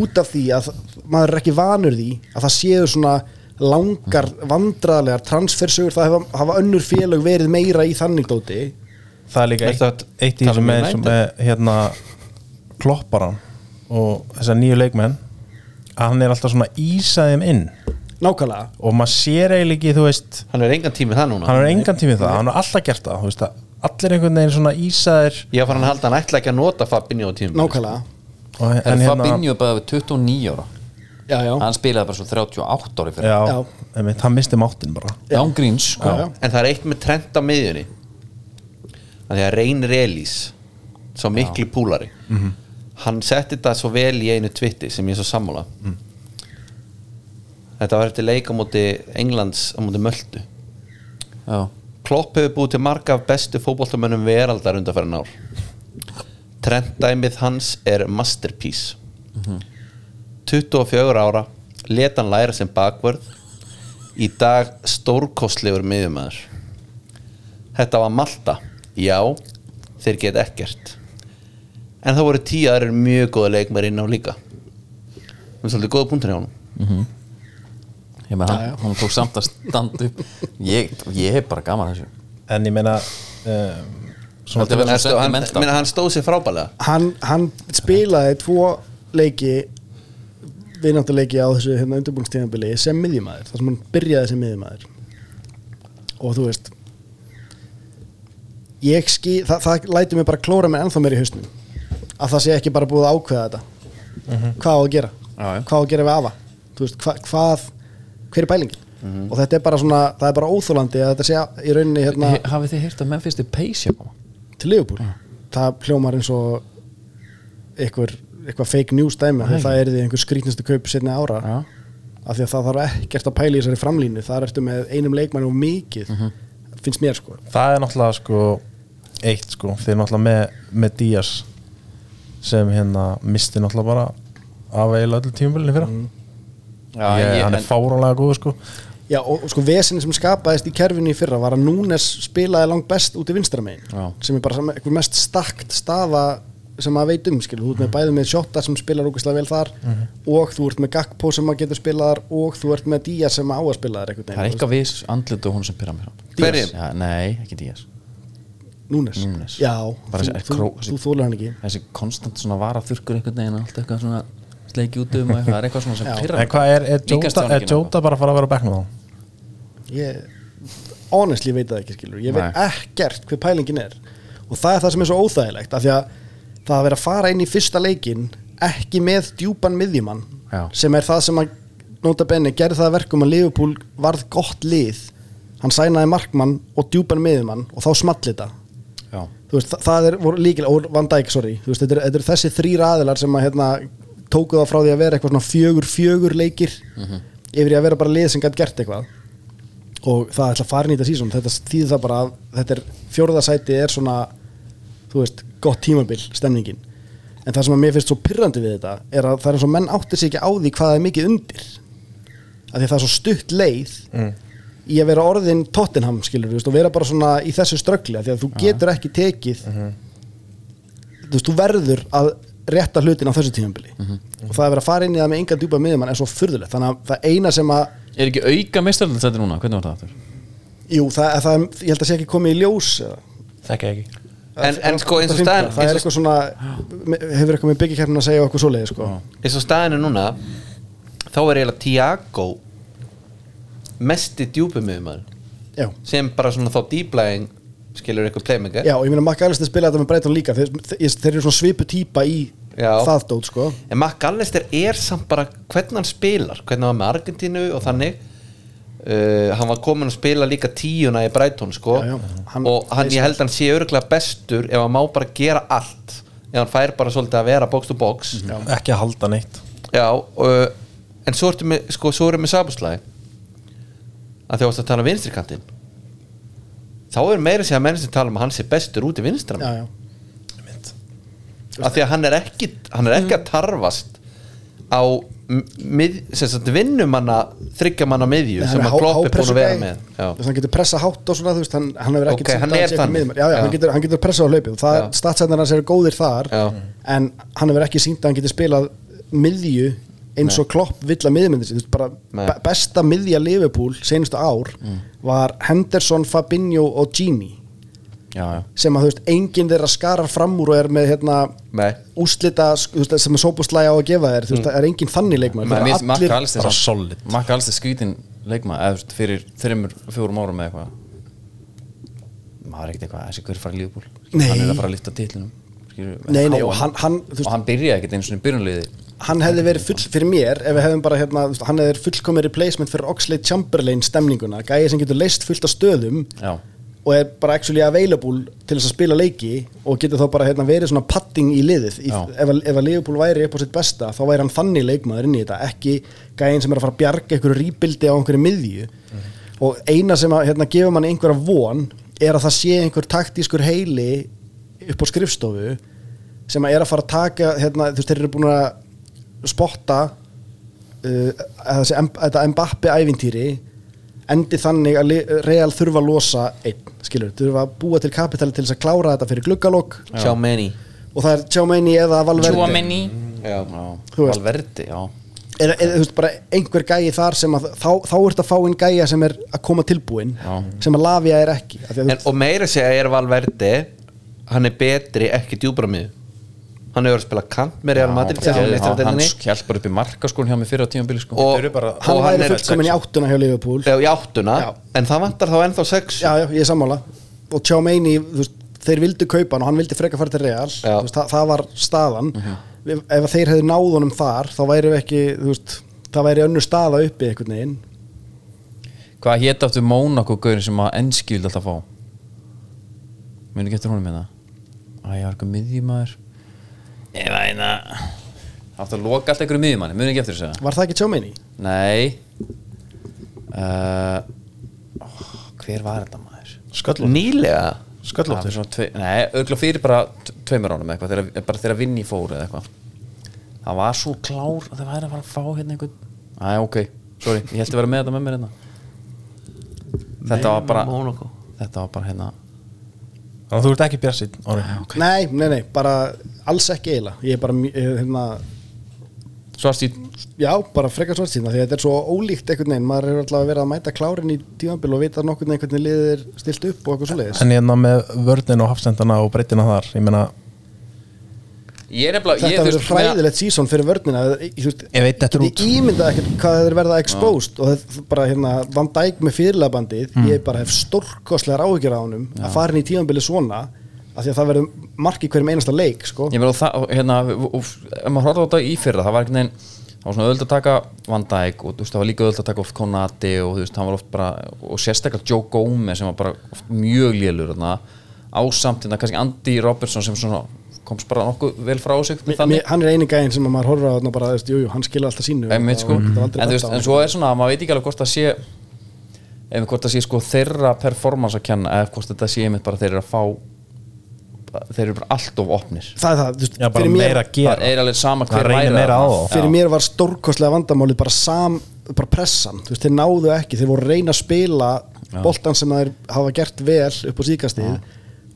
Speaker 3: út af því að maður er ekki vanur því að það séu svona langar vandræðilegar transfersögur það hafa, hafa önnur félög verið meira í þannig dóti
Speaker 2: það er líka
Speaker 4: Ertu
Speaker 2: eitt,
Speaker 4: að
Speaker 2: eitt í
Speaker 4: tala
Speaker 2: þessu
Speaker 4: um
Speaker 2: með
Speaker 4: United?
Speaker 2: sem er hérna klopparan og þessar nýju leikmenn að hann er alltaf svona ísaðum inn
Speaker 3: nákvæmlega
Speaker 2: og maður sér eiginlega ekki, þú veist
Speaker 4: Hann er engan tími það núna
Speaker 2: hann er engan tími það, hann er alltaf gert það þú veist að allir einhvern veginn svona ísaðir
Speaker 4: Ég var hann að halda hann ætla ekki að nota Fabinho á tími
Speaker 3: nákvæmlega
Speaker 2: og,
Speaker 1: Herri,
Speaker 2: en hérna-
Speaker 1: Fabinho bara við 29 ára
Speaker 3: já, já.
Speaker 1: Hann spilaði bara svo 38 ári fyrir
Speaker 2: já,
Speaker 3: Já.
Speaker 2: einmitt, hann misti máttin bara
Speaker 1: Án gríns, sko
Speaker 3: Já, já.
Speaker 4: En það er eitt með trend á miðjunni að því að Reynir Elís svo miklu púlari
Speaker 3: Mhm.
Speaker 4: hann setti þetta svo vel í einu tvitti sem ég er svo sammála
Speaker 3: Mhm.
Speaker 4: þetta var eftir leik á móti Englands á móti Möldu
Speaker 1: Já,
Speaker 4: Klopp hefur búið til marga af bestu fótboltamönnum veraldar undanfærin ár Trend dæmið hans er masterpiece 24 ára let hann læra sem bakvörð í dag stórkostlegur miðjumæður þetta var Malta já, þeir get ekkert en það voru tíu aðrir mjög góða leikmæri inn á líka það er svolítið góða punktur hjá honum
Speaker 1: Ég með hann, hún tók samt að standa upp Ég, ég hef bara gaman að þessu
Speaker 2: en ég meina um, svona
Speaker 1: Þetta verður
Speaker 4: Ertu-
Speaker 1: svo
Speaker 4: hann,
Speaker 1: sentimental.
Speaker 4: meina, hann stóð sér frábælega
Speaker 3: hann, hann spilaði tvo leiki vináttuleiki á þessu hérna undirbúinstíðanbili sem miðjumæður, þar sem hann byrjaði sem miðjumæður og þú veist ég ský það, það læti mig bara klóra mig ennþá mér í hausnum að það sé ekki bara búið að ákveða þetta hvað á að gera
Speaker 1: Mhm. Já, já.
Speaker 3: hvað á að gera við afa Þú veist, hva, hvað, hver er pælingin
Speaker 1: Mhm.
Speaker 3: og þetta er bara svona, það er bara óþólandi að þetta sé í rauninni hérna
Speaker 1: He- Hafið þið heyrt að Memphis til Pace koma?
Speaker 3: til Liverpool það hljómar eins og eitthvað, eitthvað fake news dæmi
Speaker 1: Nei.
Speaker 3: Nei. það er því einhver skrýtnustu kaup setna ára
Speaker 1: Já.
Speaker 3: af því að það þarf ekkert að pæla í þessari framlínu það ertu með einum leikmann og mikið
Speaker 1: Mhm.
Speaker 3: finnst mér sko
Speaker 2: það er náttúrulega sko eitt sko, þeir náttúrulega með, með Díaz sem hérna misti náttúrulega bara af eiginlega öllu tímabölinu fyrra
Speaker 4: Mm. Já,
Speaker 2: ég,
Speaker 4: ég-
Speaker 2: hann
Speaker 4: en-
Speaker 2: er fáránlega góð sko
Speaker 3: Já, og, og sko vesinni sem skapaðist í kerfinu í fyrra var að Núnes spilaði langt best út í vinstramein
Speaker 1: Já.
Speaker 3: sem er bara sam- einhver mest stakt staða sem að veit um
Speaker 1: Mhm.
Speaker 3: skilur, þú ert með bæði með Sjóta sem spilar ógeðslega vel þar og þú ert með Gakpo sem að getur spilað þar og þú ert með Díaz sem á að spila þar einhvern
Speaker 1: Það er
Speaker 3: veginn,
Speaker 1: eitthvað viss andlut og hún sem pyrra mér á
Speaker 4: Hverjir?
Speaker 1: Já, Nei, ekki Díaz
Speaker 3: Núnes.
Speaker 1: Núnes.
Speaker 3: Já,
Speaker 1: Bara
Speaker 3: þú,
Speaker 1: þessi-
Speaker 3: þú,
Speaker 1: kró-
Speaker 3: þú þólar hann ekki
Speaker 1: Þessi konstant svona varaþurkur einhvern veginn Allt eitthvað svona sleiki út um og eitthvað Það er eitthvað svona sem pyrra
Speaker 2: en hvað er, er
Speaker 1: Líkast
Speaker 2: Jóta,
Speaker 1: honum
Speaker 2: er
Speaker 1: ekki
Speaker 2: Jóta bara að fara að vera á bekknum þá?
Speaker 3: ég, Honestly veit það ekki skilur Ég veit
Speaker 1: Nei.
Speaker 3: ekkert hver pælingin er Og það er það sem er svo óþægilegt af Því að það að vera að fara inn í fyrsta leikin Ekki með djúpan miðjumann
Speaker 1: Já.
Speaker 3: Sem er það sem að Nota Benni gerði það að verkum að Liverpool varð gott lið Hann sænaði markmann og djúpan miðjumann Og þá smalli þetta
Speaker 1: Já,
Speaker 3: þú veist, þa- það er voru líkilega, og Van Dijk, sorry þú veist, þetta er, þetta er þessi þrýr aðilar sem að hérna, tóku það frá því að vera eitthvað svona fjögur, fjögur leikir yfir í að vera bara lið sem gætt gert eitthvað og það ætla að fara inn í þetta sísón þetta þýði það bara að þetta er fjórðasæti er svona, þú veist gott tímabil, stemningin en það sem að mér finnst svo pyrrandi við þetta er að það er eins og menn áttir sig ekki á því hvað það er mikið undir af því að það er svo stutt leið í að vera orðin Tottenham skilur, þú veist, og vera bara svona í þessu ströggli af því að þú getur ekki tekið þú veist, þú verður að rétta hlutin á þessu tímabili og það er verið að fara inn í það með engan djúpa miðjumann er svo furðulegt, þannig að það eina sem að
Speaker 1: Er ekki auka meistarlega þetta núna? Hvernig var það aftur?
Speaker 3: jú, það, það, ég held að sé ekki komið í ljós eða-
Speaker 2: þekki ekki
Speaker 4: En- en sko, eins og
Speaker 3: Það
Speaker 4: staðan-
Speaker 3: það er eitthvað svona, hefur eitthvað með byggjarkerfin að segja og eitthvað svoleiði sko.
Speaker 4: eins og staðinu núna þá er eiginlega Tiago mesti djúpumöðumæður
Speaker 3: já.
Speaker 4: sem bara svona þá dýblæðing skilur eitthvað playmaker
Speaker 3: já, og ég meina Makk Alistair spilaði þetta með Breitón líka þeir, þeir, þeir eru svona svipu típa í
Speaker 4: Já.
Speaker 3: það dót sko.
Speaker 4: en Mark Allister er samt bara hvernig hann spilar, hvernig hann var með Argentínu og þannig uh, hann var komin að spila líka tíuna í Brighton sko.
Speaker 3: Já, já. Hann-
Speaker 4: og hann, ég held að hann sé örgulega bestur ef hann má bara gera allt ef hann fær bara svolítið að vera box to box
Speaker 3: Mhm.
Speaker 2: ekki að halda neitt
Speaker 4: Já, og, en svo ertu með sko, svo erum við sabuslæði að því að varst að tala um vinstrikantinn þá er meira sér að menn sem tala um að hann sé bestur út í vinstram
Speaker 3: já, já.
Speaker 4: að því að hann er ekki, hann er ekki að tarfast á m- mið, sem sagt vinnumanna þryggjamanna miðju
Speaker 3: Nei,
Speaker 4: sem
Speaker 3: hann
Speaker 4: að Klopp er búin að vera
Speaker 3: hápressugæi.
Speaker 4: með
Speaker 3: Þú veist,
Speaker 4: já.
Speaker 3: hann getur pressa hátt og svona þú veist, hann, hann hefur
Speaker 4: Ok,
Speaker 3: ekkert sýnt
Speaker 4: hann
Speaker 3: að
Speaker 4: er
Speaker 3: sé ekki
Speaker 4: þannig.
Speaker 3: miðjumaður. já, já,
Speaker 4: Já.
Speaker 3: Hann, getur, hann getur pressa á hlaupið og það
Speaker 4: Já.
Speaker 3: statsætnar hans eru góðir þar
Speaker 4: Já.
Speaker 3: en hann hefur ekki sínt að hann getur spilað miðju eins og klopp vill að miðjumyndir sín, þú veist, bara
Speaker 4: Nei. Mm.
Speaker 3: be- besta miðja Liverpool seinustu ár var Henderson, Fabinho og Gini
Speaker 1: Já, já
Speaker 3: sem að þú veist, enginn þeirra skarar fram úr og er með hérna
Speaker 4: Nei.
Speaker 3: úslita sk- þú veist, sem er sópuslæja á að gefa þér þú
Speaker 4: Mm.
Speaker 3: veist, það er enginn þannig leikmaður
Speaker 1: Mér
Speaker 3: Þeir
Speaker 1: finnst
Speaker 3: eru
Speaker 1: Mark
Speaker 3: allir-
Speaker 1: Alistair
Speaker 2: bara
Speaker 1: samt-
Speaker 2: solid.
Speaker 1: Mark Alistair skvítin leikma eða þú veist, fyrir þreymur, fjórum árum eða eitthvað maður er ekkert eitthvað þessi hver fara í lífbúl
Speaker 3: Nei.
Speaker 1: hann er að fara að lifta titlinum skilur, við,
Speaker 3: Nei,
Speaker 1: en
Speaker 3: nei,
Speaker 1: KR.
Speaker 3: og hann- hann- þú veist-
Speaker 1: og hann byrjaði ekkert einu svona byrjunliði
Speaker 3: hann hefði verið full, fyrir mér ef við hefðum bara hérna, þú veist, hann hefði verið fullkomið replacement fyrir Oxlade Chamberlain stemninguna gæði sem getur leist fullt af stöðum
Speaker 1: já,
Speaker 3: og er bara actually available til þess að spila leiki og getur þá bara hérna, verið svona padding í liðið í,
Speaker 1: Já.
Speaker 3: ef, að- ef að Liverpool væri upp á sitt besta þá væri hann þannig leikmaður inn í þetta ekki gæðin sem er að fara að bjarga einhverju rýbildi á einhverju miðju
Speaker 1: Mhm.
Speaker 3: og eina sem að hérna, gefa mann einhverja von er að það sé einhver taktískur heili upp á skrifstofu sem að er að fara að taka hérna, þú veist, þeir eru búin að spotta uh, að þessi, M- þetta Mbappi ævintýri endi þannig að Li- Real þurfa að losa einn, skilur, þurfa að búa til kapitali til þess að klára þetta fyrir gluggalok
Speaker 4: Sjá menni
Speaker 3: og það er Tjómeini eða Valverdi
Speaker 1: Tjóamenni
Speaker 4: Já.
Speaker 3: Þú veist.
Speaker 1: Valverdi, já
Speaker 3: eða, eða þú veist, bara einhver gæi þar sem að þá, þá ertu að fá inn gæja sem er að koma tilbúin
Speaker 1: Já.
Speaker 3: sem að lafja er ekki af því að
Speaker 4: en,
Speaker 3: þú-
Speaker 4: Og meira að segja er Valverdi Hann er betri ekki djúbra miður Hann hefur verið að spila kant með Real Madrid
Speaker 1: Já,
Speaker 4: sem hann
Speaker 1: já,
Speaker 4: leittar
Speaker 1: hann
Speaker 4: deildinni.
Speaker 1: hjálpar upp í markaskón hjá mig fyrir á tímanbili sko
Speaker 4: og,
Speaker 5: Þeir eru bara-
Speaker 3: hann
Speaker 4: og hann
Speaker 3: væri
Speaker 4: er
Speaker 3: fullkomin í áttuna hjá Liverpool já,
Speaker 4: Já, í áttuna
Speaker 3: Já.
Speaker 4: En það vantar þá ennþá sex
Speaker 3: já, ég er sammála og Tjómeini, þú veist, þeir vildu kaupa hann og hann vildi freka fara til Real
Speaker 4: Já.
Speaker 3: Þú veist, það, það var staðan ef, ef að þeir hefðu náð honum þar þá væri ekki, þú veist, það væri önnur staða uppi einhvern veginn
Speaker 1: Hvað hétt áttu Mónako gaurin sem að ennski vildi alltaf fá Muni getur honum hérna Æ, ég var eitthvað miðjumæður Ég var eina Áttu að loka allt einhverju miðjumæni, muni getur þessu það
Speaker 3: var það ekki Tjómeini?
Speaker 1: Nei uh, ó, Hver var þetta maður?
Speaker 5: Sköllótt
Speaker 4: Nýlega
Speaker 1: Það
Speaker 5: Sköllóttur
Speaker 1: fyrir svona tvei, nei, örgla fyrir bara t- tveimur ánum eitthvað, þegar, bara þegar vinn í fóru eða eitthvað það var svo klár að það væri að fara að fá hérna einhvern Æ, ok, sorry, ég held að vera með þetta með mér hérna þetta var bara
Speaker 4: Mónakó
Speaker 1: þetta var bara hérna
Speaker 2: Þannig að þú ert ekki bjarsinn Orri
Speaker 3: Nei, nei, nei, bara alls ekki eiginlega ég er bara, mj- eh, hérna,
Speaker 1: svarst í,
Speaker 3: Já, bara frekar svart sína því að þetta er svo ólíkt einhvern veginn maður er alltaf að vera að mæta klárin í tímanbíl og vita nokkurn veginn hvernig liðið er stilt upp og eitthvað svoleiðis
Speaker 2: En hérna með vörnin og hafsendana og breytina þar Ég meina,
Speaker 1: ég er nefnilega ég,
Speaker 3: Þetta
Speaker 1: þú
Speaker 3: verður
Speaker 1: veist, með-
Speaker 3: hræðilegt sísón fyrir vörnina Ég þú veist,
Speaker 2: Ég veit, þetta er
Speaker 3: Ég ímynda ekkert hvað þeir verða exposed og þetta bara hérna Van Dijk með fyrirlabandið
Speaker 2: Mm.
Speaker 3: ég bara hef stórkostlegar áhyggjur á honum að fara inn í tímanbíli svona af því að það verður marki hverjum einasta leik sko.
Speaker 1: ég meina og það, og hérna og- og- ef maður horfði á þetta í fyrra, það var einhvern veginn það var svona öðvöld að taka Van Dijk og þú veist, það var líka öðvöld að taka oft Konati og þú veist, hann var oft bara, og sérstaklega Joe Gomez sem var bara oft mjög lélur þarna, ásamt hérna kannski Andy Robertson sem svona komst bara nokkuð vel frá sig með
Speaker 3: Mér,
Speaker 1: þannig
Speaker 3: hann er eini gæinn sem að maður horfir á þarna bara, þú veist, jú, jú, hann skilur alltaf sínu
Speaker 1: einmitt sko,
Speaker 3: og
Speaker 1: en
Speaker 3: getur Mm.
Speaker 1: þú
Speaker 3: aldrei bent
Speaker 1: veist,
Speaker 3: á
Speaker 1: en
Speaker 3: hann.
Speaker 1: svo er svona að maður veit ekki alveg hvort það sé ef hvort það sé sko þeirra performance að kenna, eða hvort þetta sé einmitt bara þeir eru að fá þeir eru bara allt of opnir
Speaker 3: það er það, þú veist,
Speaker 2: já, bara
Speaker 3: fyrir mér-
Speaker 2: meira að
Speaker 1: það
Speaker 2: gera
Speaker 1: er alveg sama
Speaker 2: Það
Speaker 1: hver
Speaker 2: reynir
Speaker 1: væri
Speaker 2: meira á
Speaker 1: þarna.
Speaker 2: þá.
Speaker 1: Já.
Speaker 3: fyrir mér var stórkostlega vandamáli bara sam, bara pressan þú veist, þeir náðu ekki, þeir voru að reyna að spila boltan sem þeir hafa gert vel upp á síkastíð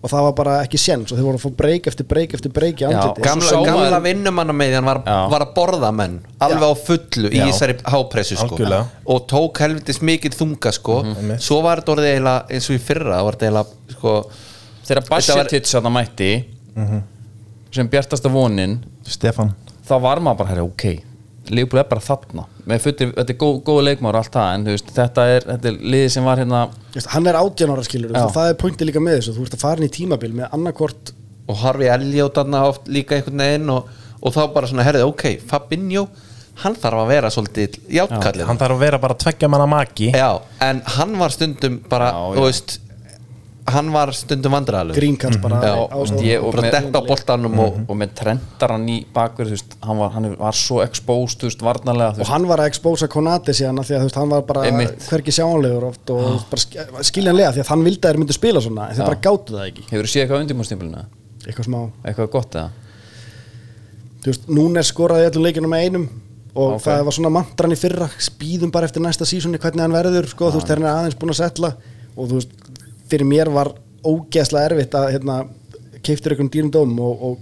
Speaker 3: og það var bara ekki séns og þeir voru að fá breyk eftir breyk eftir breyk í
Speaker 1: Já,
Speaker 3: andliti
Speaker 1: gam-
Speaker 4: Gamla,
Speaker 1: Svo sá
Speaker 4: gamla
Speaker 1: maður-
Speaker 4: vinnumannameðjan var,
Speaker 1: Já.
Speaker 4: var að borða menn alveg á fullu í þessari hápressu sko.
Speaker 2: Algjörlega.
Speaker 4: og tók helvitis mikið þunga sko. svo var þetta orðið eiginlega eins og í fyrra það var þetta eiginlega sko,
Speaker 1: þegar Bassetits að það mætti Mhm. sem bjartasta vonin
Speaker 2: Stefan
Speaker 1: þá var maður bara, herri, ok Leopold er bara þarna Með fullri, þetta er góð, góð leikmáður og allt það en þú veist, þetta er, þetta er liðið sem var hérna
Speaker 3: Þú veist, hann er 18 ára skilur þú veist,
Speaker 1: Já.
Speaker 3: og það er pointið líka með þessu, þú ert að fara inn í tímabil með annarkvort,
Speaker 4: og Harfi Eljótt oft líka einhvern veginn og, og þá bara svona herðið ok, Fabinho hann þarf að vera svolítið játkallið
Speaker 2: Hann þarf að vera bara tveggja manna maki
Speaker 4: já, en hann var stundum bara,
Speaker 1: Já, já.
Speaker 4: þú veist hann var stundum vandræðalug
Speaker 3: grínkart bara
Speaker 4: Já,
Speaker 3: á- á-
Speaker 1: og Mhm. ég- og
Speaker 4: bara
Speaker 1: með- Mhm.
Speaker 4: detta á boltanum og,
Speaker 1: og með trendar hann í bakverð þú veist, hann var, hann var svo exposed þú veist, varnarlega, þú
Speaker 3: og
Speaker 1: veist
Speaker 3: hann var að expósa Konati síðan af því að þú veist, hann var bara
Speaker 1: Einmitt.
Speaker 3: hvergi sjáanlegur oft og þú veist, bara sk- skiljanlega því að hann vildi að þeir myndu spila svona en þeir
Speaker 1: Já.
Speaker 3: bara gátu það ekki,
Speaker 1: hefur þú séð eitthvað undirbúrstimplina,
Speaker 3: eitthvað smá
Speaker 1: eitthvað gott eða
Speaker 3: þú veist, Núnes skoraði í öllum leikinu með einum og
Speaker 1: Ok.
Speaker 3: það var svona mantran í fyrra spýðum bara eftir næsta sísunni hvernig hann verður sko, þú veist, þegar hann er aðeins búin að setla og þú veist, fyrir mér var ógeðslega erfitt að hérna, keiftur einhvern dýrum dóm og, og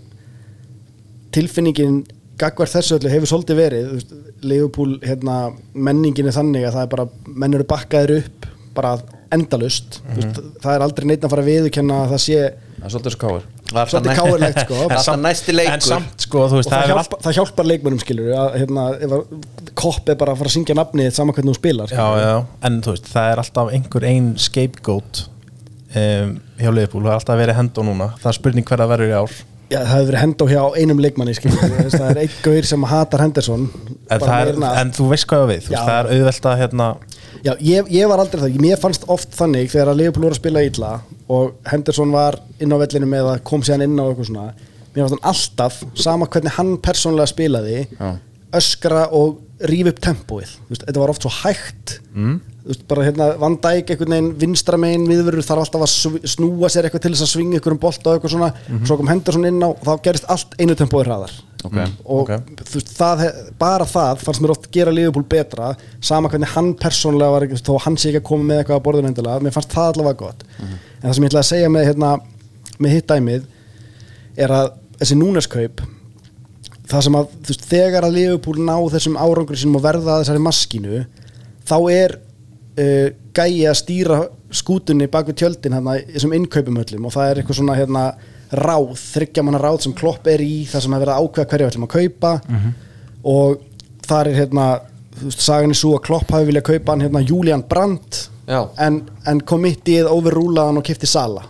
Speaker 3: tilfinningin gagvart þessu öllu hefur svolítið verið þú veist, Leifupúl, hérna, menningin er þannig að það er bara, menn eru bakkaðir upp bara endalust mm veist, það er aldrei neitt að fara að viðurkenna að það sé
Speaker 1: það er svolítið svo káir
Speaker 4: Var það
Speaker 3: Svolítið
Speaker 4: næ-
Speaker 3: káirlegt, sko.
Speaker 4: Var það
Speaker 2: samt-
Speaker 4: næsti leikur
Speaker 2: En samt sko, þú
Speaker 3: og
Speaker 2: veist,
Speaker 3: það,
Speaker 2: það er
Speaker 3: hjálpa, það hjálpar leikmönnum skilur að hérna, ef að kopp er bara að fara að syngja nafnið þitt saman hvernig þú spilar
Speaker 2: Já, já, en þú veist, það er alltaf einhver ein scapegoat um, hjá Leifbúl, það er alltaf verið hend og núna það er spurning hver það verður í ár
Speaker 3: Já, það hefur verið hend á hjá einum leikmanni skilur Þess, það er einn gaur sem hatar Henderson
Speaker 2: en,
Speaker 3: Bara
Speaker 2: það er,
Speaker 3: meira en að-
Speaker 2: en þú veist hvað ég á við, þú veist,
Speaker 3: Já.
Speaker 2: það er auðvelt að hérna,
Speaker 3: Já, ég, ég var aldrei það, mér fannst oft þannig þegar að Leopold voru að spila illa og Henderson var inn á vellinu með að kom síðan inn á eitthvað svona mér fannst hann alltaf, sama hvernig hann persónlega spilaði,
Speaker 1: Já.
Speaker 3: öskra og rífa upp tempóið, Þú veist, þetta var oft svo hægt mm. þú veist, bara hérna vandæk einhvern veginn vinstra meginn viðverður þarf alltaf að sv- snúa sér eitthvað til þess að svinga ykkur um bolta og eitthvað svona svo kom hendur svona inn á og þá gerist allt einu tempói hraðar
Speaker 1: Mhm.
Speaker 3: Mm.
Speaker 1: Ok.
Speaker 3: og
Speaker 2: Ok.
Speaker 3: þú veist, það, he- bara það fannst mér oft gera liðupúl betra sama hvernig hann persónlega var ekki- þó hann sé ekki að koma með eitthvað á borðinu endilega mér fannst það allavega gott en það sem ég ætla að segja með, hérna, með hitt dæmið er að þessi núneskaup það sem að þú veist, þegar að Liverpool ná þessum árangur sínum og verða að þessari maskínu þá er uh, gæi að stýra skútunni baku tjöldin hérna í þessum innkaupum öllum og það er eitthvað svona hérna ráð, þryggja manna ráð sem klopp er í það sem er verið að ákveða hverju við ætlum að kaupa
Speaker 1: Mhm.
Speaker 3: og þar er hérna þú veist, sagan er svo að klopp hafi viljað kaupa hann hérna Julian Brandt
Speaker 4: Já.
Speaker 3: en, en komittið overrúlaðan og kipti Sala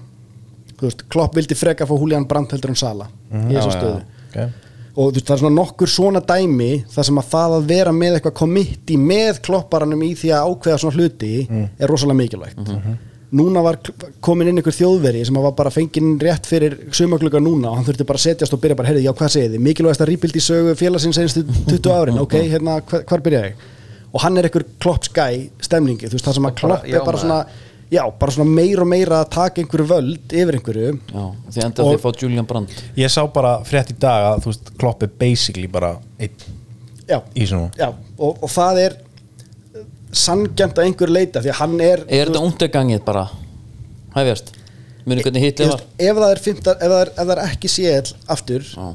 Speaker 3: þú veist, klopp vildi freka að fá Julian Brandt heldur en Sala í þessum
Speaker 1: Mhm. Já, já,
Speaker 3: stöðu
Speaker 1: já.
Speaker 2: okay.
Speaker 3: og þú veist, það er svona nokkur svona dæmi þar sem að það að vera með eitthvað komitti með klopparanum í því að ákveða svona hluti er rosalega mikilvægt núna var kl- komin inn einhver þjóðveri sem að var bara fenginn rétt fyrir sumakluga núna og hann þurfti bara að setjast og byrja bara, heyrðu, já, hvað segið þið mikilvægast að rýpild í sögu félagsins einstu 20 árin, ok, hérna, hvar, hvar byrja ég og hann er einhver kloppskæ stemningi, þú veist, það sem að klopp er
Speaker 4: já,
Speaker 3: bara
Speaker 4: maður.
Speaker 3: svona já, bara svona meira og meira að taka einhverju völd yfir einhverju
Speaker 1: Já, því enda því að fá Julian Brand
Speaker 2: Ég sá bara frétt í dag að þú veist Klopp er basically bara einn
Speaker 3: já,
Speaker 2: í svona
Speaker 3: Já, og, og það er sangjant að einhver leita því að hann er,
Speaker 1: Er þetta úndegangið bara? Hæfjast Muni hvernig
Speaker 3: þú
Speaker 1: hitlið
Speaker 3: veist,
Speaker 1: var?
Speaker 3: ef það er, fimmta, ef það er, ef það er ekki séð aftur
Speaker 1: Já.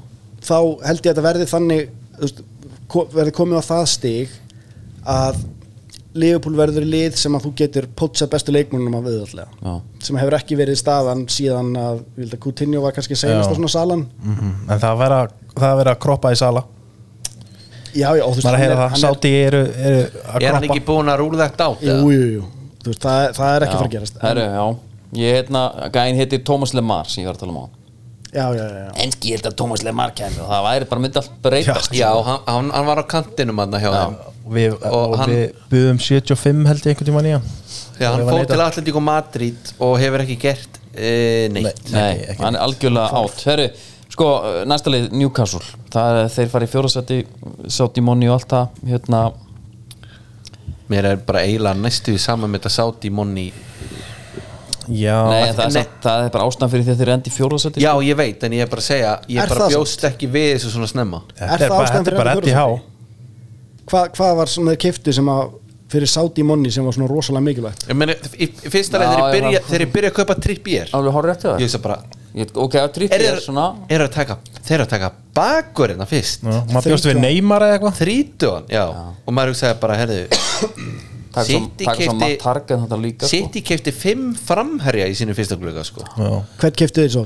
Speaker 3: þá held ég að þetta verði þannig þú veist, ko- verði komið á það stig að Liverpool verður lið sem að þú getur potsa bestu leikmónum að viðallega
Speaker 1: Já.
Speaker 3: sem hefur ekki verið staðan síðan að ég held að Coutinho var kannski senast á svona salan
Speaker 2: Mhm. En það að vera, það að vera að kroppa í sala
Speaker 3: já, já, og þú veist,
Speaker 2: Maður að
Speaker 3: hann
Speaker 2: heyra
Speaker 3: er-
Speaker 2: það,
Speaker 3: hann er-
Speaker 2: sáti eru, eru að
Speaker 4: Er hann
Speaker 2: kroppa
Speaker 4: ekki búin að rúla þetta át?
Speaker 3: jú, jú, jú, þú veist, það, það er ekki
Speaker 1: Já.
Speaker 3: fyrir að gerast
Speaker 1: Herru, já Ég hérna, gæinn heitir Thomas Lemar sem ég var að tala um á
Speaker 3: já, já, já, já.
Speaker 1: Enski ég held að Thomas Lemar kæmi og það væri bara myndi allt breytast
Speaker 4: Já, hann, hann- hann var á kantinum hann hjá þeim
Speaker 2: Við,
Speaker 4: Og
Speaker 2: og
Speaker 4: hann-
Speaker 2: við buðum 75 held ég einhvern tíma nýja
Speaker 4: Já, hann fór til Atletico Madrid og hefur ekki gert e, neitt
Speaker 1: Nei, hann er algjörlega átt Herru, sko, næsta leið Newcastle það er þeir farið fjórasætti sátt í monni og allt það hérna,
Speaker 4: Mér er bara eiginlega næstu í saman með þetta sátt í monni
Speaker 2: Já,
Speaker 1: nei,
Speaker 4: en-
Speaker 1: það, er
Speaker 4: nei.
Speaker 1: samt, það er bara ástæðan fyrir því að þeir endi fjórasætti
Speaker 4: Já, ég veit, en ég er bara að segja Ég
Speaker 3: Er
Speaker 4: bara
Speaker 3: það
Speaker 4: bjóst ekki við þessu svona snemma
Speaker 3: Er
Speaker 2: þetta er
Speaker 3: það
Speaker 2: bara,
Speaker 3: ástæðan
Speaker 2: þetta er
Speaker 3: fyrir
Speaker 2: bara
Speaker 3: Eddi
Speaker 2: Eddie Há
Speaker 3: hvað, hvað var svona þeir keftu sem að fyrir sátt í monni sem var svona rosalega mikilvægt
Speaker 4: Ég meni, í, í fyrsta leið
Speaker 1: Já,
Speaker 4: þegar
Speaker 1: ég var-
Speaker 4: ég byrja, þegar ég byrja að kaupa trippier
Speaker 1: alveg horrið eftir
Speaker 4: Ég
Speaker 1: það
Speaker 4: veist bara
Speaker 1: Ég- ok, að
Speaker 4: Er,
Speaker 1: trippið
Speaker 4: er,
Speaker 1: er svona
Speaker 4: er að taka, þeir eru að taka bakurina fyrst
Speaker 2: Já, Maður bjóst við Neymar eða eitthvað
Speaker 4: Þrítuðan, já. Og maður hugsaði bara, herðu
Speaker 1: taka svo-
Speaker 4: City
Speaker 1: taka svo
Speaker 4: keypti-
Speaker 1: matt targan þetta líka sko.
Speaker 4: City kefti fimm framherja í sínu fyrsta glöga sko.
Speaker 2: Já.
Speaker 3: hvern keftu þeir svo?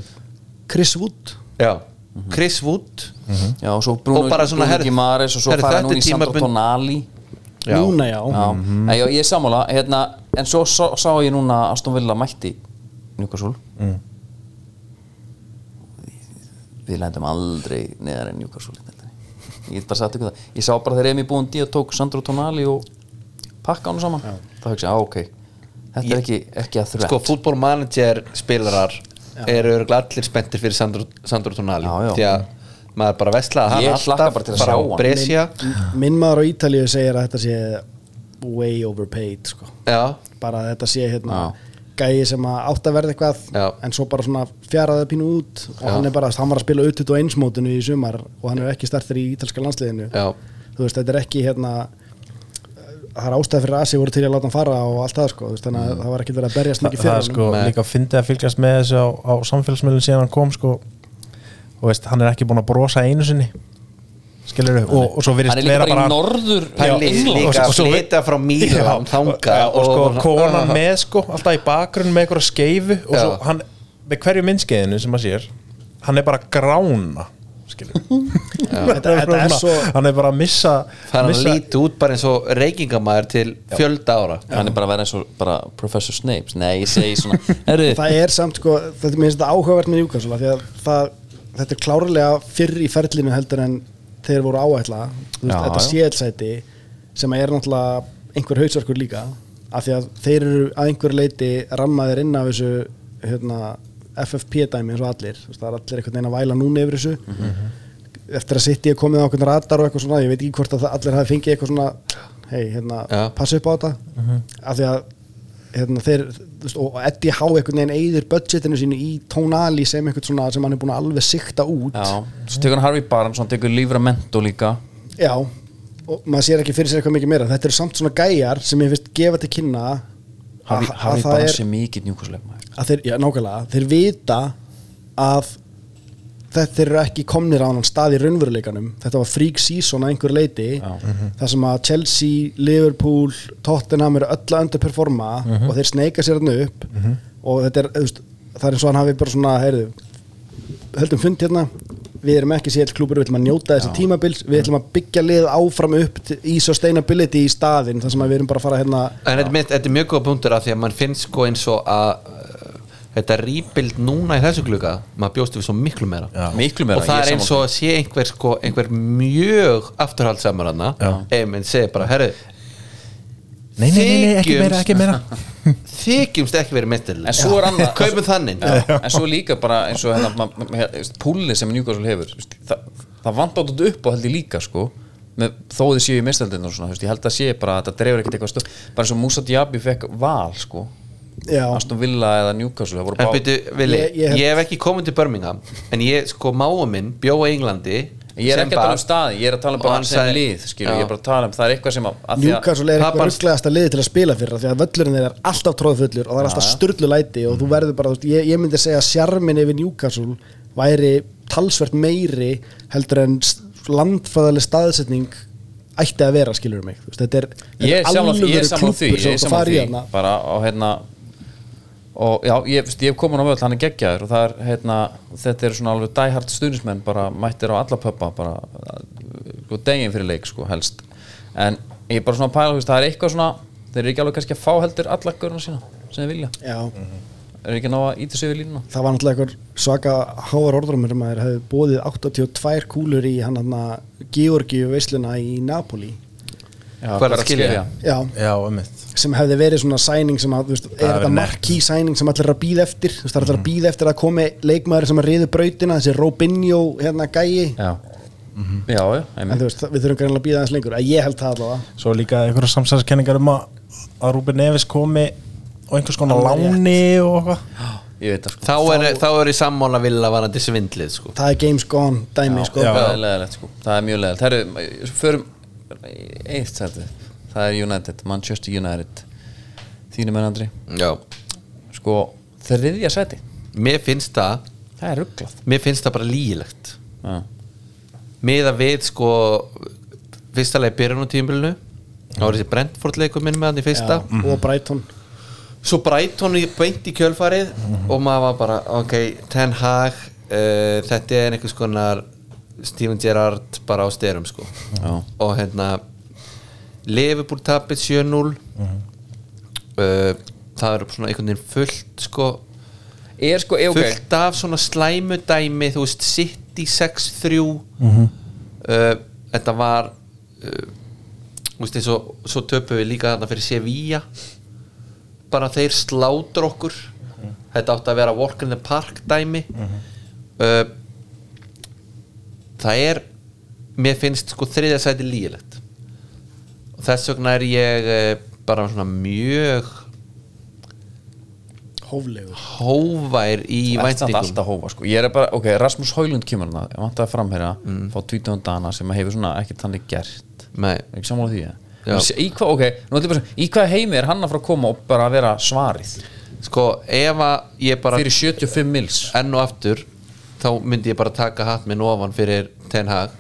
Speaker 3: Chris Wood
Speaker 4: Já, Mhm. Chris Wood
Speaker 1: já, og svo Bruno,
Speaker 4: Og bara svona,
Speaker 1: Bruno
Speaker 4: herri-
Speaker 1: Gimares og svo
Speaker 4: herri,
Speaker 1: fara
Speaker 4: þetta
Speaker 1: núna
Speaker 4: er
Speaker 1: í Sandro
Speaker 4: tímabind-
Speaker 1: Tonali
Speaker 4: Já.
Speaker 3: núna já,
Speaker 1: Já, Mhm. Nei, já, ég er sammála hérna, en svo sá, sá ég núna að Aston Villa mætti Newcastle við lendum aldrei neðar en Newcastle í deildinni. ég get bara sagt ykkur það ég sá bara þegar Emi Búndi að tók Sandro Tonali og pakka hann saman þá hugsa ég, á ok, þetta er ekki, ekki að þrætt
Speaker 4: Sko, fútbólmanager spilarar eru örugglega allir spenntir fyrir Sandro, Sandro Tonali
Speaker 1: Já, já.
Speaker 4: því að maður bara veslaði hann
Speaker 1: Ég hlakka
Speaker 4: alltaf
Speaker 1: bara til að sjá hann.
Speaker 4: Brescia
Speaker 3: minn maður á Ítalíu segir að þetta sé way overpaid sko.
Speaker 4: Já,
Speaker 3: bara að þetta sé hérna gæi sem að átt að verða eitthvað
Speaker 4: Já.
Speaker 3: en svo bara svona fjaraði pínu út og hann er bara, hann var að spila ut og einsmótinu í sumar og hann er ekki startur í ítalska landsliðinu
Speaker 4: Já.
Speaker 3: þú veist, þetta er ekki hérna það er ástæð fyrir að Asi voru til að láta hann fara og allt það sko, þú veist, þannig að það var ekkert verið að berjast
Speaker 2: Þa,
Speaker 3: mikið
Speaker 2: það
Speaker 3: fyrir
Speaker 2: er sko
Speaker 4: Nei.
Speaker 2: líka fyndið að fylgjast með þessu á, á samfélagsmiðlun síðan hann kom sko og veist, hann er ekki búin að brosa einu sinni skilur þau, og, og svo
Speaker 1: hann
Speaker 2: virðist
Speaker 1: er líka
Speaker 2: vera
Speaker 1: bara
Speaker 2: bara
Speaker 1: í norður
Speaker 4: Pæli
Speaker 1: England.
Speaker 4: líka
Speaker 2: og
Speaker 4: að
Speaker 2: svo-
Speaker 4: flytja frá Mílan þanga
Speaker 2: já, og sko konan með sko alltaf í bakgrunn með einhverja skeifu og
Speaker 4: Já.
Speaker 2: svo hann, með hverju myndskeiðinu sem maður sér hann er bara að grána skilur
Speaker 3: Þetta- þetta er svo-
Speaker 2: hann er bara að missa,
Speaker 4: Það er að
Speaker 2: missa
Speaker 4: líti út bara eins og reykingamæður til fjölda ára
Speaker 1: hann er bara að vera eins og bara Professor Snape nei, ég segi svona Heru,
Speaker 3: það er samt sko, þetta minnst þetta áhugavert með Newcastle af því að það, þetta er klárlega fyrr í ferlinu heldur en þeir voru áætla þú veist,
Speaker 1: Já,
Speaker 3: þetta
Speaker 1: já.
Speaker 3: séðsæti sem er náttúrulega einhver hausverkur líka af því að þeir eru að einhver leiti rammaðir inn af þessu hérna, FFP dæmi eins og allir Þú veist, það er allir einhvern veginn að væla núna yfir þessu
Speaker 1: Mhm.
Speaker 3: eftir að sitt ég komið á einhvern radar og eitthvað svona ég veit ekki hvort að það- allir hafi fengið eitthvað svona hei, hérna,
Speaker 4: Já.
Speaker 3: passa upp á þetta af því að hérna, þeir, þú veist, og Eddie Há einhvern veginn eyðir budgetinu sínu í tónali sem einhvern svona sem hann er búin að alveg sikta út
Speaker 1: Já, svo tekur hann Harvey Barnes hann tekur Livramento líka
Speaker 3: Já, og maður sér ekki fyrir sér eitthvað mikið meira þetta eru samt svona gæjar sem ég finnst gefa til kynna að-
Speaker 1: Harvey,
Speaker 3: að
Speaker 1: Harvey
Speaker 3: það
Speaker 1: Barnes
Speaker 3: er-
Speaker 1: er mikið njúkosleif
Speaker 3: að þeir, já, nákvæmlega, þeir vita að þetta þeir eru ekki komnir á annan stað í raunveruleikanum þetta var freak season að einhver leiti þar sem að Chelsea, Liverpool Tottenham eru öll að underperforma og þeir sneika sér hann upp og þetta er, þú veist, það er eins og hann hafi bara svona, heyrðu höldum fund hérna, við erum ekki sér klúpur, við ætlum að njóta þessi tímabils við ætlum að byggja lið áfram upp til- í sustainability í staðinn, þar sem að við erum bara að fara hérna
Speaker 4: En þetta, er mitt- þetta er mjög góða punktur af því að mann finnst sko eins og að uh, þetta rýpild núna í þessu kluka maður bjóstu við svo miklu meira
Speaker 1: Miklu meira,
Speaker 4: og það
Speaker 1: ég
Speaker 4: er
Speaker 1: er
Speaker 4: eins og að sé einhver sko einhver mjög afturhaldsamur hann einminn segir bara, herru
Speaker 2: Nei, nei, nei, nei, ekki meira, ekki meira
Speaker 4: þykjumst ekki verið mittil
Speaker 1: En svo er annað-
Speaker 4: kaupum þannig
Speaker 1: en svo líka bara eins og hérna, ma- ma- hérna, púli sem Newcastle hefur þú veist, það, það vantar þetta upp á held ég líka sko með, þó þið séu í mistaldinu og svona þú veist, ég held að sé bara að það drefur ekkert eitthvað stöð bara eins og Musa Diaby fekk val sko
Speaker 3: já,
Speaker 1: Aston Villa eða Newcastle það voru
Speaker 4: En
Speaker 1: bá-
Speaker 4: byrju, Vili,
Speaker 3: Ég-
Speaker 4: ég,
Speaker 3: ég hef-
Speaker 4: hef ekki komið til Birmingham en ég, sko, máa minn bjóa í Englandi
Speaker 1: ég er
Speaker 4: sem
Speaker 1: ekki að tala um
Speaker 4: barn.
Speaker 1: staði, ég er að tala um
Speaker 4: Og
Speaker 1: bara
Speaker 4: hann
Speaker 1: sem
Speaker 4: sagði-
Speaker 1: lið skilu,
Speaker 4: Já.
Speaker 1: ég er bara að tala um það er eitthvað sem að, að því að-
Speaker 3: Newcastle er
Speaker 4: það
Speaker 3: eitthvað
Speaker 4: bara-
Speaker 3: rugglegasta liði til að spila fyrir af því að völlurinn þeir er alltaf tróðfullur og það er alltaf styrlu læti og þú
Speaker 1: Mm.
Speaker 3: verður bara, þú veist, ég, ég myndi segja að sjarmin yfir Newcastle væri talsvert meiri heldur en s- landfræðileg staðsetning ætti að vera, skilur mig Þú veist, þetta er, þetta
Speaker 1: ég er sammála því, ég
Speaker 3: alvöru
Speaker 1: er sammála því,
Speaker 3: klúbbur
Speaker 1: ég
Speaker 3: sem
Speaker 1: er
Speaker 3: þú
Speaker 1: sammála
Speaker 3: fari í
Speaker 1: því
Speaker 3: hana.
Speaker 1: bara og hérna og já, ég, veist, ég hef komin á völd, hann er geggjaður og það er, hérna, þetta eru svona alveg dæhart stuðnismenn, bara mættir á alla pöppa bara, uh, sko, degin fyrir leik sko, helst, en ég er bara svona að pæla, þú veist, það er eitthvað svona þeir eru ekki alveg kannski að fá heldur alla görna sína sem þeir vilja,
Speaker 3: Já,
Speaker 1: eru ekki að ná að íta sig við línuna
Speaker 3: það var náttúrulega eitthvað svaka háar orðrumur um að þeir hefði bóðið 82 kúlur í hann hann Georgi veisluna í Napoli
Speaker 1: já,
Speaker 4: Hvað er að skilja?
Speaker 3: Já,
Speaker 2: Já, ummitt
Speaker 3: sem hefði verið svona sæning sem að, þú veist, er
Speaker 2: hefði
Speaker 3: þetta
Speaker 2: verið
Speaker 3: marquee sæning sem allir er að býða eftir, þú veist, það er allir að býða eftir að komi leikmaður sem að riðu brautina, þessi Robinho hérna gæi,
Speaker 1: já, já, já,
Speaker 3: en
Speaker 1: einmitt
Speaker 3: þú veist, við þurfum greinlega að býða aðeins lengur, að ég held það allavega
Speaker 2: Svo líka einhverja samsæðiskenningar um að að Rúben Neves komi og einhvers konar
Speaker 3: Alveg rétt.
Speaker 2: láni og eitthvað
Speaker 1: ég veit það sko,
Speaker 4: þá er, þá er ég sammála vilja varandi svindlið, sko
Speaker 3: það er games gone dæmi, sko,
Speaker 2: já.
Speaker 1: það er leðilegt sko, það er mjög leðilegt Herru, svo förum eitt sæti, það er United Manchester United þínu menn Andri,
Speaker 4: Já.
Speaker 1: sko þriðja sæti,
Speaker 4: mér finnst það
Speaker 1: það er rugglað
Speaker 4: mér finnst það bara lígilegt
Speaker 1: já,
Speaker 4: miða við, sko fyrsta leið byrjun á tímbilinu þá er þessi Brentford leikur minn með hann í fyrsta
Speaker 3: og Brighton
Speaker 4: svo Brighton í beint í kjölfarið og maður var bara, ok, Ten Hag uh, þetta er einhvers konar Steven Gerrard bara á styrum sko.
Speaker 1: já,
Speaker 4: og hérna Liverpool tapir 7-0 uh, það eru svona einhvern veginn fullt sko,
Speaker 1: er sko, er ok
Speaker 4: fullt af svona slæmu dæmi þú veist, City 6-3 uh, þetta var uh, þú veist, svo, svo töpum við líka þarna fyrir Sevilla bara þeir slátur okkur þetta átti að vera Walk in the Park dæmi uh, það er mér finnst sko þriðja sæti lígilegt og þess vegna er ég uh, bara svona mjög
Speaker 3: hóflegur,
Speaker 4: hóvær í
Speaker 1: Það er samt
Speaker 4: væntingum
Speaker 1: alltaf hófa sko, ég er bara, ok, Rasmus Haulund kemur hana, ég vant að framherja fá 20 dana sem hefur svona ekkert þannig gert
Speaker 4: Nei,
Speaker 1: er ekki sammála því,
Speaker 4: Já.
Speaker 1: ég í hvað, ok nú ætlum ég bara, að segja, í hvað heimi er hann að fara að koma og bara að vera svarið,
Speaker 4: sko ef að ég bara
Speaker 1: fyrir 75 mils
Speaker 4: enn og aftur þá myndi ég bara taka hatt minn ofan fyrir Ten Hag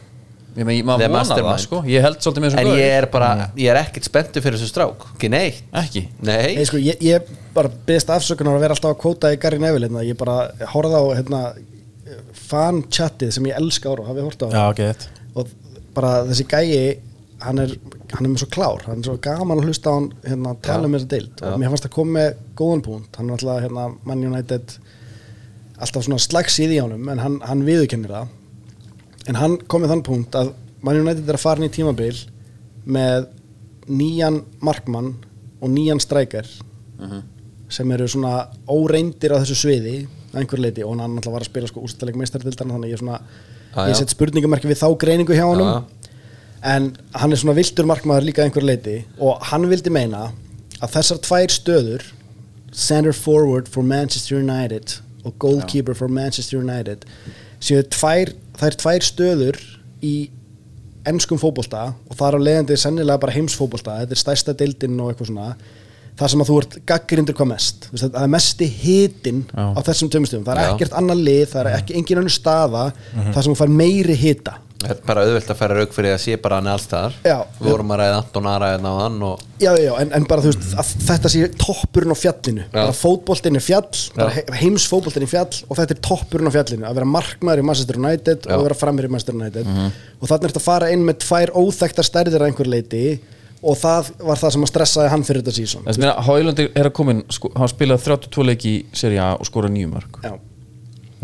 Speaker 1: ég meina,
Speaker 4: The
Speaker 1: maður vonar það
Speaker 4: mastermind.
Speaker 1: sko, ég held svolítið með
Speaker 4: en
Speaker 1: þessum
Speaker 4: ég er bara, ég er ekkert spenntur fyrir þessu strák ekki neitt,
Speaker 1: gaur. Mm. ekki
Speaker 4: nei
Speaker 3: eða sko, ég, ég bara beðist afsökunar að vera alltaf að kóta í Gary Neville, hérna, ég bara horfði á, hérna, fan chatið sem ég elska ára, hafið hort á það?
Speaker 2: Já, ok, þetta
Speaker 3: og bara þessi gæi hann er, hann er með svo klár hann er svo gaman að hlusta á hann hérna, tala um þessa deild og mér fannst að koma með góðan punkt hann er alltaf hérna, Man United alltaf svona slags í því ánum en hann, hann viðurkennir það en hann kom með þann punkt að Man United er að fara inn í tímabil með nýjan markmann og nýjan strækjar sem eru svona óreindir á þessu sviði að einhver leiti og hann alltaf var að spila sko úrstæðleik meistardildana þannig að ég er svona
Speaker 4: Ah,
Speaker 3: ég
Speaker 4: Já, já.
Speaker 3: set spurningamarki við þá greiningu hjá honum
Speaker 4: Já.
Speaker 3: en hann er svona viltur markmaður líka að einhver leiti og hann vildi meina að þessar tvær stöður center forward for Manchester United og goalkeeper for Manchester United séu tvær, þær tvær stöður í ennskum fótbolta og það er á leiðandi sennilega bara heimsfótbolta, þetta er stærsta deildin og eitthvað svona, þar sem að þú ert gaggrindur hvað mest, Þú veist, það er mesti hitin á þessum tömustum, það er
Speaker 4: Já.
Speaker 3: ekkert annan lið, það er ekki engin önnur staða þar sem þú fær meiri hita
Speaker 4: Þetta er bara auðvelt að færa rauk fyrir að sé bara hann alls þar
Speaker 3: Já.
Speaker 4: Við vorum að ræða Anton Ara hérna á hann og
Speaker 3: Já, já, já, en, en bara þú veist að þetta sé toppurinn á fjallinu bara fótboltinn er fjall, bara he- heimsfótboltinn er fjall og þetta er toppurinn á fjallinu að vera markmaður í Manchester United og
Speaker 4: Já.
Speaker 3: að vera framir í Manchester United og þannig er þetta að fara inn með tvær óþekta stærðir að einhver leiti og það var það sem að stressaði hann fyrir þetta sísón
Speaker 1: Þess meina, Hálandi er að komin sko, hann spilaði 32 leiki í Serie A og skora nýju mörg
Speaker 3: Já,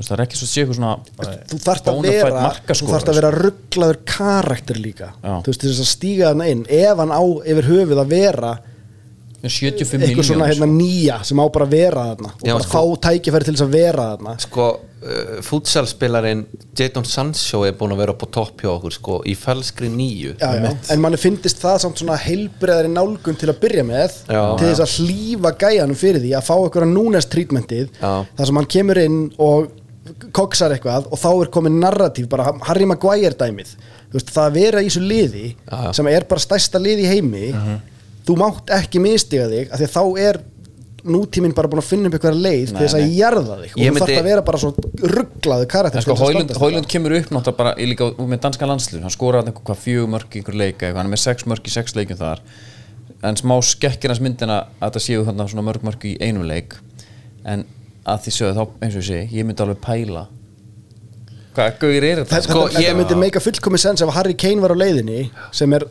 Speaker 1: það er ekki svo að sé eitthvað svona
Speaker 3: þú þarft að
Speaker 1: bona fide
Speaker 3: vera þú
Speaker 1: markaskorari,
Speaker 3: þarft að vera rugglaður karakter líka
Speaker 1: Já.
Speaker 3: þú veist, til þess að stíga þarna inn ef hann á yfir höfuð að vera
Speaker 1: sko. 75
Speaker 3: eitthvað
Speaker 1: miljón
Speaker 3: svona hérna nýja sem á bara að vera þarna og
Speaker 4: Já,
Speaker 3: bara
Speaker 4: sko.
Speaker 3: fá tækifæri til þess að vera þarna
Speaker 4: sko uh, futsalspilarinn Jadon Sancho er búin að vera upp á topp hjá okkur sko í falskri nýju
Speaker 3: já, já. en manni finnist það samt svona heilbreðari nálgun til að byrja með
Speaker 4: Já.
Speaker 3: til þess að hlýfa gæjanum fyrir því að fá einhverja núnest trítmentið
Speaker 4: Já.
Speaker 3: þar sem hann kemur inn og koksar eitthvað og þá er komin narratív bara Harry Maguire dæmið Þú veist, það að vera í þessu liði
Speaker 4: Já, Mhm. já.
Speaker 3: sem er bara stærsta liði í heimi þú mátt ekki mistiga þig af því að þá er nútíminn bara búin að finna upp einhverja leið til þess að jarða þig og
Speaker 4: Ég
Speaker 3: þú þarf
Speaker 4: myndi-
Speaker 3: að vera bara svo rugglaðu karakter
Speaker 1: En sko,
Speaker 3: til þess að
Speaker 1: Hólund,
Speaker 3: standast þetta.
Speaker 1: Hólund kemur upp náttúrulega bara í líka með danskan landslið, hann skoraði einhver hvað fjögur mörg í einhver leika, eitthvað, hann er með sex mörg í sex leikjum þar en smá skekkir hans myndina að það séu þarna svona mörg mörg í einum leik en að því sögðu þá, eins og ég segi, ég myndi alveg pæla hvað gauðir er þetta?
Speaker 3: Þetta,
Speaker 4: Sko,
Speaker 3: þetta,
Speaker 4: ég-
Speaker 3: þetta myndi meika fullkomi sens ef Harry Kane var á leiðinni sem er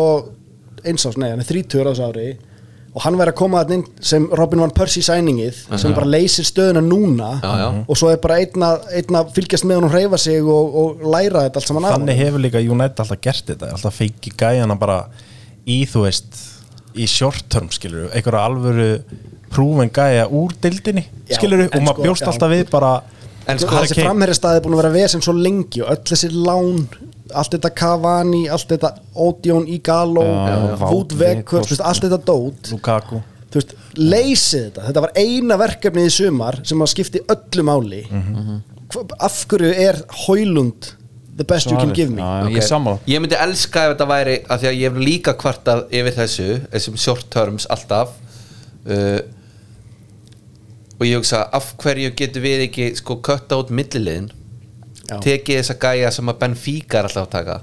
Speaker 3: 31 ás, nei hann er 30 ás ári og hann væri að koma þarna inn sem Robin Van Persie sæningið sem bara leysir stöðuna núna
Speaker 4: Já, já.
Speaker 3: og svo er bara einn að- einn að fylgjast með hann og reyfa sig og, og læra þetta allt saman af
Speaker 2: Þannig
Speaker 3: honum.
Speaker 2: hefur líka United alltaf gert þetta alltaf feiki gæjana bara í þú veist í short term skilur einhverja alvöru prúven gæja úr dildinni
Speaker 3: Já,
Speaker 2: skilur og
Speaker 3: en
Speaker 2: maður
Speaker 3: sko,
Speaker 2: bjóst
Speaker 3: já.
Speaker 2: alltaf við bara
Speaker 4: En sko,
Speaker 2: Harry
Speaker 3: þessi
Speaker 2: Kane-
Speaker 3: framherri staði búin að vera vesen svo lengi og öll þessi lán allt þetta Cavani, allt þetta Odeon Igalo,
Speaker 1: já, já.
Speaker 3: Woodwecker þú veist, allt þetta dót
Speaker 2: Lukaku
Speaker 3: þú veist, leysið þetta þetta var eina verkefnið í sumar sem að skipti öllu máli
Speaker 4: Mhm.
Speaker 3: Hva- af hverju er Hólund the best you can give me
Speaker 1: Já,
Speaker 4: Ok.
Speaker 1: ég er sammála
Speaker 4: Ég myndi elska ef þetta væri af því að ég hef líka kvartað yfir þessu þessum short terms alltaf uh, og ég hugsa af hverju getum við ekki sko kötta út milliliðin
Speaker 3: Já.
Speaker 4: tekið þessa gæja sem að Benfica er alltaf að taka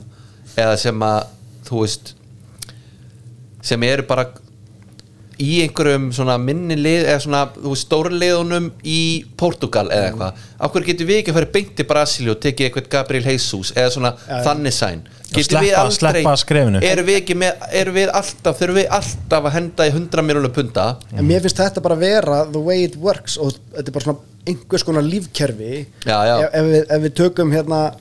Speaker 4: eða sem að þú veist sem eru bara í einhverjum svona minni lið eða svona þú veist, stórliðunum í Portugal
Speaker 3: Mm.
Speaker 4: eða eitthvað af hverju getum við ekki að fara beint til Brasilíu og tekið eitthvað Gabriel Jesus eða svona þannig sæn getum við
Speaker 2: sleppa-
Speaker 4: aldrei
Speaker 2: sleppa skrefinu.
Speaker 4: erum við, ekki með, erum við alltaf þurfum við alltaf að henda í 100 miljónum punta
Speaker 3: en mér finnst þetta bara vera the way it works og þetta er bara svona einhvers konar lífkerfi
Speaker 4: Já, já.
Speaker 3: Ef, ef, við, ef við tökum hérna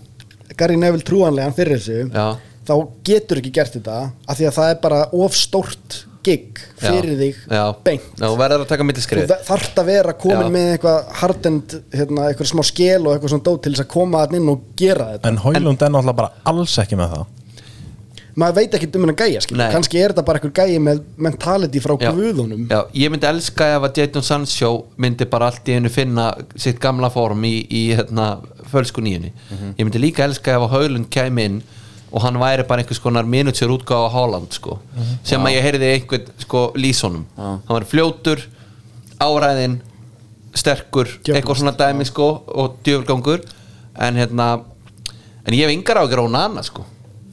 Speaker 3: Gary Neville trúanlegan fyrir þessu
Speaker 4: Já.
Speaker 3: þá getur ekki gert þetta af því að það er bara of stórt gig fyrir þig beint
Speaker 4: Ná, þú verður að taka
Speaker 3: þú
Speaker 4: mittiskrið
Speaker 3: ve- þarft að vera komin
Speaker 4: Já.
Speaker 3: með eitthvað hardend, hérna, eitthvað smá skel og eitthvað svona dót til þess að koma hann inn og gera þetta
Speaker 2: en Hólund er náttúrulega bara alls ekki með það
Speaker 3: maður veit ekki um hennan gæja, skilur,
Speaker 4: Nei.
Speaker 3: kannski er þetta bara eitthvað gæja með mentality frá
Speaker 4: Já.
Speaker 3: guðunum
Speaker 4: Já, ég myndi elska ef að Jadon Sancho myndi bara allt í einu finna sitt gamla form í, í hérna, fölsku nýjunni ég myndi líka elska ef að Haulund kæmi inn og hann væri bara einhvers konar minútsjör útgáfa á Holland sko, sem að ég heyrði einhvern sko lýsónum hann var fljótur, áræðin sterkur, eitthvað svona dæmi sko og djöfulgangur en hérna en ég hef yngar á ekki róna annað sko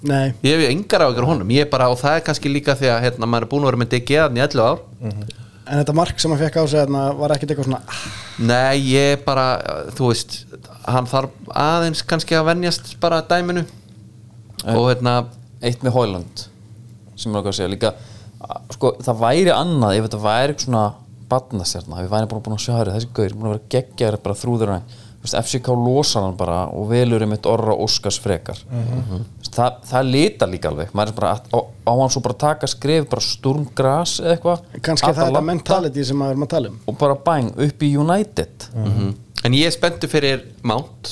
Speaker 3: nei,
Speaker 4: ég hef yngar á ekki honum, ég er bara og það er kannski líka því að hérna, maður er búin að vera með DG að í 11 ár
Speaker 3: en þetta mark sem hann fekk á sig þarna var ekkert eitthvað svona ah,
Speaker 4: Nei, ég bara, þú veist hann þarf aðeins kannski að venjast bara dæminu og hérna,
Speaker 1: eitt með Hólund sem er okkar að segja líka a- sko, það væri annað ef þetta væri eitthvað svona barnastjarna, við væri bara búin að sjá þér þessi gauður, búin að vera geggjar bara þrúður hann Vist, FCK losar hann bara og velur einmitt orra Óskars frekar mm það, það lita líka alveg maður er bara að, á, á hann svo bara að taka skref bara sturmgras eða eitthvað
Speaker 3: kannski er það er
Speaker 1: Atalanta
Speaker 3: þetta mentality sem maður er að tala um
Speaker 1: og bara bang upp í United
Speaker 4: Mm. en ég er spenntu fyrir Mount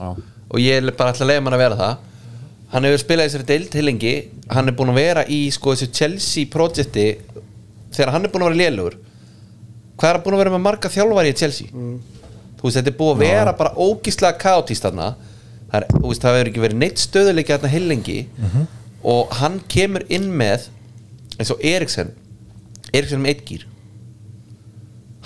Speaker 1: Já.
Speaker 4: og ég er bara alltaf leiðum hann að vera það hann hefur spilað í þessari deild heilengi hann er búin að vera í sko þessu Chelsea projekti þegar hann er búin að vera lélugur hvað er hann búin að vera með marga þjálfari í Chelsea þú veist þetta er búin að vera bara ógíslega kaotist þarna það, er, þú veist, það hefur ekki verið neitt stöðuleiki þarna heilengi og hann kemur inn með eins og Eriksen Eriksen er með eitt gýr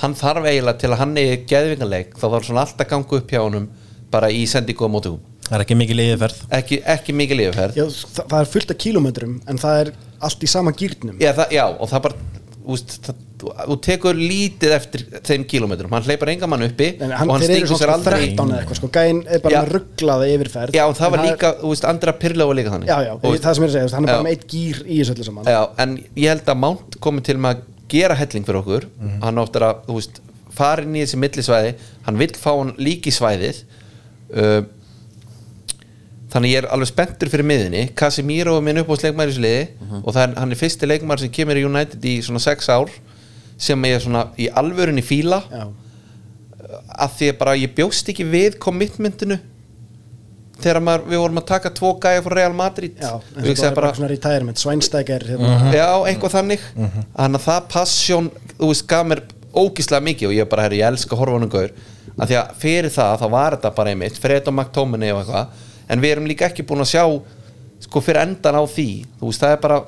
Speaker 4: hann þarf eiginlega til að hann eigi geðvingarleik þá þarf svona alltaf gangu upp hjá honum bara í sendingu á mótugum
Speaker 2: Það er ekki mikið leiðiferð
Speaker 4: ekki, ekki mikið lífferð
Speaker 3: Já, það, það er fullt af kílómetrum en það er allt í sama gýrnum
Speaker 4: já, það, já, og það bara úst, það, þú- þú tekur lítið eftir þeim kílómetrum, hann hleypar enga mann uppi
Speaker 3: en hann,
Speaker 4: og hann
Speaker 3: þeir eru
Speaker 4: stingur sér
Speaker 3: svona
Speaker 4: aldrei
Speaker 3: 13 eða eitthvað sko, gæinn er bara
Speaker 4: Já.
Speaker 3: með rugglaða yfirferð
Speaker 4: já, og það var
Speaker 3: En
Speaker 4: líka, þú veist, Andra Pirlo var líka þannig
Speaker 3: já, já,
Speaker 4: Þú veist,
Speaker 3: það sem ég er að segja, þú veist, hann er
Speaker 4: Já.
Speaker 3: bara með eitt gýr í þessu öllu saman
Speaker 4: já, en ég held að Mount komi til með að gera helling fyrir okkur hann áttur að, þú veist, farin í þessi millisvæði, hann vill fá hann líki svæðið uh, þannig ég er alveg spenntur fyrir miðinni, Casemiro er minn uppáðsleikmaður í þessu liði og það er, hann er fyrsti leikmaður sem kemur í United í svona 6 ár sem ég er svona í alvörunni fíla
Speaker 3: Já.
Speaker 4: að því að bara ég bjóst ekki við commitmentinu þegar maður, við vorum að taka tvo gæja frá Real Madrid
Speaker 3: Já, en
Speaker 4: og
Speaker 3: þetta
Speaker 4: ég
Speaker 3: var
Speaker 4: segja
Speaker 3: bara
Speaker 4: bara,
Speaker 3: svona retirement, svænstækjar hérna.
Speaker 4: já, eitthvað þannig þannig að það passion, þú veist, gaf mér ógíslega mikið og ég bara, herri, ég elska horfanum gaur, að því að fyrir það þá var þetta bara einmitt, Fred og McTominay og eitthvað, en við erum líka ekki búin að sjá sko fyrir endan á því þú veist, það er bara,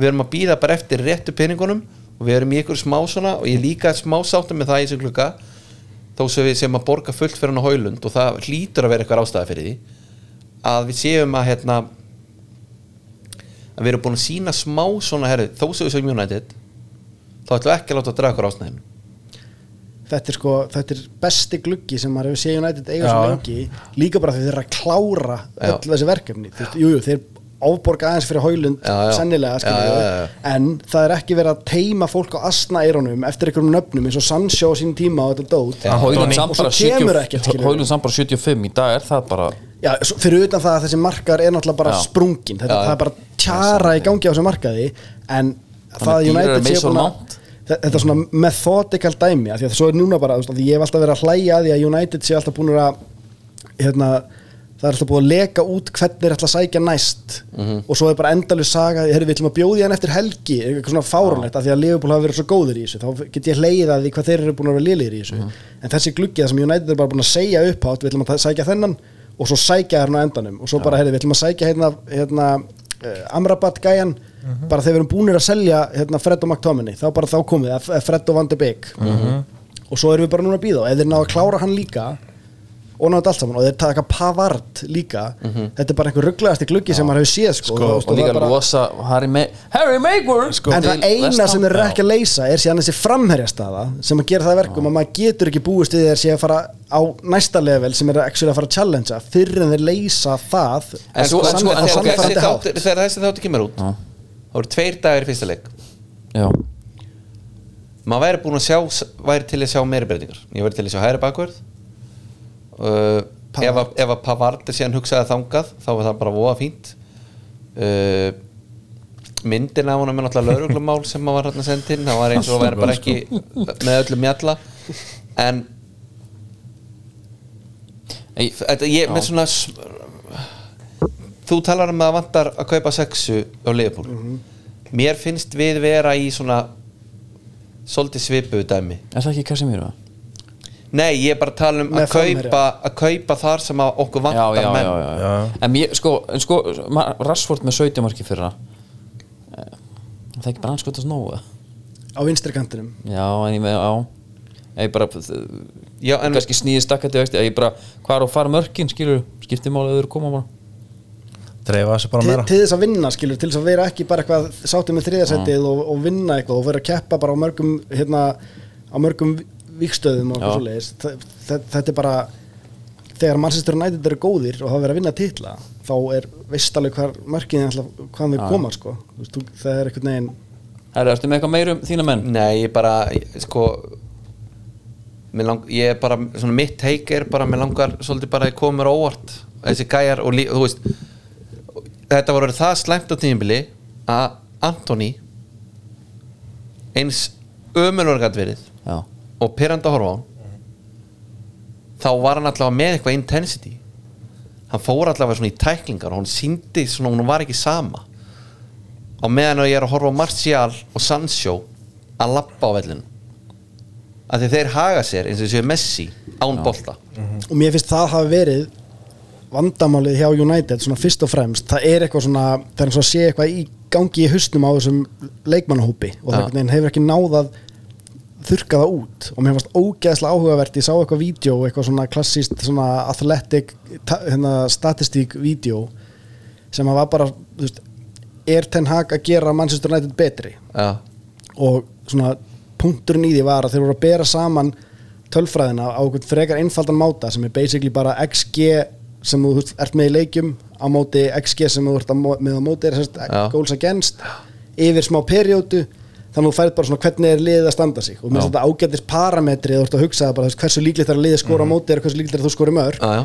Speaker 4: við erum að býða bara eftir réttu peningunum og við erum í ykkur smá svona, og ég er líka smá sáttum með það í þessu klukka, þó sem við sem að borga fullt fyrir hann á haulund og það hlýtur að vera eitthvað ástæða fyrir því að við séum að hérna, að við erum búin að sína smá svona herri, þó sem við sögum United þá ætlum við ekki að láta að draga okkur ásnæðin
Speaker 3: þetta er sko, þetta er besti gluggi sem maður hefur séð United eiga svo
Speaker 2: Já.
Speaker 3: lengi líka bara þegar þeir eru að klára
Speaker 4: Já.
Speaker 3: öll þessi verkefni, þú veist, jújú, þeir ofborga aðeins fyrir haulund
Speaker 4: Já, já.
Speaker 3: sennilega
Speaker 4: Já,
Speaker 3: skilur
Speaker 4: já, já,
Speaker 3: við, en það er ekki verið að teima fólk á asna eironum eftir einhverjum nöfnum eins og Sancho á sín tíma og þetta dót
Speaker 1: Hólund
Speaker 3: og svo kemur ekkert skilur við.
Speaker 1: samt bara 75 í dag er það bara
Speaker 3: Já, svo fyrir utan það að þessi markar er náttúrulega bara
Speaker 1: Já.
Speaker 3: sprungin, þetta,
Speaker 1: Já, já.
Speaker 3: það er bara tjara í gangi á þessu markaði en það
Speaker 1: er
Speaker 3: að
Speaker 1: dýrari
Speaker 3: United sé
Speaker 1: Mason
Speaker 3: búin að
Speaker 1: Mount.
Speaker 3: þe- þetta er svona methodical dæmi af því að svo er núna bara, þú veist, af því ég hef alltaf verið að hlæja að því að United sé alltaf búin að hérna, það er alltaf búin að leka út hvernig þeir ætla að sækja næst
Speaker 1: Mhm.
Speaker 3: og svo er bara endalur saga, herri við ætlum að bjóði hann eftir helgi, eitthvað svona fárunlegt af því að Liverpool hafa verið svo góðir í þessu, þá get ég hlegið að því hvað þeir eru búin að vera liðir í þessu
Speaker 1: Mhm.
Speaker 3: en þessi gluggi það sem United er bara búin að segja upp átt, við ætlum að ta- sækja þennan og svo sækja þarna á endanum og svo bara, herri við ætlum að sækja hérna, hérna uh, Amrabat gæjan
Speaker 1: Mhm.
Speaker 3: bara þegar við erum búinir að selja hérna, Fred og McTominay, þá bara þá komið að að Fred og Van de Beek
Speaker 1: Mhm.
Speaker 3: og svo erum við bara núna að býða og ef þeir ná að klára hann líka og náðu þetta allt saman og þeir taka pavart líka þetta er bara einhver rugglegasti gluggi sem maður hefur séð
Speaker 1: Mhm. sko,
Speaker 3: sko, þú veist,
Speaker 1: og líka
Speaker 3: það er bara- Sko,
Speaker 1: losa Harry, May Harry Maguire
Speaker 3: en það eina sem þeir eru ekki að leysa er síðan þessi framherjastaða sem að gera það að verkum að maður getur ekki búist við þeir sé að fara á næsta level sem er actually að fara að challengea fyrir en þeir leysa það
Speaker 1: En svo-
Speaker 3: á
Speaker 1: en
Speaker 3: sann-
Speaker 1: sko-
Speaker 3: á
Speaker 1: en sko-
Speaker 4: þegar þessi
Speaker 3: sannfærandi hátt.
Speaker 4: þáttur- þegar þessi þáttu kemur út
Speaker 1: Já.
Speaker 4: þá eru tveir dagar í fyrsta leik
Speaker 1: já,
Speaker 4: maður væri búin að sjá væri til að sjá meiri breytingar ég væri til að sjá hæri bakverð uh, ef, að, ef að Pavard er síðan hugsaði þangað þá var það bara voða fínt uh, myndin af honum er náttúrulega lauruglumál sem maður var hérna sendin það var eins og væri bara ekki með öllum mjalla en
Speaker 1: Ei,
Speaker 4: þetta ég með svona s- þú talar um að það vantar að kaupa sexu á Leopold mér finnst við vera í svona svolítið svipuðu dæmi
Speaker 1: er það ekki Casemiro?
Speaker 4: Nei, ég er bara að tala um
Speaker 3: Með
Speaker 4: að kaupa,
Speaker 3: framherja.
Speaker 4: að kaupa þar sem að okkur
Speaker 1: Já,
Speaker 4: vantar
Speaker 1: já, já,
Speaker 4: menn
Speaker 1: já, já. en mér, sko, en sko ma- Rashford með 17 marki fyrra Eh, það er ekki bara hann skotast nógu eða?
Speaker 3: á vinstri kantinum
Speaker 1: já, en ég með, já ég bara,
Speaker 4: Já, en-
Speaker 1: kannski snýði stakkandi vexti, ég bara, hvað er að fara mörkin skilur, skipti máli að þau eru að koma bara
Speaker 2: Dreifa þessu bara
Speaker 3: til,
Speaker 2: meira
Speaker 3: til þess að vinna skilur, til þess að vera ekki bara eitthvað sáttum með þriðasætið og, og vinna eitthvað og vera að keppa bara á mörgum hérna, á mörgum vikstöðum og eitthvað
Speaker 1: Já.
Speaker 3: svoleiðis Þa- þa- þetta er bara þegar Manchester United eru góðir og það vera að vinna titla þá er veist alveg hvar mörkin hvaðan þau koma sko Þú veist, þú- það er eitthvað negin
Speaker 1: Herra, ertu með eitthvað meirum þína menn?
Speaker 3: Mm.
Speaker 4: Nei, ég bara, ég- sko mig lang, ég er bara, svona mitt teik er bara, mér langar svolítið bara að koma mér á óvart þessi gæjar og lí, þú veist þetta voru það slæmt á tímabili að Antoni eins ömulur gætt verið
Speaker 1: Já,
Speaker 4: og pyrrandi að horfa á hann þá var hann allavega með eitthvað intensity hann hann fór allavega svona í tæklingar og hann síndi svona, hún var ekki sama á meðan að ég er að horfa á Martial og Sancho að lappa á vellinu af því þeir haga sér eins og séu Messi án bolta
Speaker 3: og mér finnst það hafi verið vandamálið hjá United svona fyrst og fremst, það er eitthvað svona það er eins og að sé eitthvað í gangi í hustnum á þessum leikmannahópi og það
Speaker 4: Ja.
Speaker 3: einhvern veginn hefur ekki náðað þurka það út og mér fannst ógeðslega áhugavert ég sá eitthvað vídeo, eitthvað svona klassíst svona athletic, ta- hérna, statistík vídeo sem að var bara, þú veist er Ten Hag að gera Manchester United betri
Speaker 4: já,
Speaker 3: og svona punkturinn í því var að þeir voru að bera saman tölfræðina á einhvern frekar einfaldan máta sem er basically bara XG sem þú veist, ert með í leikjum á móti XG sem þú ert að mó- með á móti er sérst
Speaker 4: Já.
Speaker 3: goals against yfir smá periodu þannig að þú færð bara svona hvernig er liðið að standa sig og mér finnst
Speaker 4: Já.
Speaker 3: þetta ágættis parametri þú ert að hugsa bara þú veist, hversu líklegt er að liðið
Speaker 4: Mhm.
Speaker 3: skora á móti er hversu líklegt er að þú skori mörg
Speaker 4: já, já,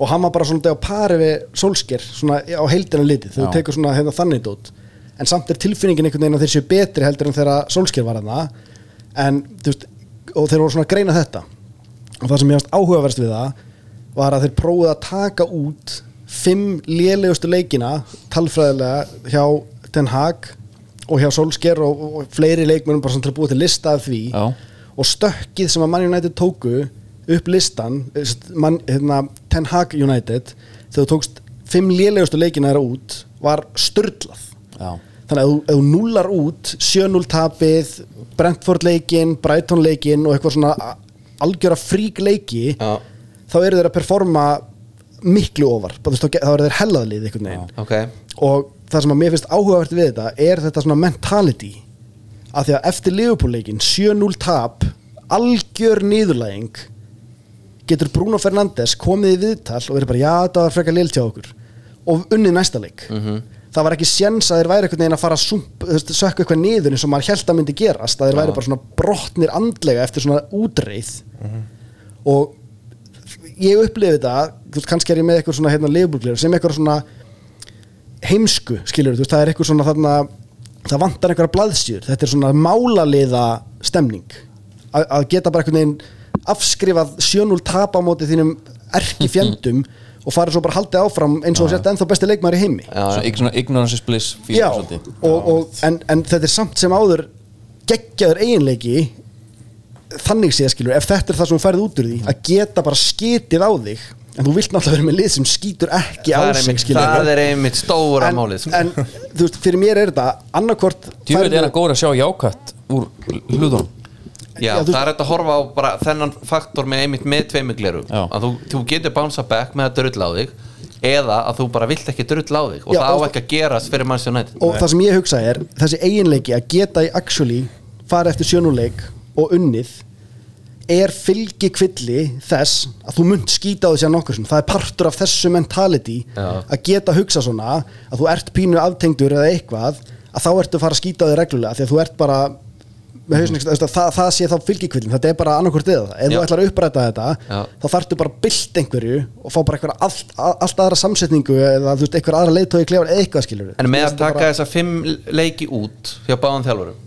Speaker 3: og hann var bara svona á pari við Solskjær svona á heildina litið þegar þú
Speaker 1: Já.
Speaker 3: tekur svona hefða þannig dót en samt er tilfinningin einhvern veginn að þeir séu betri heldur en þegar Solskjær var hana en þú veist og þeir voru svona að greina þetta og það sem ég varst áhugaverst við það var að þeir prófuðu að taka út fimm lélegustu leikina talfræðilega hjá Den Haag og hjá Solskjær og, og fleiri leikmennum bara svona til að búa til lista af því
Speaker 1: Já.
Speaker 3: og stökkið sem að Man United tóku upp listan eh, st- Man, hérna, Ten Hag United þegar þú tókst fimm lélegustu leikina þeirra út var störlað
Speaker 1: Já.
Speaker 3: þannig að ef þú, ef þú núlar út 7-0 tapið, Brentford leikin Brighton leikin og eitthvað svona a- algjöra frík leiki
Speaker 4: Já.
Speaker 3: þá eru þeir að performa miklu ofar, Bara, þú veist, þá ge- þá eru þeir hellaðlið einhvern veginn
Speaker 4: ok
Speaker 3: og það sem að mér finnst áhugavert við þetta er þetta svona mentality af því að eftir Liverpool-leikin 7-0 tap, algjör niðurlæging getur Bruno Fernandes komið í viðtal og verið bara já, þetta var frekar lill hjá okkur og unnið næsta leik það var ekki séns að þeir væri einhvern veginn að fara að sump, þú veist, sökka eitthvað niður eins og maður held að myndi gerast að þeir væri bara svona brotnir andlega eftir svona útreið og ég upplifi þetta, þú veist, kannski er ég með eitthvað svona hérna Liverpool-gleru sem eitthvað svona heimsku, skilur þú veist, það er eitthvað svona þarna, það vantar einhverja blaðsjur þetta er svona málaliða stemning að, að geta bara einhvern veginn afskrifað 7-0 tap á móti þínum erki fjendum og farið svo bara haldið áfram eins og þú sett ennþá besti leikmaður í heimi
Speaker 1: Svo ign- svona ignorance is bliss fíl,
Speaker 3: Já, og,
Speaker 1: svolítið.
Speaker 3: og, en, en þetta er samt sem áður geggjaður eiginleiki þannig séð skilur, ef þetta er það sem þú færið út úr því að geta bara skitið á þig en þú vilt náttúrulega vera með lið sem skýtur ekki á
Speaker 4: það er
Speaker 3: sig
Speaker 4: einmitt,
Speaker 3: skilur
Speaker 4: það er einmitt stóra
Speaker 3: en,
Speaker 4: málið sko.
Speaker 3: en þú veist, fyrir mér er þetta annarkort
Speaker 1: Djúvel er hann góður að sjá jákvætt úr hlutunum
Speaker 4: Já,
Speaker 3: Já, þú-
Speaker 4: það er hægt að horfa á bara þennan faktor með einmitt með tveimur glerum
Speaker 1: Já.
Speaker 4: að þú, þú getur bánsa back með að drull á þig eða að þú bara vilt ekki drull á þig og
Speaker 3: Já,
Speaker 4: það á
Speaker 3: og-
Speaker 4: ekki að gerast fyrir manns United
Speaker 3: og það sem ég hugsa er þessi eiginleiki að geta í actually fara eftir sjönuleik og unnið er fylgi kvilli þess að þú munt skýta á því sér nokkur sem það er partur af þessu mentality
Speaker 4: Já.
Speaker 3: að geta hugsa svona að þú ert pínu aftengdur eða eitthvað að þá ertu að fara að skýta á því reglulega því að þú ert bara með hausinn, mm. það, það, það sé þá fylgikvillin þetta er bara annarkvort eða það, ef
Speaker 4: Já.
Speaker 3: þú ætlar að uppræta þetta
Speaker 4: Já.
Speaker 3: þá þarftu bara að bylta einhverju og fá bara eitthvað allt, a- allt aðra samsetningu eða þú veist, eitthvað aðra leiðtói klefan eða eitthvað skilur
Speaker 4: en með að taka þessa fimm leiki út hjá báðan þjálfurum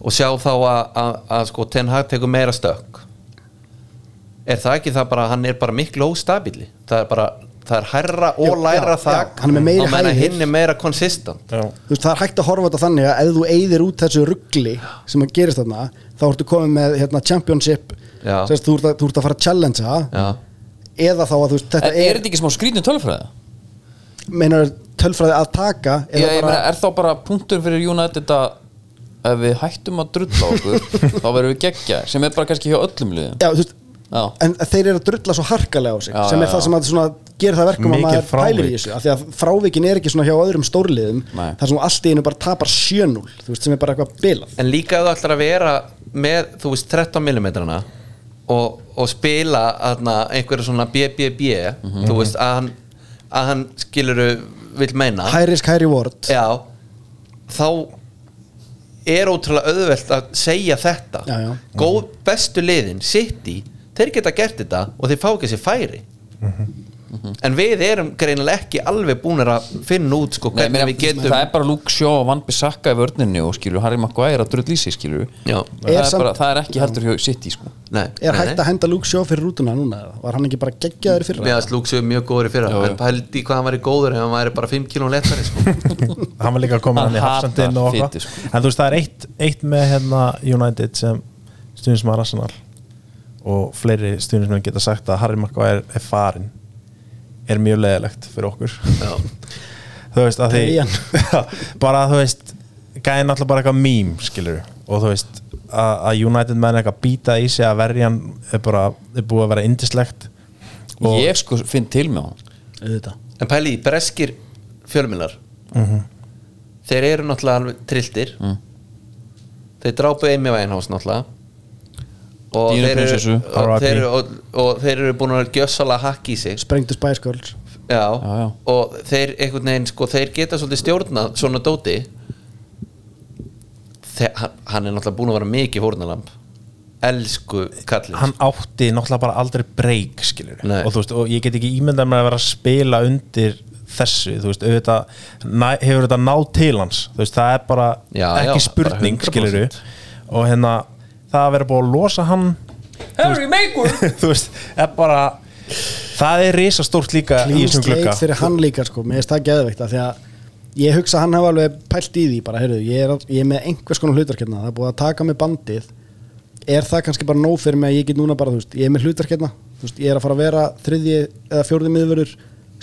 Speaker 4: og sjá þá að, að, að sko Ten Hag tekur meira stökk er það ekki það bara hann er bara miklu óstabili það er bara, það er hærra og
Speaker 3: Já, já,
Speaker 4: læra
Speaker 3: já.
Speaker 4: þak
Speaker 3: Hann er með meiri
Speaker 4: á meðan að
Speaker 3: hæðir.
Speaker 4: hinn er meira konsistant
Speaker 2: Já.
Speaker 3: þú veist, það er hægt að horfa á þetta þannig að ef þú eyðir út þessu ruggli sem að gerist þarna þá ertu komið með hérna, championship
Speaker 4: Já.
Speaker 3: sérst, þú, ert að, þú ert að fara að challengea
Speaker 4: Já.
Speaker 3: eða þá að þú veist,
Speaker 1: En
Speaker 3: þetta
Speaker 1: er
Speaker 3: er,
Speaker 1: þetta ekki smá skrýtnum tölfræða?
Speaker 3: meinar tölfræði að taka
Speaker 1: Já,
Speaker 3: eða
Speaker 1: ég meina,
Speaker 3: bara,
Speaker 1: er þá bara punktur fyrir United að ef við hættum að drulla á okkur þá verðum við geggja, sem er bara kannski hjá öllum liðum
Speaker 3: já, þú veist
Speaker 1: Já,
Speaker 3: en þeir eru að drulla svo harkalega á sig
Speaker 1: Já,
Speaker 3: sem er
Speaker 1: já,
Speaker 3: það
Speaker 1: já.
Speaker 3: sem að svona, gerir það verkum
Speaker 2: Mikið
Speaker 3: að maður pælir í
Speaker 2: frávik.
Speaker 3: þessu af því að frávikin er ekki svona hjá öðrum stórliðum
Speaker 1: Nei.
Speaker 3: þar sem þú allt í einu bara tapar 7-0 þú veist, sem er bara eitthvað bilað
Speaker 4: en líka ef þú ætlar að vera með, þú veist, 13 mm og, og spila aðna, einhverja svona BBB
Speaker 3: Mhm.
Speaker 4: þú veist, að hann, að hann skiluru vill meina
Speaker 3: high risk, high reward
Speaker 4: já, þá er ótrúlega auðvelt að segja þetta
Speaker 3: Já, já.
Speaker 4: góð bestu liðin, City þeir geta gert þetta og þeir fá ekki sér færi
Speaker 3: Mhm.
Speaker 4: en við erum greinilega ekki alveg búinir að finna út sko,
Speaker 1: Nei,
Speaker 4: hvernig
Speaker 1: meina,
Speaker 4: við getum
Speaker 1: það er bara Luke Shaw og Van Bissaka í vörninni og skilur Harry Maguire að drull í sig skilur
Speaker 4: Já.
Speaker 1: það er,
Speaker 3: samt-
Speaker 1: bara, það er ekki heldur hjá City sko.
Speaker 4: Nei,
Speaker 3: Er
Speaker 4: nei,
Speaker 3: hægt að
Speaker 4: nei.
Speaker 3: henda Luke Shaw fyrir rútuna núna? eða? Var hann ekki bara geggjaður í
Speaker 4: Mér
Speaker 3: fyrra?
Speaker 4: að Slúk séu mjög góður í
Speaker 1: Jú,
Speaker 4: fyrra
Speaker 1: jú.
Speaker 4: En pældi í hvað hann væri góður ef hann væri bara 5 kílón lettari sko.
Speaker 2: hann var líka að koma
Speaker 1: Hann
Speaker 2: hann í
Speaker 1: hatar
Speaker 2: hafsendin og
Speaker 1: fitu,
Speaker 2: okkur
Speaker 1: sko.
Speaker 2: en þú veist það er eitt, eitt með hérna United sem stuðnismar Arsenal og fleiri stuðnismenn geta sagt að Harry Maguire er farin er mjög leðilegt fyrir okkur
Speaker 4: Já.
Speaker 2: þú veist að
Speaker 3: Dejan.
Speaker 2: því bara þú veist gæði náttúrulega bara eitthvað mím skilur og þú veist að að United menn eitthvað býta í sig að verjan er bara er búið að vera indislegt og
Speaker 1: ég sko finn til með hann
Speaker 3: Auðvitað.
Speaker 4: En pæli í breskir fjölmiðlar Þeir eru náttúrulega alveg trilltir Þeir drápu Amy Winehouse náttúrulega Og
Speaker 1: Dínu
Speaker 4: þeir, eru,
Speaker 1: prinsessu,
Speaker 4: og,
Speaker 2: R.I.P..
Speaker 4: þeir eru, og, og þeir eru búin að gjössalega hakka í sig
Speaker 3: Sprengdu Spice Girls
Speaker 4: já,
Speaker 1: Já, já.
Speaker 4: og þeir einhvern veginn sko, þeir geta svolítið stjórnað svona dóti Þe, hann, hann er náttúrulega búin að vera mikið fórnalamb elsku sko. kallið
Speaker 2: hann átti náttúrulega bara aldrei break skilur
Speaker 4: Nei.
Speaker 2: og, þú veist, og ég get ekki ímyndað mér að vera að spila undir þessu, þú veist, auðvitað næ, hefur þetta náð til hans þú veist, það er bara
Speaker 4: Já, já,
Speaker 2: ekki
Speaker 4: bara
Speaker 2: spurning
Speaker 4: 100%.
Speaker 2: skilur og hérna, það að vera búið að losa hann Harry Maguire þú veist, er bara það er risastórt líka í
Speaker 3: Clean
Speaker 2: þessum
Speaker 3: slate
Speaker 2: glugga
Speaker 3: fyrir hann líka sko Mér finnst það geðveikt af Því að ég hugsa að hann hafa alveg pælt í því bara, heyrðu, ég, er, að- ég er með einhvers konar hlutarkirna Það er búið að taka mig bandið Er það kannski bara nóg fyrir mig að ég get núna bara þú veist, Ég er með hlutarkirna þú veist, Ég er að fara að vera þriðji eða fjórði miðvörður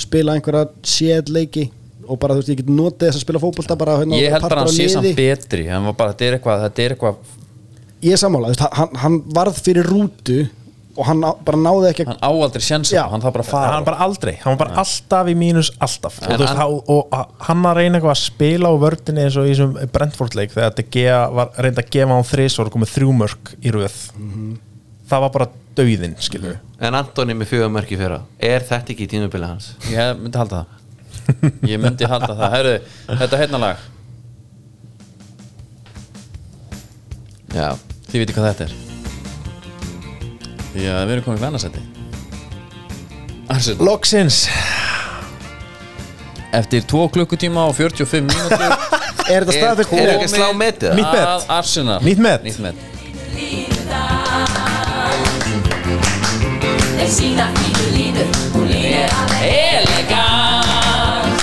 Speaker 3: Spila einhverja séð leiki Og bara þú veist, ég get notið þess að spila fótbolta bara, hérna,
Speaker 1: ég
Speaker 3: og
Speaker 1: held
Speaker 3: partur
Speaker 1: bara að
Speaker 3: af
Speaker 1: hann sé samt
Speaker 3: liði.
Speaker 1: betri hann var bara, þetta er eitthvað, þetta er eitthvað
Speaker 3: Ég er sammála, þú veist, hann, hann varð fyrir rútu Og hann á- bara náði ekki að
Speaker 1: hann á aldrei sjensa,
Speaker 3: Já.
Speaker 1: hann þarf bara að fara
Speaker 2: hann bara aldrei, hann var bara alltaf í mínus alltaf og,
Speaker 4: En
Speaker 2: þú veist, hann, og og hann að reyna eitthvað að spila á vördinni eins og í þessum Brentford-leik þegar De Gea var reynd að gefa hann þrisvar og komið þrjú mörk í röð
Speaker 1: Mhm.
Speaker 2: það var bara dauðinn skilur mm
Speaker 4: en Antoni með fjögur mörki fyrra er þetta ekki tímubili hans
Speaker 1: ég myndi halda það ég myndi halda það, herru, þetta hérna heitnalag
Speaker 4: já,
Speaker 1: þið viti hvað þetta er því að við erum komið í vennarsæti Arsenal
Speaker 2: Loksins
Speaker 1: eftir 2 klukkutíma og 45 mínútur
Speaker 3: Er þetta
Speaker 1: er
Speaker 3: staðfyrst
Speaker 4: ekki að
Speaker 1: komið
Speaker 4: slá metið?
Speaker 2: Nýtt met.
Speaker 1: að Arsenal
Speaker 2: Nýtt met.
Speaker 1: nýtt met
Speaker 7: Þeir sína fínu línu, hún línu er alveg elegant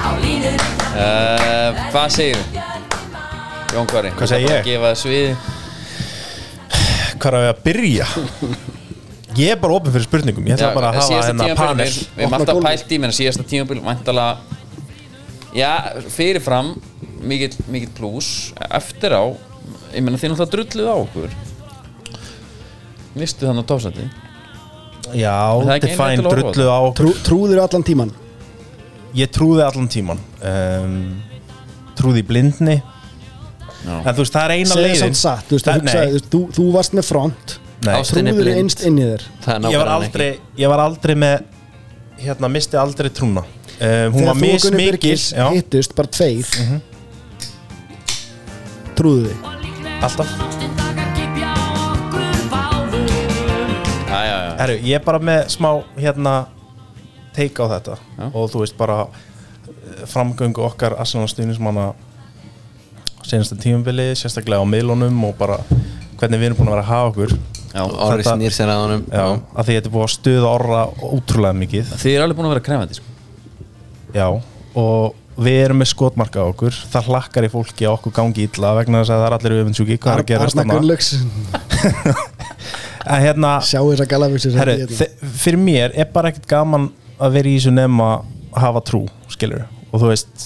Speaker 7: Á línunni það
Speaker 1: Uh, hvað segir þú, Jón Kari?
Speaker 2: Hvað segi
Speaker 1: Bara
Speaker 2: ég?
Speaker 1: að Gefa það sviði
Speaker 2: Hvað er að byrja? Ég er bara opinn fyrir spurningum Ég ætla bara að hafa
Speaker 1: síðasta
Speaker 2: hennar
Speaker 1: tímabil, Við
Speaker 2: panel
Speaker 1: við erum
Speaker 3: Opna
Speaker 1: alltaf
Speaker 3: gólfið.
Speaker 1: pælt í menn síðasta tímabil Væntalega Já, fyrirfram Mikill, mikill pluss Eftir á Ég menna þið náttúrulega drulluð á okkur Mistu þannig á tófsætti
Speaker 2: Já,
Speaker 1: það er ekki
Speaker 2: define
Speaker 1: einnig til orð.
Speaker 2: drullu á
Speaker 3: Trú, Trúður allan tíman
Speaker 2: Ég trúði allan tíman um, Trúði í blindni En þú veist, það er eina
Speaker 3: Segðu
Speaker 2: leiðin
Speaker 3: samt satt, þú veist,
Speaker 2: Það-
Speaker 3: hugsaði, þú,
Speaker 2: Nei,
Speaker 3: veist, þú, þú varst með front
Speaker 2: nei
Speaker 4: Ástin er
Speaker 3: Trúður
Speaker 4: blind.
Speaker 3: einst inn í þér
Speaker 4: það er
Speaker 2: ég var
Speaker 4: nákvæmlega
Speaker 2: aldrei ég var aldrei með hérna, misti aldrei trúna um, hún var
Speaker 3: Þegar þú og
Speaker 2: mis
Speaker 3: Gunni
Speaker 2: mikil
Speaker 3: Birgis
Speaker 2: já, Mhm.
Speaker 3: hittust bara tveir Trúðu þig
Speaker 2: alltaf
Speaker 7: Ástin dagar kipja á okkur báðum
Speaker 2: Heru, ég er bara með smá hérna take á þetta og þú veist bara eh, framgöngu okkar Arsenal stuðnismanna senasta tímabili, sérstaklega á miðlunum og bara hvernig við erum búin að vera að hafa okkur já,
Speaker 4: ekki. Orri
Speaker 2: Þetta-
Speaker 4: snýr sér að honum
Speaker 2: að því þetta er búið að stuða orra ótrúlega mikið
Speaker 1: Þið er alveg búin að vera krefandi sko.
Speaker 2: Já, og við erum með skotmarka á okkur Það hlakkar í fólki að okkur gangi illa vegna þess að það er allir öfundsjúki Hvað er að gera
Speaker 3: Arna
Speaker 2: þarna?
Speaker 3: Gunnlaugs,
Speaker 2: En hérna,
Speaker 3: sjá þess að galavísi
Speaker 2: herri, þe- fyrir mér er bara ekkert gaman að vera í þessu nema að hafa trú, skilur Og þú veist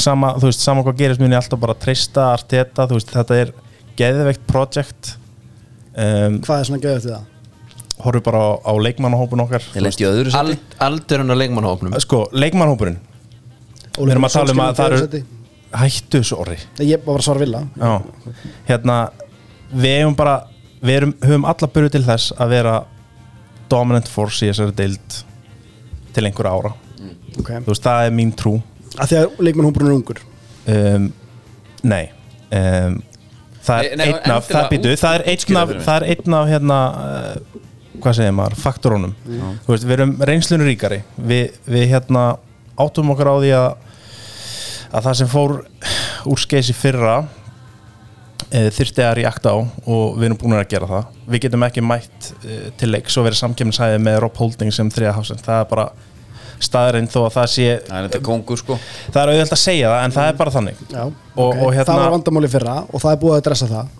Speaker 2: sama, þú veist, sama hvað gerist muni alltaf bara treysta Arteta, þú veist, þetta er geðveikt project um,
Speaker 3: Hvað er svona gæðið til það?
Speaker 2: Horfum bara á, á leikmannahópun okkar
Speaker 1: Þið lendi í öðru sæti
Speaker 4: Ald, aldurinn á leikmannahópnum
Speaker 2: Sko, leikmannahópurinn, við erum að tala um að það eru Hættu þessu orri
Speaker 3: Ég var bara að svara vilja
Speaker 2: Já, hérna við hefum bara, við erum, höfum alla byrju til þess að vera dominant force í þessari deild til einhverja ára,
Speaker 3: okay.
Speaker 2: þú veist, það er mín trú
Speaker 3: að Því að leikmann hún brunur ungur
Speaker 2: um, nei um, það
Speaker 1: Nei,
Speaker 2: er
Speaker 1: nei,
Speaker 2: einn af
Speaker 1: endilega
Speaker 2: það, býtu,
Speaker 1: út-
Speaker 2: það er einn
Speaker 1: útskýra
Speaker 2: af,
Speaker 1: fyrir mér.
Speaker 2: það er einn af hérna uh, hvað segir maður, faktorónum Þú veist, við erum reynslunum ríkari við, við hérna áttum okkur á því að að það sem fór úr skeisi fyrra e, þyrfti að reakta á og við erum búin að gera það við getum ekki mætt e, til leiks og verið samkjöfnishæði með Rob Holding sem þriða hásend það er bara staðurinn þó að það sé
Speaker 1: Það er þetta kongur sko
Speaker 2: það er auðvitað að segja það en það er bara þannig
Speaker 3: Já,
Speaker 2: og,
Speaker 3: ok.
Speaker 2: og hérna,
Speaker 3: það var vandamáli fyrra og það er búið að dressa það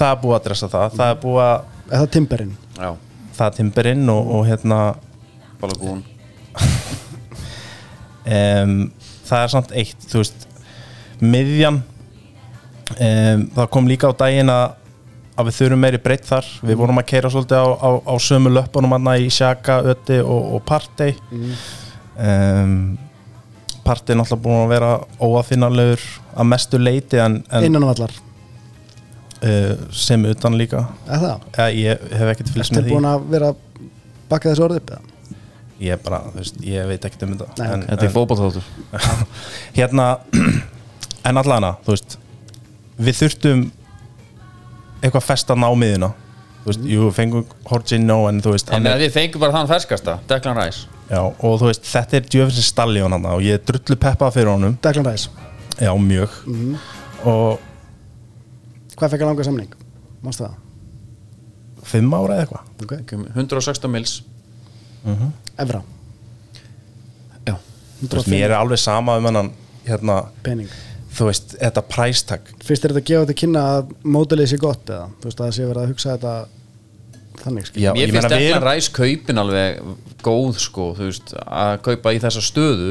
Speaker 2: það er búið að dressa það það er búið að
Speaker 3: Er það timberinn?
Speaker 1: Já,
Speaker 2: það timberinn og, og hérna
Speaker 1: balagún
Speaker 2: um, það er samt eitt þú veist, miðjan um, það kom líka á daginn að, að við þurfum meiri breytt þar
Speaker 3: Mhm.
Speaker 2: við vorum að keira svolítið á, á, á sömu löpunum hann í Sjaka, Öti og, og Partey
Speaker 3: Mhm.
Speaker 2: um, Partey er náttúrulega búin að vera óafinnarlegur að mestu leiti en, en
Speaker 3: Innan um vallar
Speaker 2: uh, sem utan líka
Speaker 3: Er það?
Speaker 2: ja, ég hef ekkert fylgst
Speaker 3: Ertu
Speaker 2: með því
Speaker 3: búin að vera að bakka þessu orðið upp eða?
Speaker 2: ég, er bara, þú veist, ég veit ekkert um þetta
Speaker 3: Nei,
Speaker 2: en,
Speaker 1: Þetta er fótballtátur
Speaker 2: hérna en allana, þú veist við þurftum eitthvað festa námiðina þú
Speaker 3: Mhm.
Speaker 2: veist, jú, fengum Horgin no en þú veist,
Speaker 1: En
Speaker 2: hann er,
Speaker 1: við fengum bara þann ferskasta, Declan Rice
Speaker 2: já, og þú veist þetta er djöfisins stalli á hann og ég er drullu peppa fyrir honum,
Speaker 3: Declan Rice,
Speaker 2: já, mjög
Speaker 3: Mhm.
Speaker 2: og
Speaker 3: hvað fekk að langa samning? Mástu það?
Speaker 2: fimm ára eða eitthvað
Speaker 3: Okay.
Speaker 1: 116 mils
Speaker 3: Evra,
Speaker 1: Já,
Speaker 2: Þú veist, mér er alveg sama um hennan hérna,
Speaker 3: pening
Speaker 2: þú veist, þetta præstak
Speaker 3: Fyrst er þetta að gefa þetta kynna að mótilið sé gott eða? Þú veist að það sé verið að hugsa þetta þannig skil
Speaker 2: já,
Speaker 1: Mér
Speaker 2: ég
Speaker 1: finnst
Speaker 2: meina, við
Speaker 1: Declan
Speaker 2: erum
Speaker 1: Rice kaupin alveg góð sko, þú veist, að kaupa í þessa stöðu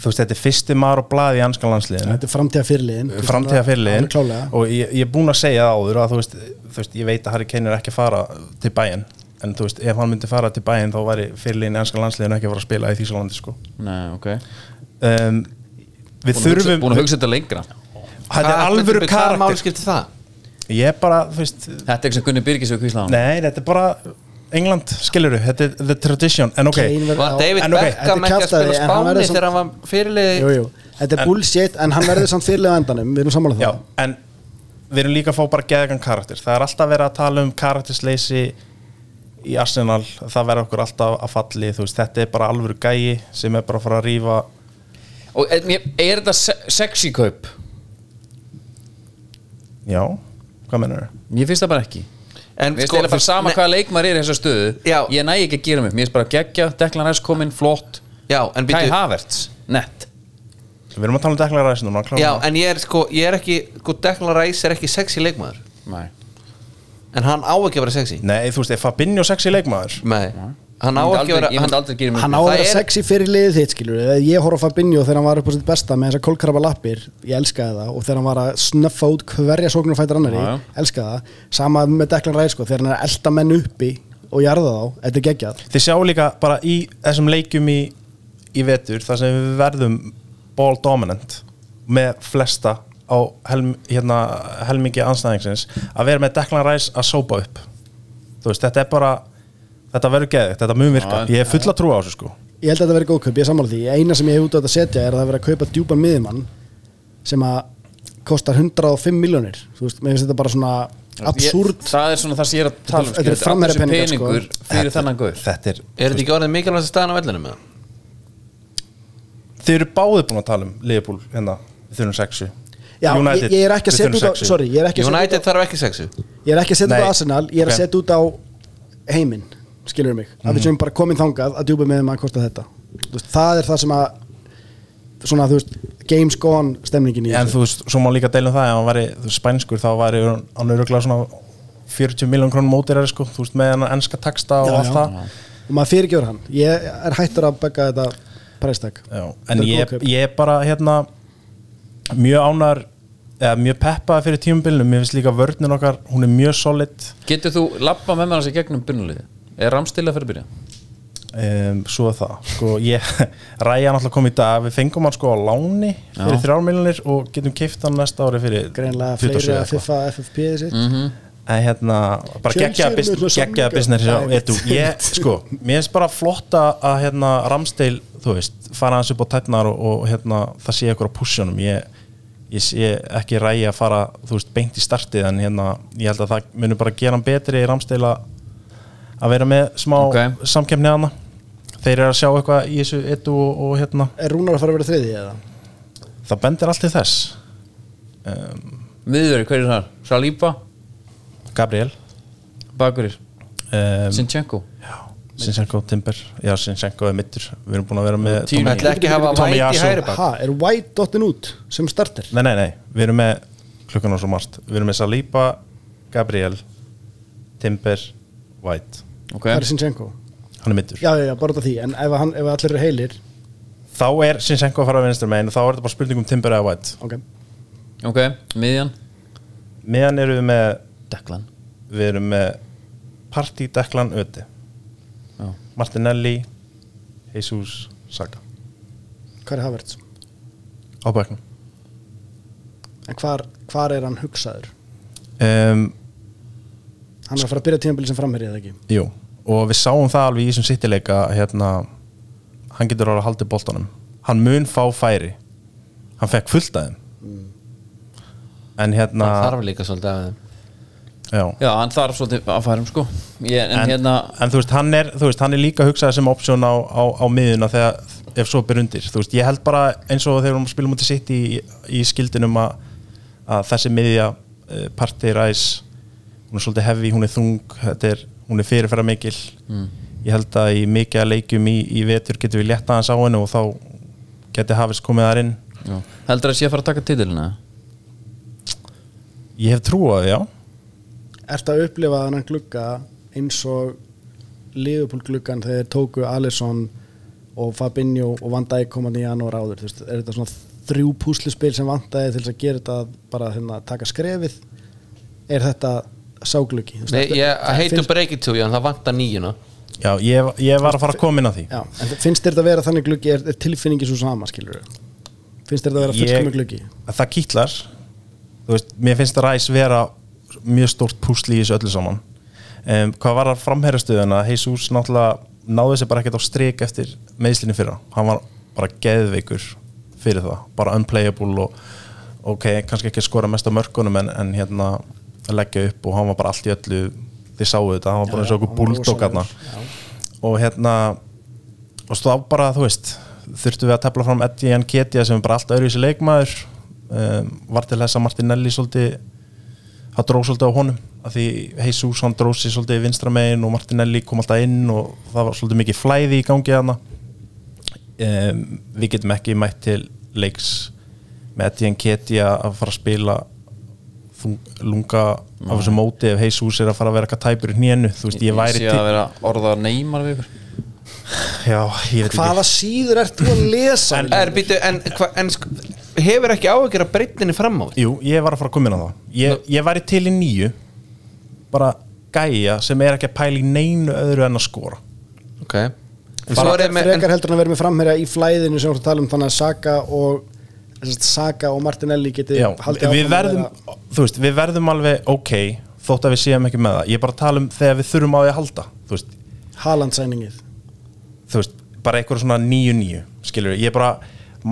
Speaker 2: þú veist, þetta er fyrsti maður og blað í anska landsliðinu
Speaker 3: Þetta er framtíða fyrirliðin
Speaker 2: framtíða Eh, fyrirliðin
Speaker 3: Klálega
Speaker 2: og ég, ég er búinn að segja það áður að þú veist, þú veist, ég veit að Harry Kane er ekki að fara til bæinn en þú veist, ef hann myndi fara til bæinn þá væri fyrirliðin í ennska landsliðinu ekki að fara að spila í Þýsalandi sko
Speaker 1: Nei, ok
Speaker 2: um, við
Speaker 1: Búin að hugsa-
Speaker 2: þurfum,
Speaker 1: Búin að hugsa þetta lengra
Speaker 2: þetta er alvöru
Speaker 4: Hvað máli
Speaker 2: karakter
Speaker 4: skiptir það?
Speaker 2: ég er bara, þú veist,
Speaker 1: Þetta er ekki sem Gunni Birgis við kvíslaðan
Speaker 2: nei, þetta er bara England, skiluru, þetta er the tradition en ok,
Speaker 3: Kane verður
Speaker 4: Var
Speaker 3: á-
Speaker 4: David
Speaker 2: en ok,
Speaker 3: þetta
Speaker 4: Beckham ekki að
Speaker 3: kjaftaði,
Speaker 4: spila á
Speaker 3: en hann
Speaker 4: Spáni
Speaker 3: verður samt-
Speaker 4: þegar hann var fyrirlið
Speaker 3: Jú, jú, þetta er bullshit en hann verður samt fyrirlið á endanum Við erum samanlega
Speaker 2: já,
Speaker 3: það
Speaker 2: en við erum líka að fá bara geðegan karakter það er alltaf verið að tala um karaktersleysi í Arsenal, það verður okkur alltaf að falli, þú veist, þetta er bara alvöru gæi sem er bara að fara að rífa
Speaker 1: Og er, mér- er þetta se- sexy kaup?
Speaker 2: Já, hvað mennur þau?
Speaker 1: Mér finnst það bara ekki
Speaker 4: En
Speaker 1: Mér finnst
Speaker 4: sko,
Speaker 1: sko, bara
Speaker 4: þú-
Speaker 1: sama
Speaker 4: nei-
Speaker 1: hvaða leikmar er í þessa stöðu
Speaker 4: Já.
Speaker 1: Ég næ ekki að gera mig Mér finnst bara geggja, Declan Rice kominn, flott
Speaker 4: Já, en
Speaker 1: Kai
Speaker 4: býtu-
Speaker 1: Havertz, nett
Speaker 2: Við erum að tala um dekla ræðis núna klárum
Speaker 4: Já,
Speaker 2: það.
Speaker 4: en ég er sko, ég er ekki sko, Declan Rice er ekki sexy leikmaður
Speaker 1: Nei.
Speaker 4: En hann á ekki að vera sexy
Speaker 2: Nei, þú veist, ef Fabinho sexy leikmaður
Speaker 4: Nei, hann á
Speaker 1: Ég myndi aldrei-
Speaker 4: ekki að vera
Speaker 1: Ég myndi
Speaker 4: hann-
Speaker 1: aldrei gera mig
Speaker 3: Hann á
Speaker 1: upp.
Speaker 3: að
Speaker 4: Það
Speaker 3: vera
Speaker 4: er-
Speaker 3: sexy fyrir liðið þitt skilur við. Þegar Ég horf á Fabinho þegar hann var upp á sitt besta með þessar kólkrabba lappir, ég elskaði það og þegar hann var að snöffa út hverja sóknum fættur annari,
Speaker 1: Já, já.
Speaker 3: elskaði það sama með Declan Rice sko, þegar hann er að elta menn uppi og jarða þá, þetta er geggjað
Speaker 2: Þið sjáu líka bara í þessum leikjum í, í vetur þar sem við verðum ball dominant með flesta á helm, hérna, helmingi anstæðingsins að vera með dekla ræðis að sópa upp Þú veist, þetta er bara þetta verður geðið, þetta mun virka Ég er fulla trú á þessu sko
Speaker 3: Ég held að þetta verið góðkaup, ég er sammála því eina sem ég hef út á þetta að setja er að það verið að kaupa djúpan miðjumann sem að kostar 105 miljónir þú veist, mér finnst þetta bara svona absúrt
Speaker 1: ég, Það er svona það sem ég er að tala um
Speaker 3: Þetta er
Speaker 1: skilur.
Speaker 3: framherja
Speaker 1: Allur þessi
Speaker 3: peningar, sko.
Speaker 1: peningur Fyrir þennan gaur
Speaker 2: Þetta er,
Speaker 4: Er þetta ekki orðið mikilvægast að staðan á vellinu með hann?
Speaker 2: þið eru báðið búin að tala um Liverpool hérna, við þurfum sexu
Speaker 3: Já, ég, ég er ekki að setja út á, sorry, ég er ekki að setja út á
Speaker 4: United þarf ekki sexy
Speaker 3: Ég er ekki að setja
Speaker 2: Nei.
Speaker 3: út á Arsenal, ég er að
Speaker 2: Ok. Mhm.
Speaker 3: setja út á heiminn, skilur mig að við séum bara komin þangað að djúpa með um að kosta þetta Þú veist, það er það sem að svona, þú veist, games gone stemningin í
Speaker 2: en þú veist, svo má líka deilum það ef hann væri þú veist, spænskur þá væri hann- hann öruglega svona 40 miljón krónum mótirari sko, þú veist, með hann enska taksta og
Speaker 3: Já,
Speaker 2: allt
Speaker 3: já.
Speaker 2: það
Speaker 3: og maður fyrirgefur hann, ég er hættur að begga þetta præstak
Speaker 2: já. en ég, ég er bara hérna mjög ánar eða mjög peppaði fyrir tímubilinu mér finnst líka vörninn okkar, hún er mjög solid
Speaker 1: Getur þú lappa með mér hans í gegnum byrnuliði? Er ramstila fyrir að byrja?
Speaker 2: um, svo er það sko, ég, Ræja náttúrulega kom í dag við fengum hann sko á láni fyrir
Speaker 1: Já.
Speaker 2: þrjármiljonir og getum keift hann næsta ári fyrir sko.
Speaker 3: greinlega
Speaker 2: 27
Speaker 3: fleiri að
Speaker 2: eitthvað.
Speaker 3: FIFA FFP sitt mm -hmm.
Speaker 2: en hérna bara
Speaker 3: Chelsea er
Speaker 2: geggjaða
Speaker 3: með
Speaker 2: business,
Speaker 3: svona
Speaker 2: geggja
Speaker 3: samninga.
Speaker 2: business hjá,
Speaker 3: Nei,
Speaker 2: etu, ég, sko, mér finnst bara flott að að, hérna Ramsteil, þú veist fara hans upp á tætnar og, og hérna það sé ykkur á pussjónum ég, ég sé ekki rægi að fara, þú veist, beint í startið en hérna, ég held að það munur bara gera hann betri í Ramsteil að að vera með smá
Speaker 1: Ok.
Speaker 2: okay. samkemni hana þeir eru að sjá eitthvað í þessu ettu og, og hérna
Speaker 3: Er Rúnar að fara að vera þriði eða?
Speaker 2: það bendir allt til þess um,
Speaker 1: Miðveri, hver er það? Saliba, Mm.
Speaker 2: Gabriel
Speaker 1: Bakurir,
Speaker 2: um,
Speaker 1: Sinchenko
Speaker 2: Sinsenko Timber já Sinsenko er mittur við erum búin að vera með
Speaker 1: Tíu.
Speaker 2: Tommy-
Speaker 4: ætla ekki að hafa
Speaker 2: Tommy
Speaker 4: væti í
Speaker 2: Yasu.
Speaker 4: hægri bak
Speaker 3: Ha, er White dotin út sem starter?
Speaker 2: nei nei nei við erum með klukkan á svo margt við erum með Saliba Gabriel Timber White
Speaker 1: Ok,
Speaker 3: Það er Sinchenko
Speaker 2: hann er mittur
Speaker 3: Já, já, já, bara út af því En ef, hann, ef allir eru heilir
Speaker 2: þá er Sinsenko að fara að vinstra megin og þá er þetta bara spurning um Timber eða White
Speaker 3: Ok
Speaker 1: ok, miðjan
Speaker 2: meðan erum við með
Speaker 1: Deklan
Speaker 2: við erum með Parti Deklan Öti
Speaker 1: Já.
Speaker 2: Martinelli Jesus Saka
Speaker 3: Hvað er Havertz?
Speaker 2: á bæknum
Speaker 3: En hvar, hvar er hann hugsaður?
Speaker 2: um,
Speaker 3: Hann er að fara að byrja tímabili sem framherri eða ekki?
Speaker 2: Jú, og við sáum það alveg í þessum sittileika hérna, hann getur alveg haldið boltanum hann mun fá færi hann fekk fullt af þeim en hérna
Speaker 4: Það þarf líka svolítið af þeim
Speaker 2: já,
Speaker 1: Já, hann þarf svolítið að færum sko ég, en,
Speaker 2: en,
Speaker 1: hérna,
Speaker 2: en þú, veist, hann er, þú veist, hann er líka hugsað sem option á, á, á miðuna þegar, ef svo ber undir þú veist, ég held bara eins og þegar við spilum út í sitt í, í skildinum að, að þessi miðja uh, party ræs hún er svolítið heavy, hún er þung þetta er, hún er fyrirferða mikil ég held að í mikið að leikjum í, í vetur getum við létta aðeins á hennu og þá geti hafist komið þar inn
Speaker 1: já. heldur að sé að fara að taka titilina
Speaker 2: ég hef trú á það, já
Speaker 3: Ertu að upplifa þannan glugga eins og Liverpool gluggan þegar þeir tóku Alisson og Fabinho og Van Dijk komandi í janúar áður þú veist, er þetta svona þrjú púslispil sem vantaði til þess að gera þetta bara hérna, taka skrefið er þetta ságluggi
Speaker 4: Nei, ég heitum breaking to you en það vantar nýjuna
Speaker 2: já, ég, ég var að fara að koma inn á því
Speaker 3: Já, en finnst þér þetta að vera þannig gluggi er, er tilfinningi svo sama, skilur finnst þér þetta að vera fullkomu gluggi
Speaker 2: að það kýtlar þú veist, mér finnst að ræs vera mjög stórt púsli í þessu öllu saman um, hvað var að framherrastuðuna Jesus náttúrulega náði sér bara ekkert á strik eftir meðslinni fyrra hann var bara geðveikur fyrir það bara unplayable og ok, kannski ekki skora mest á mörkunum en, en hérna að leggja upp og hann var bara allt í öllu þið sáu þetta, hann var bara eins og okkur búldókarna og hérna og stóð bara, þú veist þurftum við að tefla fram Eddie en Ketia sem er bara alltaf öðruvísi leikmaður um, var til þess að Martinelli svolítið það dróð svolítið á honum af því Jesus hann dróð sér svolítið í vinstra megin og Martinelli kom alltaf inn og það var svolítið mikið flæði í gangi hana um, við getum ekki mætt til leiks með Eddie en Ketia að fara að spila þung, lunga af þessu móti ef Jesus er að fara að vera eitthvað tæpur í hnénu þú veist ég væri
Speaker 1: sé
Speaker 2: til
Speaker 1: að vera orða neymar við ykkur
Speaker 2: já, ég veit ekki
Speaker 3: hvaða síður ert þú að lesa
Speaker 4: Eh, En, er, býtu, en, hva, en sk- hefur ekki áhyggjur að breytinni fram á því?
Speaker 2: Jú, ég var að fara að koma inn á það Ég, ég væri til í nýju bara gæja sem er ekki að pæla í neinu öðru en að skora
Speaker 4: Ok Svo er
Speaker 3: frekar
Speaker 4: ég með, en,
Speaker 3: heldur en að vera með framherja í flæðinu sem við erum að tala um þannig að Saka og sem sagt, Saka og Martinelli geti
Speaker 2: Já,
Speaker 3: haldið
Speaker 2: við
Speaker 3: áfram að
Speaker 2: verðum, þú veist, við verðum alveg ok þótt að við séum ekki með það Ég er bara að tala um þegar við þurfum á því að halda þú veist,
Speaker 3: vera Haaland-sæningið
Speaker 2: þú veist, bara eitthvað svona nýju nýju skilur við, ég er bara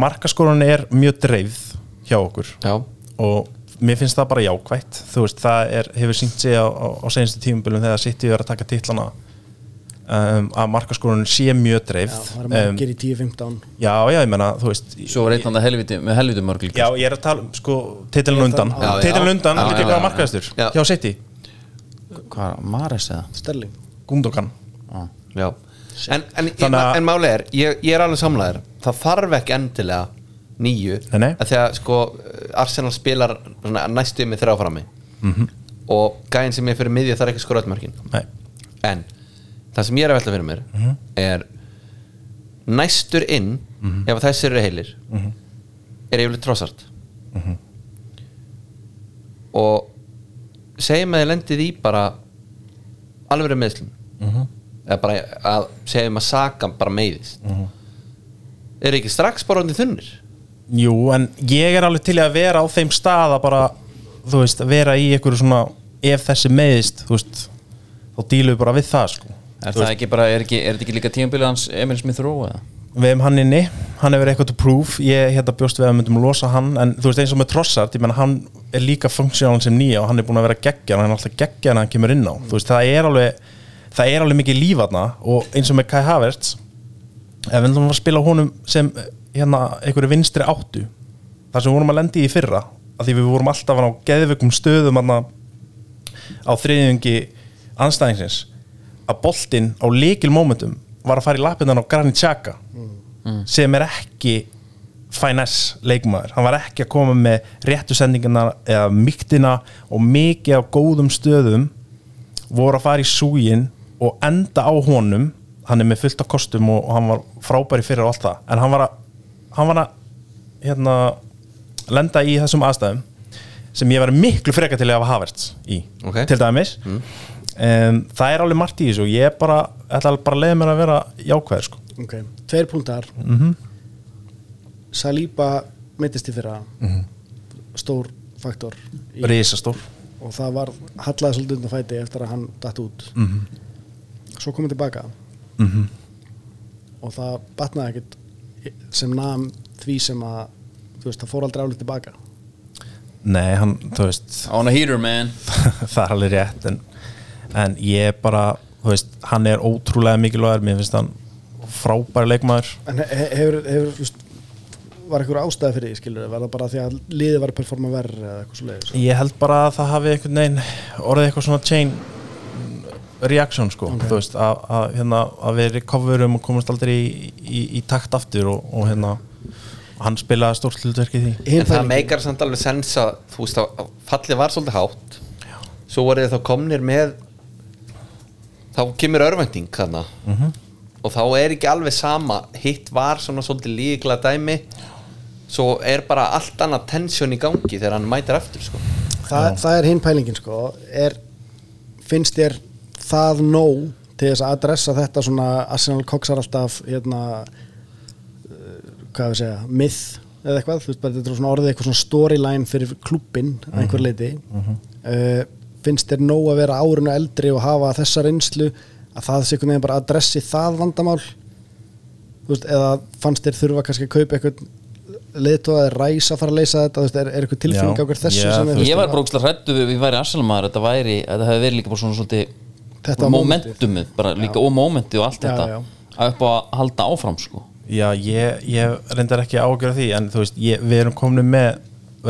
Speaker 2: markaskorun er mjög dreifð hjá okkur
Speaker 4: já,
Speaker 2: og mér finnst það bara jákvætt þú veist, það er, hefur sínt sig á, á, á senstu tímubilum þegar City er að taka titlana um, að markaskorun sé mjög
Speaker 3: Já,
Speaker 2: dreifð
Speaker 3: það er
Speaker 2: Um,
Speaker 3: margir í 10-15
Speaker 2: Já, já, ég menna, þú veist
Speaker 1: Svo var einn andan helviti, með helviti mörg
Speaker 2: Já,
Speaker 1: líka
Speaker 2: ég er að tala um, sko, titilin undan
Speaker 4: Já, já.
Speaker 2: Titilin undan,
Speaker 4: Já, já,
Speaker 2: veit ekki hvað
Speaker 4: já.
Speaker 2: markaðistur
Speaker 4: Já.
Speaker 2: Hjá City,
Speaker 1: Hvað, Mares eða?
Speaker 3: Sterling
Speaker 2: Gundogan
Speaker 4: já En, en, ég,
Speaker 2: Þannig að-
Speaker 4: en máli er, ég, ég er alveg samlæður Það þarf ekki endilega nýju
Speaker 2: Nei, nei.
Speaker 4: Að Þegar sko Arsenal spilar svona næstu með þrjá frammi
Speaker 2: Mhm.
Speaker 4: Og gæinn sem er fyrir miðja þarf ekki að skora öll mörkin
Speaker 2: Nei,
Speaker 4: En það sem ég er að velta fyrir mér er næstur inn ef þessir eru heilir er yfirleitt trossart og segjum að þið lendið í bara alveg meðslum eða bara að segjum að sakan bara meiðist er ekki strax bara orðin þunnir
Speaker 2: jú, en ég er alveg til í að vera á þeim stað að bara, þú veist, að vera í einhverju svona, ef þessi meðist þú veist, þá dílum við bara við það, sko
Speaker 1: Er það ekki bara, er, ekki, er þetta ekki líka tímabilið hans Emil Smith Rowe eða?
Speaker 2: við hefum hann inni, hann hefur eitthvað to prove ég hérna bjóst við að við myndum losa hann en þú veist eins og með Trossard, ég menna hann er líka funksjónal sem nýja og hann er búin að vera geggjan hann er alltaf geggjan að hann kemur inn á þú veist það er alveg það er alveg mikið líf aðna og eins og með Kai Havertz ef við ætlum að spila honum sem eh, hérna einhverju vinstri áttu þar sem við vorum að lendi í fyrra af því við vorum alltaf á geðveikum stöðum aðna á þriðjungi anstæðingsins að boltinn á leikil momentum var að fara í lappindan á Granit Xhaka sem er ekki finesse leikmaður, hann var ekki að koma með réttu sendingina eða mýktina og mikið á góðum stöðum voru að fara í súgin og enda á honum hann er með fullt af kostum og, og hann var frábæri fyrir og allt það en hann var að, hann var að hérna, lenda í þessum aðstæðum sem ég var miklu frekar til að hafa Havertz í
Speaker 4: Ok.
Speaker 2: til dæmis um, það er alveg margt í þessu og ég er bara, ætla bara að leiða mér að vera jákvæður sko.
Speaker 3: Ok, tveir púntar
Speaker 2: Mhm.
Speaker 3: Saliba meittist í fyrra
Speaker 2: Mhm.
Speaker 3: Stór faktor í,
Speaker 2: risastór
Speaker 3: Og það var hallaði svolítið undan fæti eftir að hann datt út mm -hmm. Svo komið tilbaka Og það batnaði ekkert sem nam því sem að þú veist, það fór aldrei álið tilbaka
Speaker 2: nei, hann, þú veist
Speaker 1: On a heater man
Speaker 2: það er alveg rétt en, en ég er bara, þú veist, hann er ótrúlega mikilvægur, mér finnst hann frábæri leikmaður
Speaker 3: En he- he- hefur, hefur þú veist, var einhver ástæði fyrir því, skilur var það bara því að liðið var að performa verri eða eitthvað svo leiðis
Speaker 2: ég held bara að það hafi einhvern veginn orðið eitthvað svona chain reaction sko, þú veist að, að, hérna, að við recoverum og komast aldrei í, í, í takt aftur og, og hérna hann spilaði stórt hlutverk í því
Speaker 4: En það meikar samt alveg sens að þú veist að að fallið var svolítið hátt Svo voru þið þá komnir með Þá kemur örvænting þarna Og þá er ekki alveg sama Hitt var svona svolítið líkla dæmi Svo er bara allt annað tensjón í gangi Þegar hann mætir aftur sko
Speaker 3: Þa, það er hinn pælingin sko er, finnst þér það nóg til þess að adressa þetta svona Arsenal koksar alltaf hérna eh, hvað við segja, myth eða eitthvað, þú veist bara þetta er svona orðið eitthvað svona storyline fyrir klubbin
Speaker 2: Mhm.
Speaker 3: að einhver leiti mm finnst þér nóg að vera árinu eldri og hafa þessa reynslu að það sé einhvern veginn bara adressi það vandamál þú veist, eða fannst þér þurfa kannski að kaupa eitthvað leiðtóða eða ræs að fara að leysa þetta þú veist, er, er eitthvað tilfinning
Speaker 2: Já.
Speaker 3: á hver þessu
Speaker 2: Já,
Speaker 3: sem
Speaker 2: þú
Speaker 3: þið-
Speaker 1: Ég var brókslega hrættu við, við væri arsalmaður Þetta væri, þetta hefði verið líka bara svona svolítið
Speaker 3: Þetta var
Speaker 1: Momentumið, bara líka og momentið og allt
Speaker 3: Já,
Speaker 1: þetta
Speaker 3: já.
Speaker 1: Að upp á að halda áfram sko
Speaker 2: Já, ég, ég reyndar ekki ágjöra því en þú veist, ég, við erum komin með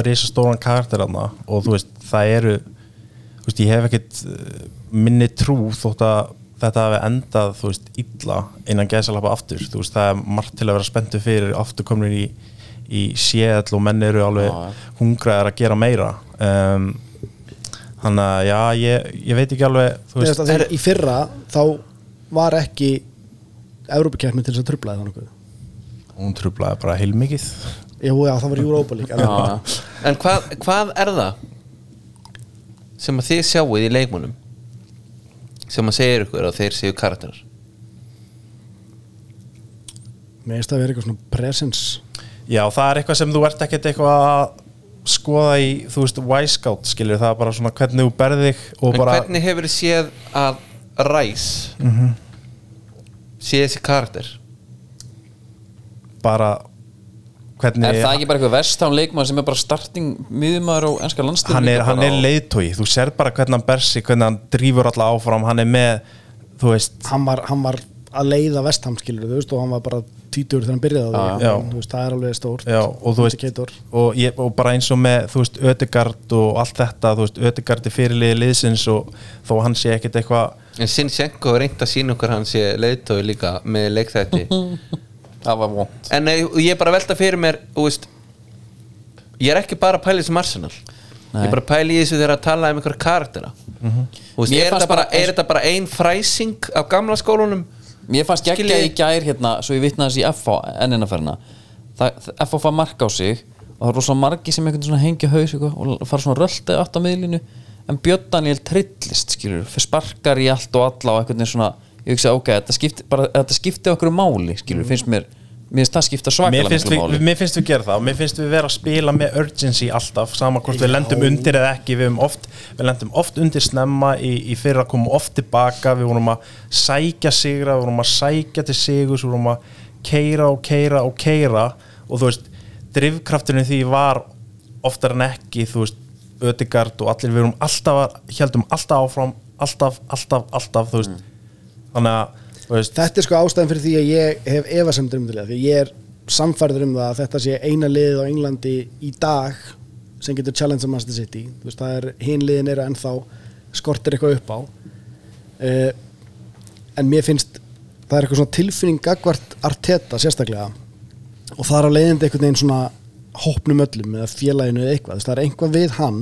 Speaker 2: risastóran karakter hana og þú veist, það eru þú veist, ég hef ekkit eh, minni trú þótt að þetta hafi endað þú veist, illa innan gæðsalapa aftur þú veist, það er margt til að vera spenntu fyrir aftur komin í, í séðall og menn eru alveg
Speaker 1: Já, já.
Speaker 2: hungraðar að gera meira um, þannig að já, ég, ég veit ekki alveg þú
Speaker 3: Veist,
Speaker 2: veist,
Speaker 3: er, í fyrra þá var ekki Evrópikeppni til þess að trublaði það nokkuð
Speaker 2: hún trublaði bara heilmikið
Speaker 3: Jú, já, það var Europa League en,
Speaker 4: En hvað, hvað er það Sem að þið sjáuð í leikmunum Sem að segir ykkur að þeir séu karakterar
Speaker 3: Mér finnst það að vera eitthvað svona presence
Speaker 2: Já, það er eitthvað sem þú ert ekkert eitthvað að skoða í, þú veist, Y-Scout skilur, það er bara svona hvernig þú berð þig og
Speaker 4: En
Speaker 2: bara,
Speaker 4: hvernig hefur þið séð að Ræs
Speaker 3: Mhm.
Speaker 4: sé þessi karakter
Speaker 2: bara hvernig
Speaker 1: Er það ekki bara eitthvað vestam leikmaður sem er bara starting miðumæður á enska landstöðum
Speaker 2: hann er, hann er leiðtói, þú sér bara hvernig hann bersi, hvernig hann drífur alla áfram hann er með, þú veist
Speaker 3: hann var, hann var að leiða vestham skilur þú veist og hann var bara títur þegar hann byrjaði á því.
Speaker 2: Já.
Speaker 3: Þú veist, það er alveg stórt
Speaker 2: Já, og þú veist
Speaker 3: Indicator.
Speaker 2: og, ég, og bara eins og með, þú veist, Ödegard og allt þetta, þú veist, Ödegard er fyrirliði liðsins og þó hann sé ekkert eitthvað
Speaker 4: En Sinchenko hefur reynd að sína okkur hann sé leiðtói líka með leikþætti
Speaker 1: Það var vond
Speaker 4: En ég ég er bara að velta fyrir mér þú veist, Ég er ekki bara að pæla í þessum Arsenal Ég er bara að pæla í þessu þegar að tala um einhver karaktera
Speaker 3: Mhm.
Speaker 4: Þú veist,
Speaker 1: Mér
Speaker 4: er,
Speaker 1: fannst
Speaker 4: þetta bara,
Speaker 1: bara-
Speaker 4: er þetta bara ein fræsing af gamla skólunum
Speaker 1: Mér fannst geggja
Speaker 4: Skiljiði.
Speaker 1: í gær hérna svo ég vitnaði þessi í FH enninnaferna FH fá mark á sig og það er rosa margi sem einhvern svona hengja haus eitthvað, og fara svona röldi átt á miðlinu en Björn Daniel trillist skilur fyrir sparkar í allt og alla og einhvern veginn svona ég hugsa ok, þetta skipti, bara, þetta skipti okkur um máli skilur, finnst mér mér finnst það skipta
Speaker 2: mér
Speaker 1: svakalega
Speaker 2: finnst,
Speaker 1: miklu
Speaker 2: við,
Speaker 1: máli
Speaker 2: mér finnst við gera það og mér finnst við vera að spila með urgency alltaf sama hvort við lendum undir eða ekki við, höfum oft, við lendum oft undir snemma í, í fyrra komum oft tilbaka við vorum að sækja sigra við vorum að sækja til sigus við vorum að keira og keira og keira og þú veist, drivkrafturinn í því var oftar en ekki þú veist,
Speaker 3: Mm.
Speaker 2: ödigard og allir við vorum alltaf að- héldum alltaf áfram alltaf, alltaf, alltaf þú veist þannig að þú veist,
Speaker 3: Þetta er sko ástæðan fyrir því að ég hef efasemdur um til það, því að ég er samfærður um það að þetta sé eina liðið á Englandi í dag sem getur challenge að Master City, þú veist, það er hin liðin eru ennþá skortir eitthvað upp á uh, en mér finnst það er eitthvað svona tilfinning gagvart Arteta sérstaklega og það er á leiðindi einhvern veginn svona hópnum öllum eða félaginu eða eitthvað, þú veist, það er einhvað við hann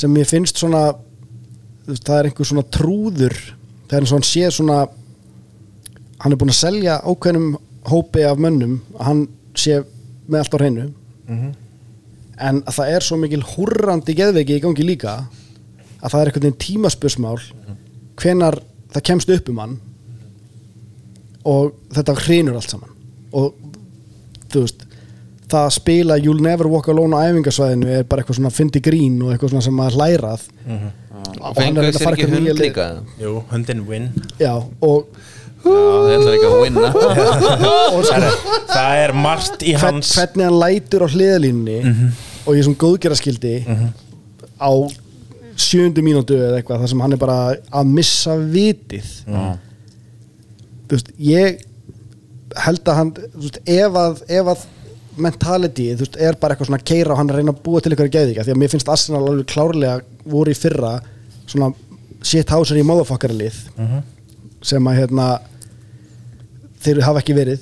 Speaker 3: sem mér finnst svona þú veist, það er einhver svona trúður það er eins og hann sé svona hann er búinn að selja ákveðnum hópi af mönnum að hann sé með allt á hreinu
Speaker 4: Mhm.
Speaker 3: en að það er svo mikil húrrandi geðveiki í gangi líka að það er einhvern veginn tímaspörsmál
Speaker 4: Mhm.
Speaker 3: hvenar það kemst upp um hann og þetta hrinur allt saman og þú veist það að spila You'll Never Walk Alone á æfingasvæðinu er bara eitthvað svona fyndi grín og eitthvað svona sem maður lærað mm -hmm.
Speaker 4: Og fengu
Speaker 3: reyna að
Speaker 4: Mhm. sér
Speaker 3: fara
Speaker 4: ekki
Speaker 3: eitthvað nýja
Speaker 4: hund
Speaker 3: leið.
Speaker 4: líka
Speaker 2: jú, hundin win
Speaker 3: Já, og
Speaker 4: Það ætlar ekki að vinna
Speaker 2: það er margt í
Speaker 3: hvern,
Speaker 2: hans Mhm.
Speaker 3: hvernig hann lætur á hliðalínunni og ég sem góðgeraskildi á sjöndu mínútu eða eitthvað þar sem hann er bara að missa vitið þú veist, ég held að hann, þú veist, ef að, ef að mentality, þú veist, er bara eitthvað svona keira og hann er að reyna að búa til eitthvað geðika því að mér finnst Arsenal alveg klárlega voru í fyrra svona shit houser í motherfuckerlið sem að hérna þeir hafa ekki verið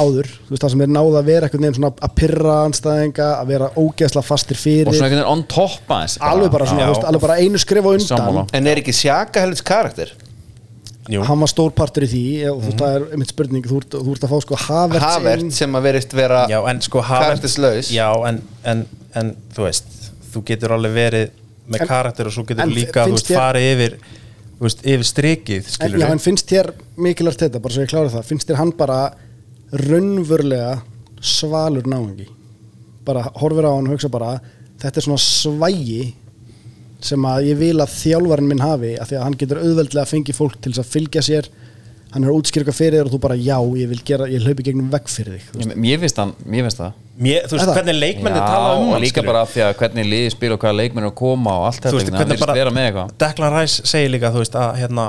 Speaker 3: áður þú veist það sem er náða að vera eitthvað nefn svona að pyrra anstæðinga, að vera ógeðsla fastir fyrir,
Speaker 1: og svona einhvern veginn on top aðeins
Speaker 3: alveg bara svona,
Speaker 2: Já.
Speaker 3: þú veist, alveg bara einu skrif á undan
Speaker 1: Sammála.
Speaker 4: En er ekki sjaka helvits karakter?
Speaker 2: jú,
Speaker 3: hann var stórpartur í því og þú veist það er einmitt spurning, þú ert, þú ert að fá sko Havertz
Speaker 4: Havert
Speaker 3: inn-
Speaker 4: sem að verist vera
Speaker 2: já, en sko
Speaker 4: Karakterslaus.
Speaker 2: já, en, en, en þú veist þú getur alveg verið með
Speaker 3: En-
Speaker 2: karakter og svo getur
Speaker 3: en
Speaker 2: líka, þú
Speaker 3: finnst
Speaker 2: veist,
Speaker 3: þér-
Speaker 2: farið yfir þú veist, yfir strikið,
Speaker 3: en,
Speaker 2: skilur
Speaker 3: já, en finnst þér mikilvægt þetta, bara svo ég klára það finnst þér hann bara raunvörlega svalur náðingi bara horfir á hann og hugsa bara þetta er svona svægi sem að ég vil að þjálfarinn minn hafi af því að hann getur auðveldlega að fengi fólk til þess að fylgja sér hann er að útskýrka fyrir þér og þú bara já, ég vil gera, ég hlaupi gegnum vegg fyrir þig þú veist.
Speaker 1: Ég- mér finnst hann, mér finnst það
Speaker 2: Mér, þú veist,
Speaker 3: Er það?
Speaker 2: hvernig leikmenni
Speaker 1: Já,
Speaker 2: tala um
Speaker 1: og
Speaker 2: hann,
Speaker 1: líka
Speaker 2: skilur
Speaker 1: bara af því að hvernig liði spila og hvaða leikmenn er að koma og allt þetta
Speaker 2: þú veist,
Speaker 1: einhvern veginn, hann
Speaker 2: hvernig
Speaker 1: virðist vera með
Speaker 2: bara
Speaker 1: eitthvað
Speaker 2: Declan Rice segir líka, þú veist, að hérna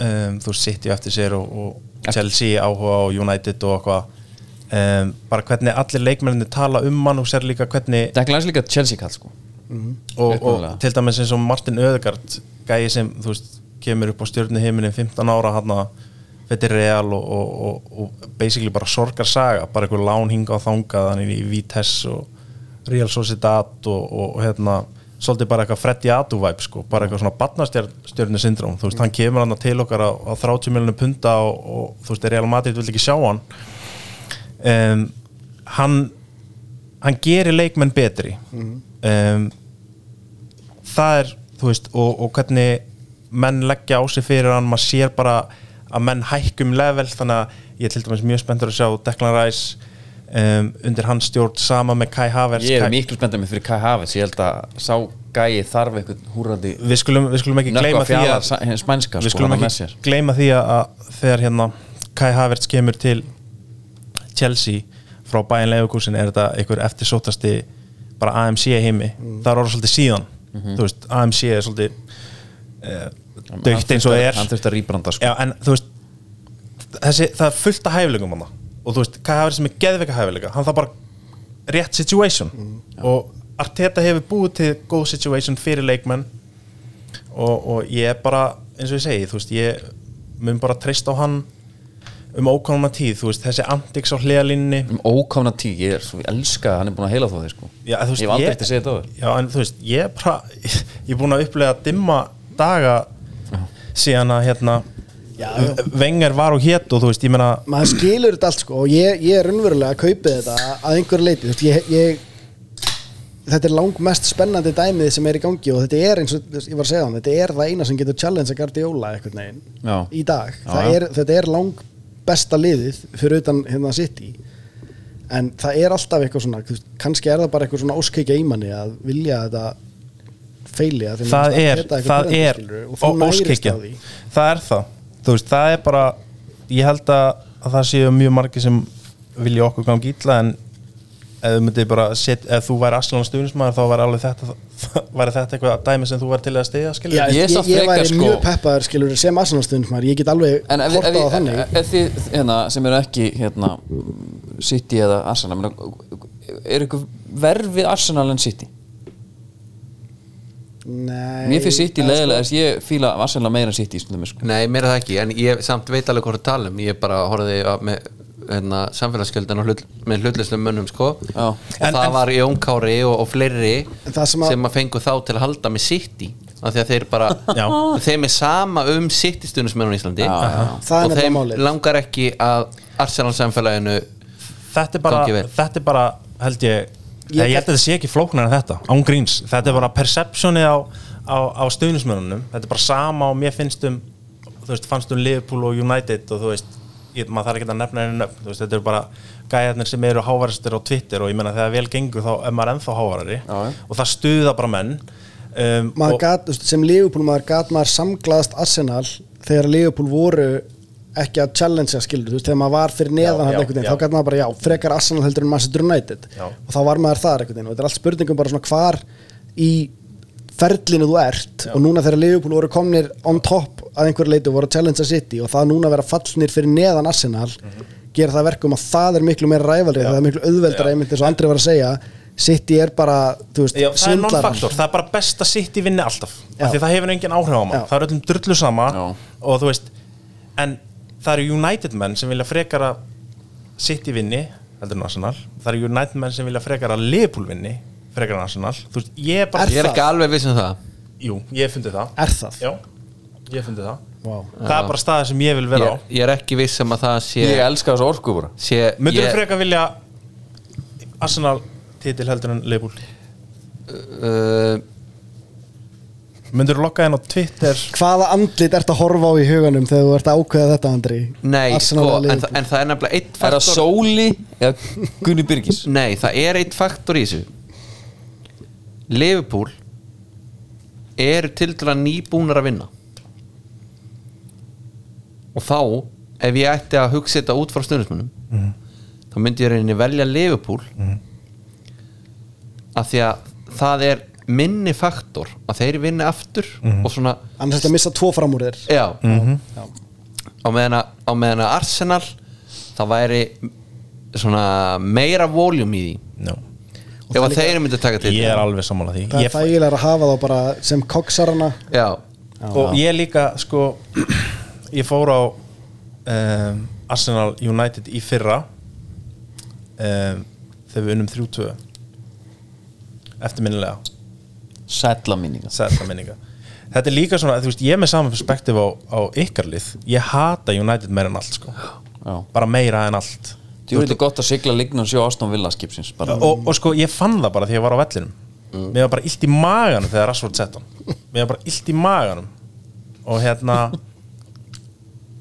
Speaker 2: um, þú veist, City eftir sér og, og Chelsea áhuga og United og eitthvað um, bara hvernig allir leikmenni tala um hann og sér líka hvernig
Speaker 1: Declan Rice er líka Chelsea kall sko
Speaker 2: og, og
Speaker 1: Upprunalega.
Speaker 2: til dæmis eins og Martin Öðegard gæi sem, þú veist, kemur upp á stjórnu heiminin 15 ára hann að þetta er real og, og, og, og basically bara sorgar saga, bara einhver lán hinga á þangað, hann er í Vitesse og Real Sociedad og, og, og hérna, svolítið bara eitthvað Freddy Adu vibe sko, bara eitthvað svona barnastjörnu syndróm, þú veist, hann kemur hann til okkar á, á 30 miljonum punta og, og þú veist, Real Madrid vil ekki sjá hann um, hann hann gerir leikmenn betri um, það er, þú veist, og, og hvernig menn leggja á sig fyrir hann maður sér bara að menn hækkum level þannig að ég er til dæmis mjög spenntur að sjá Declan Rice um, undir hans stjórn sama með Kai Havertz
Speaker 1: ég er
Speaker 2: Kai-
Speaker 1: miklu spenntar með fyrir Kai Havertz ég held að sá gæi þarf eitthvað húrandi
Speaker 2: við skulum, við skulum ekki gleyma
Speaker 1: nökkva
Speaker 2: því
Speaker 1: fjallar
Speaker 2: að
Speaker 1: sa- hins mænska
Speaker 2: við
Speaker 1: sko,
Speaker 2: skulum
Speaker 1: hann með
Speaker 2: ekki
Speaker 1: sér.
Speaker 2: gleyma því að- að þegar hérna Kai Havertz kemur til Chelsea frá Bayern Leverkusen er þetta einhver eftirsótasti bara AMC heimi, það er orðið svolítið síðan þú veist, AMC er svolítið uh, dögt eins og það er
Speaker 1: Mhm. hann þurfti að rýbranda sko.
Speaker 2: Já, en þú veist þessi, það er fullt af hæfilegum hann og þú veist, hvað hafið sem er geðveika hæfilega hann það bara rétt situation
Speaker 3: Mm.
Speaker 2: og Arteta hefur búið til góð situation fyrir leikmenn og, og ég er bara eins og ég segi, þú veist, ég mun bara treyst á hann um ókomna tíð, þú veist, þessi antiks á hliðalínni
Speaker 1: um ókomna tí, ég er svo, ég elska að hann er búin að heila þó þig sko
Speaker 2: Já, þú veist,
Speaker 1: ég hef aldrei
Speaker 2: ég-
Speaker 1: eftir að segja þetta ofur
Speaker 2: Já, en þú veist, ég er bara ég er búin að upplega dimma daga síðan að hérna
Speaker 3: Já, já.
Speaker 2: vengar var og hét og þú veist, ég meina
Speaker 3: maður skilur þetta allt sko og ég, ég er raunverulega að kaupa þetta að einhver leiti, þú veist, ég, ég þetta er langmest spennandi dæmið sem er í gangi og þetta er eins og þú veist, ég var að segja hann, þetta er það eina sem getur challenge að Guardiola einhvern veginn
Speaker 1: Já.
Speaker 3: í dag,
Speaker 1: Já,
Speaker 3: Það
Speaker 1: já.
Speaker 3: er, þetta er lang besta liðið fyrir utan hérna City en það er alltaf eitthvað svona þú veist, kannski er það bara eitthvað svona óskikja í manni að vilja að þetta feili að því
Speaker 2: það
Speaker 3: maður
Speaker 2: er,
Speaker 3: þetta eitthvað
Speaker 2: það
Speaker 3: pirrandi,
Speaker 2: er
Speaker 3: skilurðu, og þú
Speaker 2: ó-
Speaker 3: nærist
Speaker 2: óskhyggja
Speaker 3: á því.
Speaker 2: það er það, þú veist, það er bara ég held að, að það séu mjög margir sem vilja okkur gangi illa en ef þú myndir bara set, ef þú væri Arsenal stuðnismæður þá væri alveg þetta þá væri þetta eitthvað dæmi sem þú væri til að stiga skilur
Speaker 3: Já,
Speaker 2: yeah.
Speaker 1: Ég er
Speaker 3: ég, ég,
Speaker 1: samt frekar,
Speaker 3: væri
Speaker 1: sko-
Speaker 3: mjög peppaður skilur sem Arsenalstund maður, ég get alveg
Speaker 1: En ef, ef,
Speaker 3: hortað á
Speaker 1: ef,
Speaker 3: þannig
Speaker 1: ef, ef þið hérna, sem eru ekki hérna, City eða Arsenal menn, er ykkur verð við Arsenal en City?
Speaker 3: Nei,
Speaker 1: Mér finnst
Speaker 2: Eh,
Speaker 1: City leiðilega þess ég fíla Arsenal meira en City í stundum sko.
Speaker 4: Nei, mér er það ekki, en ég samt veit alveg hvað það tala um Ég bara horfði á- með hérna, samfélagsgjöldin og hlut, með hlutlistum mönnum sko.
Speaker 1: Já.
Speaker 4: og það var Jón Kári og, og fleiri
Speaker 3: En það sem
Speaker 4: sem
Speaker 3: að-
Speaker 4: að, fengu þá til að halda með City af því að þeir bara
Speaker 2: Já.
Speaker 4: þeim er sama um City stundismennum í
Speaker 3: Það
Speaker 4: Íslandi
Speaker 3: er
Speaker 4: og
Speaker 3: nefnilega
Speaker 4: þeim
Speaker 3: málið.
Speaker 4: langar ekki að Arsenal samfélaginu
Speaker 2: þetta er bara,
Speaker 4: Gangi vel.
Speaker 2: þetta er bara held ég, ég, ég held að þetta sé ekki flóknar en þetta, án gríns, þetta er bara perceptionið á, á, á stuðnismænunum þetta er bara sama og mér finnst um þú veist, fannst um Liverpool og United og þú veist, ég, maður þarf ekki að nefna einu nöfn þú veist, þetta eru bara gæjarnir sem eru hávaristir á Twitter og ég meina þegar vel gengur þá er maður ennþá hávarari og það stuða bara menn um,
Speaker 3: maður
Speaker 2: og-
Speaker 3: gat, þú veist, sem Liverpool maður gat maður samglaðast Arsenal þegar Liverpool voru ekki að challengea skilur, þú veist, þegar maður var fyrir neðan
Speaker 2: Já,
Speaker 3: hann
Speaker 2: já,
Speaker 3: einhvern veginn,
Speaker 2: já.
Speaker 3: þá gat maður bara, já, frekar Arsenal heldur en Manchester United
Speaker 2: Já.
Speaker 3: og þá var maður þar einhvern veginn og þetta er allt spurningum bara svona hvar í ferlinu þú ert og núna þegar Liverpool voru komnir on top að einhverju leitu voru að challengea City og það núna að vera fallnir fyrir neðan Arsenal
Speaker 2: Mhm.
Speaker 3: gera það að verkum að það er miklu meira rævalrið, það er miklu auðveldar einmitt eins og Andri var að segja, City er bara þú veist,
Speaker 2: Já, það er
Speaker 3: svindlarar.
Speaker 2: non-faktor, það er bara best að sitt í vinni alltaf
Speaker 3: Já.
Speaker 2: af því það hefur engin áhrif á
Speaker 3: Já.
Speaker 2: maður það er öllum drullu sama
Speaker 1: Já.
Speaker 2: og þú veist, en það eru United menn sem vilja frekar að sitt í vinni, heldur en Arsenal það eru United menn sem vilja frekar að Liverpool vinni frekar en Arsenal, þú veist, ég er bara
Speaker 4: ég er ekki alveg viss um það
Speaker 2: jú, ég hef fundið það
Speaker 3: Er það?
Speaker 2: já, ég hef fundið það
Speaker 3: Vá.
Speaker 2: það er bara staðið sem ég vil vera
Speaker 4: ég, ég er ekki viss um að það sé,
Speaker 1: Ég elska þessu orku bara
Speaker 4: sé
Speaker 2: á myndur
Speaker 4: ég-
Speaker 2: frekar vilja Arsenal titil heldur en Liverpool
Speaker 1: Eh,
Speaker 4: uh,
Speaker 2: myndur lokka henn á Twitter
Speaker 3: Hvaða andlit ert að horfa á í huganum þegar þú ert að ákveða þetta, Andri?
Speaker 4: Nei,
Speaker 3: Arsenal
Speaker 4: sko,
Speaker 3: eða
Speaker 4: en,
Speaker 3: Liverpool?
Speaker 4: þa en það er nefnilega eitt
Speaker 1: Er það
Speaker 4: faktor-
Speaker 1: Sóli eða Gunni Birgis?
Speaker 4: Nei, það er eitt faktor í þessu Liverpool eru til dæla nýbúnar að vinna og þá ef ég ætti að hugsa þetta út frá stundismunum þá myndi ég reyni velja Liverpool af því að það er minni faktor að þeir vinna aftur og svona
Speaker 3: Annars ertu að missa tvo fram úr þér
Speaker 4: Já, á, meðan að, á meðan að Arsenal það væri svona meira voljum í því
Speaker 2: no.
Speaker 4: ef að þeir myndu að taka til
Speaker 2: ég er alveg sammála því
Speaker 3: Það
Speaker 2: Ég-
Speaker 3: er þægilega að hafa þá bara sem koksarana
Speaker 4: Já,
Speaker 2: og ég líka sko ég fór á um, Arsenal United í fyrra um, þegar við unnum 3-2 eftirminnilega
Speaker 1: Sætla minninga
Speaker 2: sætla minninga þetta er líka svona, þú veist, ég er með saman perspektíf á, á ykkarlið, ég hata United meira en allt sko,
Speaker 1: Já.
Speaker 2: bara meira en allt
Speaker 1: Þú veitir gott að sigla lignan sjó Ástón Villa skipsins bara.
Speaker 2: og, og sko ég fann það bara því ég var á vellinum mér var bara illt í maganum þegar Rashford sett hann mér var bara illt í maganum og hérna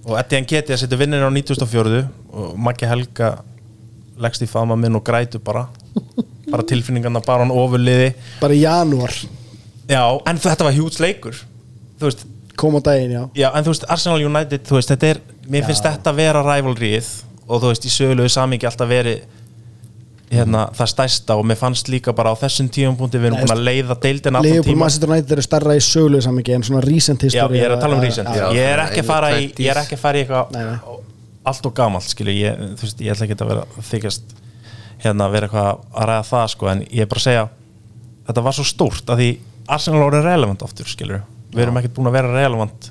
Speaker 2: og Etienne Keti að setja vinnin á 94 og Maggi Helga leggst í faðma minn og grætu bara bara tilfinningarna bara hann ofurliði
Speaker 3: bara í janúar
Speaker 2: já, en þetta var hjúts leikur þú veist,
Speaker 3: kom á daginn, já
Speaker 2: já, en þú veist Arsenal United, þú veist, þetta er mér finnst þetta vera rivalryið og þú veist, í sögulegu samingi alltaf verið hérna, það stærsta og mér fannst líka bara á þessum tíumpunkti við erum búin að leiða deildin allan
Speaker 3: Liverpool
Speaker 2: tíma
Speaker 3: Manchester United eru starra í sögulegu samingi en svona recent
Speaker 2: já,
Speaker 3: history
Speaker 2: ég er að tala um recent
Speaker 3: Já,
Speaker 2: ég er ekki að fara í, ég er ekki að fara í
Speaker 3: Nei, nei.
Speaker 2: eitthvað allt og gamalt skilju, ég, þú veist, ég ætla ekki að vera að þykjast hérna að vera eitthvað að ræða það sko, en ég er bara að segja þetta var svo stórt að því Arsenal orðið relevant aftur skilju, við erum ekkert búin að vera relevant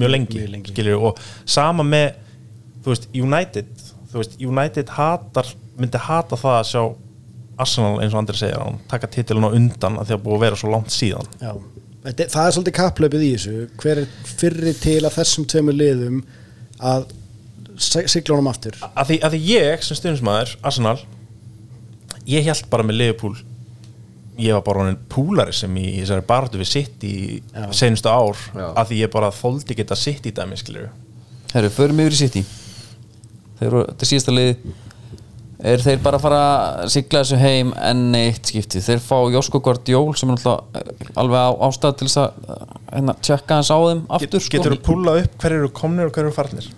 Speaker 2: mjög lengi, mjög lengi. skilju og sama með, þú veist, United þú veist, United hatar myndi hata það að sjá Arsenal eins og Andri segir, hann taka titilun á undan að því að búið að vera svo langt síðan
Speaker 3: já. Þetta, það er svolítið kapplöpið í þessu hver er fyrri til að þessum tveimur liðum að sig- sigla honum aftur
Speaker 2: að því, að því ég sem stundismæður Arsenal ég held bara með Liverpool ég var bara honin púlari sem í í þessari barðu við sitt í senustu ár
Speaker 4: Já.
Speaker 2: að því ég bara þóldi geta sitt í dæmi skilur
Speaker 1: Herru, förum yfir í City Þeir eru, þetta er síðasta lið Er þeir bara að fara að sigla þessu heim enn eitt skiptið Þeir fá Jósko Guardjól sem er náttúrulega alveg á, ástæð til þess að eh, hérna, tjekka hans á þeim aftur
Speaker 2: sko- getur þú púla upp hverju eru komnir og hverju eru farnir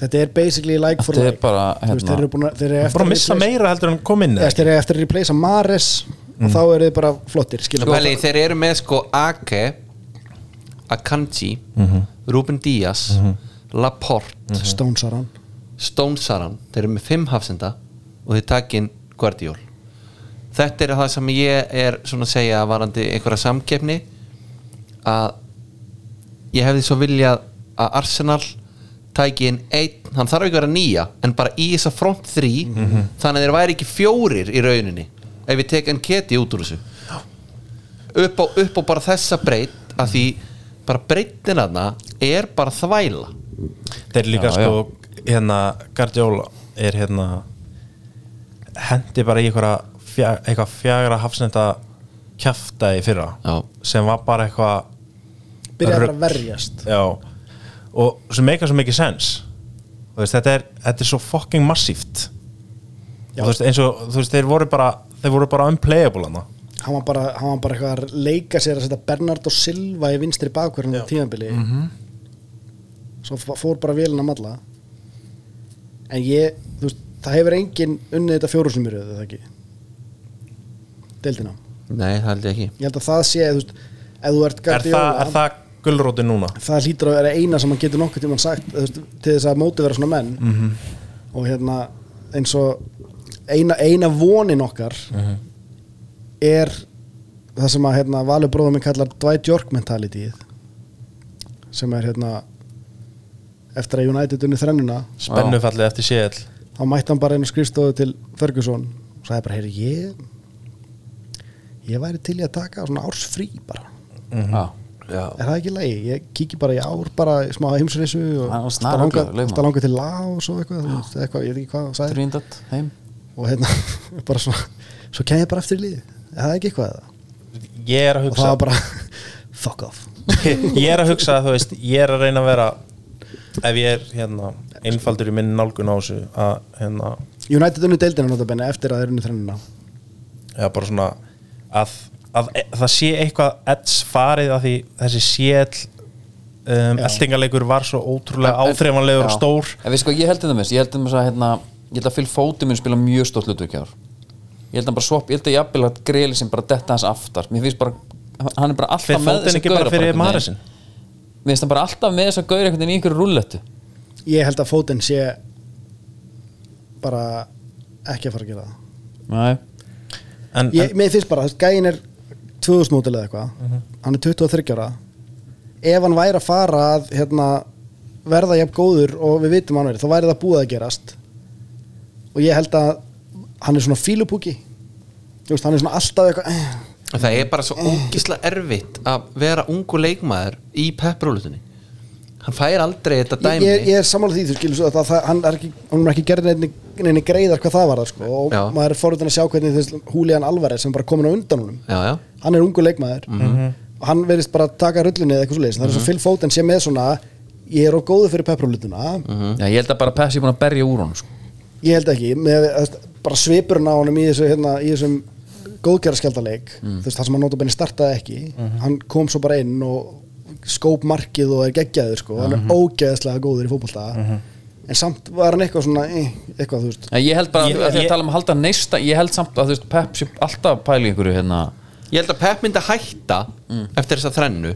Speaker 3: þetta er basically like for
Speaker 1: Þetta er
Speaker 3: like
Speaker 1: bara,
Speaker 3: Þú veist,
Speaker 1: hérna-
Speaker 3: þeir eru búin að, þeir eru eftir
Speaker 2: bara
Speaker 3: að
Speaker 2: að missa
Speaker 3: replace-
Speaker 2: meira heldur en kom inn
Speaker 3: Eða, þeir eru eftir að replacea Mares og þá eru þið bara flottir
Speaker 2: Sko,
Speaker 3: skilur
Speaker 4: Pæli, þeir eru með sko Ake Akanji Ruben Díaz Laporte, mm
Speaker 3: Stones are on
Speaker 4: Stonesaran þeir eru með fimm hafsenda og þeir takin Guardiol þetta er það sem ég er svona að segja varandi einhverja samkeppni að ég hefði svo viljað að Arsenal tæki inn einn, hann þarf ekki að vera nýja en bara í þessa front 3 þannig að þeir væri ekki fjórir í rauninni ef við tekum keti út úr þessu upp á, upp á bara þessa breytt að því bara breyttin aðna er bara þvæla
Speaker 2: þeir líka
Speaker 1: Já,
Speaker 2: sko hérna Guardiola er hérna hendi bara í einhverja fjag, eitthvað fjagra hafsnenda kjafta í fyrra
Speaker 4: Já.
Speaker 2: sem var bara eitthvað
Speaker 3: byrjaði bara
Speaker 2: Rugl.
Speaker 3: að verjast
Speaker 2: já og sem meika svo mikið sens Þú veist, þetta, er, þetta er svo fucking massíft og þú veist eins og þú veist þeir voru bara þeir voru bara unplayable hana
Speaker 3: hann var bara, hann var bara eitthvað að leika sér að setja Bernardo Silva í vinstri bakverðinu á tímabili svo f- fór bara vélina að malla en ég þú veist, það hefur enginn unnið þetta fjórusnumur eða það ekki deildina
Speaker 4: nei, það held ég ekki
Speaker 3: ég held að það sé þú veist, ef þú ert
Speaker 2: er, þa,
Speaker 3: Guardiola-
Speaker 2: er það gulróti núna?
Speaker 3: það hlýtur að vera eina sem hann getur nokkuð tímann sagt þú veist, til þess að móti vera svona menn -hmm. og hérna eins og eina, eina vonin okkar er það sem að hérna, Valur bróðum minn kallar Dwight York mentalityið sem er hérna eftir að United unni þrennuna
Speaker 2: spennufallið eftir CL
Speaker 3: þá mætti hann bara inn á skrifstofu til Ferguson og sagði bara, heyrðu, ég ég væri til í að taka svona ársfrí bara
Speaker 1: Já.
Speaker 3: er það ekki lægi, ég kíki bara í ár bara í smá heimsreysu og
Speaker 1: Hann var
Speaker 3: alltaf
Speaker 1: snaruglaður,
Speaker 3: langa,
Speaker 1: lauma.
Speaker 3: alltaf langa til Laos og eitthvað, þú veist, eitthvað, ég veit ekki hvað hann sagði
Speaker 1: Trindat heim
Speaker 3: og hérna, bara svona svo kem ég bara eftir í liði, er það ekki eitthvað eða?
Speaker 2: ég er
Speaker 3: og
Speaker 2: að
Speaker 3: það
Speaker 2: hugsa
Speaker 3: var bara, fuck off
Speaker 2: ég er að hugsa að þú veist ég er að reyna að vera ef ég er hérna einfaldur í minni nálgun á þessu að hérna
Speaker 3: United unni deildina notabenni eftir að þeir unni þrennina
Speaker 2: eða bara svona að, að, e- það sé eitthvað ets farið að því þessi sél um, eldingaleikur var svo ótrúlega áþreifanlegur og stór
Speaker 1: En við sko, ég held þetta með þess Ég held þetta með þess að, hérna, ég held að Phil Foden mun spila mjög stórt hlutverk í ár Ég held að hann bara swap, ég held að jafnvel að Greili sem bara detta hans aftar Mér finnst bara, hann er bara
Speaker 2: fyrir
Speaker 1: alltaf með
Speaker 2: fótinn
Speaker 1: þessa
Speaker 2: ekki bara
Speaker 1: gaura
Speaker 2: fyrir
Speaker 1: einhvern veginn.
Speaker 2: maðurinn
Speaker 1: Mér finnst hann bara alltaf með þessa gaur einhvern veginn í einhverju rúllettu
Speaker 3: ég held að fótinn sé bara ekki að fara að gera það
Speaker 1: Nei
Speaker 2: en,
Speaker 3: ég, mér finnst bara, þú veist, gæin er 2000 mótil eða eitthvað,
Speaker 4: Mhm.
Speaker 3: hann er 23 ára ef hann væri að fara að hérna, verða jafn góður og við vitum að hann verið, þá væri það búið að gerast og ég held að hann er svona fílupúki Þú veist, hann er svona alltaf eitthvað eh,
Speaker 4: Og Það er bara svo ógisla erfitt að vera ungu leikmaður í pepprúlutinni Hann fær aldrei þetta
Speaker 3: ég,
Speaker 4: dæmi
Speaker 3: ég, ég er sammála því, þú skilur svo að það, hann er ekki, hann er ekki gerð neinni, neinni greiðar hvað það var það, sko, og
Speaker 4: Já.
Speaker 3: maður er forðan að sjá hvernig þess Húlían Alvarez sem er bara komin á undan honum
Speaker 4: Já, já,
Speaker 3: hann er ungu leikmaður
Speaker 2: Mhm.
Speaker 3: og hann verðist bara taka rullinni eða eitthvað svoleiðis það er svo Phil Foden sé með svona ég er á góðu fyrir pepprúlutuna
Speaker 2: Mhm.
Speaker 1: Mhm. Já, ég held að bara Pessi er búin að berja úr honum sko.
Speaker 3: ég held ekki, með þú veist, bara svipurinn á honum í, þessu, hérna, í þessum góðgerðarskjaldaleik
Speaker 2: Mhm.
Speaker 3: mm. þess, það sem hann nota benni startaði ekki hann kom svo bara inn og skóp markið og er geggjaður sko. hann
Speaker 2: Mhm.
Speaker 3: er ógeðslega góður í fótbolta en samt var hann eitthvað svona eh, eitthvað þú veist
Speaker 1: Já, Ég held bara,
Speaker 2: Ég-
Speaker 1: ég, að því
Speaker 2: ég-
Speaker 1: að tala um að halda neista Ég held samt að þú veist, Pep sé alltaf pæli einhverju hérna
Speaker 4: ég held að Pep myndi að hætta
Speaker 3: Mm.
Speaker 4: eftir þessa þrennu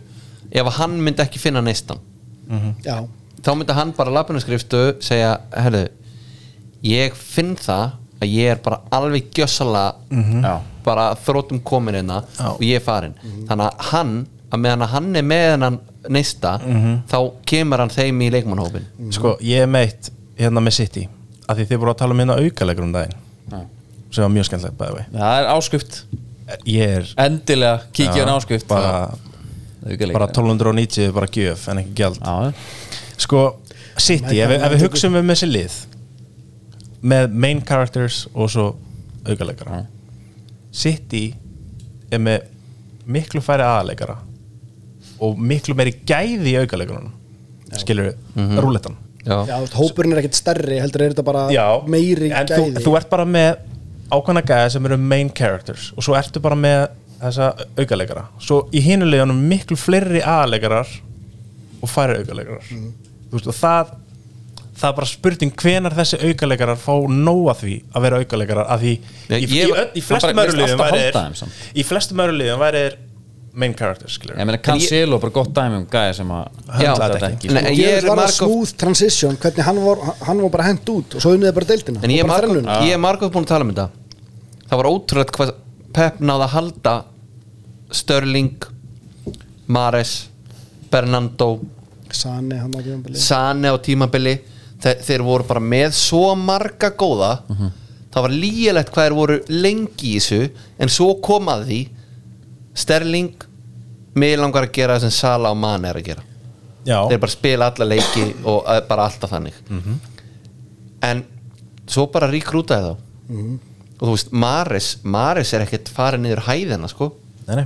Speaker 4: ef að hann myndi ekki finna neistan
Speaker 2: Mhm.
Speaker 3: já,
Speaker 4: þá myndi hann bara lapinu skriftu segja, herðu ég finn það að ég er bara alveg gjössalega
Speaker 1: Já.
Speaker 4: bara þrótum komin einna og ég er farin
Speaker 3: Mhm.
Speaker 4: þannig að hann, að meðan að hann er með hennan neista,
Speaker 3: Mhm.
Speaker 4: þá kemur hann þeim í leikmannhópin
Speaker 2: sko, ég er meitt hérna með City að því þið voru að tala um hérna aukalegur um daginn sem var mjög skemmtilegt bæði
Speaker 1: Það er áskrift,
Speaker 2: ég er
Speaker 1: endilega kíkja hann áskrift
Speaker 2: bara, bara 1290 bara gjöf en ekki gjald
Speaker 1: Já,
Speaker 2: sko, City, ef, við- ef við hugsum um þessi lið með main characters og svo aukaleikara City er með miklu færi aðaleikara og miklu meiri gæði í aukaleikaranum skilur mm -hmm. rúletan
Speaker 3: já þú veist, hópurinn er ekkit stærri heldur er þetta bara meiri
Speaker 2: en
Speaker 3: gæði
Speaker 2: þú, þú ert bara með ákvæmna gæði sem eru main characters og svo ertu bara með þessa aukaleikara svo í hinulegunum miklu fleiri aðaleikarar og færi aukaleikarar mm. veist, og það það er bara spurning hvenar þessi aukaleikarar fá nóa því að vera aukaleikarar að því
Speaker 4: Nei,
Speaker 2: í,
Speaker 4: ég-
Speaker 2: í, öll, í
Speaker 1: það bara-
Speaker 2: flestum
Speaker 1: mér finnst
Speaker 2: öru liðum
Speaker 1: alltaf
Speaker 2: væri
Speaker 1: halda þeim
Speaker 2: þeir-
Speaker 1: samt.
Speaker 2: í flestum öru liðum væri þeir main characters skilur
Speaker 1: Ég meina Cancelo er bara gott dæmi um gæja sem að
Speaker 4: Já,
Speaker 1: höndla þetta ekki
Speaker 4: Nei, en ég
Speaker 3: Gerald
Speaker 4: er
Speaker 3: var það
Speaker 4: margóft
Speaker 3: smooth transition hvernig hann var, hann var bara hend út og svo unnið bara deildina
Speaker 4: En ég
Speaker 3: og
Speaker 4: er
Speaker 3: bara
Speaker 4: margóft
Speaker 3: þrennuna.
Speaker 4: ég er margóft búin að tala um þetta Það var ótrúlega hvað Pep náði að halda Störling Mares Bernando Ah.
Speaker 3: Sane, hann var ekki um bilið
Speaker 4: Sane á tímabili Þe þeir voru bara með svo marga góða það var lýjalegt hvað þeir voru lengi í þessu en svo kom að því Sterling mig langar að gera það sem Sala og Mane er að gera
Speaker 2: já,
Speaker 4: þeir bara spila alla leiki og eh, bara alltaf þannig
Speaker 3: Mhm.
Speaker 4: en svo bara ríkrútaði þá
Speaker 3: Mhm.
Speaker 4: og þú veist, Maris Maris er ekkert farið niður hæðina sko
Speaker 2: nei, nei.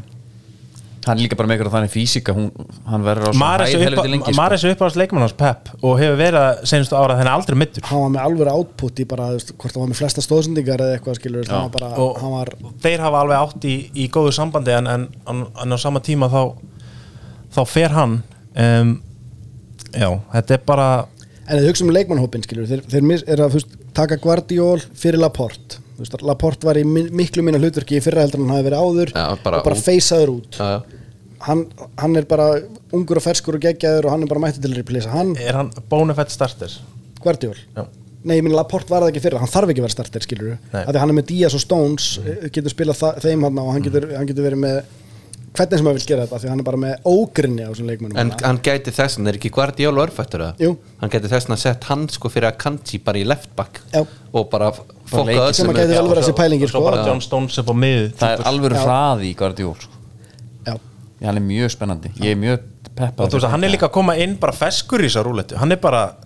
Speaker 1: Hann er líka bara með eitthvað þannig físika hún, Hann verður á svo
Speaker 2: Mares
Speaker 1: hæð
Speaker 2: er
Speaker 1: helviti lengi
Speaker 2: upp-
Speaker 1: sko.
Speaker 2: Mares er uppáðast leikmann hans Pep og hefur verið það senastu ára þannig aldrei mittur
Speaker 3: hann var með alvöru output í bara þú veist, hvort hann var með flesta stóðsendingar eða eitthvað skilur hann var bara,
Speaker 2: og
Speaker 3: hann var
Speaker 2: þeir hafa alveg átt í, í góðu sambandi en, en, en, en á sama tíma þá þá fer hann um, já, þetta er bara
Speaker 3: en þau hugsa um leikmannhópin skilur þeir, þeir mis, er að þú veist, taka Guardiol fyrir Laporte Þú veist, Laporte var í min, miklu minna hlutverki í fyrra heldur en hann hafi verið áður
Speaker 4: Já,
Speaker 3: og
Speaker 4: bara
Speaker 3: bara
Speaker 4: út.
Speaker 3: feysaður út
Speaker 4: Já, já.
Speaker 3: hann, hann er bara ungur og ferskur og geggjaður og hann er bara mættið til að replisa hann,
Speaker 2: er hann bónafett starter
Speaker 3: Guardiol
Speaker 2: já,
Speaker 3: Nei, ég minn Laporte var það ekki fyrir, hann þarf ekki að vera starter skilur við,
Speaker 2: Nei.
Speaker 3: af því hann er með Díaz og Stones eh, getur spilað þa- þeim hann og hann getur, hann getur verið með hvernig sem hann vil gera þetta, af því hann er bara með ógrinni á þessum leikmennum
Speaker 4: en hann gæti þessan, er ekki Guardiola örfættur eða?
Speaker 3: Jú.
Speaker 4: hann gæti þessan að sett hann sko fyrir að kanti bara í left back
Speaker 3: Já.
Speaker 4: og bara f-
Speaker 1: leikir.
Speaker 4: fokka öll
Speaker 3: sem
Speaker 4: sem
Speaker 3: að gæti
Speaker 4: er-
Speaker 3: vel verið þessi pælingi
Speaker 2: svo
Speaker 3: sko.
Speaker 2: bara John Stones upp á miðu
Speaker 1: Það er alvöru
Speaker 3: Já.
Speaker 1: hraði í Guardiol sko.
Speaker 3: Já.
Speaker 1: Já, Hann er mjög spennandi Ég er mjög
Speaker 2: og
Speaker 1: peppað hérna.
Speaker 2: þú veist að hann er líka að koma inn bara feskur í þessar rúletu, hann er bara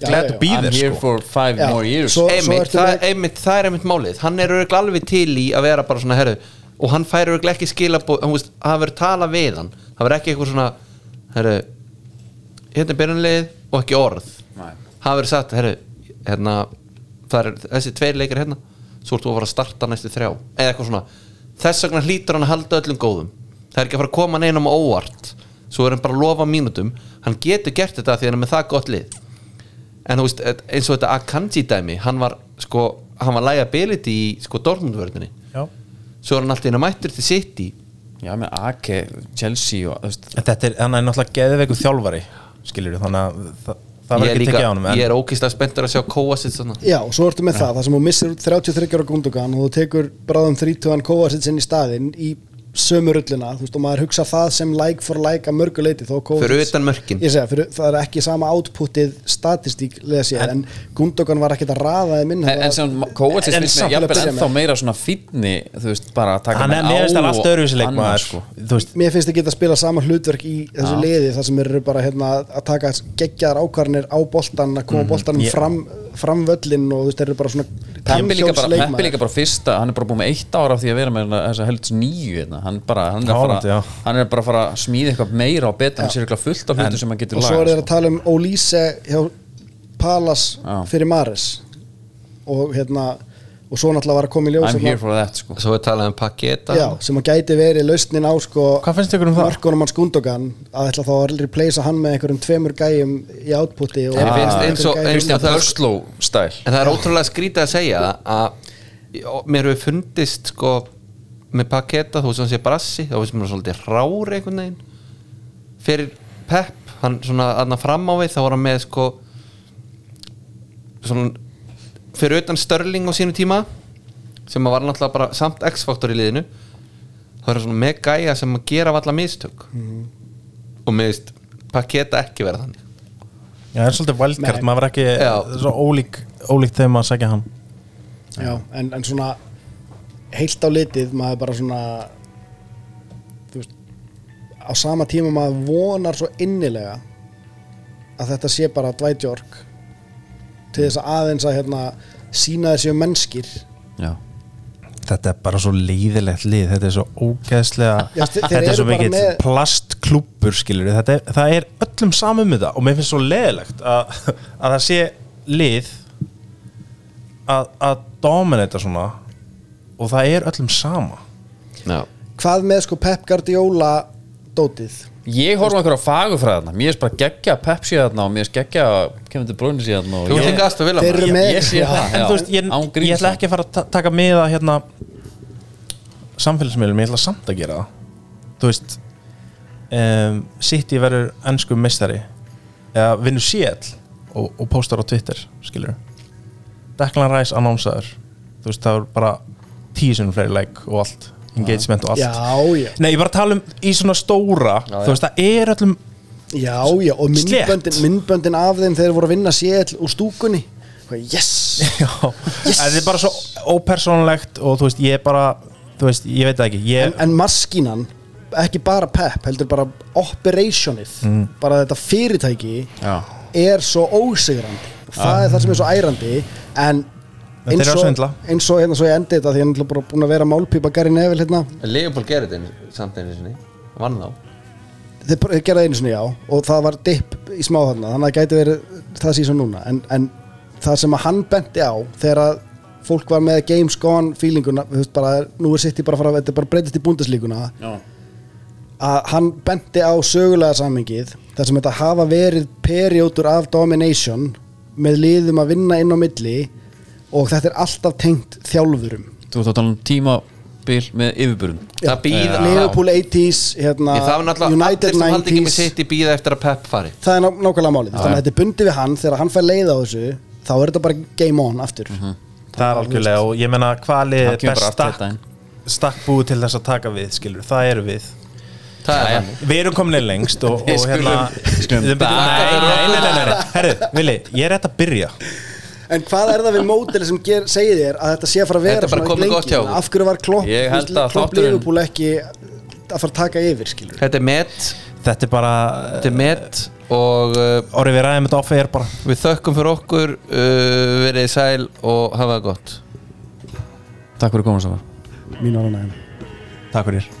Speaker 3: Já,
Speaker 2: glad
Speaker 3: já,
Speaker 2: to
Speaker 3: já.
Speaker 2: be
Speaker 1: I'm
Speaker 2: there
Speaker 1: here
Speaker 2: sko
Speaker 1: for five
Speaker 3: Já.
Speaker 1: more years
Speaker 3: Svo-
Speaker 4: einmitt,
Speaker 3: ertu
Speaker 4: það,
Speaker 3: með-
Speaker 4: einmitt, það er einmitt málið hann er auðvitað alveg til í að vera bara svona herru og hann fær auðvitað ekki skilabó hann veist, hann verður tala við hann hann verður ekki eitthvað svona herru, hérna er byrjunlið og ekki orð
Speaker 1: Nei.
Speaker 4: hann verður sagt herru, hérna, það er þessi tveir leikir hérna svo ertu að fara að starta næstu þrjá eða eitthvað svona þess vegna hlýtur hann að halda öllum góðum það er ekki að fara að koma hann einum óvart svo er hann bara að lofa mínútum hann getur gert þetta því hann er með það gott lið en þú veist, eins og þetta Akanji dæmi hann var sko, hann var liability í sko Dortmundvörðinni
Speaker 2: Já.
Speaker 4: svo er hann alltaf inn að mættur til City
Speaker 1: Já, með AK, Chelsea og, þú veist,
Speaker 2: En þetta er, hann er náttúrulega geðveiku þjálfari skilur þannig að það, það
Speaker 4: ég
Speaker 2: verður
Speaker 4: er
Speaker 2: ekki tekið á hann
Speaker 4: ég er ókislega spenntur að sjá Kovacic þarna.
Speaker 3: Já, og svo ertu með það, það sem þú missir út 33 ára gundugan og þú tekur bráðum 30 Kovacic inn í staðinn í sömu rullina, þú veist, og maður hugsa það sem like for like að mörgu leiti þó Kovacic
Speaker 4: Fyrir utan mörkin.
Speaker 3: Ég segja, fyrir, það er ekki sama outputið statistík leða sér, en, Gundogan var ekkert að raða þeim inn
Speaker 1: En, en sem Kovacic
Speaker 3: En- en
Speaker 1: finnst mér
Speaker 3: samt til að
Speaker 1: jafnvel
Speaker 3: byrja
Speaker 1: ennþá
Speaker 3: með.
Speaker 1: meira svona fínni þú veist, bara að taka
Speaker 2: hann er
Speaker 1: menn á
Speaker 2: mér finnst hann allt
Speaker 1: og
Speaker 2: öðruvísi
Speaker 1: annað,
Speaker 2: leikmaður
Speaker 1: sko.
Speaker 2: sko. þú veist,
Speaker 3: mér finnst ekki geta að spila sama hlutverk í þessu liði þar sem þeir eru bara hérna, að taka geggjaðar ákvarnir á boltan að
Speaker 1: Mm.
Speaker 3: koma boltanum
Speaker 2: Ég-
Speaker 3: fram, fram völlin og þú veist, þeir eru bara svona
Speaker 1: Peppi líka, bara,
Speaker 3: tannhjólsleikmaður.
Speaker 1: Peppi líka bara fyrsta hann er bara búin með eitt ára af því að vera með þess að helds nýju hérna. hann, bara, hann, er að
Speaker 2: Haaland, já.
Speaker 1: fara, hann er bara að fara að smíða eitthvað meira og betra hann sér eitthvað fullt af hlutu sem hann getur
Speaker 3: og svo er
Speaker 1: lagað, sko.
Speaker 3: þeir að tala um Olise hjá Palas
Speaker 1: Já.
Speaker 3: fyrir Maris og hérna og svo náttúrulega var að koma í ljós
Speaker 1: I'm
Speaker 3: hérna-
Speaker 1: here for that sko.
Speaker 4: svo er talað um Paketa
Speaker 3: já, sem að gæti verið lausnin á sko
Speaker 2: Hvað finnst ykkur um það?
Speaker 3: mörkunum hans Gundogan að ætla þá að replacea hann með einhverjum tveimur gæjum í outputi og
Speaker 4: Mér finnst eins og-
Speaker 3: einhverjum
Speaker 4: eins
Speaker 3: gæjum-
Speaker 4: og- það er-
Speaker 1: Börslow stæl
Speaker 4: en það er ótrúlega skrítið að segja það, að mér hefur fundist sko með Paketa þú sem sé brassi, þá veist mér svolítið rári einhvern veginn fyrir Pep, hann svona aðna fram á við þá var hann með sko svona fyrir utan Störling á sínu tíma sem var náttúrulega bara samt X-faktor í liðinu þá er hann svona með gæja sem að gera allar mistök
Speaker 3: Mhm.
Speaker 4: og mér veist Paketa ekki vera þannig
Speaker 2: já, það er svolítið valdkart,
Speaker 3: Nei.
Speaker 2: maður er ekki
Speaker 4: Já.
Speaker 2: það er svo ólík, ólík þegar maður sækja hann
Speaker 3: Já, en, en svona heilt á litið maður bara svona þú veist á sama tíma maður vonar svo innilega að þetta sé bara dvætjork til þess að aðeins að hérna sína þessi mennskir
Speaker 1: Já.
Speaker 2: þetta er bara svo leiðilegt lið þetta er svo ógeðslega
Speaker 3: Já, þe- þeir
Speaker 2: þetta er
Speaker 3: eru
Speaker 2: svo
Speaker 3: bara
Speaker 2: mikill
Speaker 3: með-
Speaker 2: plastklúpur skilur þetta er, það er öllum samum þetta og mér finnst svo leiðilegt að, að það sé lið að, að dominata svona og það er öllum sama
Speaker 4: Já.
Speaker 3: hvað með sko Pep Guardiola dótið
Speaker 1: Ég horfum einhverja fagurfræðarna Mér er bara geggja Pepsi þarna og mér er geggja Kemur til brónir síðan
Speaker 8: Þú ert ekki aðstof vilja
Speaker 3: Þeir eru með
Speaker 1: Ég sé það já,
Speaker 2: en þú veist, ég,
Speaker 1: án
Speaker 2: ég
Speaker 1: gríns.
Speaker 2: ætla ekki að fara að ta- taka miða hérna samfélagsmiðlum, ég ætla samt að gera það þú veist um, City verður ennskum meistari eða vinnur CL og, og póstar á Twitter, skilur Declan Rice annánsaður þú veist, það er bara tíu sinni fleiri like og allt, engagement og allt
Speaker 3: Já, já.
Speaker 2: Nei, ég bara tala um í svona stóra þú veist, það er öllum
Speaker 3: Já, já, og
Speaker 2: Slétt.
Speaker 3: myndböndin, myndböndin af þeim þeir voru að vinna séll úr stúkunni Hvað, Yes!
Speaker 2: Já, yes. það er bara svo ópersónlegt og þú veist, ég er bara þú veist, ég veit það ekki, ég
Speaker 3: En, en maskínan, ekki bara Pep, heldur bara operationið bara þetta fyrirtæki
Speaker 1: Já.
Speaker 3: er svo ósigrandi og það er það sem er svo ærandi en
Speaker 2: En þeir eru að svindla.
Speaker 3: eins og hérna svo ég endi þetta því ég er náttúrulega bara búin að vera málpípa Gary Neville hérna
Speaker 8: Leopold gerði þetta einu- samt einu sinni Vann þá
Speaker 3: þeir, bara- þeir gerði einu sinni já og það var dipp í smá þarna þannig að það gæti verið það síðan núna en, en það sem að hann benti á þegar að fólk var með games gone feelinguna þú veist bara nú er sitt í bara að fara þetta er bara að breytist í búndaslíkuna
Speaker 1: Já.
Speaker 3: að hann benti á sögulega samengið þar sem þetta hafa verið periodur af domination með liðum að vinna inn á milli og þetta er alltaf tengt þjálfurum
Speaker 1: Þú ert að tala um tímabil með yfirburðum
Speaker 8: Það býða
Speaker 3: Liverpool 80s hérna,
Speaker 8: Það var náttúrulega allir
Speaker 3: United
Speaker 8: sem haldi ekki með
Speaker 3: 90s
Speaker 8: sitt í býða eftir að Pep fari
Speaker 3: það er ná nákvæmlega málið þannig að þetta er bundið við hann þegar hann fær leið á þessu þá er þetta bara game on aftur
Speaker 8: Mhm.
Speaker 2: það er algjörlega og ég menna hvað lið
Speaker 1: Það
Speaker 2: er
Speaker 1: kemur
Speaker 2: best
Speaker 1: bara allt
Speaker 2: stakk,
Speaker 1: þetta inn.
Speaker 2: stakk búið til þess að taka við skilur, það eru við
Speaker 8: Það er þannig
Speaker 2: við erum komin lengst og,
Speaker 1: Við
Speaker 2: og hérna
Speaker 1: skulum-
Speaker 2: Við-
Speaker 1: skulum-
Speaker 2: nei, nei, nei, nei, nei, nei. herru, Vili, ég er rétt að byrja
Speaker 3: en hvað er það við mótil sem ger, segir þér að þetta sé að fara að
Speaker 8: Þetta
Speaker 3: vera
Speaker 8: er bara komið gott hjá okkur.
Speaker 3: af hverju var klopp,
Speaker 1: Ég held að
Speaker 3: klopp
Speaker 1: þátturinn-
Speaker 3: Liverpool ekki að fara að taka yfir skilur
Speaker 8: Þetta er met
Speaker 2: þetta er bara
Speaker 8: Þetta er met Og uh,
Speaker 2: orðið við ræðum þetta off air bara
Speaker 8: við þökkum fyrir okkur uh, Verið sæl og hafa það gott
Speaker 1: Takk fyrir komin saman
Speaker 3: mín orðan aðeins
Speaker 2: takk fyrir